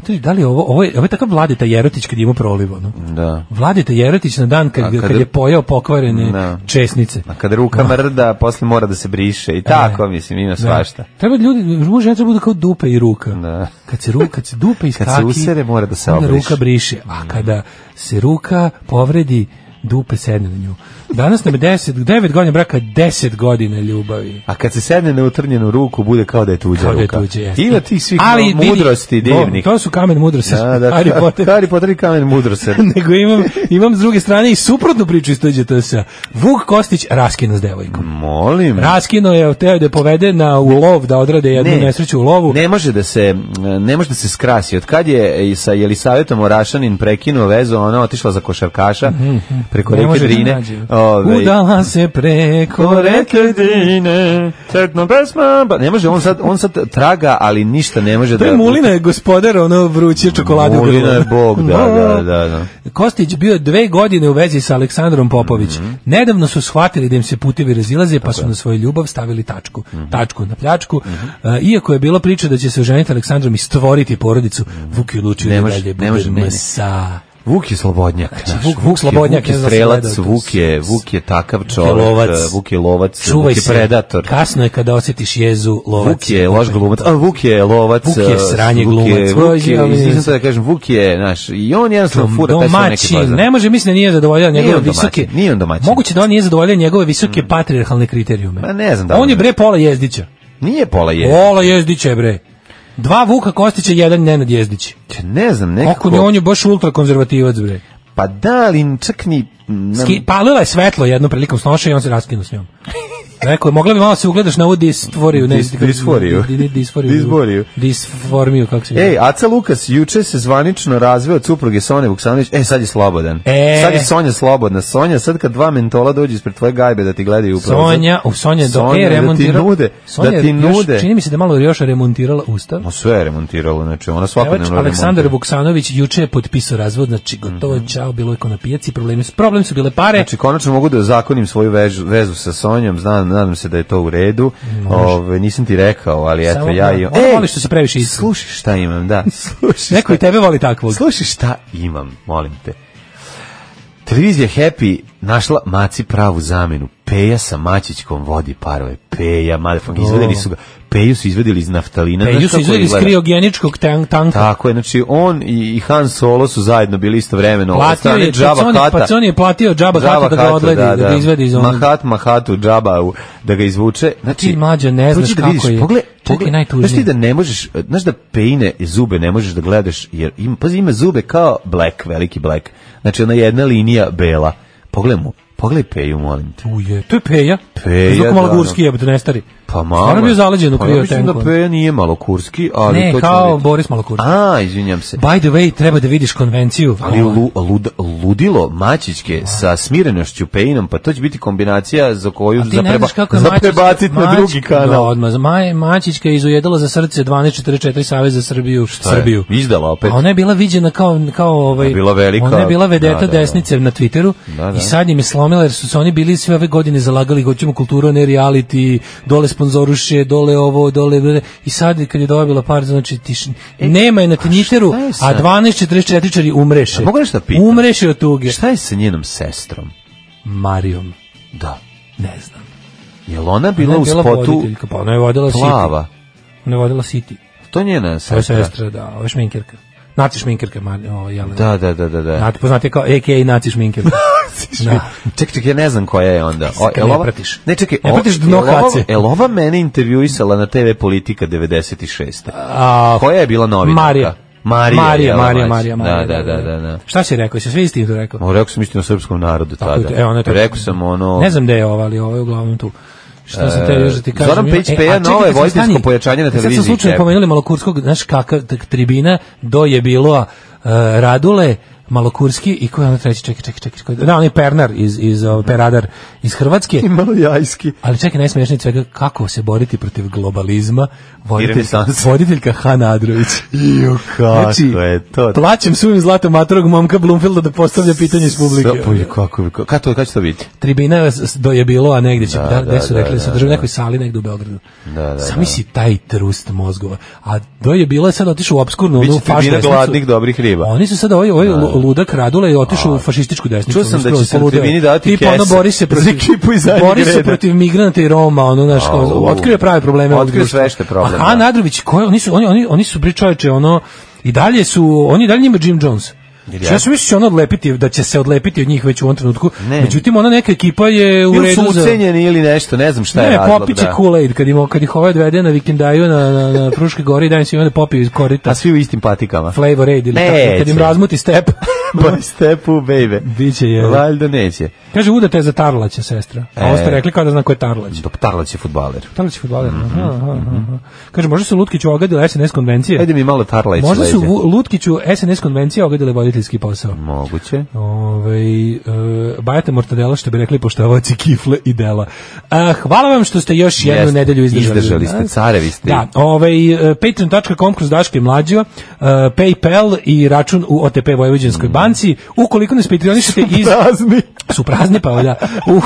[SPEAKER 5] Znači, Da li je ovo, ovo je, ovo je takav Vladeta Jerotić kad je imao proliv, ono?
[SPEAKER 6] Da.
[SPEAKER 5] Vladeta Jerotić na dan kad,
[SPEAKER 6] A
[SPEAKER 5] kad,
[SPEAKER 6] kada-
[SPEAKER 5] je pojao pokvarene
[SPEAKER 6] Da.
[SPEAKER 5] česnice.
[SPEAKER 6] A kada ruka mrda, posle mora da se briše i
[SPEAKER 5] E.
[SPEAKER 6] tako, mislim, ima svašta.
[SPEAKER 5] Treba da ljudi, muž i žena treba da budu kao dupe i ruka.
[SPEAKER 6] Da.
[SPEAKER 5] Kad se ruka, kad se dupe i
[SPEAKER 6] Kad se
[SPEAKER 5] kaki,
[SPEAKER 6] usere, mora da se
[SPEAKER 5] onda
[SPEAKER 6] obriše.
[SPEAKER 5] ruka briše, a kada se ruka povredi, dupe sedne na nju. Danas nam je 10, 9 godina braka, 10 godina ljubavi.
[SPEAKER 6] A kad se sedne na utrnjenu ruku, bude kao da je tuđa
[SPEAKER 5] Kao da je
[SPEAKER 6] ruka.
[SPEAKER 5] tuđe, jeste.
[SPEAKER 6] Ima tih svih ono,
[SPEAKER 5] Ali vidi,
[SPEAKER 6] mudrosti divnih.
[SPEAKER 5] o, to su kamen mudrosti.
[SPEAKER 6] Da, da,
[SPEAKER 5] Harry
[SPEAKER 6] Harry
[SPEAKER 5] Potter.
[SPEAKER 6] Potter. Harry Potter i kamen mudrose.
[SPEAKER 5] Nego imam, imam s druge strane i suprotnu priču iz tuđe TS. Vuk Kostić raskino s devojkom.
[SPEAKER 6] Mm. Molim.
[SPEAKER 5] Raskino je, teo je da je povede na ulov, da odrade jednu
[SPEAKER 6] Ne.
[SPEAKER 5] nesreću u lovu.
[SPEAKER 6] Ne može da se ne može da se skrasi. Od kad je i sa Jelisavetom Orašanin prekinuo vezu, ona je otišla za košarkaša preko
[SPEAKER 5] Mhm, Ne
[SPEAKER 6] reke
[SPEAKER 5] može da
[SPEAKER 6] Drine.
[SPEAKER 5] nađe.
[SPEAKER 6] Ovaj,
[SPEAKER 5] Udala se preko reke
[SPEAKER 6] Drine, crkno pesma. Ba- Ne može, on sad, on sad traga, ali ništa ne može da...
[SPEAKER 5] To je Mulina je gospodar ono vruće čokolade u
[SPEAKER 6] Mulina
[SPEAKER 5] grlu.
[SPEAKER 6] je bog, da, da, da. da.
[SPEAKER 5] Kostić bio je dve godine u vezi sa Aleksandrom Popović.
[SPEAKER 6] Mhm.
[SPEAKER 5] Nedavno su shvatili da im se putevi razilaze, pa su na svoju ljubav stavili tačku.
[SPEAKER 6] Mhm.
[SPEAKER 5] Tačku na pljačku. A, iako je bila priča da će se oženiti Aleksandrom i stvoriti porodicu, Vuk je odlučio
[SPEAKER 6] Mhm. Ne
[SPEAKER 5] da
[SPEAKER 6] može,
[SPEAKER 5] dalje
[SPEAKER 6] ne može, ne,
[SPEAKER 5] bude
[SPEAKER 6] ne.
[SPEAKER 5] msa.
[SPEAKER 6] Vuk je slobodnjak. znaš,
[SPEAKER 5] Znači, Vuk- Vuk slobodnjak,
[SPEAKER 6] je
[SPEAKER 5] ja znam,
[SPEAKER 6] strelac,
[SPEAKER 5] gledao to.
[SPEAKER 6] Vuk je, Vuk je takav
[SPEAKER 5] Vuk je
[SPEAKER 6] čovjek,
[SPEAKER 5] lovac.
[SPEAKER 6] Vuk je lovac,
[SPEAKER 5] Čuvaj
[SPEAKER 6] Vuk je
[SPEAKER 5] se.
[SPEAKER 6] predator.
[SPEAKER 5] Kasno je kada osjetiš jezu lovac.
[SPEAKER 6] Vuk je loš glumac, a Vuk je lovac.
[SPEAKER 5] Vuk je
[SPEAKER 6] eh,
[SPEAKER 5] sranje
[SPEAKER 6] Vuk je-
[SPEAKER 5] glumac.
[SPEAKER 6] Vuk je,
[SPEAKER 5] Oj,
[SPEAKER 6] izvinim se da kažem, Vuk je, znaš, i on jednostavno fura pesma u neke
[SPEAKER 5] domaćin,
[SPEAKER 6] faze.
[SPEAKER 5] ne može mislim da nije zadovoljan
[SPEAKER 6] Nije
[SPEAKER 5] njegove
[SPEAKER 6] on domaćin,
[SPEAKER 5] visoke.
[SPEAKER 6] nije on domaćin. Mm.
[SPEAKER 5] Moguće da on nije zadovoljan njegove visoke patrijarhalne kriterijume.
[SPEAKER 6] Ma ne znam da
[SPEAKER 5] on
[SPEAKER 6] li-
[SPEAKER 5] je bre pola jezdića.
[SPEAKER 6] Nije pola je.
[SPEAKER 5] Pola jezdića je bre. Dva Vuka Kostića, jedan Nenad Jezdić.
[SPEAKER 6] Ne znam,
[SPEAKER 5] Kako
[SPEAKER 6] nekako.
[SPEAKER 5] ni on je baš ultrakonzervativac bre.
[SPEAKER 6] Pa da, ali čak ni... mm,
[SPEAKER 5] Ski, palila je svetlo jednom prilikom snoša i on se raskinuo s njom. Rekao je, mogla bi malo se ugledaš na ovu disforiju. Ne,
[SPEAKER 6] Dis- disforiju.
[SPEAKER 5] Di- di- disforiju.
[SPEAKER 6] Disboriju.
[SPEAKER 5] Disformiju, kako se
[SPEAKER 6] Ej, Aca Lukas juče se zvanično razveo od supruge Sonje Vuksanović. E, sad je slobodan.
[SPEAKER 5] E.
[SPEAKER 6] Sad je Sonja slobodna. Sonja, sad kad dva mentola dođu ispred tvoje gajbe da ti gledaju upravo.
[SPEAKER 5] Sonja, u Sonja, do,
[SPEAKER 6] Sonja,
[SPEAKER 5] e,
[SPEAKER 6] da ti
[SPEAKER 5] remontirala-
[SPEAKER 6] nude.
[SPEAKER 5] Sonja
[SPEAKER 6] da
[SPEAKER 5] je
[SPEAKER 6] ti
[SPEAKER 5] još-
[SPEAKER 6] nude.
[SPEAKER 5] čini mi se da je malo još remontirala ustav.
[SPEAKER 6] Ma sve je remontiralo, znači ona
[SPEAKER 5] Pevač
[SPEAKER 6] svakodnevno
[SPEAKER 5] Aleksandar
[SPEAKER 6] remontira.
[SPEAKER 5] Vuksanović juče je potpisao razvod, znači gotovo je čao, bilo je ko na pijaci, problemi, problem su bile pare.
[SPEAKER 6] Mhm. Znači, konačno mogu da zakonim svoju vežu, vezu sa Sonjom, znam, nadam se da je to u redu. Ove, nisam ti rekao, ali eto,
[SPEAKER 5] Samo
[SPEAKER 6] ja
[SPEAKER 5] da-
[SPEAKER 6] imam...
[SPEAKER 5] Ona voli što se previše isti.
[SPEAKER 6] Slušaj šta imam, da. Slušaj
[SPEAKER 5] Neko i
[SPEAKER 6] šta-
[SPEAKER 5] tebe voli takvog.
[SPEAKER 6] Slušaj šta imam, molim te. Televizija Happy našla maci pravu zamenu. Peja sa Mačićkom vodi parove. Peja, motherfucker, izvedeli su ga. Peju su izvedeli iz naftalina.
[SPEAKER 5] Peju
[SPEAKER 6] Znaš
[SPEAKER 5] su
[SPEAKER 6] kako
[SPEAKER 5] izveli E, iz
[SPEAKER 6] izgleda?
[SPEAKER 5] kriogeničkog tan- tanka.
[SPEAKER 6] Tako je, znači on i, i Han Solo su zajedno bili istovremeno. od
[SPEAKER 5] Platio
[SPEAKER 6] strane
[SPEAKER 5] je,
[SPEAKER 6] Džaba
[SPEAKER 5] Paconi,
[SPEAKER 6] Hata.
[SPEAKER 5] Paconi je platio Džaba Hata da ga
[SPEAKER 6] Hata,
[SPEAKER 5] odledi, da, ga izvedi iz onog.
[SPEAKER 6] Mahat Mahatu Džaba u- da ga izvuče. Znači,
[SPEAKER 5] Ti, mlađe, ne
[SPEAKER 6] to
[SPEAKER 5] znaš
[SPEAKER 6] ću da
[SPEAKER 5] kako
[SPEAKER 6] vidiš.
[SPEAKER 5] je.
[SPEAKER 6] Pogled,
[SPEAKER 5] Čekaj,
[SPEAKER 6] pogled,
[SPEAKER 5] najtužnije.
[SPEAKER 6] Znaš ti da ne možeš, znaš da pejine zube ne možeš da gledaš, jer ima, pazi, ima zube kao black, veliki black. Znači, ona jedna linija bela. Pogledaj mu, pogledaj peju, molim te.
[SPEAKER 5] Uje, to je Peja.
[SPEAKER 6] Peja,
[SPEAKER 5] Zvuko malo
[SPEAKER 6] da,
[SPEAKER 5] gurski
[SPEAKER 6] da.
[SPEAKER 5] jebote, ne stari.
[SPEAKER 6] Pa malo.
[SPEAKER 5] Stvarno bio zaleđen u
[SPEAKER 6] Pa ja mislim
[SPEAKER 5] kriotenku.
[SPEAKER 6] da Peja nije malo kurski, ali
[SPEAKER 5] Ne,
[SPEAKER 6] to ćemo
[SPEAKER 5] kao
[SPEAKER 6] vidjeti.
[SPEAKER 5] Boris Malokurski.
[SPEAKER 6] A, izvinjam se.
[SPEAKER 5] By the way, treba da vidiš konvenciju.
[SPEAKER 6] Ali lu, lud, ludilo Mačićke sa smirenošću Pejinom, pa to će biti kombinacija za koju
[SPEAKER 5] A ti
[SPEAKER 6] za,
[SPEAKER 5] ne
[SPEAKER 6] preba,
[SPEAKER 5] znaš kako je
[SPEAKER 6] za
[SPEAKER 5] Mačić-
[SPEAKER 6] prebaciti na
[SPEAKER 5] Mač-
[SPEAKER 6] drugi
[SPEAKER 5] Da,
[SPEAKER 6] kanal.
[SPEAKER 5] odmah. Maj, Mačićka je izujedala za srce 1244 Savez za Srbiju.
[SPEAKER 6] To je
[SPEAKER 5] Srbiju.
[SPEAKER 6] Izdala opet.
[SPEAKER 5] A ona je bila viđena kao kao ovaj
[SPEAKER 6] je bila velika-
[SPEAKER 5] Ona je bila vedeta
[SPEAKER 6] da, da, da.
[SPEAKER 5] desnice na Twitteru
[SPEAKER 6] Da, da.
[SPEAKER 5] i sad im je slomila jer su se oni bili sve ove godine zalagali hoćemo kulturu, a ne reality, dole sponzoruše, dole ovo, dole bre. i sad kad je dobila par znači tiš, nema je na Twitteru,
[SPEAKER 6] E, šta je
[SPEAKER 5] a
[SPEAKER 6] sad?
[SPEAKER 5] 1244 umreše.
[SPEAKER 6] A mogu nešto da pitam?
[SPEAKER 5] Umreše od tuge.
[SPEAKER 6] Šta je sa njenom sestrom?
[SPEAKER 5] Marijom,
[SPEAKER 6] Da.
[SPEAKER 5] ne znam.
[SPEAKER 6] Je li ona
[SPEAKER 5] Ona
[SPEAKER 6] bila
[SPEAKER 5] je
[SPEAKER 6] u spotu
[SPEAKER 5] voditeljka, pa ona je vodila City.
[SPEAKER 6] plava?
[SPEAKER 5] Ona je vodila City.
[SPEAKER 6] To je njena
[SPEAKER 5] To je
[SPEAKER 6] sestra.
[SPEAKER 5] sestra, da, ovo je šminkerka. Naci šminkerka, Mar- ovo, Jelena.
[SPEAKER 6] Da, da, da, da. da.
[SPEAKER 5] Znate, poznate kao AKA Naci šminkerka. da.
[SPEAKER 6] Ček, ček, ja ne znam koja je onda. O,
[SPEAKER 5] Kad
[SPEAKER 6] jel
[SPEAKER 5] ne
[SPEAKER 6] ova-
[SPEAKER 5] pratiš.
[SPEAKER 6] Ne, čekaj,
[SPEAKER 5] Ne
[SPEAKER 6] ova-
[SPEAKER 5] pratiš dno
[SPEAKER 6] jel ova-
[SPEAKER 5] kace.
[SPEAKER 6] jel ova mene intervjuisala na TV Politika 96.
[SPEAKER 5] A,
[SPEAKER 6] Koja je bila novinarka?
[SPEAKER 5] Marija.
[SPEAKER 6] Marija,
[SPEAKER 5] Marija,
[SPEAKER 6] jel,
[SPEAKER 5] Marija,
[SPEAKER 6] Mać?
[SPEAKER 5] Marija, Marija,
[SPEAKER 6] Da, da, da, da, da.
[SPEAKER 5] Šta si rekao? Jesi sve istinito rekao?
[SPEAKER 6] Ma, rekao sam istinu srpskom narodu
[SPEAKER 5] Tako je
[SPEAKER 6] tada.
[SPEAKER 5] to, evo, ona je to-
[SPEAKER 6] rekao sam ono...
[SPEAKER 5] Ne znam gde je ova, ali ovo je uglavnom tu. Šta sam te još da ti
[SPEAKER 6] E,
[SPEAKER 5] kažem?
[SPEAKER 6] Zoran Pejić
[SPEAKER 5] E, a
[SPEAKER 6] Peja,
[SPEAKER 5] čekaj,
[SPEAKER 6] novo je
[SPEAKER 5] kad smo
[SPEAKER 6] vojtinsko
[SPEAKER 5] stani,
[SPEAKER 6] pojačanje na
[SPEAKER 5] kad Sad
[SPEAKER 6] televiziji,
[SPEAKER 5] sam slučajno
[SPEAKER 6] jebe.
[SPEAKER 5] pomenuli Malokurskog, znaš kakav tak, tribina do je bilo a, e, Radule, Malokurski i ko je ono treći, čekaj, čekaj, čekaj, ko je- da, on je Pernar iz, iz, o, Peradar iz Hrvatske. I
[SPEAKER 6] Malojajski.
[SPEAKER 5] Ali čekaj, najsmešnije od svega, kako se boriti protiv globalizma, voditeljka,
[SPEAKER 6] renesanse.
[SPEAKER 5] voditeljka Hana Adrović.
[SPEAKER 6] Ju, kako
[SPEAKER 5] Znači,
[SPEAKER 6] je to?
[SPEAKER 5] Plaćem suvim zlatom matorog momka Blumfielda da postavlja pitanje iz publike.
[SPEAKER 6] Sa- pa, ju, kako, kako, kako to, kako će to biti?
[SPEAKER 5] tribina je s- do je bilo, a negde će,
[SPEAKER 6] Da,
[SPEAKER 5] da,
[SPEAKER 6] da,
[SPEAKER 5] gde su
[SPEAKER 6] da,
[SPEAKER 5] rekli da se
[SPEAKER 6] da,
[SPEAKER 5] drži u
[SPEAKER 6] da.
[SPEAKER 5] nekoj sali negde u Beogradu.
[SPEAKER 6] Da, da,
[SPEAKER 5] Sami si taj trust mozgova. A do je bilo je sad otišao Ono, u obskurnu,
[SPEAKER 6] Biće
[SPEAKER 5] onu faš
[SPEAKER 6] tribina
[SPEAKER 5] desnicu.
[SPEAKER 6] gladnih dobrih riba.
[SPEAKER 5] Oni su sad ovaj, ovaj lu- ludak radula i otišao u fašističku desnicu.
[SPEAKER 6] Čuo sam
[SPEAKER 5] ono,
[SPEAKER 6] da će
[SPEAKER 5] skroz
[SPEAKER 6] se na
[SPEAKER 5] poludeo.
[SPEAKER 6] tribini dati
[SPEAKER 5] Tipa, ono,
[SPEAKER 6] kese
[SPEAKER 5] bori se
[SPEAKER 6] za
[SPEAKER 5] protiv,
[SPEAKER 6] ekipu iz zadnjeg
[SPEAKER 5] bori se
[SPEAKER 6] reda.
[SPEAKER 5] protiv migranta i Roma, ono, znaš, kao,
[SPEAKER 6] Au.
[SPEAKER 5] otkrio je prave probleme. ovog
[SPEAKER 6] Otkrio
[SPEAKER 5] društva.
[SPEAKER 6] sve što je problem,
[SPEAKER 5] A Han
[SPEAKER 6] da.
[SPEAKER 5] Adrović, koji, oni su, oni, oni, oni su, bre čoveče, ono, i dalje su, oni i dalje njima Jim Jones. Znači,
[SPEAKER 6] Ili
[SPEAKER 5] Ja sam mislio da će ona odlepiti, da će se odlepiti od njih već u ovom trenutku.
[SPEAKER 6] Ne.
[SPEAKER 5] Međutim, ona neka ekipa je u
[SPEAKER 6] Ili su
[SPEAKER 5] redu za...
[SPEAKER 6] ucenjeni ili nešto, ne znam šta je
[SPEAKER 5] Ne,
[SPEAKER 6] razlog.
[SPEAKER 5] popiće
[SPEAKER 6] da.
[SPEAKER 5] Kool-Aid, kad, im, kad ih ovaj odvede na vikendaju na, na, na Pruške gori i dajem se im onda popiju iz korita
[SPEAKER 6] A svi u istim patikama.
[SPEAKER 5] Flavor Aid ili tako, kad im
[SPEAKER 6] Neće.
[SPEAKER 5] razmuti step.
[SPEAKER 6] Boy step u baby.
[SPEAKER 5] Biće je.
[SPEAKER 6] Valjda neće.
[SPEAKER 5] Kaže, udata je za Tarlaća, sestra. A
[SPEAKER 6] Ovaj- E.
[SPEAKER 5] ovo ste rekli kao da zna ko je Tarlać.
[SPEAKER 6] Dok Tarlać je futbaler.
[SPEAKER 5] Tarlać je fudbaler. Aha, aha, aha. Kaže, možda su Lutkiću ogadile SNS konvencije?
[SPEAKER 6] Mhm, Ajde mi malo Tarlać
[SPEAKER 5] Možda su
[SPEAKER 6] leđe.
[SPEAKER 5] Vu- Lutkiću SNS konvencije ogadile voditeljski posao.
[SPEAKER 6] Moguće.
[SPEAKER 5] Ove, e, bajate mortadela što bi rekli poštavovaci kifle i dela. E, hvala vam što ste još jednu
[SPEAKER 6] Jeste,
[SPEAKER 5] nedelju izdržali.
[SPEAKER 6] izdržali
[SPEAKER 5] od
[SPEAKER 6] ste,
[SPEAKER 5] nas.
[SPEAKER 6] carevi ste.
[SPEAKER 5] Da, ovaj, e, patreon.com kroz Daško i Mlađo, e, Paypal i račun u OTP Vojvođanskoj
[SPEAKER 6] Mm.
[SPEAKER 5] banci. Ukoliko nas patronišete iz...
[SPEAKER 6] Prazni.
[SPEAKER 5] su prazne pa da u,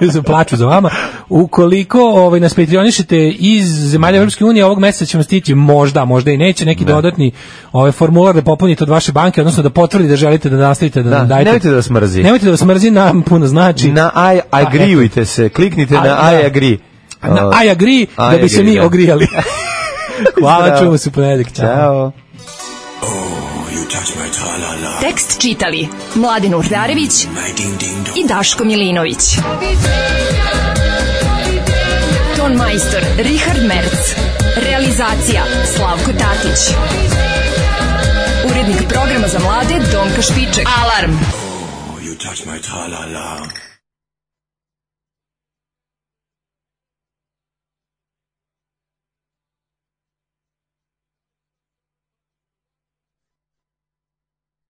[SPEAKER 5] za plaču za vama ukoliko ovaj nas patronišete iz
[SPEAKER 6] Mhm.
[SPEAKER 5] zemalja Evropske unije ovog meseca ćemo stići možda možda i neće neki dodatni ovaj formular da popunite od vaše banke odnosno da potvrdi da želite da nastavite da,
[SPEAKER 6] Da,
[SPEAKER 5] nam dajete
[SPEAKER 6] nemojte da vas mrzi.
[SPEAKER 5] nemojte da vas mrzi nam puno znači
[SPEAKER 6] Na I agreeujte se, kliknite na I
[SPEAKER 5] da.
[SPEAKER 6] agree.
[SPEAKER 5] na I agree da bi se
[SPEAKER 6] agree,
[SPEAKER 5] mi
[SPEAKER 6] da.
[SPEAKER 5] ogrijali hvala
[SPEAKER 6] Zdravo.
[SPEAKER 5] čujemo se u ponedjeljak ciao
[SPEAKER 6] Ćao.
[SPEAKER 4] Tekst čitali Mladin Urdarević i Daško Milinović. Ton majstor Richard Merc. Realizacija Slavko Tatić. Urednik programa za mlade Donka Špiček. Alarm!
[SPEAKER 12] You touch my tra-la-la.